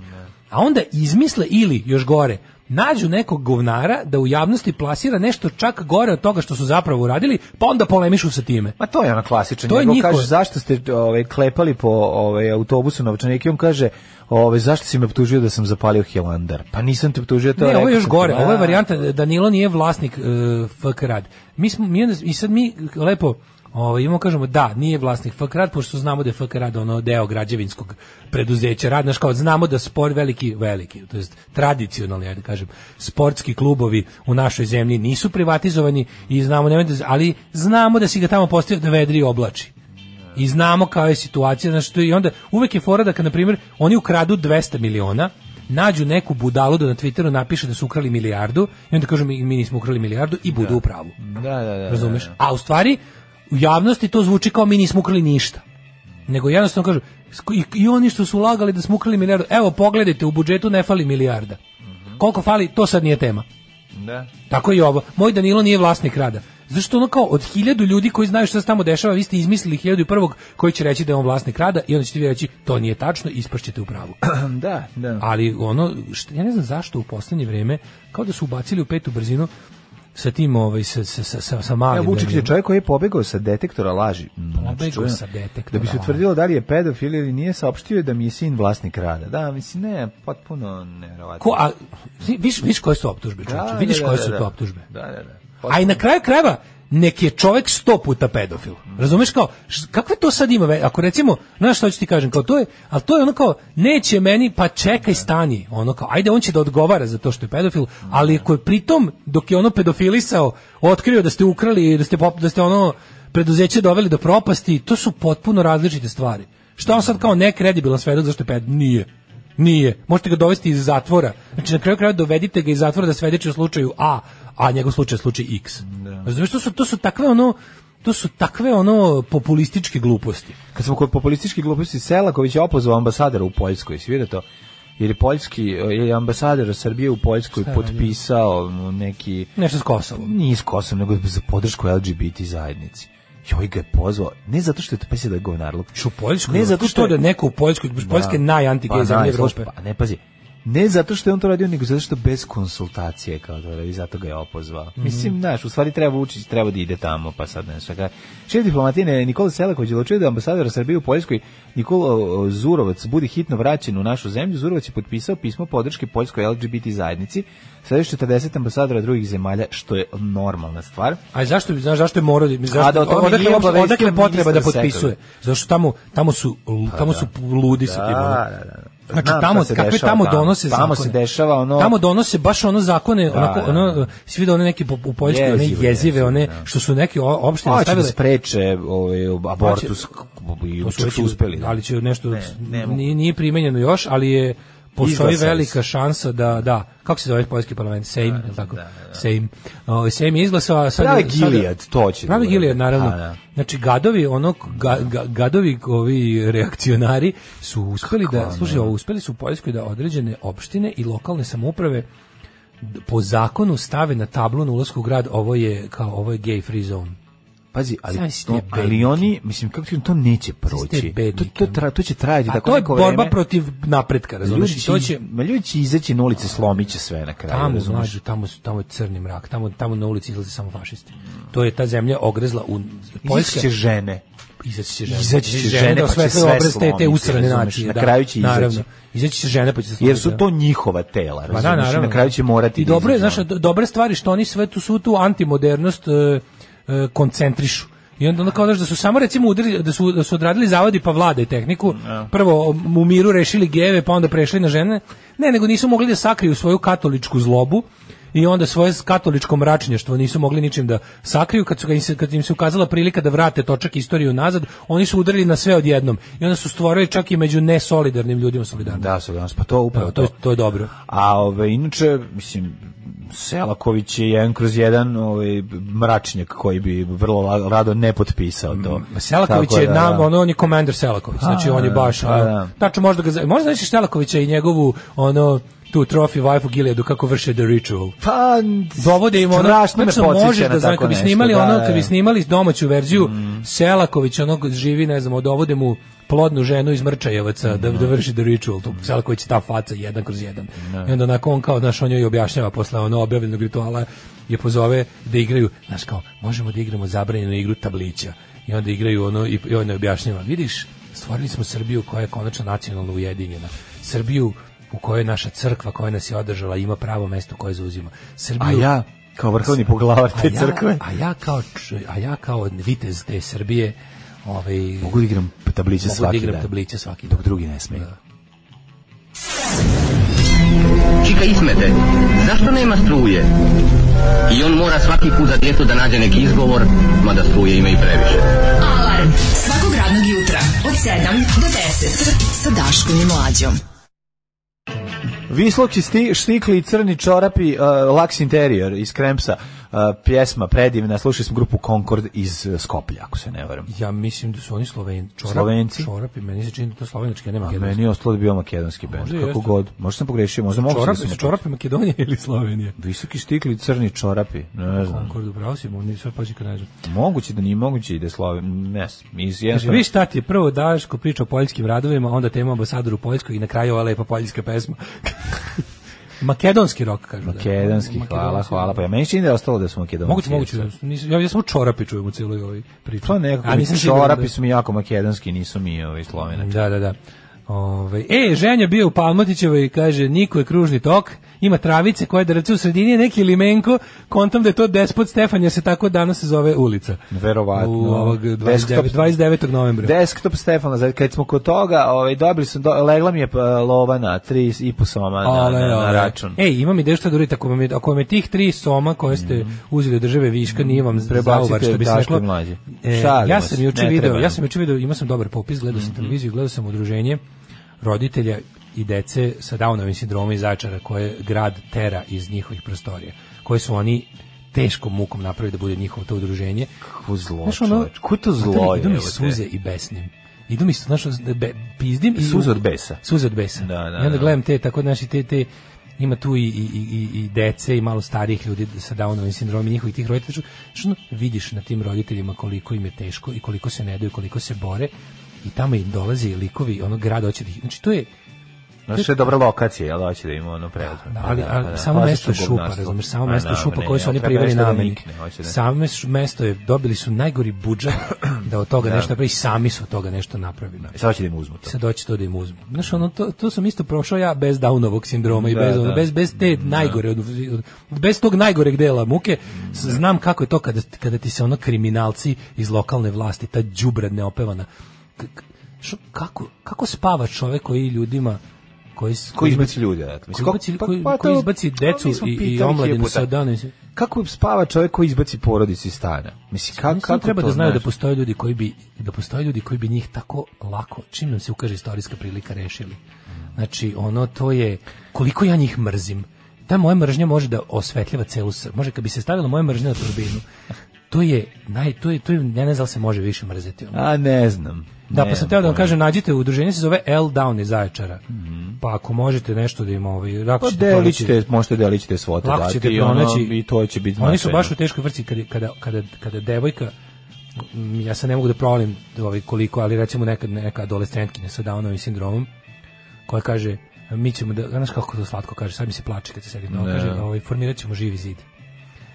Speaker 6: A onda izmisle ili, još gore, nađu nekog govnara da u javnosti plasira nešto čak gore od toga što su zapravo uradili, pa onda polemišu sa time.
Speaker 5: Ma to je ona klasičan.
Speaker 6: To je
Speaker 5: njegov
Speaker 6: njihov-
Speaker 5: kaže zašto ste ovaj klepali po ovaj autobusu novčanik i on kaže ovaj zašto si me optužio da sam zapalio Hilandar? Pa nisam te optužio to.
Speaker 6: Ne, ovo
Speaker 5: rekao
Speaker 6: je još
Speaker 5: sam ti,
Speaker 6: gore.
Speaker 5: "A,
Speaker 6: Ovo je varijanta da Danilo nije vlasnik uh, FK Rad. Mi smo mi onda- i sad mi lepo Ovaj imamo kažemo da, nije vlasnik FK Rad, pošto znamo da je FK Rad ono deo građevinskog preduzeća Rad, znaš kao znamo da sport veliki veliki, to jest tradicionalni, ajde kažem, sportski klubovi u našoj zemlji nisu privatizovani i znamo nemojte, ali znamo da si ga tamo postavio da vedri i oblači. I znamo kao je situacija, znači to je i onda uvek je fora da kad na primjer oni ukradu 200 miliona, nađu neku budalu da na Twitteru napiše da su ukrali milijardu i onda kažu mi, mi nismo ukrali milijardu i budu u pravu.
Speaker 5: Da, da, da.
Speaker 6: Razumeš? A u stvari u javnosti to zvuči kao mi nismo ukrali ništa. Nego jednostavno kažu "Sk- i, i oni što su ulagali da smo ukrali milijardu, evo pogledajte u budžetu ne fali milijarda.
Speaker 5: Mhm.
Speaker 6: Koliko fali, to sad nije tema.
Speaker 5: Da.
Speaker 6: Tako i ovo. Moj Danilo nije vlasnik rada. Zašto ono kao od hiljadu ljudi koji znaju šta se tamo dešava, vi ste izmislili hiljadu i prvog koji će reći da je on vlasnik rada i onda ćete vi reći to nije tačno, ispašćete u pravu.
Speaker 5: Da, da.
Speaker 6: Ali ono, šta, ja ne znam zašto u poslednje vreme, kao da su ubacili u petu brzinu sa tim, ovaj, sa, sa, sa, sa, sa malim.
Speaker 5: Ja, Vučić je
Speaker 6: Danilom.
Speaker 5: čovjek koji je pobegao sa detektora laži. Mm, znači,
Speaker 6: Pobegao
Speaker 5: čuveno.
Speaker 6: sa detektora
Speaker 5: Da bi se
Speaker 6: laži.
Speaker 5: utvrdilo da li je pedofil ili nije, saopštio je da mi je sin vlasnik rada. Da, mislim, ne, potpuno nevjerovatno.
Speaker 6: Ko, a, viš, viš koje su optužbe,
Speaker 5: Da,
Speaker 6: čovječe,
Speaker 5: da,
Speaker 6: vidiš
Speaker 5: da,
Speaker 6: koje
Speaker 5: da,
Speaker 6: su
Speaker 5: da.
Speaker 6: to optužbe.
Speaker 5: Da, da, da.
Speaker 6: A i na kraju krajeva neki je čovek sto puta pedofil. Razumeš kao š- kakve to sad ima ve- ako recimo, znaš šta ću ti kažem, kao to je, al to je ono kao neće meni, pa čekaj stani, ono kao ajde on će da odgovara za to što je pedofil, ali ako je pritom dok je ono pedofilisao, otkrio da ste ukrali, da ste pop- da ste ono preduzeće doveli do propasti, to su potpuno različite stvari. Šta on sad kao nekredibilan svedok zašto je pedofil? Nije. Nije. Možete ga dovesti iz zatvora. Znači, na kraju kraja dovedite ga iz zatvora da svedeči u slučaju A, a njegov slučaj je slučaj X. Razumeš, to su, to su takve ono to su takve ono populističke gluposti.
Speaker 5: Kad smo kod populistički gluposti Selaković je opozvao ambasadora u Poljskoj, si vidio to? Jer je poljski, je ambasador Srbije u Poljskoj potpisao mm, neki
Speaker 6: Nešto s Kosovom.
Speaker 5: nije iz Kosova, nego za podršku LGBT zajednici. I ovaj ga je pozvao, ne zato što je to pesio da je govnarluk.
Speaker 6: Što u Poljskoj?
Speaker 5: Ne zato što
Speaker 6: da neko u Poljskoj, Poljska je najantigej zemlja
Speaker 5: naj, slušaj,
Speaker 6: Evrope.
Speaker 5: Pa, ne, pazi, ne zato što je on to radio, nego zato što bez konsultacije kao da radi, zato ga je opozvao.
Speaker 6: Mhm.
Speaker 5: Mislim, znaš, u stvari treba učiti, treba da ide tamo, pa sad ne znam. šta kaže. Šef diplomatine Nikola Selaković je odlučio da ambasadora Srbije u Poljskoj Nikola o, Zurovac bude hitno vraćen u našu zemlju. Zurovac je potpisao pismo podrške poljskoj LGBT zajednici sa još 40 ambasadora drugih zemalja, što je normalna stvar.
Speaker 6: A zašto bi znaš zašto je morao da- zašto
Speaker 5: A da o tome
Speaker 6: odakle,
Speaker 5: nije
Speaker 6: uopšte-
Speaker 5: obavestio
Speaker 6: odakle potreba da
Speaker 5: ministar Pa
Speaker 6: potpisuje? Zato što tamo tamo su tamo su ludi sa tim. ono. Znači
Speaker 5: Znam
Speaker 6: tamo
Speaker 5: šta se
Speaker 6: kakve
Speaker 5: dešava
Speaker 6: tamo donose
Speaker 5: Tamo se
Speaker 6: zakone.
Speaker 5: dešava ono...
Speaker 6: Tamo donose baš ono zakone, onako,
Speaker 5: da, da.
Speaker 6: ono, svi vidio one neke po- u Poljskoj, one
Speaker 5: Jezive,
Speaker 6: jezive, one
Speaker 5: jezive, da.
Speaker 6: što su neke o- opštine
Speaker 5: Hoće da
Speaker 6: stavile.
Speaker 5: spreče ovaj abortus i
Speaker 6: To su
Speaker 5: čak
Speaker 6: već
Speaker 5: su uspeli.
Speaker 6: Ali će nešto,
Speaker 5: ne mogu.
Speaker 6: nije, nije primenjeno još, ali je postoji
Speaker 5: Izglasali su.
Speaker 6: velika šansa da, da, kako se zove poljski parlament, Sejm, da, tako, Sejm. O, Sejm je izglasao, a sad...
Speaker 5: Pravi
Speaker 6: je- sad je-
Speaker 5: Gilead, to će da
Speaker 6: Pravi
Speaker 5: uradi.
Speaker 6: Gilead, naravno.
Speaker 5: A, da.
Speaker 6: Znači, gadovi, ono, ga, ga- gadovi ovi reakcionari su uspeli da, slušaj, ovo, uspeli su u Poljskoj da određene opštine i lokalne samouprave d- po zakonu stave na tablu na ulasku u grad ovo je kao ovo je gay free zone.
Speaker 5: Pazi, ali
Speaker 6: Znaš te
Speaker 5: to, ali
Speaker 6: bednike.
Speaker 5: oni, mislim kako ti kažem, to neće
Speaker 6: te
Speaker 5: proći. To
Speaker 6: bednike,
Speaker 5: to, tra, to će trajati
Speaker 6: A
Speaker 5: tako
Speaker 6: to je
Speaker 5: neko
Speaker 6: borba
Speaker 5: vreme.
Speaker 6: protiv napretka, razumeš?
Speaker 5: Ljudi
Speaker 6: I to će,
Speaker 5: ma ljudi će izaći na ulice, slomiće sve na kraju,
Speaker 6: tamo,
Speaker 5: razumeš?
Speaker 6: mlađu, tamo, su- tamo je crni mrak, tamo, tamo na ulici izlaze samo fašisti. To je ta zemlja ogrezla u
Speaker 5: Izaći
Speaker 6: Poljska.
Speaker 5: će žene.
Speaker 6: Izaći će žene.
Speaker 5: Izaći će žene,
Speaker 6: da
Speaker 5: pa će
Speaker 6: osvetle
Speaker 5: sve
Speaker 6: obraz te- te
Speaker 5: slomiti,
Speaker 6: usrane
Speaker 5: razumeš?
Speaker 6: nacije.
Speaker 5: Na
Speaker 6: da,
Speaker 5: kraju će izaći.
Speaker 6: Naravno. Izaći će žene pa će se
Speaker 5: Jer
Speaker 6: slomiti,
Speaker 5: su
Speaker 6: da.
Speaker 5: to njihova tela,
Speaker 6: Pa
Speaker 5: razumeš?
Speaker 6: da,
Speaker 5: I
Speaker 6: naravno.
Speaker 5: na kraju će morati.
Speaker 6: I
Speaker 5: da ono.
Speaker 6: dobro je,
Speaker 5: izađu
Speaker 6: znaš, do- dobre stvari što oni sve tu su tu antimodernost e, e, koncentrišu. I onda ono kao znaš, da su samo recimo udri, da su da su odradili zavadi pa vlada i tehniku. Prvo u miru rešili geve, pa onda prešli na žene. Ne, nego nisu mogli da sakriju svoju katoličku zlobu i onda svoje katoličko mračnjaštvo nisu mogli ničim da sakriju kad su kad im se, kad im se ukazala prilika da vrate točak istoriju nazad, oni su udarili na sve odjednom i onda su stvorili čak i među nesolidarnim ljudima solidarnost.
Speaker 5: Da, solidarnost, pa to upravo
Speaker 6: Evo, to je, to je dobro.
Speaker 5: A ove, inače, mislim, Selaković je jedan kroz jedan ovaj, mračnjak koji bi vrlo la- rado ne potpisao to.
Speaker 6: Ma Mm. Selaković
Speaker 5: Tako
Speaker 6: je
Speaker 5: da,
Speaker 6: nam,
Speaker 5: da.
Speaker 6: ono, on je komandar Selaković, znači on je baš,
Speaker 5: da,
Speaker 6: ono,
Speaker 5: da.
Speaker 6: tačno možda ga, za- možda znači Selakovića i njegovu, ono, tu Trophy Wife u Gileadu kako vrše The Ritual.
Speaker 5: Pa,
Speaker 6: Dovode im ono,
Speaker 5: strašno me
Speaker 6: tačno
Speaker 5: podsjeća
Speaker 6: možeš
Speaker 5: na
Speaker 6: da znaš,
Speaker 5: tako
Speaker 6: kad bi
Speaker 5: nešto,
Speaker 6: snimali
Speaker 5: da,
Speaker 6: ono,
Speaker 5: da.
Speaker 6: kad bi snimali domaću verziju, Selaković onog živi, ne znam, dovode mu plodnu ženu iz Mrčajevaca da, da vrši The Ritual, tu Selaković je ta faca jedan kroz jedan. I onda onako on kao, znaš, on joj objašnjava posle ono objavljenog rituala je pozove da igraju, znaš kao, možemo da igramo zabranjenu igru tablića. I onda igraju ono i, i on je objašnjava, vidiš, stvorili smo Srbiju koja je konačno nacionalno ujedinjena. Srbiju u kojoj naša crkva koja nas je održala ima pravo mesto koje zauzima. Srbiju
Speaker 5: A ja, kao vrhovni poglavar te
Speaker 6: a ja-
Speaker 5: crkve,
Speaker 6: A ja kao č- a ja kao vitez te Srbije, ovaj
Speaker 5: mogu da igram tabliće
Speaker 6: mogu da
Speaker 5: svaki
Speaker 6: igram
Speaker 5: dan.
Speaker 6: tabliće svaki
Speaker 5: Dok drugi ne smeju.
Speaker 6: Da.
Speaker 1: Čika Ismete, zašto nema struje? I on mora svaki put za djetu da nađe neki izgovor, mada struje ima i previše.
Speaker 4: Alarm svakog radnog jutra od 7 do 10 sa Daškom i Mlađom.
Speaker 5: Visloki sti, štikli i crni čorapi, uh, Laks Interior iz Kremsa, uh, pjesma predivna, slušali smo grupu Concord iz uh, Skoplja, ako se ne varam.
Speaker 6: Ja mislim da su oni Sloven, čorap,
Speaker 5: Slovenci?
Speaker 6: Čorapi, meni se čini da to slovenački, nema
Speaker 5: A Pa meni je ostalo da je bio makedonski band,
Speaker 6: Možda
Speaker 5: kako
Speaker 6: jeste.
Speaker 5: god. Možda sam pogrešio, možda mogu
Speaker 6: Čorap,
Speaker 5: da sam
Speaker 6: su čorapi Makedonije ili Slovenije?
Speaker 5: Visoki štikli, crni čorapi, ne znam.
Speaker 6: Konkord, upravo si, oni sve pađi kad nađem.
Speaker 5: Moguće da nije moguće i da je Sloven, ne znam, iz
Speaker 6: Kaže,
Speaker 5: jednostavno-
Speaker 6: Znači, viš šta ti je prvo Daško priča o poljskim radovima, onda tema ambasadoru Poljskoj i na kraju ova lepa poljska pesma. Makedonski rok, kažu. da.
Speaker 5: Makedonski, hvala,
Speaker 6: Makedonski
Speaker 5: hvala.
Speaker 6: rock.
Speaker 5: Pa ja meni čini da je ostalo da su makedonci.
Speaker 6: Moguće, moguće. da su- Nisam, ja, ja samo čorapi čujem u cijeloj ovoj priči.
Speaker 5: To nekako
Speaker 6: A
Speaker 5: mi
Speaker 6: nisam siguran da-
Speaker 5: čorapi su mi jako makedonski, nisu mi ovaj, ovi slovenački.
Speaker 6: Da, da, da. Ove, e, ženja bio u Palmotićevoj i kaže, Niko je kružni tok, ima travice koje drce u sredini, je neki limenko, kontam da je to despot Stefan, jer se tako danas se zove ulica.
Speaker 5: Verovatno.
Speaker 6: U ovog 29,
Speaker 5: Desktop-
Speaker 6: 29. novembra.
Speaker 5: Desktop Stefana, za- kad smo kod toga, ovaj, dobili sam, do, legla mi je pa, lovana, tri i po soma na,
Speaker 6: Ale,
Speaker 5: na, na
Speaker 6: ale.
Speaker 5: račun.
Speaker 6: Ej, imam ideju šta da uradite, ako vam je, ako vam je tih tri soma koje
Speaker 5: Mhm.
Speaker 6: ste uzeli od države viška, nije vam zauvar, što bi se
Speaker 5: Daško
Speaker 6: reklo.
Speaker 5: i mlađi.
Speaker 6: E,
Speaker 5: Šalim
Speaker 6: ja
Speaker 5: vas,
Speaker 6: sam juče
Speaker 5: ne
Speaker 6: video,
Speaker 5: treba
Speaker 6: ja
Speaker 5: nam. Mhm.
Speaker 6: sam juče video, imao sam dobar popis, gledao sam televiziju, gledao sam udruženje roditelja i dece sa Downovim sindromom i začara koje grad tera iz njihovih prostorija, koje su oni teškom mukom napravili da bude njihovo to udruženje.
Speaker 5: Kako zlo,
Speaker 6: Znaš, ono,
Speaker 5: čoveč, kako je to zlo
Speaker 6: znate li,
Speaker 5: je,
Speaker 6: Idu mi
Speaker 5: evo te.
Speaker 6: suze i besnim. Idu mi, znaš, ono, be, pizdim i...
Speaker 5: Suze od besa.
Speaker 6: Suze od besa.
Speaker 5: Da, da,
Speaker 6: I onda
Speaker 5: da.
Speaker 6: gledam te, tako naši te, te, ima tu i, i, i, i- i dece i malo starijih ljudi sa Downovim sindromom i njihovih tih roditelja. Što ono, vidiš na tim roditeljima koliko im je teško i koliko se ne daju, koliko se bore i tamo im dolaze likovi, ono grad hoće da ih... Znači, to je,
Speaker 5: Znaš, je dobra lokacija, jel hoće da ima ono preuzme.
Speaker 6: da, ali, ali samo
Speaker 5: Klasično
Speaker 6: mesto je šupa,
Speaker 5: govnarstvo.
Speaker 6: razumeš, samo
Speaker 5: Ma,
Speaker 6: mesto je
Speaker 5: da,
Speaker 6: šupa
Speaker 5: ne,
Speaker 6: koje su
Speaker 5: ne,
Speaker 6: oni
Speaker 5: treba
Speaker 6: priveli
Speaker 5: mesto da
Speaker 6: nameni.
Speaker 5: nikne, hoće da-
Speaker 6: Samo š- mesto je, dobili su najgori budžet da od toga nešto napravi, sami su od toga nešto napravili.
Speaker 5: E, Sad hoće da im uzmu to.
Speaker 6: Sad doći to da im uzmu. Znaš, ono, to, to sam isto prošao ja bez Downovog sindroma i
Speaker 5: Da,
Speaker 6: bez, ono,
Speaker 5: da.
Speaker 6: bez, bez te najgore, od- od- bez tog najgoreg dela muke, s- znam kako je to kada, kada ti se ono kriminalci iz lokalne vlasti, ta đubrad neopevana, k- k- šo- kako, kako spava čovek koji ljudima koji, s-
Speaker 5: Ko izbaci ljude, da. Mislim,
Speaker 6: koji,
Speaker 5: kako-
Speaker 6: izbaci,
Speaker 5: pa-
Speaker 6: koji,
Speaker 5: pa
Speaker 6: koji
Speaker 5: to-
Speaker 6: izbaci
Speaker 5: to
Speaker 6: decu
Speaker 5: mi smo
Speaker 6: i, i
Speaker 5: pitali
Speaker 6: omladinu
Speaker 5: hiljadu
Speaker 6: sa
Speaker 5: puta.
Speaker 6: dane.
Speaker 5: Kako spava čovjek koji izbaci porodicu iz stana? Mislim, kako, kako
Speaker 6: treba
Speaker 5: to
Speaker 6: da znaju da
Speaker 5: znaš?
Speaker 6: postoje ljudi koji bi da postoje ljudi koji bi njih tako lako čim nam se ukaže istorijska prilika rešili. Znači ono to je koliko ja njih mrzim. Ta moja mržnja može da osvetljava celu Srbiju. Može kad bi se stavila moja mržnja na turbinu. To je naj to je to je ja ne znam da li se može više mrziti. ono.
Speaker 5: A, ne znam.
Speaker 6: Da, pa
Speaker 5: Ne
Speaker 6: sam
Speaker 5: znam
Speaker 6: teo da vam
Speaker 5: pojma.
Speaker 6: kažem, nađite udruženje se zove L Down iz Zaječara. Pa ako možete nešto da im ovaj, lako
Speaker 5: Pa
Speaker 6: ćete pronaći-
Speaker 5: delit ćete, možete delit ćete svote
Speaker 6: Lako
Speaker 5: dati
Speaker 6: ćete
Speaker 5: i, ono,
Speaker 6: pronaći.
Speaker 5: i to će biti
Speaker 6: Oni su
Speaker 5: značajno.
Speaker 6: baš u teškoj vrci kada, kada, kada, kada devojka m, ja se ne mogu da provalim ovaj koliko, ali recimo neka, neka adolescentkinja sa Downovim sindromom koja kaže mi ćemo da, znaš kako to slatko kaže, sad mi se plače kad se sedi no, kaže, ovaj, formirat ćemo živi zid.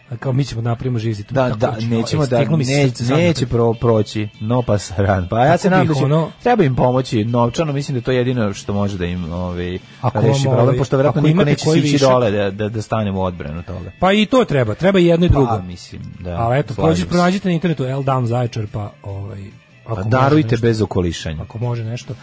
Speaker 6: A kao mi ćemo da napravimo živi zid.
Speaker 5: Da,
Speaker 6: Tako,
Speaker 5: da,
Speaker 6: znači,
Speaker 5: nećemo
Speaker 6: ovaj,
Speaker 5: da,
Speaker 6: steklo mi se
Speaker 5: ne,
Speaker 6: srce sad
Speaker 5: neće
Speaker 6: da-
Speaker 5: pro, proći, no pa saran. Pa ja
Speaker 6: Kako
Speaker 5: se nadam da
Speaker 6: bih
Speaker 5: će,
Speaker 6: ono-
Speaker 5: treba im pomoći novčano, mislim da je to jedino što može da im ovaj,
Speaker 6: Ako
Speaker 5: reši
Speaker 6: vam,
Speaker 5: problem,
Speaker 6: ovaj,
Speaker 5: pošto vjerojatno
Speaker 6: ako
Speaker 5: niko
Speaker 6: imate
Speaker 5: neće
Speaker 6: koji
Speaker 5: sići
Speaker 6: višak-
Speaker 5: dole da, da, da stanemo u odbranu toga.
Speaker 6: Pa i to treba, treba i jedno i drugo.
Speaker 5: Pa, mislim, da.
Speaker 6: Ali eto,
Speaker 5: slažem
Speaker 6: prođi,
Speaker 5: se.
Speaker 6: pronađite na internetu L Down Zaječar, pa ovaj...
Speaker 5: Pa
Speaker 6: ako može
Speaker 5: darujte
Speaker 6: nešto-
Speaker 5: bez okolišanja.
Speaker 6: ako može nešto.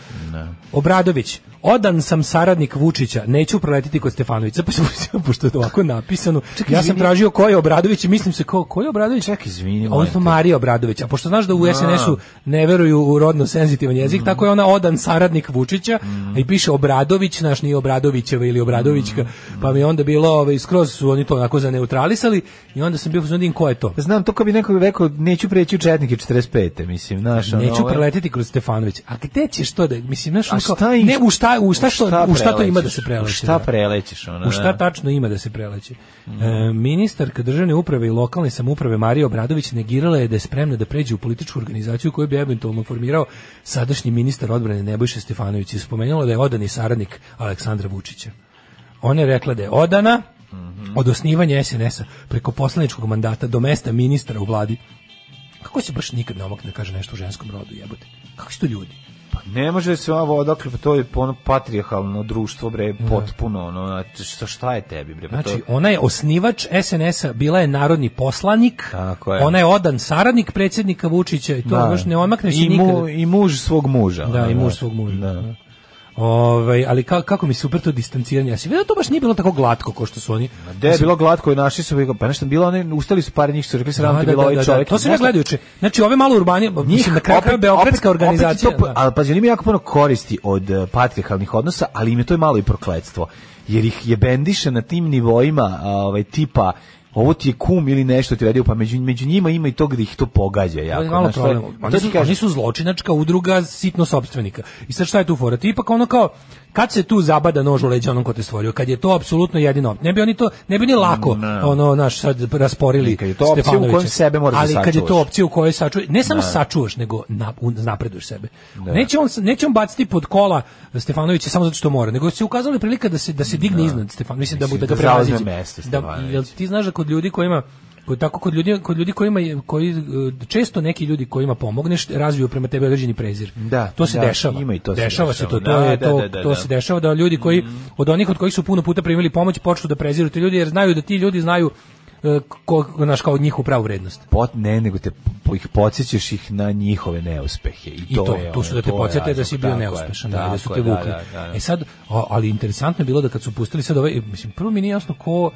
Speaker 6: Obradović, odan sam saradnik Vučića, neću proletiti kod Stefanovića, pa sam- pošto je to ovako napisano. ja sam
Speaker 5: izvini.
Speaker 6: tražio ko je Obradović i mislim se ko, ko je Obradović?
Speaker 5: Čekaj, izvini,
Speaker 6: A
Speaker 5: molim
Speaker 6: Odnosno
Speaker 5: te.
Speaker 6: Marija Obradović, a pošto znaš da u SNS-u ne veruju u rodno senzitivan jezik,
Speaker 5: Mm.
Speaker 6: tako je ona odan saradnik Vučića a i piše Obradović, naš nije Obradovićeva ili Obradovićka,
Speaker 5: Mm.
Speaker 6: pa mi je onda bilo, ovaj, skroz su oni to onako zaneutralisali i onda sam bio, znači, ko je to?
Speaker 5: Znam, to kao bi neko rekao, neću preći u četnike 45. Mislim, znaš, ono,
Speaker 6: Neću
Speaker 5: ovaj-
Speaker 6: preletiti kroz Stefanović. A gde ćeš to da, mislim, znaš,
Speaker 5: A
Speaker 6: ono kao,
Speaker 5: šta im-
Speaker 6: ne, u šta, u šta, što, u šta to ima da
Speaker 5: prelećeš?
Speaker 6: se preleće?
Speaker 5: U šta
Speaker 6: da?
Speaker 5: prelećeš? Ono,
Speaker 6: U šta tačno ima da se preleće? E, ministarka državne uprave i lokalne samouprave Marija Obradović negirala je da je spremna da pređe u političku organizaciju koju bi eventualno formirao sadašnji ministar odbrane Nebojša Stefanović i spomenula da je odani saradnik Aleksandra Vučića. Ona je rekla da je odana od osnivanja SNS-a preko poslaničkog mandata do mesta ministra u vladi. Kako se baš nikad ne omakne da kaže nešto u ženskom rodu, jebote? Kako su to ljudi?
Speaker 5: Ne može se ova voda, dakle, pa to je ono patrijarhalno društvo, bre, potpuno, ono, znači, šta, šta je tebi, bre? pa to-
Speaker 6: Znači, ona je osnivač SNS-a, bila je narodni poslanik,
Speaker 5: Tako je.
Speaker 6: ona je odan saradnik predsjednika Vučića i to
Speaker 5: Da.
Speaker 6: baš ne omakne se
Speaker 5: I mu-
Speaker 6: nikada.
Speaker 5: I muž svog muža.
Speaker 6: Da,
Speaker 5: ono,
Speaker 6: i muž
Speaker 5: znaš.
Speaker 6: svog muža.
Speaker 5: Da.
Speaker 6: da. Ovaj, ali ka- kako mi je super to distanciranje. Ja si vidio da to baš nije bilo tako glatko kao što su oni.
Speaker 5: Gde je bilo glatko i naši su bili, pa nešto bilo, oni ustali su par njih, su rekli sram
Speaker 6: Da,
Speaker 5: ti
Speaker 6: da,
Speaker 5: bilo
Speaker 6: da,
Speaker 5: ovaj
Speaker 6: da,
Speaker 5: čovjek.
Speaker 6: To se ne
Speaker 5: Znaš šta?
Speaker 6: gledajući. Znači, ove malo urbanije, mislim, na kraju kraja beogradska organizacija.
Speaker 5: Opet je to,
Speaker 6: da.
Speaker 5: ali pazi, oni imaju jako puno koristi od uh, patrijarhalnih odnosa, ali im je to i malo i prokletstvo. Jer ih je bendiše na tim nivoima a, ovaj, tipa ovo ti je kum ili nešto ti radio, pa među, među njima ima i to gdje ih to pogađa. Jako,
Speaker 6: To je malo
Speaker 5: znaš, to je-
Speaker 6: problem.
Speaker 5: to
Speaker 6: Oni
Speaker 5: ti
Speaker 6: su,
Speaker 5: kažem-
Speaker 6: oni su zločinačka udruga sitno sopstvenika. I sad šta je tu fora? Ti ipak ono kao kad se tu zabada nož u leđa onom ko te stvorio, kad je to apsolutno jedino. Ne bi oni to, ne bi ni lako ono naš sad rasporili
Speaker 5: Kad je to opcija u
Speaker 6: Stefanovića.
Speaker 5: kojoj sebe moraš da
Speaker 6: Ali kad je to
Speaker 5: sačuvaš.
Speaker 6: opcija u kojoj sačuvaš, ne samo sačuvaš, nego na, u- napreduješ sebe. Neće on neće on baciti pod kola Stefanovića samo zato što mora, nego se ukazala prilika da se da se digne iznad Stefanovića, mislim, da mu da
Speaker 5: Mislim,
Speaker 6: ga
Speaker 5: da zauzme
Speaker 6: prevaziđe.
Speaker 5: mesto
Speaker 6: Da,
Speaker 5: Stefanovića.
Speaker 6: jel ti znaš da kod ljudi koji ima kod tako kod ljudi kod ljudi kojima je- koji e, često neki ljudi kojima pomogneš razviju prema tebi određeni prezir.
Speaker 5: Da,
Speaker 6: to se
Speaker 5: da,
Speaker 6: dešava.
Speaker 5: ima i to se
Speaker 6: dešava se
Speaker 5: dešava.
Speaker 6: to, to,
Speaker 5: Da,
Speaker 6: je,
Speaker 5: da,
Speaker 6: to,
Speaker 5: da, da,
Speaker 6: to
Speaker 5: da. Mhm.
Speaker 6: se dešava da ljudi koji od onih od kojih su puno puta primili pomoć počnu da preziru te ljudi jer znaju da ti ljudi znaju e, ko, naš kao njihovu pravu vrednost.
Speaker 5: pot, ne, nego te po- ih podsjećaš ih na njihove neuspehe. I,
Speaker 6: I to,
Speaker 5: je
Speaker 6: tu
Speaker 5: ono,
Speaker 6: su da te
Speaker 5: to je
Speaker 6: podsjete da
Speaker 5: razlog,
Speaker 6: si bio
Speaker 5: tako je,
Speaker 6: neuspešan, da, da su
Speaker 5: tako
Speaker 6: te
Speaker 5: je,
Speaker 6: vukli.
Speaker 5: da, da, da.
Speaker 6: E sad, a- ali interesantno je bilo da kad su pustili sad ovaj, mislim, prvo mi nije jasno ko,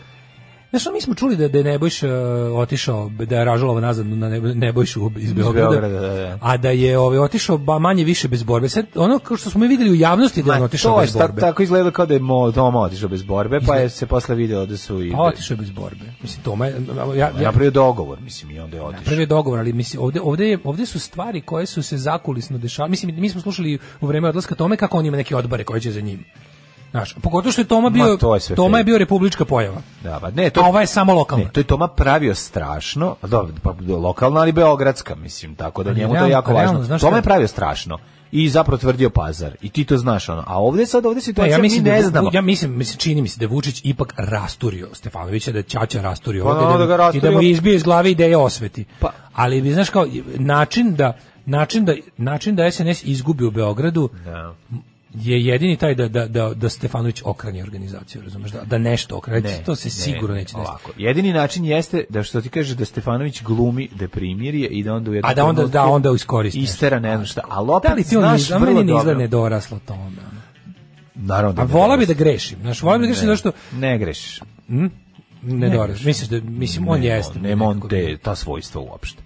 Speaker 6: Znaš, ono, mi smo čuli da, da je Nebojš e, otišao, da je Ražalova nazad na Nebo- Nebojšu iz Beograda,
Speaker 5: Beograda, da, da.
Speaker 6: a da je ovaj, otišao ba, manje više bez borbe. Sad, ono kao što smo mi videli u javnosti da je on
Speaker 5: Ma,
Speaker 6: otišao
Speaker 5: to je
Speaker 6: bez
Speaker 5: sta-
Speaker 6: borbe.
Speaker 5: Tako izgleda kao da je mo, doma otišao bez borbe, pa je se posle video da su i...
Speaker 6: Pa otišao je bez borbe. Mislim, Toma, je- ja, ja,
Speaker 5: Napravio Pa dogovor, mislim, i onda je otišao.
Speaker 6: prvi dogovor, ali mislim ovde ovde je ovde su stvari koje su se zakulisno dešavale. Mislim mi smo slušali u vreme odlaska Tome kako on ima neke odbore koji će za njim. Znaš, pogotovo što je Toma bio
Speaker 5: to je sve
Speaker 6: Toma je
Speaker 5: fake.
Speaker 6: bio republička pojava.
Speaker 5: Da, pa ne,
Speaker 6: A ova je samo lokalna.
Speaker 5: Ne, to je Toma pravio strašno, a dobro, pa lokalna ali beogradska, mislim, tako da
Speaker 6: Ali
Speaker 5: njemu to je
Speaker 6: Pa realno-
Speaker 5: jako
Speaker 6: realno,
Speaker 5: važno.
Speaker 6: znaš
Speaker 5: Toma
Speaker 6: šta?
Speaker 5: je pravio strašno i zapravo tvrdio Pazar i ti to znaš ono. A ovdje sad ovdje
Speaker 6: Pa
Speaker 5: situacija
Speaker 6: ja mislim
Speaker 5: mi
Speaker 6: da
Speaker 5: ne
Speaker 6: je-
Speaker 5: znamo.
Speaker 6: ja mislim mislim čini mi se da je Vučić ipak rasturio Stefanovića da je Ćaća rasturio
Speaker 5: Pa
Speaker 6: ovde
Speaker 5: naravno
Speaker 6: da,
Speaker 5: da ga
Speaker 6: mu- i da mu
Speaker 5: rasturio.
Speaker 6: izbije iz glave ideje osveti.
Speaker 5: Pa-
Speaker 6: Ali bi znaš kao način da način da način da SNS izgubi u Beogradu
Speaker 5: Da.
Speaker 6: je jedini taj da, da, da, da Stefanović okrani organizaciju, razumeš, da, da nešto okrani, to se sigurno neće desiti.
Speaker 5: ovako. Jedini način jeste da što ti kaže da Stefanović glumi da je primirje i da onda u jednom
Speaker 6: A da onda-
Speaker 5: trenutku
Speaker 6: da onda iskoristi nešto.
Speaker 5: Istera ne znam šta. Ali opet
Speaker 6: Da li ti on
Speaker 5: znaš
Speaker 6: iz, a
Speaker 5: vrlo
Speaker 6: meni ne
Speaker 5: dobro-
Speaker 6: izgleda nedoraslo tome. ono.
Speaker 5: Naravno da
Speaker 6: A
Speaker 5: ne
Speaker 6: vola bi
Speaker 5: grešiš.
Speaker 6: da grešim, znaš, vola bi da grešim zato što
Speaker 5: Ne grešiš.
Speaker 6: nedoraslo. Misliš da, mislim, on
Speaker 5: Nema,
Speaker 6: jeste.
Speaker 5: Nema on
Speaker 6: nekako.
Speaker 5: te, ta svojstva uopšte.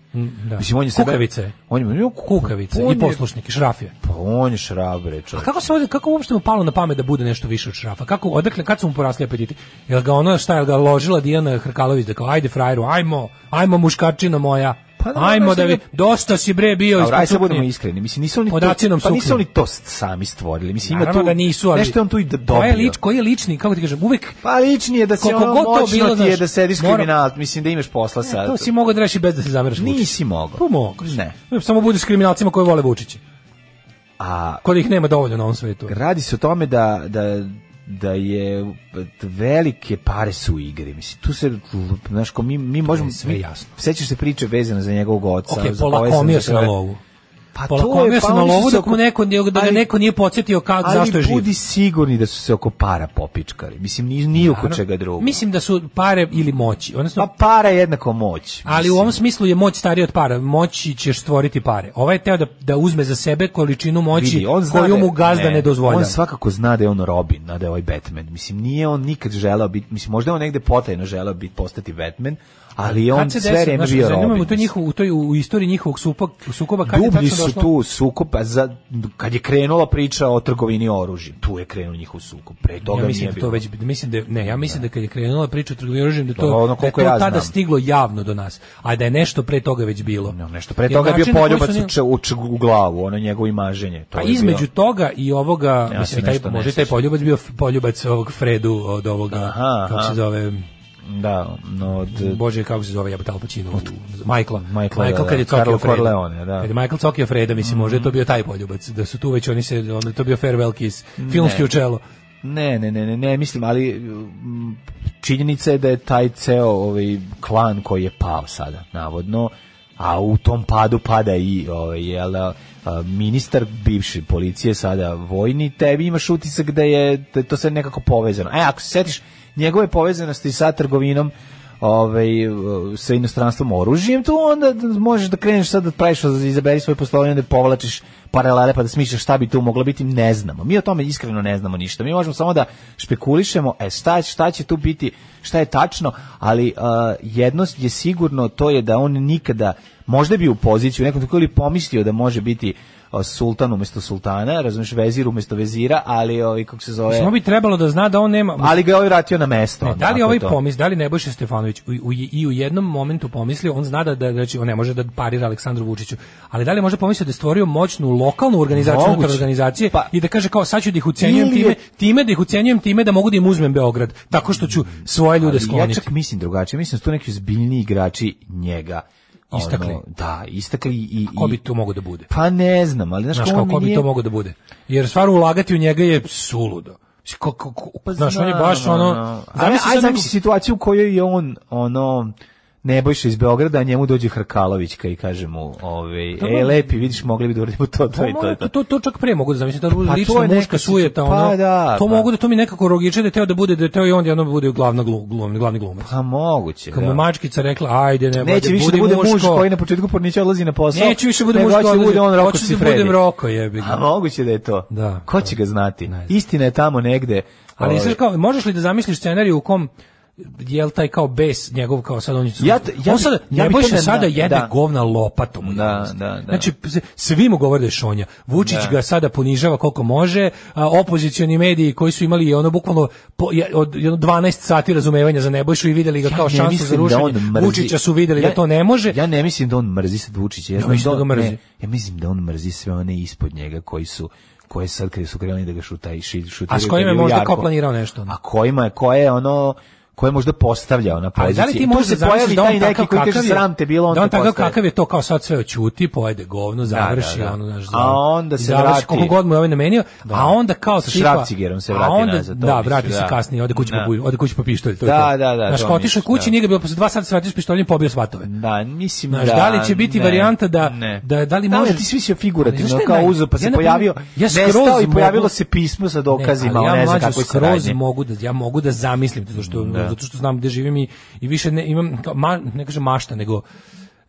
Speaker 6: Da.
Speaker 5: Mislim, on je sebe-
Speaker 6: Kukavica je.
Speaker 5: On je, on je
Speaker 6: Kukavica
Speaker 5: on je-
Speaker 6: i poslušnik, i šraf je.
Speaker 5: Pa on je šrabre,
Speaker 6: A
Speaker 5: čovjek.
Speaker 6: Pa kako se ovdje, kako uopšte mu palo na pamet da bude nešto više od šrafa? Kako, odakle, kad su mu porasli apetiti? Jel ga ono, šta, jel ga ložila Dijana Hrkalović da kao, ajde frajeru, ajmo, ajmo muškačino moja,
Speaker 5: Pa da,
Speaker 6: ajmo
Speaker 5: znaš
Speaker 6: da
Speaker 5: da
Speaker 6: vi,
Speaker 5: ga-
Speaker 6: dosta si bre bio
Speaker 5: Dobro, aj
Speaker 6: ispod
Speaker 5: sad budemo
Speaker 6: suknje.
Speaker 5: iskreni, mislim nisu oni
Speaker 6: Podaci nam
Speaker 5: to, pa
Speaker 6: suknju.
Speaker 5: nisu oni to sami stvorili. Mislim ima
Speaker 6: Naravno
Speaker 5: tu
Speaker 6: da nisu, ali...
Speaker 5: nešto je on tu i da
Speaker 6: Koji je,
Speaker 5: dobio.
Speaker 6: lič, koji je lični, kako ti kažem, uvek...
Speaker 5: Pa lični je da se
Speaker 6: Koliko
Speaker 5: ono
Speaker 6: god to
Speaker 5: moćno
Speaker 6: bilo,
Speaker 5: ti je
Speaker 6: znaš,
Speaker 5: da sediš
Speaker 6: moram- E,
Speaker 5: kriminal, mislim da imaš posla sa...
Speaker 6: To si mogao da reši bez da se zameraš Vučiću.
Speaker 5: Nisi mogao.
Speaker 6: Pa mogao si.
Speaker 5: Ne.
Speaker 6: Samo budiš s kriminalcima koji vole Vučića.
Speaker 5: A
Speaker 6: Kojih nema dovoljno na ovom svetu.
Speaker 5: radi se o tome da, da, da je velike pare su u igri. Mislim, tu se, znaš, ko mi, mi možemo...
Speaker 6: sve
Speaker 5: mi-
Speaker 6: jasno.
Speaker 5: Sećaš se priče vezane za njegovog oca.
Speaker 6: Ok,
Speaker 5: za
Speaker 6: polakomio
Speaker 5: povezane-
Speaker 6: se na lovu.
Speaker 5: Pa to
Speaker 6: Polakomio
Speaker 5: je,
Speaker 6: se
Speaker 5: pa
Speaker 6: na
Speaker 5: oni su
Speaker 6: lovu
Speaker 5: se
Speaker 6: dok mu
Speaker 5: oko-
Speaker 6: neko, nije- da ga
Speaker 5: Ali-
Speaker 6: neko nije podsjetio kako,
Speaker 5: Ali
Speaker 6: zašto je živ.
Speaker 5: budi sigurni da su se oko para popičkali. Mislim, ni, ni oko
Speaker 6: Naravno,
Speaker 5: čega drugog.
Speaker 6: Mislim da su pare ili moći.
Speaker 5: Pa
Speaker 6: Odnosno,
Speaker 5: para je jednako moć.
Speaker 6: ali u ovom smislu je moć starija od para. Moći ćeš stvoriti pare. Ovaj je teo da, da uzme za sebe količinu moći
Speaker 5: Vidi, on zna
Speaker 6: znači, koju
Speaker 5: da-
Speaker 6: mu gazda ne, dozvoljava.
Speaker 5: On svakako zna da je on Robin, a da je ovaj Batman. Mislim, nije on nikad želeo biti, mislim, možda je on negde potajno želeo biti, postati Batman, ali je on
Speaker 6: Kad se
Speaker 5: sve
Speaker 6: desi,
Speaker 5: vreme
Speaker 6: znaš,
Speaker 5: bio
Speaker 6: zanima me
Speaker 5: Robin.
Speaker 6: U, toj njihov, u, toj, u istoriji njihovog supa, sukoba kad je
Speaker 5: Dublji
Speaker 6: tačno
Speaker 5: su
Speaker 6: došlo?
Speaker 5: tu sukob, a za, kad je krenula priča o trgovini oružjem, tu je krenuo njihov sukob, pre toga
Speaker 6: ja
Speaker 5: nije
Speaker 6: mislim da
Speaker 5: bilo.
Speaker 6: to već mislim da ne ja mislim da kad je krenula priča o trgovini oružjem da to,
Speaker 5: Ono
Speaker 6: da je
Speaker 5: koliko
Speaker 6: to
Speaker 5: ja
Speaker 6: tada
Speaker 5: znam.
Speaker 6: stiglo javno do nas a da je nešto pre toga već bilo
Speaker 5: No, nešto pre toga je bio
Speaker 6: način na koji
Speaker 5: poljubac
Speaker 6: su
Speaker 5: u,
Speaker 6: njih-
Speaker 5: če- u, č- u glavu, ono njegovo imaženje. To
Speaker 6: pa
Speaker 5: je
Speaker 6: između
Speaker 5: bilo-
Speaker 6: toga i ovoga
Speaker 5: Ja se
Speaker 6: mislim taj
Speaker 5: nešto ne
Speaker 6: možda i taj
Speaker 5: sjećam.
Speaker 6: poljubac bio f- poljubac ovog Fredu od ovoga
Speaker 5: Aha,
Speaker 6: kako
Speaker 5: aha.
Speaker 6: se zove
Speaker 5: Da, no, od,
Speaker 6: Bože, kako se zove, ja Al Pacino, Michael,
Speaker 5: Michael, da,
Speaker 6: kad je
Speaker 5: da, Carlo
Speaker 6: cokio Freda.
Speaker 5: Corleone, da. Mm.
Speaker 6: Kad je Michael cokio Freda, mislim, možda je to bio taj poljubac, da su tu već oni se, onda je to bio farewell kiss, filmski
Speaker 5: Ne.
Speaker 6: u čelo.
Speaker 5: Ne, ne, ne, ne, ne, mislim, ali mm, činjenica je da je taj ceo ovaj klan koji je pao sada, navodno, a u tom padu pada i ovaj, jel, da, a, ministar bivše policije sada vojni, tebi imaš utisak da je, da je to sve nekako povezano. E, ako se setiš njegove povezanosti sa trgovinom ovaj, sa inostranstvom oružjem, tu onda d- možeš da kreneš sad da praviš, da izaberi svoje poslovanje, da povlačiš paralele pa da smišljaš šta bi tu moglo biti, ne znamo. Mi o tome iskreno ne znamo ništa. Mi možemo samo da špekulišemo, e šta, šta će tu biti, šta je tačno, ali a, jedno je sigurno, to je da on nikada, možda bi u poziciju, nekom tako ili pomislio da može biti a, sultan umesto sultana, razumiješ, vezir umesto vezira, ali ovaj, kako se zove...
Speaker 6: Samo bi trebalo da zna da on nema...
Speaker 5: Ali ga je ovaj vratio na mesto.
Speaker 6: Ne, da
Speaker 5: onako
Speaker 6: li
Speaker 5: je
Speaker 6: ovaj
Speaker 5: to.
Speaker 6: pomis, da li Nebojša Stefanović u, u, i u jednom momentu pomislio, on zna da, da znači, on ne može da parira Aleksandru Vučiću, ali da li je možda pomislio da je stvorio moćnu lokalnu organizaciju
Speaker 5: Moguće.
Speaker 6: unutar organizacije
Speaker 5: Pa-
Speaker 6: i da kaže kao sad ću da ih ucenjujem
Speaker 5: Ili je-
Speaker 6: time, time da ih ucenjujem time da mogu da im uzmem Beograd, tako što ću svoje ljude
Speaker 5: Ali ja
Speaker 6: skloniti.
Speaker 5: čak mislim drugačije, mislim da su tu neki zbiljni igrači njega. ono,
Speaker 6: Istakli.
Speaker 5: da, istakli i... i
Speaker 6: Ko bi to mogo da bude?
Speaker 5: Pa ne znam, ali znaš,
Speaker 6: Znaš
Speaker 5: kao
Speaker 6: kao,
Speaker 5: on
Speaker 6: ko bi
Speaker 5: nije-
Speaker 6: to mogo da bude? Jer stvar ulagati u njega je suludo. Mislim, Ko, ko, ko, znaš, on je baš
Speaker 5: Pa Znam,
Speaker 6: ono...
Speaker 5: znam. Ajde,
Speaker 6: Zamisli
Speaker 5: ajde
Speaker 6: sad
Speaker 5: zamisli
Speaker 6: nekog-
Speaker 5: situaciju u kojoj je on, ono, Nebojša iz Beograda, a njemu dođe Hrkalovićka i kaže mu, ovaj,
Speaker 6: Pa Dobro.
Speaker 5: e, lepi, vidiš, mogli bi da uradimo to, to
Speaker 6: Pa
Speaker 5: i to. i
Speaker 6: mora-
Speaker 5: to. Pa
Speaker 6: to, to, čak pre mogu da zamislim, ta
Speaker 5: to
Speaker 6: lična
Speaker 5: je
Speaker 6: muška
Speaker 5: neka situ-
Speaker 6: sujeta,
Speaker 5: pa
Speaker 6: ono,
Speaker 5: da,
Speaker 6: to
Speaker 5: pa.
Speaker 6: mogu da to mi nekako rogiče da je teo da bude, da je teo i on da ono bude glavna glu- glum, glavni glumac.
Speaker 5: Pa moguće,
Speaker 6: Kad mu je
Speaker 5: da.
Speaker 6: mačkica rekla, ajde, ne,
Speaker 5: Neće više da bude muž koji na početku pornića odlazi na posao.
Speaker 6: Neću više da bude
Speaker 5: nego
Speaker 6: muško,
Speaker 5: hoće da bude on Rocco
Speaker 6: hoću da budem
Speaker 5: Siffredi.
Speaker 6: roko, jebi ga.
Speaker 5: A moguće da je to.
Speaker 6: Da.
Speaker 5: Ko će ga znati?
Speaker 6: Ne znam.
Speaker 5: Istina je tamo negde.
Speaker 6: Ali
Speaker 5: ovaj,
Speaker 6: znaš kao, možeš li da zamisliš scenariju u kom jel taj kao bes njegov kao sad on je
Speaker 5: Ja t- ja
Speaker 6: on
Speaker 5: bi-
Speaker 6: sada
Speaker 5: ja bi
Speaker 6: Nebojša
Speaker 5: to ne-
Speaker 6: sada jede
Speaker 5: da.
Speaker 6: govna lopatom u
Speaker 5: Da,
Speaker 6: javnosti.
Speaker 5: da, da.
Speaker 6: znači p- svi mu govore da je šonja Vučić ga sada ponižava koliko može a opozicioni mediji koji su imali ono bukvalno po, je- od jedno 12 sati razumevanja za Nebojšu i videli ga
Speaker 5: ja
Speaker 6: kao
Speaker 5: ne
Speaker 6: šansu
Speaker 5: mislim
Speaker 6: za rušenje
Speaker 5: on mrzi-
Speaker 6: Vučića su videli
Speaker 5: Ja-
Speaker 6: da to ne može
Speaker 5: Ja ne mislim da on mrzi sad Vučića. Ja, znam
Speaker 6: mislim da
Speaker 5: on-
Speaker 6: ga mrzi.
Speaker 5: ne, ja mislim da on mrzi sve one ispod njega koji su koje sad kad su krenuli da ga šutaj šit šutiraju
Speaker 6: a s kojim je
Speaker 5: kad bio
Speaker 6: možda
Speaker 5: Jarko.
Speaker 6: ko planirao nešto ono?
Speaker 5: A kojima je koje je ono koje možda postavljao na
Speaker 6: Ali
Speaker 5: poziciji.
Speaker 6: da li ti
Speaker 5: Tu
Speaker 6: možeš
Speaker 5: se
Speaker 6: da zamisliš
Speaker 5: pojavi
Speaker 6: da
Speaker 5: taj
Speaker 6: on
Speaker 5: neki
Speaker 6: takav
Speaker 5: koji kaže
Speaker 6: kakav je,
Speaker 5: sram te bilo, on
Speaker 6: da on
Speaker 5: te
Speaker 6: takav
Speaker 5: postaje.
Speaker 6: kakav je to kao sad sve oćuti, pojede govno, završi
Speaker 5: da, da.
Speaker 6: ono naš
Speaker 5: A onda se vrati.
Speaker 6: koliko god mu je ovaj namenio, a onda kao
Speaker 5: Sa
Speaker 6: tipa-
Speaker 5: šrafcigerom se vrati
Speaker 6: a onda,
Speaker 5: nazad, to
Speaker 6: Da,
Speaker 5: misliš,
Speaker 6: vrati se
Speaker 5: da.
Speaker 6: kasnije, ode kući,
Speaker 5: Da.
Speaker 6: po, buju- ode kući po pištolj, to je
Speaker 5: Da,
Speaker 6: to.
Speaker 5: da, da,
Speaker 6: Znaš,
Speaker 5: to
Speaker 6: kao otišao
Speaker 5: misliš, da.
Speaker 6: kući, nije ga bilo posle dva sata se vratio s pištoljem, pobio svatove.
Speaker 5: Da, mislim
Speaker 6: Znaš,
Speaker 5: da...
Speaker 6: da li će biti varijanta da-
Speaker 5: ne.
Speaker 6: da- da li
Speaker 5: Da,
Speaker 6: može-
Speaker 5: ti svi si
Speaker 6: Ali
Speaker 5: figurativno
Speaker 6: znaš šta je
Speaker 5: kao
Speaker 6: naj-
Speaker 5: uzo, pa
Speaker 6: ja,
Speaker 5: se
Speaker 6: na
Speaker 5: pojavio,
Speaker 6: primjer, ja skroz
Speaker 5: nestao i
Speaker 6: mogu-
Speaker 5: pojavilo se pismo sa dokazima,
Speaker 6: Ne,
Speaker 5: ne,
Speaker 6: ali
Speaker 5: ne znam
Speaker 6: mlađo
Speaker 5: kako je
Speaker 6: skroz
Speaker 5: saradnje.
Speaker 6: mogu da ja mogu da zamislim zato što zato što znam gde živim i, i više ne imam kao ma, ne kažem mašta nego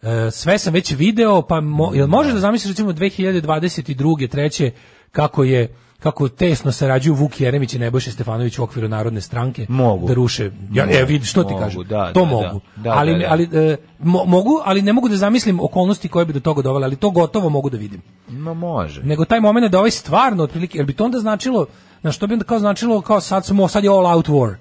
Speaker 6: e, sve sam već video pa mo,
Speaker 5: Mm,
Speaker 6: jel možeš da zamisliš recimo 2022. treće kako je kako tesno sarađuju Vuk Jeremić i Nebojša Stefanović u okviru Narodne stranke
Speaker 5: Mogu.
Speaker 6: da ruše ja
Speaker 5: Mogu,
Speaker 6: e vidi što ti
Speaker 5: mogu,
Speaker 6: kažem
Speaker 5: da,
Speaker 6: to
Speaker 5: da,
Speaker 6: mogu
Speaker 5: da, da,
Speaker 6: ali
Speaker 5: da, da.
Speaker 6: ali e, mo- mogu ali ne mogu da zamislim okolnosti koje bi do toga dovele ali to gotovo mogu da vidim
Speaker 5: Ma može.
Speaker 6: nego taj moment da ovaj stvarno otprilike, jer bi to onda značilo, na što bi onda kao značilo kao sad smo, sad je all out war.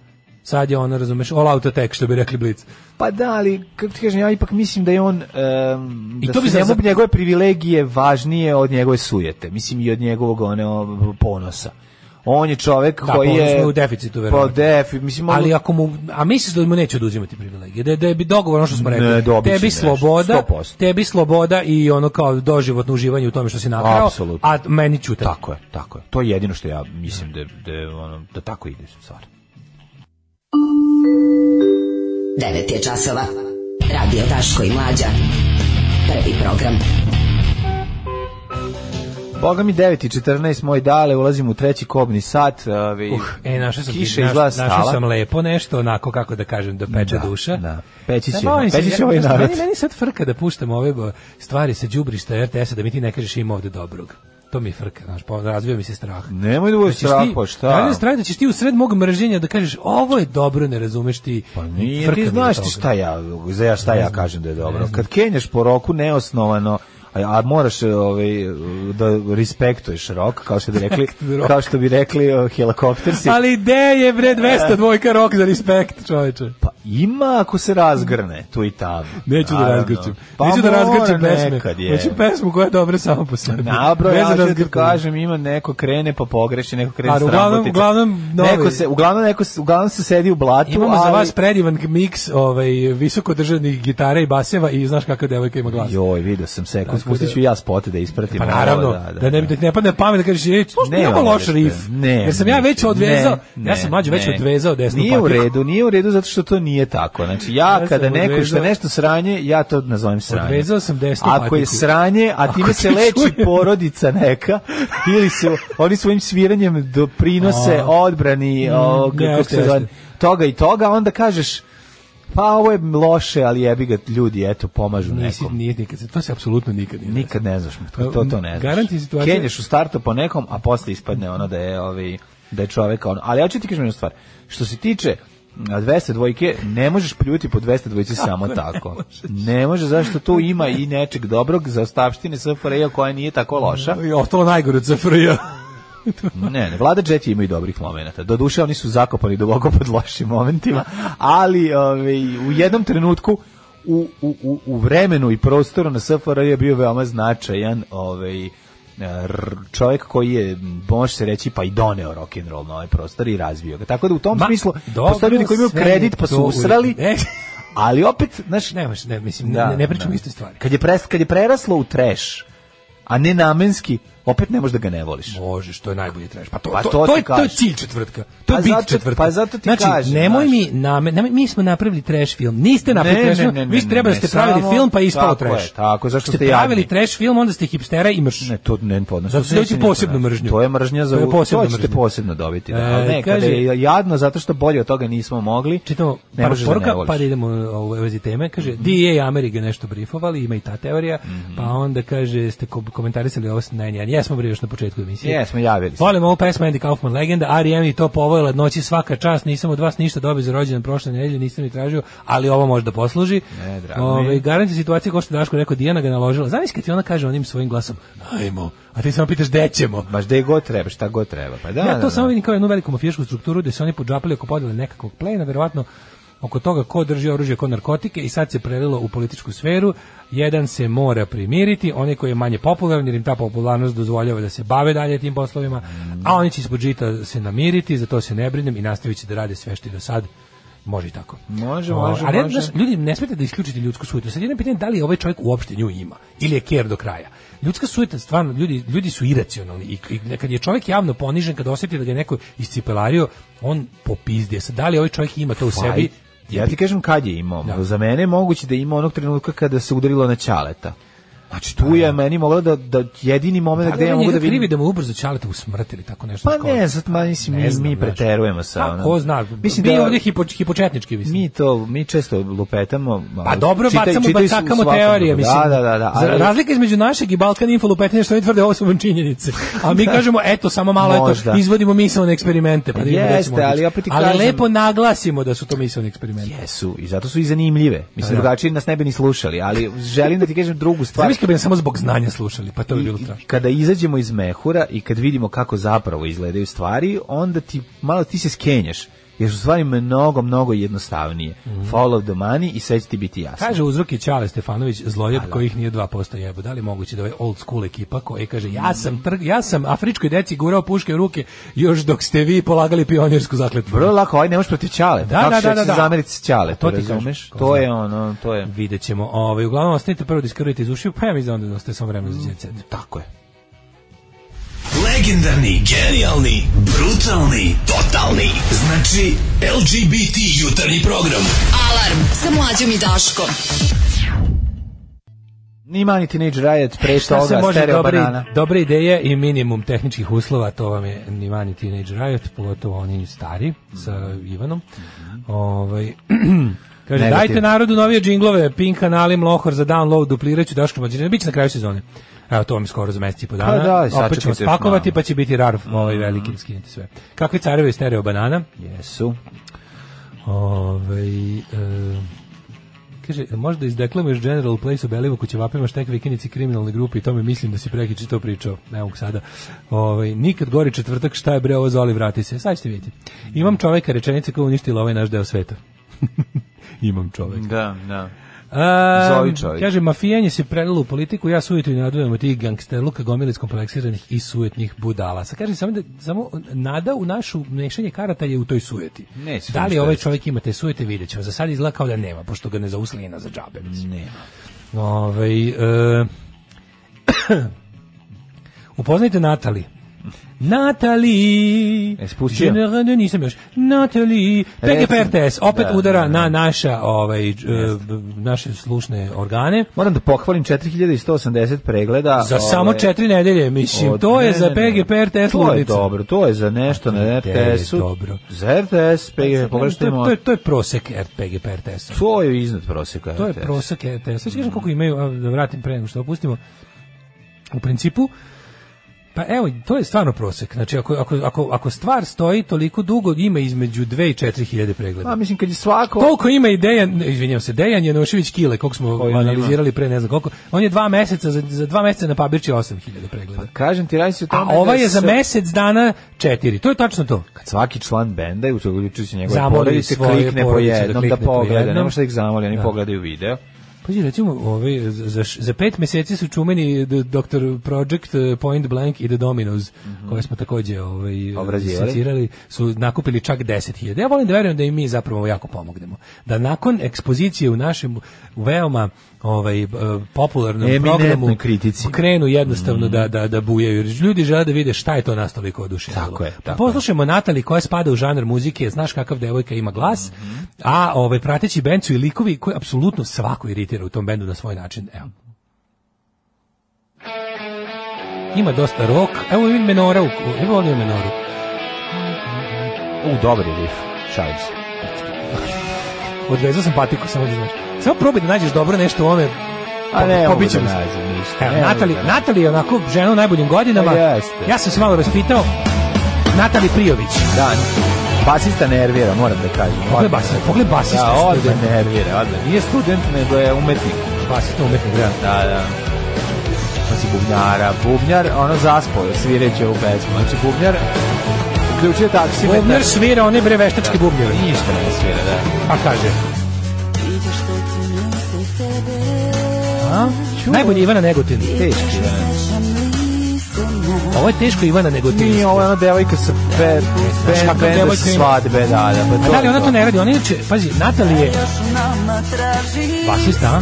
Speaker 6: Sad je ono, razumeš, all out attack, što bi rekli Blitz.
Speaker 5: Pa da, ali kako ti kažem, ja ipak mislim da je on em,
Speaker 6: I
Speaker 5: da
Speaker 6: to bi
Speaker 5: su
Speaker 6: za-
Speaker 5: njemu njegove privilegije važnije od njegove sujete, mislim i od njegovog one o, ponosa. On je čovek
Speaker 6: Da,
Speaker 5: koji
Speaker 6: ponos mu
Speaker 5: je
Speaker 6: je u deficitu,
Speaker 5: Pa
Speaker 6: verovatno.
Speaker 5: defi, mislim on-
Speaker 6: Ali ako mu, a misliš da mu neće oduzimati privilegije, da, da bi dogovor, ono što smo rekli,
Speaker 5: Ne, dobit će
Speaker 6: tebi
Speaker 5: nešto,
Speaker 6: sloboda,
Speaker 5: 100%.
Speaker 6: tebi sloboda i ono kao doživotno uživanje u tome što si nakrao,
Speaker 5: Apsolutno.
Speaker 6: a meni ćutati.
Speaker 5: tako je, tako je. To je jedino što ja mislim da da je ono da tako ide stvar.
Speaker 4: 9 je časova. Radio Daško i Mlađa. Prvi program.
Speaker 5: Boga mi 9 i 14 moj dale, ulazimo u treći kobni sat. Ovaj
Speaker 6: Uh, e, našao sam,
Speaker 5: kiša
Speaker 6: naš-
Speaker 5: izgleda
Speaker 6: našao
Speaker 5: stala.
Speaker 6: sam ono- lepo nešto, onako kako da kažem, da peče
Speaker 5: Da,
Speaker 6: duša.
Speaker 5: da. Peći
Speaker 6: Da,
Speaker 5: će,
Speaker 6: molim se,
Speaker 5: peći će
Speaker 6: ja-
Speaker 5: ovaj narod.
Speaker 6: Meni, meni sad frka da puštam ove bo- stvari sa đubrišta RTS-a da mi ti ne kažeš ima ovde dobrog. to mi je frka, znaš, pa razvio mi se strah.
Speaker 5: Nemoj da budeš Mm, strah, pa šta?
Speaker 6: Da je strah da ćeš ti u sred mog mrženja da kažeš ovo je dobro, ne razumeš ti.
Speaker 5: Pa nije,
Speaker 6: frka mi
Speaker 5: ti
Speaker 6: je
Speaker 5: znaš
Speaker 6: toga.
Speaker 5: ti šta ja, za ja šta ja kažem da je dobro. Kad kenjaš po roku neosnovano, a, a moraš e, ovaj, da respektuješ rok, kao što bi rekli,
Speaker 6: Rok.
Speaker 5: kao što bi rekli o, helikoptersi.
Speaker 6: Ali ideje je bre 200 dvojka rok za respekt, čoveče.
Speaker 5: Pa ima ako se razgrne tu i tamo.
Speaker 6: Neću da
Speaker 5: Naravno.
Speaker 6: razgrčim.
Speaker 5: Pa
Speaker 6: Neću da
Speaker 5: mora
Speaker 6: razgrčim pesme. Znači,
Speaker 5: nekad, je.
Speaker 6: Hoću pesmu koja je dobra samo po sebi.
Speaker 5: Nabro,
Speaker 6: Bez
Speaker 5: ja ću ti
Speaker 6: razgrtanja.
Speaker 5: kažem, ima neko krene pa pogreši, neko krene
Speaker 6: Ali
Speaker 5: s
Speaker 6: uglavnom-
Speaker 5: trambotica.
Speaker 6: uglavnom novi.
Speaker 5: neko se, uglavnom, neko, se- uglavnom se sedi u blatu,
Speaker 6: Imamo za
Speaker 5: ali-
Speaker 6: vas predivan miks ovaj, visoko državnih gitara i baseva i znaš kakva devojka ima glas.
Speaker 5: Joj, vidio sam sekund, spustit ću ja spote da ispratim.
Speaker 6: Pa
Speaker 5: ovo,
Speaker 6: naravno, da, ne, da ti ne padne na pamet da kažeš, ej, slušaj,
Speaker 5: Ne,
Speaker 6: ne,
Speaker 5: ono
Speaker 6: loš
Speaker 5: nešto.
Speaker 6: rif.
Speaker 5: Ne,
Speaker 6: Jer sam ja već
Speaker 5: ne,
Speaker 6: odvezao,
Speaker 5: ne,
Speaker 6: ja sam mlađe već
Speaker 5: ne.
Speaker 6: odvezao desnu
Speaker 5: Nije u
Speaker 6: patiku.
Speaker 5: redu, nije u redu zato što to nije tako. Znači ja,
Speaker 6: Ja
Speaker 5: kada
Speaker 6: sam
Speaker 5: neko što
Speaker 6: odvezao-
Speaker 5: je nešto sranje, ja to nazovem sranje.
Speaker 6: Odvezao sam desnu
Speaker 5: Ako je
Speaker 6: patiku.
Speaker 5: sranje, a time
Speaker 6: Ako
Speaker 5: se
Speaker 6: ti
Speaker 5: leči
Speaker 6: čujem.
Speaker 5: porodica neka ili su oni svojim sviranjem doprinose
Speaker 6: A. Mm,
Speaker 5: odbrani o, kako
Speaker 6: jeste,
Speaker 5: se zove,
Speaker 6: jeste.
Speaker 5: toga i toga, onda kažeš pa ovo je loše, ali jebi ga ljudi, eto, pomažu
Speaker 6: Nisi,
Speaker 5: nekom.
Speaker 6: nije nikad, to se apsolutno nikad nije.
Speaker 5: Nikad ne znaš, to to, to ne znaš.
Speaker 6: Garanti situacija-
Speaker 5: Kenješ u startu po nekom, a posle ispadne ono da je ovaj da je čovek ono. Ali ja ću ti kažem jednu stvar. Što se tiče a, 200 dvojke, ne možeš pljuti po 200 dvojci samo tako. Ne može, zašto tu ima i nečeg dobrog za ostavštine SFRJ koja nije tako loša.
Speaker 6: I ostalo najgore od CFRJ.
Speaker 5: Ne, ne, vlada Jet imaju dobrih momenata. Doduše, oni su zakopani duboko pod lošim momentima, ali ovaj, u jednom trenutku u, u, u- u vremenu i prostoru na SFRJ je bio veoma značajan ovaj, r- čovjek koji je, može se reći, pa i doneo rock'n'roll na ovaj prostor i razvio ga. Tako da u tom
Speaker 6: Ma,
Speaker 5: smislu,
Speaker 6: dobro,
Speaker 5: postoje ljudi koji imaju
Speaker 6: sve
Speaker 5: kredit
Speaker 6: je
Speaker 5: pa
Speaker 6: to
Speaker 5: su
Speaker 6: u-
Speaker 5: usrali,
Speaker 6: Ne.
Speaker 5: ali opet, znaš,
Speaker 6: Ne, baš, ne, mislim,
Speaker 5: Da,
Speaker 6: ne, ne pričam
Speaker 5: da.
Speaker 6: iste stvari.
Speaker 5: kad je, pres, kad je preraslo u trash, a ne namenski, opet ne možeš da ga ne voliš.
Speaker 6: Možeš, to je najbolji trash. Pa to,
Speaker 5: Pa
Speaker 6: to,
Speaker 5: to
Speaker 6: to,
Speaker 5: ti
Speaker 6: je, to je
Speaker 5: kažem.
Speaker 6: cilj četvrtka. To je
Speaker 5: Pa
Speaker 6: bit
Speaker 5: zato-
Speaker 6: četvrtka.
Speaker 5: pa zato ti
Speaker 6: znači,
Speaker 5: kažem,
Speaker 6: nemoj
Speaker 5: znaš.
Speaker 6: mi, name, nemoj, mi smo napravili trash film. Niste napravili
Speaker 5: Ne,
Speaker 6: trash
Speaker 5: ne,
Speaker 6: film.
Speaker 5: ne, ne,
Speaker 6: vi ste
Speaker 5: ne,
Speaker 6: trebali
Speaker 5: ne,
Speaker 6: da ste pravili
Speaker 5: samo-
Speaker 6: film, pa je ispalo
Speaker 5: tako je,
Speaker 6: trash.
Speaker 5: tako, zašto
Speaker 6: ste
Speaker 5: ste jadni?
Speaker 6: pravili trash film, onda ste hipstera i mrš.
Speaker 5: Ne, to ne podnosim.
Speaker 6: Zato su
Speaker 5: Neće
Speaker 6: ljudi
Speaker 5: niko
Speaker 6: posebnu
Speaker 5: naći.
Speaker 6: mržnju.
Speaker 5: To je mržnja za
Speaker 6: To je
Speaker 5: to,
Speaker 6: posebna
Speaker 5: to ćete
Speaker 6: mržnja.
Speaker 5: posebno dobiti. Da.
Speaker 6: E,
Speaker 5: Ali ne, kada
Speaker 6: kaže-
Speaker 5: je jadno zato što bolje od toga nismo mogli,
Speaker 6: Čitamo
Speaker 5: ne
Speaker 6: par
Speaker 5: možeš da
Speaker 6: poruka,
Speaker 5: ne voliš. Mhm.
Speaker 6: pa da idemo u vezi teme. Kaže, DA Amerike nešto brifovali, ima i ta teorija, pa onda kaže, ste ko- komentarisali ovo s ne, ne, jesmo bili još na početku emisije.
Speaker 5: Jesmo, javili se.
Speaker 6: Volim ovu pesmu Andy Kaufman legenda, R.E.M. i to povojila od noći svaka čast, nisam od vas ništa dobio za rođendan prošle nedelje, nisam ni tražio, ali ovo može da posluži.
Speaker 5: E, drago mi je.
Speaker 6: Ove, garant je situacija kao što je Daško rekao, Dijana ga naložila. Znaš kad ti ona kaže onim svojim glasom, ajmo, a ti samo pitaš gde ćemo.
Speaker 5: Baš da je god treba, šta god treba. Pa da,
Speaker 6: ja to
Speaker 5: da, da.
Speaker 6: samo vidim kao jednu veliku mafijašku strukturu gde su oni podžapali oko podjele nekakvog plena, verovatno oko toga ko drži oružje, ko narkotike i sad se prelilo u političku sferu. Jedan se mora primiriti, oni koji je manje popularan jer im ta popularnost dozvoljava da se bave dalje tim poslovima, a oni će ispod žita se namiriti, za to se ne brinem i nastavit će da rade sve što i do sad. Može i tako.
Speaker 5: Može,
Speaker 6: O,
Speaker 5: može,
Speaker 6: ali, ja,
Speaker 5: može.
Speaker 6: znaš, ljudi, ne smete da isključite ljudsku sujetu. Sad jedno pitanje je da li ovaj čovjek uopšte nju ima ili je ker do kraja. Ljudska sujeta, stvarno, ljudi, ljudi su iracionalni i, i kad je čovjek javno ponižen, kad osjeti da ga je neko iscipelario, on popizdije. Sad, da li ovaj čovjek ima to u
Speaker 5: Pa,
Speaker 6: sebi?
Speaker 5: Ja ti kažem kad je imao.
Speaker 6: Da.
Speaker 5: Za mene je moguće da ima onog trenutka kada se udarilo na ćaleta. Znači tu je meni moglo da, da jedini moment
Speaker 6: Pa, Da
Speaker 5: gde
Speaker 6: li
Speaker 5: ja
Speaker 6: on
Speaker 5: mogu da
Speaker 6: njega krivi
Speaker 5: vidim
Speaker 6: da mu ubrzo ćaleta u smrt ili tako nešto?
Speaker 5: Pa
Speaker 6: Tako-
Speaker 5: ne, sad ma, mislim,
Speaker 6: Ne
Speaker 5: mi,
Speaker 6: znam,
Speaker 5: mi
Speaker 6: znaš.
Speaker 5: preterujemo sa
Speaker 6: Pa,
Speaker 5: ono.
Speaker 6: ko zna, mislim
Speaker 5: Mislim
Speaker 6: mi
Speaker 5: da
Speaker 6: ovdje hipo, hipočetnički mislim.
Speaker 5: Mi to, mi često lupetamo.
Speaker 6: Pa
Speaker 5: ali
Speaker 6: dobro,
Speaker 5: čitaj-
Speaker 6: bacamo,
Speaker 5: čitaj su-
Speaker 6: bacakamo
Speaker 5: svakom
Speaker 6: teorije,
Speaker 5: drugo.
Speaker 6: mislim.
Speaker 5: Da, da, da. da
Speaker 6: Za-
Speaker 5: ali-
Speaker 6: Razlika između našeg i Balkan Info lupetanja je što oni tvrde, ovo su vam činjenice. A mi kažemo, eto, samo malo,
Speaker 5: Možda.
Speaker 6: eto, izvodimo mislene eksperimente. Pa da vidimo gde
Speaker 5: Jeste,
Speaker 6: ćemo otići.
Speaker 5: ali opet ti
Speaker 6: Ali
Speaker 5: kažem-
Speaker 6: lepo naglasimo da su to mislene eksperimente.
Speaker 5: Jesu, i zato su i zanimljive. Mislim,
Speaker 6: Da.
Speaker 5: drugačije nas ne bi ni slušali, ali želim da ti kažem drugu stvar.
Speaker 6: Znaš kad bi nas samo zbog znanja slušali, pa to bi
Speaker 5: I-
Speaker 6: bilo
Speaker 5: i
Speaker 6: strašno.
Speaker 5: kada izađemo iz mehura i kad vidimo kako zapravo izgledaju stvari, onda ti malo ti se skenješ. Jer su stvari mnogo, mnogo jednostavnije.
Speaker 6: Mhm.
Speaker 5: Follow the money i sve će ti biti jasno.
Speaker 6: Kaže uzrok je Ćale Stefanović, zlojeb kojih nije 2% jebo. Da li je moguće da ovaj old school ekipa koja kaže ja sam trg, ja sam afričkoj deci gurao puške u ruke još dok ste vi polagali pionirsku zakletvu.
Speaker 5: Vrlo lako, ovaj ne možeš protiv ćale.
Speaker 6: Da,
Speaker 5: kako
Speaker 6: da,
Speaker 5: će
Speaker 6: da,
Speaker 5: se
Speaker 6: da.
Speaker 5: zameriti s ćale,
Speaker 6: To
Speaker 5: to,
Speaker 6: ti kažem,
Speaker 5: razumeš?
Speaker 6: ko
Speaker 5: To
Speaker 6: zna.
Speaker 5: je ono, to je...
Speaker 6: Vidjet ćemo. Ovaj, uglavnom, ostanite prvo da iskrvite iz ušiju, pa ja mislim da onda ostaje samo vremena
Speaker 5: Mm.
Speaker 6: za djecet.
Speaker 5: Tako je.
Speaker 7: Legendarni, genijalni, brutalni, totalni. Znači LGBT jutarnji program.
Speaker 4: Alarm sa mlađom i Daškom.
Speaker 5: Nima ni Teenage Riot, pre
Speaker 6: Šta se
Speaker 5: toga,
Speaker 6: može
Speaker 5: Stereo
Speaker 6: dobre,
Speaker 5: Banana.
Speaker 6: dobre ideje i minimum tehničkih uslova, to vam je Nivani Teenage Riot, pogotovo oni stari sa Ivanom. Ovaj, kaže,
Speaker 5: Mhm. Negativ.
Speaker 6: dajte narodu novije džinglove, Pink kanali, Mlohor za download, dupliraću Daško Mlađirina, bit će na kraju sezone. Evo, to mi skoro za mesec i po
Speaker 5: Pa
Speaker 6: dana.
Speaker 5: da,
Speaker 6: Opet
Speaker 5: sačekajte
Speaker 6: ćemo
Speaker 5: još
Speaker 6: spakovati,
Speaker 5: malo. Mhm.
Speaker 6: pa će biti rar ovaj veliki, skinite sve. Kakvi carevi stereo banana?
Speaker 5: Jesu.
Speaker 6: Ove, e, kaže, možda izdeklamuješ General Place u Belivu kuće vapima štek vikinici kriminalne grupe i tome mislim da si prekiče to pričao, ne mogu sada. Ove, nikad gori četvrtak, šta je bre ovo zoli, vrati se. Sad ćete vidjeti. Imam čoveka rečenice koja je uništila ovaj naš deo sveta. Imam čoveka.
Speaker 5: Da, da.
Speaker 6: Um,
Speaker 5: Zoli čovjek.
Speaker 6: Kaže, mafijanje se prelilo u politiku, ja sujetu i nadujem od tih gangsterluka, gomilic kompleksiranih i sujetnih budala. Sad kaže, samo, da, samo nada u našu mešanje karata je u toj sujeti.
Speaker 5: Ne, sve
Speaker 6: da li
Speaker 5: ništa
Speaker 6: ovaj
Speaker 5: jeste.
Speaker 6: čovjek ima te sujete, vidjet ćemo. Za sad izgleda kao da nema, pošto ga ne zauslina za džabe. mislim.
Speaker 5: Nema.
Speaker 6: Ovaj, e, upoznajte Natali. Natali!
Speaker 5: E, spustio?
Speaker 6: General- ne, nisam još. Natali!
Speaker 5: Reci.
Speaker 6: PGP RTS, opet
Speaker 5: Da,
Speaker 6: udara
Speaker 5: da,
Speaker 6: na naša, ovaj, e, b- naše slušne organe.
Speaker 5: Moram da pohvalim 4180 pregleda.
Speaker 6: Za
Speaker 5: Ove,
Speaker 6: samo četiri nedelje, mislim,
Speaker 5: ovaj, od-
Speaker 6: to je
Speaker 5: ne,
Speaker 6: za
Speaker 5: ne, ne.
Speaker 6: PGP RTS
Speaker 5: To je
Speaker 6: ludnica.
Speaker 5: dobro, to je za nešto na
Speaker 6: To Dakle, je
Speaker 5: RTS-u.
Speaker 6: dobro.
Speaker 5: Za RTS, PGP,
Speaker 6: To je,
Speaker 5: pogledajmo.
Speaker 6: to je, to je prosek R- PGP RTS. -a.
Speaker 5: To je iznad proseka.
Speaker 6: To je
Speaker 5: RTS.
Speaker 6: prosek RTS. Sad ću kažem koliko imaju, a, da vratim pre nego što opustimo. U principu, pa evo, to je stvarno prosek. Znači, ako, ako, ako, ako stvar stoji toliko dugo, ima između 2 i 4 hiljade pregleda.
Speaker 5: A, Pa, mislim, kad je svako...
Speaker 6: Koliko ima i Dejan, ne, izvinjavam se, Dejan Janošević Kile, koliko smo
Speaker 5: Koji on
Speaker 6: analizirali pre ne znam koliko, on je dva meseca, za, za dva meseca na Pabirči 8000 pregleda.
Speaker 5: Kažem ti, radi se o
Speaker 6: A
Speaker 5: tome...
Speaker 6: ova
Speaker 5: Pa, da
Speaker 6: je za
Speaker 5: se-
Speaker 6: mesec dana četiri. To je tačno to.
Speaker 5: Kad svaki član benda, i uključujući njegove
Speaker 6: Zamoli
Speaker 5: porodice,
Speaker 6: svoje
Speaker 5: klikne po
Speaker 6: porodice da
Speaker 5: jednom da
Speaker 6: klikne po
Speaker 5: pogleda.
Speaker 6: jednom.
Speaker 5: Ne može da ih zamoli, oni
Speaker 6: Da.
Speaker 5: pogledaju video.
Speaker 6: Pazi, recimo, ovaj, za, za š- za pet meseci su čumeni d- Dr. Project, eh, Point Blank i The Dominos,
Speaker 5: Mhm.
Speaker 6: koje smo takođe ovaj,
Speaker 5: Obrađivali.
Speaker 6: secirali, su nakupili čak 10.000. Ja volim da verujem da im mi zapravo jako pomognemo. Da nakon ekspozicije u našem veoma ovaj, eh, popularnom
Speaker 5: Eminentnoj
Speaker 6: programu
Speaker 5: kritici.
Speaker 6: krenu jednostavno
Speaker 5: Mm.
Speaker 6: da, da, da bujaju. Jer ljudi žele da vide šta je to nas toliko oduševilo.
Speaker 5: Tako je,
Speaker 6: Pa
Speaker 5: tako
Speaker 6: Poslušajmo Natali koja spada u žanar muzike, znaš kakav devojka ima glas,
Speaker 5: Mhm.
Speaker 6: a ovaj, prateći bend su i likovi koji apsolutno svako iritira u tom bendu na svoj način. Evo. Ima dosta rock, evo i menora, u, evo ovdje menoru.
Speaker 5: U, dobar je riff. Šalim se.
Speaker 6: Odvezao sam patiku, samo da znaš. Samo probaj da nađeš dobro nešto u ome,
Speaker 5: A ne, mogu
Speaker 6: pobit
Speaker 5: da
Speaker 6: ćemo se.
Speaker 5: nađem ništa.
Speaker 6: Evo,
Speaker 5: Ne,
Speaker 6: Natali,
Speaker 5: ne, ne.
Speaker 6: Natali je onako žena u najboljim godinama.
Speaker 5: Pa jeste.
Speaker 6: Ja sam se malo raspitao. Natali Prijović.
Speaker 5: Da, basista nervira, moram da kažem.
Speaker 6: Pogledaj basista, pogledaj basista.
Speaker 5: Da, odmah
Speaker 6: student.
Speaker 5: nervira, odmah. Nije student, nego je umetnik.
Speaker 6: Basista umetnik, da.
Speaker 5: Da, da. Znači bubnjara, bubnjar, ono zaspao, je, svireće ovu pesmu. Znači bubnjar, uključio taksi.
Speaker 6: Bubnjar svira one bre veštačke bubnjeve.
Speaker 5: Ništa ne svira, da.
Speaker 6: Pa kaže.
Speaker 5: A?
Speaker 6: Najbolje Ivana Negotin.
Speaker 5: Teški, da.
Speaker 6: Ovo je teško Ivana Negotin.
Speaker 5: Nije ovo je ona devojka sa pe,
Speaker 6: Znaš
Speaker 5: pe,
Speaker 6: kakav
Speaker 5: benda
Speaker 6: devojka
Speaker 5: sa
Speaker 6: ima?
Speaker 5: svadbe, da, da. Pa
Speaker 6: A da li ona to ne radi? Ona inače, pazi, Natali je basista, a?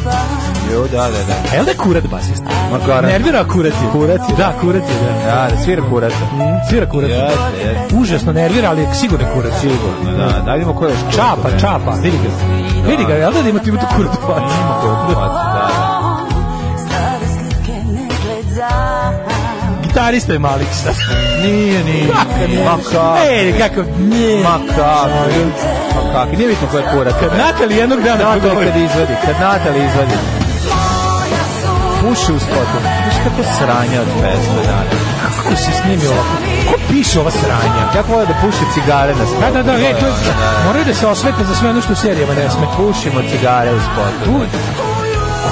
Speaker 5: Jo, da, da, da.
Speaker 6: A je li da je kurat basista?
Speaker 5: Makara.
Speaker 6: Nervira kurat je.
Speaker 5: Kurat je,
Speaker 6: Da, kurat je, da.
Speaker 5: Da, da, svira kurata.
Speaker 6: Mm, Svira kurat.
Speaker 5: Jeste, jeste.
Speaker 6: Užasno nervira, ali je sigurno kurat.
Speaker 5: Sigurno, da. Da vidimo ko je još kurat.
Speaker 6: Čapa, čapa. Vidi ga. Vidi ga, jel da ima ti ima tu kurat u facu?
Speaker 5: Ima kurat u facu, da, da.
Speaker 6: Gitarista je Malik sad.
Speaker 5: Nije, nije. Makar.
Speaker 6: Ej, E, kako... Nije.
Speaker 5: Makar. Makar. Nije bitno ko je kurat.
Speaker 6: Kad Natali jednog dana
Speaker 5: Natali
Speaker 6: progovori.
Speaker 5: kad izvadi, kad Natali izvadi. Puši u spotu. Viš kako sranje od pesme dana.
Speaker 6: Kako se snimi ovako? Ko piše ova sranja?
Speaker 5: Kako vole da puši cigare na spotu?
Speaker 6: Da, da, da, ej, to je,
Speaker 5: Da, da.
Speaker 6: moraju da se osvete za sve ono što u serijama ne sme.
Speaker 5: Pušimo cigare u spotu.
Speaker 6: U,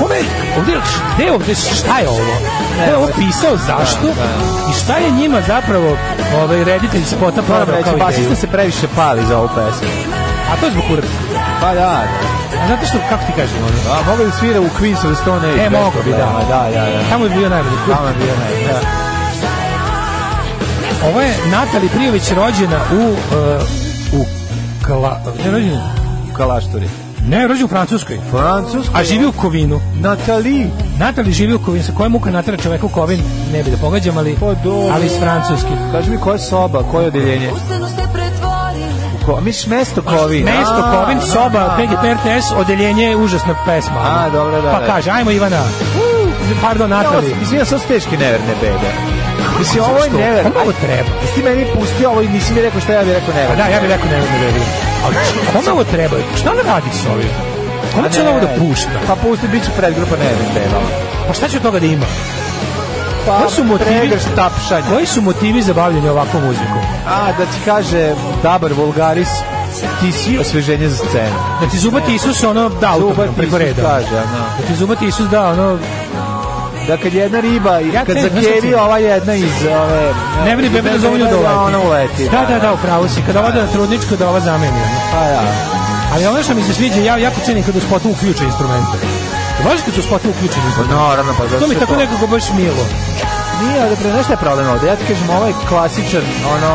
Speaker 6: Kome, ovdje, gde je ovdje, šta je ovo? Ko je ovo pisao, zašto? I šta je njima zapravo ovaj reditelj spota
Speaker 5: Moram
Speaker 6: prodao
Speaker 5: reći,
Speaker 6: kao
Speaker 5: basista
Speaker 6: ideju?
Speaker 5: se previše pali za ovu pesmu.
Speaker 6: A to je zbog kurca.
Speaker 5: Pa da,
Speaker 6: A zato što, kako ti kažem, ono,
Speaker 5: da. A mogu li svira u Queen's of the Stone Age?
Speaker 6: E,
Speaker 5: bez
Speaker 6: mogu bi, da.
Speaker 5: problema. Da, da, da.
Speaker 6: tamo je bio najbolji kurc.
Speaker 5: Tamo je bio naj- da.
Speaker 6: Ovo je Natali Prijović rođena u, e, u, Kla, ne rođena,
Speaker 5: U Kalašturi.
Speaker 6: ne rođena u Francuskoj,
Speaker 5: Francusko.
Speaker 6: a živi u Kovinu.
Speaker 5: Natali.
Speaker 6: Natali živi u Kovinu, sa kojom muka natara čoveku Kovin, ne bi da pogađam, ali,
Speaker 5: Pa dobro.
Speaker 6: ali iz Francuske.
Speaker 5: Kaži mi koja je soba, koje je odeljenje? U Ko, misliš mesto Kovin?
Speaker 6: Mesto
Speaker 5: A,
Speaker 6: Kovin,
Speaker 5: a,
Speaker 6: soba,
Speaker 5: a,
Speaker 6: PGP RTS, odeljenje je užasna pesma.
Speaker 5: A, dobro, da,
Speaker 6: Pa
Speaker 5: da.
Speaker 6: kaže, ajmo Ivana. Pardon, Natali.
Speaker 5: Izvinjam, sad su teške neverne bede. Mislim, ovo je
Speaker 6: Zašto?
Speaker 5: neverne.
Speaker 6: Kome ovo treba?
Speaker 5: Jesi ti meni pustio ovo i nisi mi rekao šta ja bih rekao
Speaker 6: Pa
Speaker 5: neverne.
Speaker 6: da, ja bih rekao nevjerojatno da je bilo. Ali kome ovo treba? Šta ona radi s ovim? Kome će ona ovo da pušta?
Speaker 5: Pa pusti, bit će predgrupa neverne beda.
Speaker 6: Pa šta će od toga da ima?
Speaker 5: Pa,
Speaker 6: Koji su motivi-
Speaker 5: pregršt tapšanja.
Speaker 6: Koji su motivi za bavljanje ovakvom muzikom?
Speaker 5: A, da ti kaže Dabar Vulgaris, ti si osveženje za scenu.
Speaker 6: Da ti zubati Isus ono da automobilom preko
Speaker 5: Isus
Speaker 6: reda.
Speaker 5: Kaže, ono,
Speaker 6: Da ti zubati Isus da ono
Speaker 5: da kad jedna riba, i
Speaker 6: Ja
Speaker 5: kad
Speaker 6: te- znaš šta
Speaker 5: zakevi
Speaker 6: ti-
Speaker 5: ova jedna iz ove...
Speaker 6: ne vidi bebe da zovu nju da uleti.
Speaker 5: Ona uleti.
Speaker 6: Da, da, da, upravo si. Kada ovo da trudničko da ova zameni. ono.
Speaker 5: Pa da.
Speaker 6: Ali ono što mi se sviđa, ja jako cenim kada u spotu uključe instrumente. Važi kad su u spotu uključeni
Speaker 5: Pa
Speaker 6: instrumente.
Speaker 5: naravno, pa zašto
Speaker 6: To mi je tako nekako baš milo.
Speaker 5: Nije, ali pre, znaš šta je problem ovde? Ja ti kažem, ovo je klasičan, ono,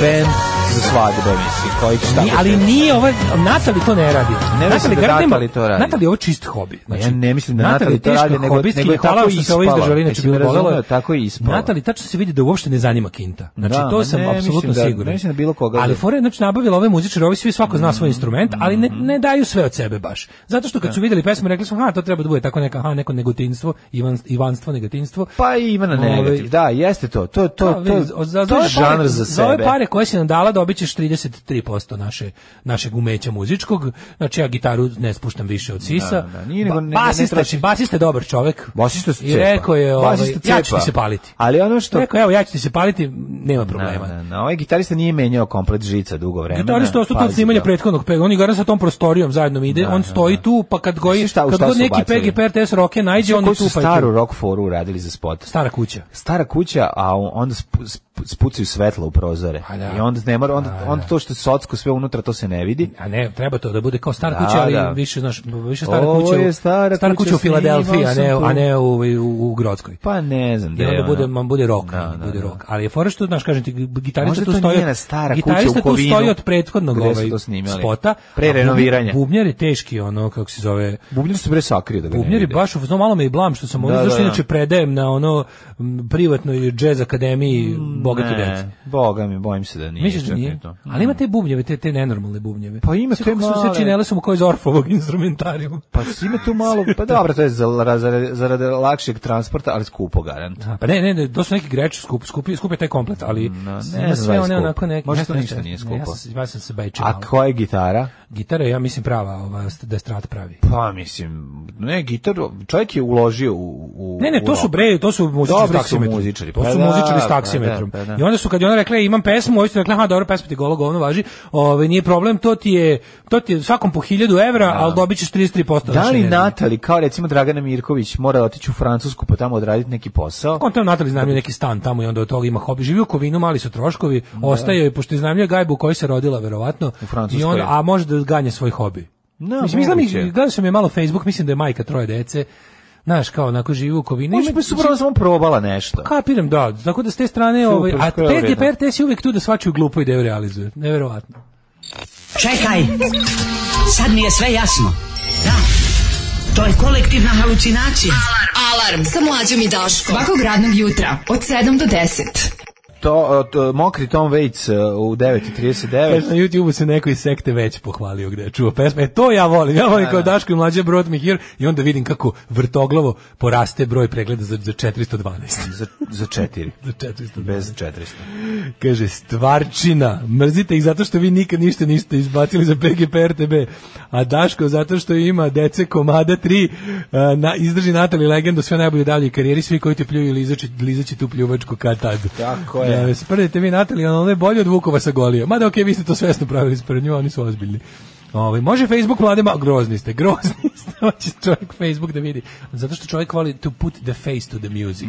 Speaker 5: band za svadbe, mislim, koji će tako...
Speaker 6: Ni, ali nije ovo, Natali to ne radi.
Speaker 5: Ne mislim da
Speaker 6: garant nema-
Speaker 5: Natali to radi.
Speaker 6: Natali je ovo čist hobi. znači.
Speaker 5: ja ne mislim da Natali to
Speaker 6: teška
Speaker 5: radi, nego-
Speaker 6: hobistkinja,
Speaker 5: nego je
Speaker 6: hvala
Speaker 5: tako
Speaker 6: joj što se ovo
Speaker 5: ispala.
Speaker 6: izdržala, inače
Speaker 5: Jesi
Speaker 6: bi
Speaker 5: me
Speaker 6: bolelo.
Speaker 5: razumeo, tako je ispala.
Speaker 6: Natali, tačno se vidi da uopšte ne zanima Kinta. Znači,
Speaker 5: Da,
Speaker 6: to
Speaker 5: ma
Speaker 6: sam
Speaker 5: ne,
Speaker 6: apsolutno
Speaker 5: mislim da-
Speaker 6: siguran.
Speaker 5: ne mislim da Mm. bilo koga-
Speaker 6: Ali fore, znači, nabavila ove muzičare, ovi svi svako zna svoj instrument, ali ne, ne daju sve od sebe baš. Zato što kad su videli pesmu, rekli smo, ha, to treba da bude tako neka, ha, neko negotinstvo, ivan, ivanstvo, negotinstvo.
Speaker 5: Pa i ima na negativ,
Speaker 6: Ovaj,
Speaker 5: da, jeste to. To, to,
Speaker 6: Da,
Speaker 5: to,
Speaker 6: vidi, za-
Speaker 5: to
Speaker 6: ove
Speaker 5: je žanr za
Speaker 6: Za ove
Speaker 5: sebe.
Speaker 6: pare koje si nam dala dobit ćeš 33% naše, našeg umeća muzičkog. Znači ja gitaru ne spuštam više od sisa.
Speaker 5: Da, da, nije nego-
Speaker 6: Ba-
Speaker 5: ne- ne- ne
Speaker 6: basista,
Speaker 5: trošiš.
Speaker 6: basista je dobar čovek.
Speaker 5: Basista se
Speaker 6: I
Speaker 5: cepa.
Speaker 6: rekao je, ovaj,
Speaker 5: Basista
Speaker 6: ja ću
Speaker 5: cepa.
Speaker 6: ti se paliti.
Speaker 5: Ali ono što-
Speaker 6: Rekao, evo, ja ću ti se paliti, nema problema.
Speaker 5: Na, na, na, ovaj gitarista nije menjao komplet žica dugo vremena.
Speaker 6: Gitarista ostao tu od
Speaker 5: Pazi
Speaker 6: snimanja
Speaker 5: ga.
Speaker 6: prethodnog pega. On igra sa tom prostorijom zajedno mi ide, on stoji tu, pa kad goji,
Speaker 5: Znaš šta- u
Speaker 6: kad
Speaker 5: šta
Speaker 6: god
Speaker 5: su
Speaker 6: neki
Speaker 5: ubacili?
Speaker 6: PGP RTS roke najde, on je
Speaker 5: Koji
Speaker 6: tu
Speaker 5: su
Speaker 6: pa je
Speaker 5: staru
Speaker 6: tu.
Speaker 5: rock foru uradili za spot?
Speaker 6: Stara kuća.
Speaker 5: Stara kuća, a on- onda spu- sp- spucaju svetla u prozore.
Speaker 6: A da.
Speaker 5: I onda ne mora, onda, onda to što je socko sve unutra, to se ne vidi.
Speaker 6: A ne, treba to da bude kao stara
Speaker 5: Da,
Speaker 6: kuća, ali
Speaker 5: da.
Speaker 6: više znaš, više stara
Speaker 5: Ovo
Speaker 6: kuća. u-
Speaker 5: je stara kuća,
Speaker 6: kuća u Filadelfiji, a ne
Speaker 5: snimao sam
Speaker 6: a
Speaker 5: tu.
Speaker 6: ne u u, u Grodskoj.
Speaker 5: Pa ne znam.
Speaker 6: I
Speaker 5: gde je
Speaker 6: onda
Speaker 5: ono.
Speaker 6: bude, man bude rock,
Speaker 5: Da, da,
Speaker 6: bude
Speaker 5: da.
Speaker 6: rock. Ali je fora što, znaš, kažem ti, gitarista
Speaker 5: Možda
Speaker 6: tu
Speaker 5: to
Speaker 6: stoji,
Speaker 5: nije
Speaker 6: od-
Speaker 5: na stara kuća
Speaker 6: gitarista
Speaker 5: u
Speaker 6: tu
Speaker 5: Kovinu,
Speaker 6: stoji od prethodnog
Speaker 5: gde su
Speaker 6: ovaj
Speaker 5: to snimali.
Speaker 6: spota.
Speaker 5: Pre
Speaker 6: a bubnjar-
Speaker 5: renoviranja.
Speaker 6: Bubnjar je teški, ono, kako se zove,
Speaker 5: Bubnjar se bre sakrio da ga ne
Speaker 6: Bubnjar je
Speaker 5: vide.
Speaker 6: baš, no, malo me i blam što sam ono,
Speaker 5: Da,
Speaker 6: zašto
Speaker 5: da, da.
Speaker 6: inače predajem na ono m, privatnoj jazz akademiji Bogati deci.
Speaker 5: Mm, Ne, boga mi, bojim se da nije.
Speaker 6: Misliš da
Speaker 5: čak
Speaker 6: nije?
Speaker 5: ni E, to.
Speaker 6: Ali ima te bubnjeve, te, te nenormalne bubnjeve.
Speaker 5: Pa ima
Speaker 6: Sve
Speaker 5: te
Speaker 6: kako Su
Speaker 5: male.
Speaker 6: se činele su mu kao iz orfovog instrumentarijuma.
Speaker 5: Pa ima tu malo, pa dobro, to je za- za- zarad lakšeg transporta, ali skupo garant.
Speaker 6: A, Pa ne, ne, ne, to su neki greč skup, skupi, skup je taj komplet, ali
Speaker 5: Mm, ne
Speaker 6: ima
Speaker 5: znam
Speaker 6: sve
Speaker 5: da je
Speaker 6: one
Speaker 5: skup.
Speaker 6: onako neke...
Speaker 5: Možda
Speaker 6: ne
Speaker 5: to
Speaker 6: znam
Speaker 5: ništa
Speaker 6: šta-
Speaker 5: nije
Speaker 6: ne,
Speaker 5: skupo.
Speaker 6: Ja sam, se- ja sam se bajčio.
Speaker 5: A koja je gitara?
Speaker 6: Gitara je, ja mislim, prava, ova, da je strat pravi.
Speaker 5: Pa mislim, ne, gitar, čovjek je uložio u... u
Speaker 6: Ne, ne,
Speaker 5: u ono.
Speaker 6: to su
Speaker 5: rock.
Speaker 6: bre, to su muzičari s
Speaker 5: Dobri su
Speaker 6: taksimetrom.
Speaker 5: muzičari,
Speaker 6: To
Speaker 5: pa
Speaker 6: su
Speaker 5: da,
Speaker 6: muzičari
Speaker 5: pa da,
Speaker 6: s taksimetrom.
Speaker 5: pa da.
Speaker 6: I onda su kad je ona rekla, "E, imam pesmu, ovi su rekli, aha, dobro, pesma ti golo govno važi. Ovaj nije problem, to ti je, to ti je svakom po 1000 evra, ali dobit ćeš 33%
Speaker 5: Da
Speaker 6: naše
Speaker 5: li
Speaker 6: energije."
Speaker 5: Natali, kao recimo Dragana Mirković, mora otići u Francusku pa tamo odraditi neki posao?
Speaker 6: On tamo Natali iznajmljuje neki stan tamo i onda od toga ima hobi. Živi u Kovinu, mali su troškovi, ostaje i pošto iznajmljuje gajbu u kojoj se rodila verovatno.
Speaker 5: U Francuskoj.
Speaker 6: I onda, a može da ganje svoj hobi.
Speaker 5: Da,
Speaker 6: mislim, izgleda mi-
Speaker 5: moguće.
Speaker 6: gledao sam je malo Facebook, mislim da je majka troje dece. Znaš, kao onako živi u Kovinu.
Speaker 5: Možda
Speaker 6: Ima-
Speaker 5: bi supravo samo probala nešto.
Speaker 6: Kapiram, da. Tako da s te strane,
Speaker 5: Super,
Speaker 6: ovaj, a
Speaker 5: skoro je
Speaker 6: PGP
Speaker 5: vredno.
Speaker 6: RTS je uvijek tu da svačiju glupo ideju realizuje. Neverovatno.
Speaker 4: Čekaj, sad mi je sve jasno. Da, to je kolektivna halucinacija.
Speaker 8: Alarm sa mlađom i Daškom. Svakog radnog jutra od 7 do 10.
Speaker 5: To, e, to, mokri Tom Waits e, u 9.39.
Speaker 6: Kaže, E, na YouTubeu se neko iz sekte već pohvalio gde je čuo pesme. E, to ja volim. Ja volim kao Daško i mlađe brought me here i onda vidim kako vrtoglavo poraste broj pregleda za, za 412.
Speaker 5: za, za četiri.
Speaker 6: Za 412.
Speaker 5: Bez 400.
Speaker 6: Kaže, stvarčina, mrzite ih zato što vi nikad ništa niste izbacili za PGP RTB, a Daško zato što ima dece komada 3, a, na, izdrži Natali legendu sve najbolje dalje u karijeri, svi koji te pljuju lizaći, lizaći tu pljuvačku kad tad.
Speaker 5: Tako je.
Speaker 6: Da, sprdite vi Natali, ona je bolje od Vukova sa Golijom. Mada okej, vi ste to svesno pravili spred nju, oni su ozbiljni. Ovaj može Facebook mlade ma grozni ste, grozni ste. Hoće čovjek Facebook da vidi. Zato što čovjek voli to put the face to the music.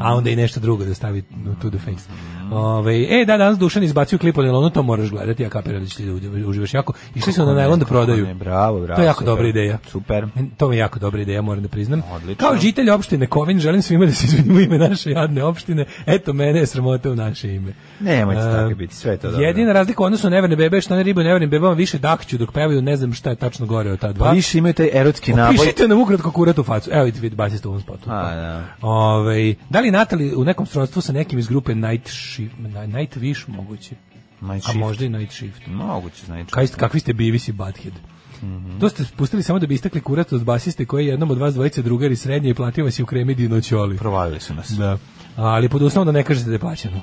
Speaker 6: A onda i nešto drugo da stavi to the face. Ovaj e da danas Dušan izbacio klip o Nelonu, to moraš gledati, ja kapiram da ćeš ti da uđe- uživaš jako. Išli su na najlon da prodaju.
Speaker 5: Ne, bravo, bravo.
Speaker 6: To je jako
Speaker 5: super.
Speaker 6: dobra ideja.
Speaker 5: Super.
Speaker 6: To mi je jako dobra ideja, moram da priznam.
Speaker 5: Odlično.
Speaker 6: Kao žitelj opštine Kovin, želim svima da se izvinimo u ime naše jadne opštine. Eto, mene je sramota u naše ime.
Speaker 5: Nemojte
Speaker 6: Ehm,
Speaker 5: tako biti, sve je to dobro.
Speaker 6: Jedina razlika u odnosu na neverne bebe je što ne ribe u nevernim bebama više dahću dok pevaju, ne znam šta je tačno gore od ta dva.
Speaker 5: Pa više imaju taj erotski naboj.
Speaker 6: Pa Pišite nam ukratko kurat u facu. Evo vidite, vidi, basista u ovom spotu.
Speaker 5: A, da.
Speaker 6: Ovaj, da li Natali u nekom srodstvu sa nekim iz grupe Night, Shift, Night Wish moguće?
Speaker 5: Night
Speaker 6: A
Speaker 5: Shift.
Speaker 6: možda i Night Shift.
Speaker 5: Moguće, znači.
Speaker 6: Kaj ste, kakvi ste Beavis i Butthead? To ste spustili samo da bi istakli kurat od basiste koji je jednom od vas dvojice drugari srednje i platio vas i u kremi dinoćoli.
Speaker 5: Provalili su nas.
Speaker 6: Da. Ali pod uslovom da ne kažete da je plaćeno.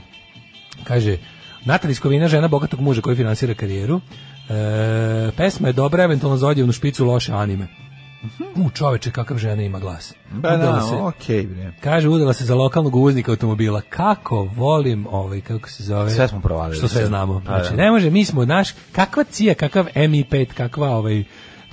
Speaker 6: Kaže, Natalija Skovina, žena bogatog muža koji finansira karijeru, e, pesma je dobra, eventualno za odjevnu špicu loše anime. U, čoveče, kakav žena ima glas.
Speaker 5: Mhm. Pa
Speaker 6: Udala
Speaker 5: da,
Speaker 6: se-
Speaker 5: okej, bre.
Speaker 6: Kaže, udala se za lokalnog uvoznika automobila. Kako volim ovaj, kako se zove?
Speaker 5: Sve smo provalili.
Speaker 6: Što sve
Speaker 5: Sve.
Speaker 6: znamo.
Speaker 5: Pa
Speaker 6: Znači,
Speaker 5: da.
Speaker 6: ne može, mi smo, naš, kakva cija, kakav MI5, kakva ovaj,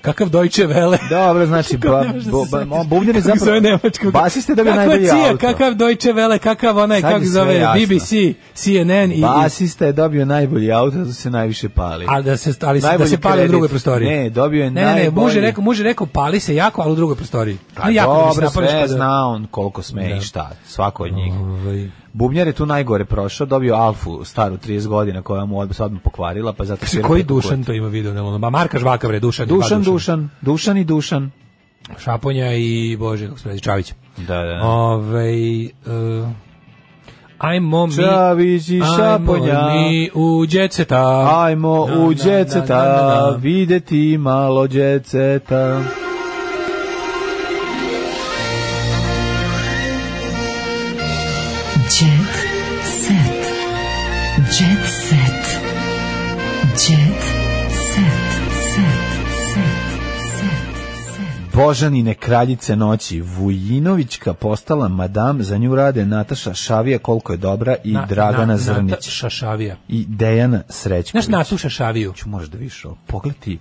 Speaker 6: kakav Deutsche Welle.
Speaker 5: Dobro, znači,
Speaker 6: Kako
Speaker 5: ba,
Speaker 6: ne možeš da
Speaker 5: bo,
Speaker 6: se
Speaker 5: ba,
Speaker 6: setiš?
Speaker 5: on bubnjar je
Speaker 6: Kako se zove
Speaker 5: zapravo,
Speaker 6: nemačkog?
Speaker 5: basiste da bi
Speaker 6: Kakva
Speaker 5: najbolji
Speaker 6: cija,
Speaker 5: auto.
Speaker 6: Kakav Deutsche Welle, kakav onaj,
Speaker 5: Sad
Speaker 6: kako
Speaker 5: je
Speaker 6: se
Speaker 5: sve
Speaker 6: zove,
Speaker 5: jasno.
Speaker 6: BBC, CNN i... i
Speaker 5: Basista je dobio najbolji auto, zato se najviše pali.
Speaker 6: ali da se ali se- da
Speaker 5: Najbolji
Speaker 6: se pali u
Speaker 5: kredit.
Speaker 6: drugoj prostoriji.
Speaker 5: Ne, dobio je
Speaker 6: ne, ne, ne, muž je
Speaker 5: najbolji-
Speaker 6: rekao, muž je rekao pali se jako, ali u drugoj prostoriji.
Speaker 5: Pa
Speaker 6: Ne, jako da mi se
Speaker 5: dobro,
Speaker 6: napališ pa
Speaker 5: sve
Speaker 6: da-
Speaker 5: zna on koliko sme
Speaker 6: Da.
Speaker 5: i šta, svako od njih.
Speaker 6: Ovaj,
Speaker 5: Bubnjar je tu najgore prošao, dobio Alfu staru 30 godina koja mu odmah odmah pokvarila, pa zato svira
Speaker 6: Koji
Speaker 5: preko
Speaker 6: Dušan
Speaker 5: kuća.
Speaker 6: to ima video na ono? Ma Marka Žvaka bre, Dušan.
Speaker 5: Dušan,
Speaker 6: dva
Speaker 5: Dušan, Dušan i Dušan.
Speaker 6: Šaponja i Bože, kako se radi, Čavić.
Speaker 5: Da, da.
Speaker 6: Ove, uh, ajmo mi...
Speaker 5: Čavić i
Speaker 6: ajmo
Speaker 5: Šaponja.
Speaker 6: mi u djeceta.
Speaker 5: Ajmo
Speaker 6: Na,
Speaker 5: u
Speaker 6: na, na, na, na,
Speaker 5: džeceta,
Speaker 6: na.
Speaker 5: videti malo džeceta.
Speaker 8: Jet set. Jet set. Jet set. Set. Set.
Speaker 5: Božanine kraljice noći, Vujinovićka postala madam, za nju rade Nataša Šavija koliko je dobra i
Speaker 6: Na-
Speaker 5: Dragana
Speaker 6: na-
Speaker 5: Zrnić
Speaker 6: Nata Šašavija.
Speaker 5: i Dejana Srećković.
Speaker 6: Znaš Natu Šašaviju?
Speaker 5: Ću možda više ovo. Pogledaj ti,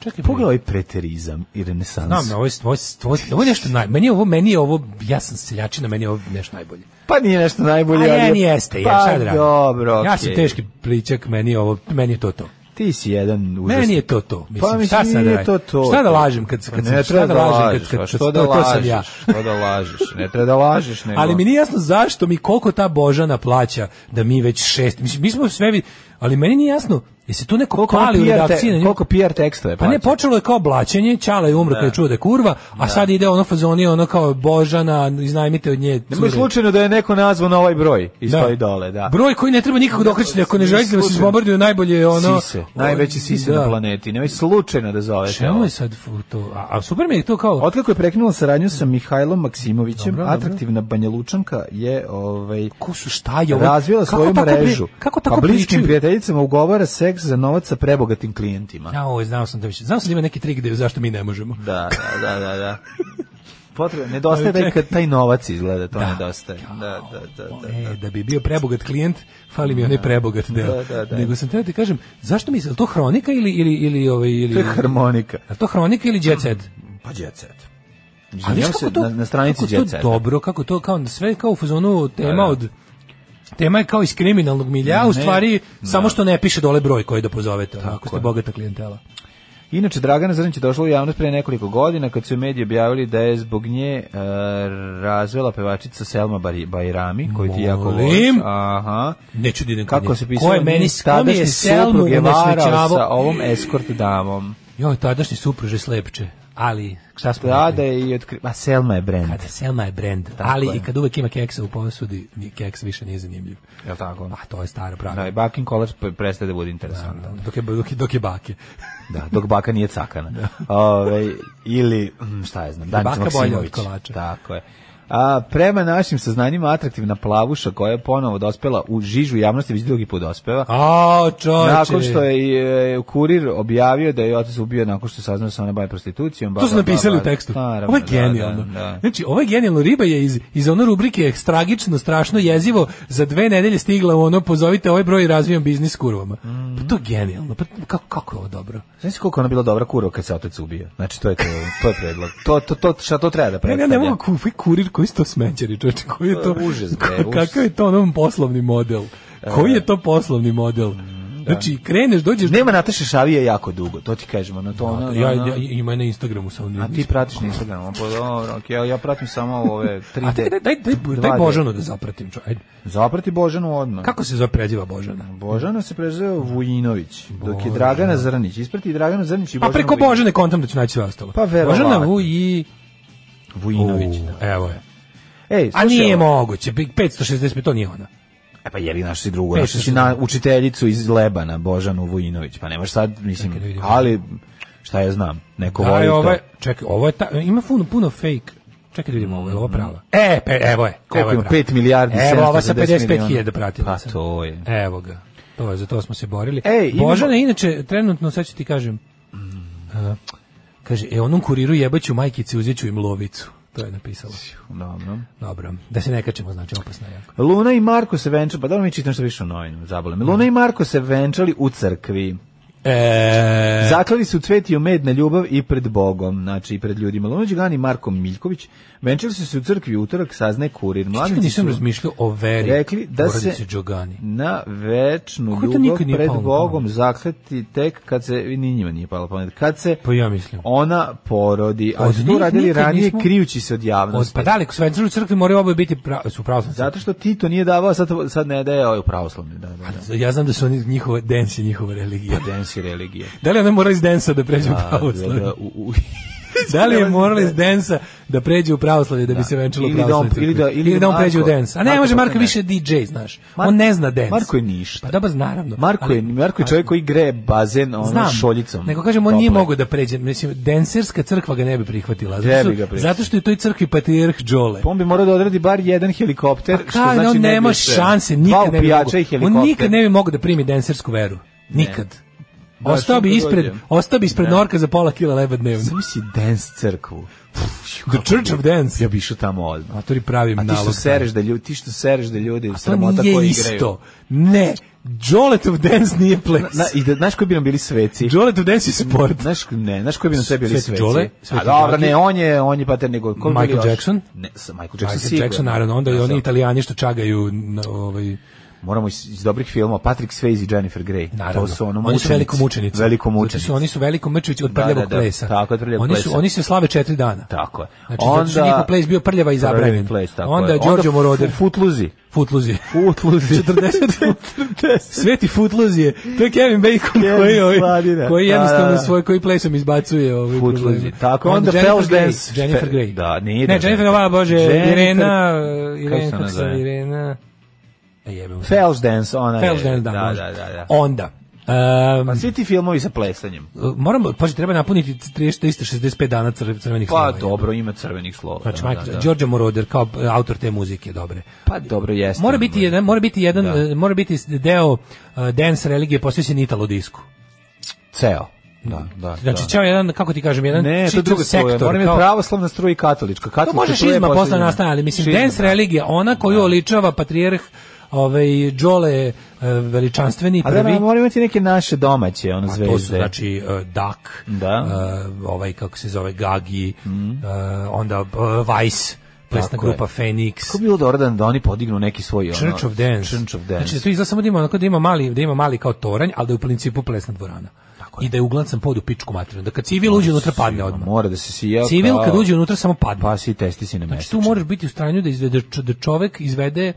Speaker 6: Čekaj,
Speaker 5: pogledaj ovaj preterizam i renesans.
Speaker 6: Znam, ovo je, ovo, je, ovo, je, ovo je nešto naj... Meni je ovo, meni je ovo, ja sam seljačina, meni je ovo nešto najbolje.
Speaker 5: Pa nije nešto najbolje.
Speaker 6: A
Speaker 5: ali
Speaker 6: ja jeste, ja, šta da
Speaker 5: Pa
Speaker 6: radim?
Speaker 5: dobro, okej.
Speaker 6: Ja sam teški pličak, meni je ovo, meni je to to.
Speaker 5: Ti si jedan užasni.
Speaker 6: Meni je to to. Mislim,
Speaker 5: pa
Speaker 6: šta
Speaker 5: mislim,
Speaker 6: sad da
Speaker 5: nije
Speaker 6: radim?
Speaker 5: to to. Pa
Speaker 6: Šta da lažem kad- kad
Speaker 5: ne
Speaker 6: sam- šta
Speaker 5: treba
Speaker 6: da lažem kad-
Speaker 5: lažeš,
Speaker 6: kad-
Speaker 5: a
Speaker 6: kad-
Speaker 5: što
Speaker 6: to-
Speaker 5: da
Speaker 6: to sam
Speaker 5: lažeš,
Speaker 6: ja.
Speaker 5: Što da lažeš? Ne treba da lažeš. Nego.
Speaker 6: Ali mi nije jasno zašto mi koliko ta Božana plaća da mi već šest, mislim, mi smo sve, vi- ali meni nije jasno, jesi tu neko
Speaker 5: koliko
Speaker 6: pali u
Speaker 5: PR,
Speaker 6: redakciji na
Speaker 5: te,
Speaker 6: nju?
Speaker 5: koliko PR teksta je
Speaker 6: Pa ne,
Speaker 5: plaćao?
Speaker 6: počelo je kao blaćenje, Ćala je umro kada je čuo da je kurva, a sad ide ono fazoni, ono kao Božana, iznajmite od nje.
Speaker 5: Nemoj
Speaker 6: cure.
Speaker 5: slučajno da je neko nazvao na ovaj broj i
Speaker 6: Da.
Speaker 5: stoji dole, da.
Speaker 6: Broj koji ne treba nikako dokrećiti, ako ne želite da se
Speaker 5: Slučajno.
Speaker 6: izbombarduju najbolje je ono...
Speaker 5: sise, najveći sise na planeti. Nemoj slučajno da zoveš.
Speaker 6: Čemu
Speaker 5: ovo.
Speaker 6: je sad fu- to? A, a super mi je to kao...
Speaker 5: Otkako je prekinula saradnju sa Mihajlom Maksimovićem,
Speaker 6: Dobro, dobro.
Speaker 5: atraktivna Banjalučanka je ovaj
Speaker 6: Ko su šta je ovo?
Speaker 5: razvila
Speaker 6: Kako
Speaker 5: svoju
Speaker 6: tako pri-
Speaker 5: mrežu.
Speaker 6: kako tako
Speaker 5: a bliskim
Speaker 6: pričaju?
Speaker 5: prijateljicama ugovara seks za novac sa prebogatim klijentima.
Speaker 6: Ja, ovo, znao sam da više. Znao sam da ima neki trik da zašto mi ne možemo.
Speaker 5: Da, da, da, da. Potrebno, nedostaje da kad taj novac izgleda, to
Speaker 6: Da.
Speaker 5: nedostaje. Da, da, da, da.
Speaker 6: E, da bi bio prebogat klijent, fali mi onaj prebogat deo.
Speaker 5: Da, da, da.
Speaker 6: Nego sam teo ti kažem, zašto mi se, je li to hronika ili, ili, ili, ovaj, ili...
Speaker 5: To je harmonika.
Speaker 6: Je li to hronika ili jet set?
Speaker 5: Pa djecet.
Speaker 6: A
Speaker 5: Ali
Speaker 6: viš
Speaker 5: kako
Speaker 6: kako to,
Speaker 5: na, na stranici
Speaker 6: kako to
Speaker 5: djeceta.
Speaker 6: dobro, kako to kao sve kao u fazonu tema od tema je kao iz kriminalnog milja, u
Speaker 5: Ne,
Speaker 6: stvari samo što ne piše dole broj koji da pozovete, ako ste
Speaker 5: je.
Speaker 6: bogata klijentela.
Speaker 5: Inače, Dragana Zrnić je došla u javnost pre nekoliko godina kad su mediji objavili da je zbog nje e, razvela pevačica Selma Bari- Bajrami, koju ti jako voliš.
Speaker 6: Molim?
Speaker 5: Aha.
Speaker 6: Neću da idem kod
Speaker 5: Kako
Speaker 6: nje.
Speaker 5: se
Speaker 6: Ko
Speaker 5: pisalo,
Speaker 6: je meni, ko mi je Selmu
Speaker 5: suprug je varao sa
Speaker 6: unesrećavao?
Speaker 5: ovom eskort damom.
Speaker 6: Joj, tadašnji supruž je slepče, ali šta smo
Speaker 5: Da,
Speaker 6: rekli?
Speaker 5: da je i otkri... A Selma je brend.
Speaker 6: Kada Selma je brend,
Speaker 5: Tako
Speaker 6: ali
Speaker 5: je.
Speaker 6: i kad uvek ima keksa u posudi, ni keks više nije zanimljiv.
Speaker 5: Je li tako?
Speaker 6: A to je pa staro pravilo.
Speaker 5: Da, i bakin kolač pre- prestaje da bude interesantan.
Speaker 6: Dok je, dok je, dok je bake.
Speaker 5: Da, dok baka nije cakana. Ove, ili, mm, šta je znam, Danica
Speaker 6: Baka bolja
Speaker 5: Maksimović.
Speaker 6: od kolača.
Speaker 5: Tako je. A, prema našim saznanjima, atraktivna plavuša koja je ponovo dospela u žižu javnosti, već drugi put dospeva,
Speaker 6: A, čoče.
Speaker 5: nakon što je e, kurir objavio da je otac ubio nakon što je saznao da se ona bavi prostitucijom. ba,
Speaker 6: To su
Speaker 5: ba, ba,
Speaker 6: napisali
Speaker 5: ba. Pa,
Speaker 6: u tekstu.
Speaker 5: Naravno,
Speaker 6: Ovo je
Speaker 5: da,
Speaker 6: genijalno.
Speaker 5: Da, da.
Speaker 6: Znači, ovo je genijalno. Riba je iz, iz ono rubrike tragično, strašno, jezivo, za dve nedelje stigla u ono, pozovite ovaj broj i razvijam biznis s kurvama. Pa to je genijalno. Pa kako, kako je ovo dobro?
Speaker 5: Znaš si koliko je ona bila dobra kurva kad se otac ubio? Znači, to je, to, to je predlog. To, to, to, šta to treba da
Speaker 6: Ne,
Speaker 5: predstavlja?
Speaker 6: ja ne mogu kufi kurir koji su to smećari, čoveče, koji je
Speaker 5: To
Speaker 6: to?
Speaker 5: je užas, bre,
Speaker 6: ka-
Speaker 5: užas. E.
Speaker 6: Kakav je to onom poslovni model? Koji je to poslovni model?
Speaker 5: Mm,
Speaker 6: Znači, kreneš, dođeš...
Speaker 5: Nema Nataše Šavije jako dugo, to ti kažemo. No, to, ona,
Speaker 6: ja,
Speaker 5: ona-
Speaker 6: ja, ima je na Instagramu samo.
Speaker 5: ono, A ti pratiš na Instagramu, pa dobro, ok, ja, ja pratim samo ove 3D.
Speaker 6: A daj, daj, daj, daj,
Speaker 5: 2D.
Speaker 6: daj Božanu da zapratim. čo- ajde.
Speaker 5: Zaprati Božanu odmah.
Speaker 6: Kako se zove preziva Božana?
Speaker 5: Božana se prezove Vujinović, dok je Dragana Zrnić. Isprati Dragana Zrnić i
Speaker 6: Pa
Speaker 5: Božanu
Speaker 6: preko
Speaker 5: Vujinović.
Speaker 6: Božane kontam da ću naći sve ostalo.
Speaker 5: Pa verovatno.
Speaker 6: Božana Vu i...
Speaker 5: Vujinović.
Speaker 6: U,
Speaker 5: da.
Speaker 6: Evo je.
Speaker 5: Ej,
Speaker 6: A
Speaker 5: slušaj,
Speaker 6: nije
Speaker 5: ovo.
Speaker 6: moguće, bi- 565, to nije ona.
Speaker 5: E pa jebi naš si drugo,
Speaker 6: Pet
Speaker 5: našli si na učiteljicu iz Lebana, Božanu Vujinović. Pa nemaš sad, mislim,
Speaker 6: Čekaj da vidim. ovaj-
Speaker 5: ali šta ja znam, neko
Speaker 6: Da
Speaker 5: voli
Speaker 6: je
Speaker 5: to.
Speaker 6: ovo, čekaj, ovo je ta, ima puno, puno fake. Čekaj da vidimo ovo, je li ovo prava? E, pe, evo je.
Speaker 5: Koliko
Speaker 6: evo je
Speaker 5: ima?
Speaker 6: prava.
Speaker 5: 5 milijardi
Speaker 6: Evo, ova sa
Speaker 5: 750 miliona.
Speaker 6: 55.000 pratila
Speaker 5: Pa
Speaker 6: sam.
Speaker 5: to je.
Speaker 6: Evo ga. To je, za to smo se borili.
Speaker 5: Ej, imamo-
Speaker 6: Božana, je inače, trenutno, sad ću ti kažem, Kaže, e, onom kuriru jebaću majkici, uzeću im lovicu. To je napisala.
Speaker 5: Dobro.
Speaker 6: Dobro, da se ne kačemo, znači opasno je jako.
Speaker 5: Luna i Marko se venčali, pa da mi čitam što više o novinu, zabole me. Luna i Marko se venčali u crkvi.
Speaker 6: E,
Speaker 5: Zaklali su cvet i u med na ljubav i pred Bogom, znači i pred ljudima. Luna Đugani i Marko Miljković venčali su se u crkvi u utorak, sazne kurir.
Speaker 6: Čekaj,
Speaker 5: Mladići
Speaker 6: nisam
Speaker 5: su
Speaker 6: razmišljao o veri
Speaker 5: rekli da
Speaker 6: porodice
Speaker 5: se
Speaker 6: Đogani.
Speaker 5: na večnu
Speaker 6: Kako to
Speaker 5: ljubav
Speaker 6: nikad nije
Speaker 5: pred
Speaker 6: palo na
Speaker 5: Bogom
Speaker 6: pamet?
Speaker 5: zakleti tek kad se, ni njima nije palo pamet, kad se
Speaker 6: Pa ja mislim. Pa
Speaker 5: ona porodi. A
Speaker 6: Od
Speaker 5: su to
Speaker 6: njih
Speaker 5: radili
Speaker 6: nikad
Speaker 5: ranije
Speaker 6: nismo-
Speaker 5: krijući se od
Speaker 6: Od,
Speaker 5: javnosti.
Speaker 6: pa da li, svenčani u crkvi moraju oboje biti pra, su pravoslavci.
Speaker 5: Zato što Tito nije davao, sad, sad ne daje ovaj u pravoslavni. Da, da, da.
Speaker 6: Ja znam da su oni njihova, dens je njihova religija.
Speaker 5: Dens i religije.
Speaker 6: Da li ona mora iz densa da pređe u
Speaker 5: Da,
Speaker 6: pravoslavlje?
Speaker 5: da, u, u,
Speaker 6: Da li je morala iz densa da pređe u pravoslavlje da, bi se venčalo u
Speaker 5: Ili da on-
Speaker 6: pravoslavlje?
Speaker 5: ili da- ili da
Speaker 6: on pređe u
Speaker 5: Marko-
Speaker 6: dens. A ne,
Speaker 5: Marko
Speaker 6: može Marko
Speaker 5: Pokojni.
Speaker 6: više DJ, znaš.
Speaker 5: Mar-
Speaker 6: on ne zna dens.
Speaker 5: Marko je ništa.
Speaker 6: Pa dobro, naravno.
Speaker 5: Marko je,
Speaker 6: Ali-
Speaker 5: Marko je čovjek koji gre bazen ono
Speaker 6: Znam,
Speaker 5: šoljicom.
Speaker 6: nego kažem, on nije
Speaker 5: Tople.
Speaker 6: mogao da pređe, mislim, denserska crkva ga ne bi prihvatila. Zato
Speaker 5: Ne
Speaker 6: što,
Speaker 5: bi ga prihvatila.
Speaker 6: zato što je u toj crkvi patrijarh Đole.
Speaker 5: Pa On bi morao da odradi bar jedan helikopter,
Speaker 6: Pa
Speaker 5: što
Speaker 6: kao,
Speaker 5: znači
Speaker 6: on
Speaker 5: ne bi
Speaker 6: nema
Speaker 5: se-
Speaker 6: šanse,
Speaker 5: dva
Speaker 6: nikad ne bi
Speaker 5: upijača i
Speaker 6: mogao.
Speaker 5: helikopter.
Speaker 6: On nikad ne bi mogao da primi densersku veru. Nikad.
Speaker 5: Da,
Speaker 6: ostao, bi
Speaker 5: što
Speaker 6: ispred,
Speaker 5: dođe.
Speaker 6: ostao bi ispred norka za pola kila leba dnevno.
Speaker 5: Zamisli dance crkvu.
Speaker 6: The Church of Dance.
Speaker 5: Ja bi išao tamo odmah.
Speaker 6: A to pravim
Speaker 5: A ti što
Speaker 6: nalog.
Speaker 5: sereš da ljudi, ti što sereš da ljudi,
Speaker 6: to
Speaker 5: sramota
Speaker 6: nije
Speaker 5: koji
Speaker 6: isto.
Speaker 5: igraju.
Speaker 6: Ne, Joletov dance nije ples.
Speaker 5: Na, i da, znaš koji bi nam bili sveci?
Speaker 6: Joletov dance je sport.
Speaker 5: Znaš, ne, znaš koji bi nam sve bili
Speaker 6: Sveti
Speaker 5: sveci?
Speaker 6: Đole,
Speaker 5: A
Speaker 6: Sveti
Speaker 5: dobro,
Speaker 6: Đaki.
Speaker 5: ne, on je, on je pater nego... ko bi
Speaker 6: Michael
Speaker 5: bili još?
Speaker 6: Jackson?
Speaker 5: Ne, s- Michael Jackson,
Speaker 6: Michael
Speaker 5: sigurno.
Speaker 6: Jackson, naravno, onda i
Speaker 5: Da,
Speaker 6: oni
Speaker 5: sad,
Speaker 6: italijani što čagaju na, ovaj,
Speaker 5: Moramo iz, iz dobrih filmova, Patrick Swayze i Jennifer Grey.
Speaker 6: naravno.
Speaker 5: To su ono
Speaker 6: oni su
Speaker 5: mučenici.
Speaker 6: veliko mučenici.
Speaker 5: Veliko
Speaker 6: Zato
Speaker 5: mučenici.
Speaker 6: Su, oni su veliko mrčevići od
Speaker 5: Da,
Speaker 6: prljavog
Speaker 5: da, da.
Speaker 6: plesa.
Speaker 5: Tako, od prljavog
Speaker 6: oni su,
Speaker 5: plesa.
Speaker 6: Oni se slave četiri dana.
Speaker 5: Tako je.
Speaker 6: Znači, onda, zato što njihov ples bio prljava i zabranjen.
Speaker 5: Ples, tako
Speaker 6: onda
Speaker 5: je.
Speaker 6: Giorgio Moroder.
Speaker 5: fu- Footloose.
Speaker 6: Footloose.
Speaker 5: Footloose.
Speaker 6: 40. Sveti Footloose je. To je Kevin Bacon
Speaker 5: Kevin
Speaker 6: koji, ovaj,
Speaker 5: Sladina.
Speaker 6: koji
Speaker 5: Da, da,
Speaker 6: jednostavno
Speaker 5: da.
Speaker 6: svoj koji plesom izbacuje ovaj
Speaker 5: Footloose. Tako, onda Fels Dance.
Speaker 6: Grey, Jennifer
Speaker 5: Fe-
Speaker 6: Grey.
Speaker 5: da, nije
Speaker 6: Ne,
Speaker 5: da-
Speaker 6: Jennifer, ova bože,
Speaker 5: Jennifer-
Speaker 6: Irena, eh,
Speaker 5: Kako se
Speaker 6: Irena,
Speaker 5: ona
Speaker 6: kako se
Speaker 5: zove?
Speaker 6: zove, Irena. E jebemo. se.
Speaker 5: Fels Dance, ona je.
Speaker 6: Fels Dance, da,
Speaker 5: da, da,
Speaker 6: može.
Speaker 5: da, da.
Speaker 6: Onda. Um,
Speaker 5: Pa svi ti filmovi sa plesanjem.
Speaker 6: moramo, paži, treba napuniti 365 dana crve- crvenih
Speaker 5: Pa
Speaker 6: slova.
Speaker 5: dobro, ima crvenih slova.
Speaker 6: Znači,
Speaker 5: da,
Speaker 6: Michael,
Speaker 5: da, da.
Speaker 6: Giorgio Moroder kao eh, autor te muzike, dobre.
Speaker 5: Pa dobro, jeste.
Speaker 6: Mora biti jedan, mora biti jedan,
Speaker 5: Da.
Speaker 6: eh, mora biti deo eh, dance religije posvećen Italo disku.
Speaker 5: Ceo. Da, da,
Speaker 6: Znači,
Speaker 5: da.
Speaker 6: ceo jedan, kako ti kažem, jedan
Speaker 5: Ne, to je
Speaker 6: E, čitav
Speaker 5: druga ono, sektor.
Speaker 6: sektor.
Speaker 5: Moram je
Speaker 6: kao-
Speaker 5: pravoslavna struja i katolička.
Speaker 6: to
Speaker 5: Katolička
Speaker 6: može
Speaker 5: struja je
Speaker 6: šizma posle
Speaker 5: posljednja.
Speaker 6: nastaje, ali mislim,
Speaker 5: Šizma,
Speaker 6: dance
Speaker 5: da.
Speaker 6: religija, ona koju oličava patrijarh ovaj, Đole eh, veličanstveni
Speaker 5: A da,
Speaker 6: prvi.
Speaker 5: da, moramo imati neke naše domaće, ono,
Speaker 6: A to su
Speaker 5: zvezde.
Speaker 6: znači eh, Dak,
Speaker 5: Da. Mhm.
Speaker 6: eh, ovaj kako se zove Gagi, eh, onda eh, Vice, plesna
Speaker 5: Tako je.
Speaker 6: grupa Phoenix.
Speaker 5: Kako bi bilo dobro da, da oni podignu neki svoj... ono,
Speaker 6: Church of Dance.
Speaker 5: Church of Dance.
Speaker 6: Znači, to izgleda samo da ima, onako da ima, mali, da ima mali kao toranj, ali da je u principu plesna dvorana. I da je uglancan pod u pičku materinu. Da kad civil uđe unutra padne
Speaker 5: A
Speaker 6: odmah.
Speaker 5: ono, Mora da se sija
Speaker 6: Civil
Speaker 5: kao-
Speaker 6: kad uđe unutra samo padne.
Speaker 5: Pa si testi si na
Speaker 6: Znači
Speaker 5: meseč.
Speaker 6: tu moraš biti u stranju da, izvede, da čovek izvede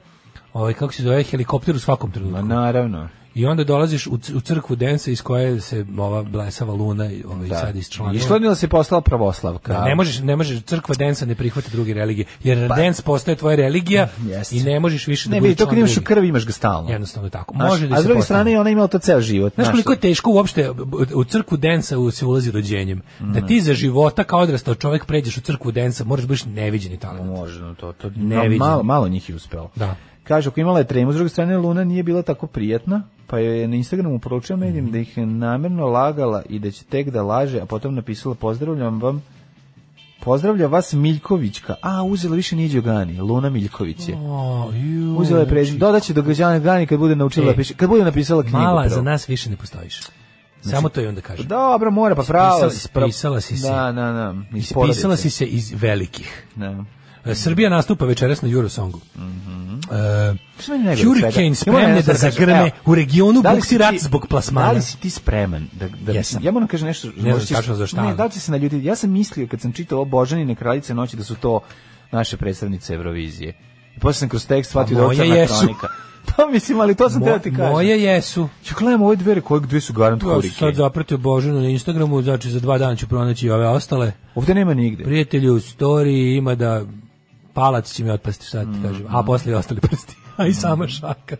Speaker 6: ovaj, kako se zove, helikopter u svakom
Speaker 5: Ma
Speaker 6: trenutku.
Speaker 5: Pa naravno.
Speaker 6: I onda dolaziš u, c- u crkvu Densa iz koje se ova blesava luna i ovaj, sad isčlanila.
Speaker 5: Išlanila se postala pravoslavka.
Speaker 6: Ne možeš, ne možeš, crkva Densa ne prihvata druge religije, jer Dens postaje tvoja religija
Speaker 5: Pa- Jeste.
Speaker 6: i ne možeš više da
Speaker 5: Ne,
Speaker 6: budeš
Speaker 5: vidi, to
Speaker 6: član
Speaker 5: kad imaš u
Speaker 6: drugi.
Speaker 5: krvi imaš ga stalno.
Speaker 6: Jednostavno je tako.
Speaker 5: Pa. Znaš,
Speaker 6: Može da
Speaker 5: a
Speaker 6: se
Speaker 5: s druge
Speaker 6: postane.
Speaker 5: strane ona imala to ceo život.
Speaker 6: Znaš koliko je teško uopšte u crkvu Densa u- se ulazi rođenjem. Da ti za života kao odrastao čovjek pređeš u crkvu Densa, moraš biti neviđeni talent.
Speaker 5: Može, no, to, to
Speaker 6: Ne
Speaker 5: no,
Speaker 6: vidim.
Speaker 5: malo, malo njih je uspelo.
Speaker 6: Da.
Speaker 5: Kaže, ako imala je tremu, s druge strane, Luna nije bila tako prijatna, pa joj je na Instagramu poručila medijem
Speaker 6: Mhm.
Speaker 5: da ih je namjerno lagala i da će tek da laže, a potom napisala, pozdravljam vam, pozdravlja vas Miljkovićka. A, uzela više nije Đogani, Luna Miljković je.
Speaker 6: O, ju,
Speaker 5: Uzela je prezim. Dodaće do Gađane Gani kad bude naučila
Speaker 6: E,
Speaker 5: da piše, kad bude napisala knjigu.
Speaker 6: Mala,
Speaker 5: prvo. Znači,
Speaker 6: za nas više ne postojiš. Samo to i onda kažem.
Speaker 5: Dobro, mora, pa pravo.
Speaker 6: Ispisala- ispisala si se.
Speaker 5: Da, da, da. iz
Speaker 6: Pisala
Speaker 5: porodice.
Speaker 6: si se iz velikih.
Speaker 5: Da.
Speaker 6: E, Srbija nastupa večeras na Eurosongu.
Speaker 5: Mhm.
Speaker 6: E,
Speaker 5: Što meni najgore od svega?
Speaker 6: Hurricane
Speaker 5: Ja moram
Speaker 6: spremne
Speaker 5: jedno
Speaker 6: da
Speaker 5: sad kažem,
Speaker 6: zagrme
Speaker 5: evo,
Speaker 6: u regionu
Speaker 5: da li si
Speaker 6: bukti rat
Speaker 5: ti-
Speaker 6: zbog plasmana.
Speaker 5: Da li si ti spreman? Da, da,
Speaker 6: Jesam.
Speaker 5: Ja moram kažem nešto. možda
Speaker 6: znam
Speaker 5: ćeš-
Speaker 6: tačno za šta,
Speaker 5: Ne,
Speaker 6: ali.
Speaker 5: da li će se na ljudi... Ja sam mislio kad sam čitao Božanine kraljice noći da su to naše predstavnice Eurovizije. I posle sam kroz tekst shvatio
Speaker 6: A
Speaker 5: da je ovo
Speaker 6: moje
Speaker 5: crna
Speaker 6: jesu.
Speaker 5: kronika. Pa mislim, ali to sam teo ti kažem.
Speaker 6: moje jesu.
Speaker 5: Ču, gledam ove dvere koje gde su garant
Speaker 6: Ja sam
Speaker 5: kurike.
Speaker 6: sad zapratio Božanu na Instagramu, znači za dva dana ću pronaći i ove ostale.
Speaker 5: Ovde nema nigde.
Speaker 6: Prijatelju, story ima da palac će mi otpasti, sad ti kažem. A posle i ostali prsti. A i sama šaka.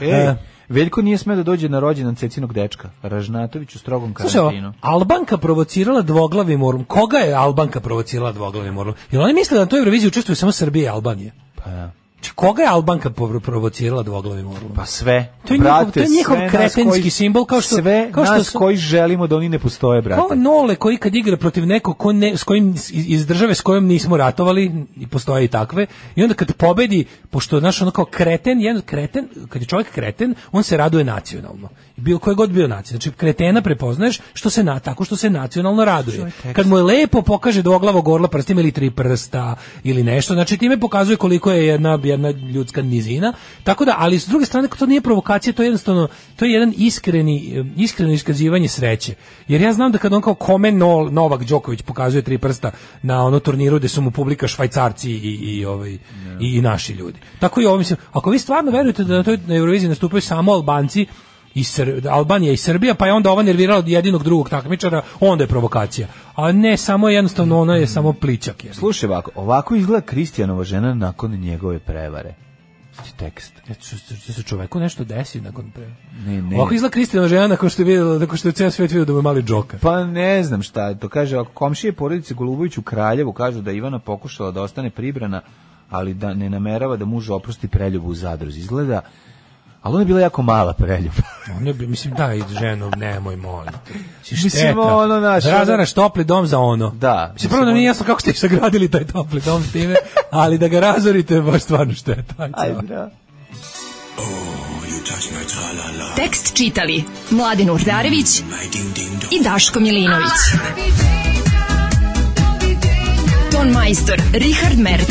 Speaker 5: E, Veljko nije smeo da dođe na rođendan cecinog dečka. Ražnatović u strogom
Speaker 6: Slušaj, ovo,
Speaker 5: karantinu.
Speaker 6: Albanka provocirala dvoglavim orlom. Koga je Albanka provocirala dvoglavim orlom? Jel oni misle da na toj Euroviziji učestvuju samo Srbije i Albanije?
Speaker 5: Pa da.
Speaker 6: Čekaj, Znači, koga je Albanka povro- provocirala dvoglavim orlom?
Speaker 5: Pa sve.
Speaker 6: To je njihov-
Speaker 5: brate,
Speaker 6: to je njihov
Speaker 5: sve nas
Speaker 6: kretenski
Speaker 5: koji-
Speaker 6: simbol, kao što-
Speaker 5: sve
Speaker 6: kao što
Speaker 5: nas
Speaker 6: su-
Speaker 5: koji želimo da oni ne postoje, brate.
Speaker 6: Kao Nole koji kad igra protiv nekog ko ne, s kojim, iz- iz države s kojom nismo ratovali, i postoje i takve, i onda kad pobedi, pošto znaš ono kao kreten, jedan kreten, kad je čovjek kreten, on se raduje nacionalno. I Bio koji god bio nacija. Znači kretena prepoznaješ što se na, tako što se nacionalno raduje. Kad mu je lepo pokaže dvoglavog orla prstima ili tri prsta ili nešto, znači time pokazuje koliko je jedna, jedna ljudska nizina. Tako da, ali s druge strane, to nije provokacija, to je jednostavno, to je jedan iskreni, em, iskreno iskazivanje sreće. Jer ja znam da kad on kao kome No- Novak Đoković pokazuje tri prsta na ono turniru gde su mu publika švajcarci i, i, ovaj, i, i naši ljudi. Tako i ovo, mislim, ako vi stvarno verujete da na toj na Euroviziji nastupaju samo Albanci, i Sr- Albanija i Srbija, pa je onda ova nervirala od jedinog drugog takmičara, onda je provokacija. A ne, samo jednostavno ona je samo pličak. Jer.
Speaker 5: Slušaj ovako, ovako izgleda Kristijanova žena nakon njegove prevare. Znači tekst.
Speaker 6: Ja, što- što- što se čoveku nešto desi nakon pre.
Speaker 5: Ne, ne.
Speaker 6: Ovako izgleda Kristijana žena nakon što je vidjela, nakon što je ceo svet vidio da mu je mali džoka.
Speaker 5: Pa ne znam šta, je to kaže, ako komšije porodice Golubović u Kraljevu kažu da je Ivana pokušala da ostane pribrana, ali da ne namerava da muž oprosti preljubu u zadruzi. Izgleda, ali ona je bila jako mala preljuba.
Speaker 6: Ono bi, mislim, daj ženu, nemoj, molim. te. Mislim,
Speaker 5: Mislim,
Speaker 6: šteta.
Speaker 5: ono, znaš, ono-
Speaker 6: Razaraš topli dom za ono.
Speaker 5: Da.
Speaker 6: Mislim, prvo nam
Speaker 5: Mislim,
Speaker 6: nije
Speaker 5: ono-
Speaker 6: jasno kako ste sagradili taj topli dom s time, ali da ga razorite je baš stvarno šteta. Aj,
Speaker 5: Ajde,
Speaker 6: ćao.
Speaker 5: bra.
Speaker 8: Tekst čitali Mladin Urdarević i Daško Milinović. Ton majstor Richard Merc.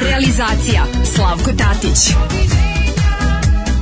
Speaker 8: Realizacija Slavko Tatić.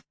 Speaker 8: 10.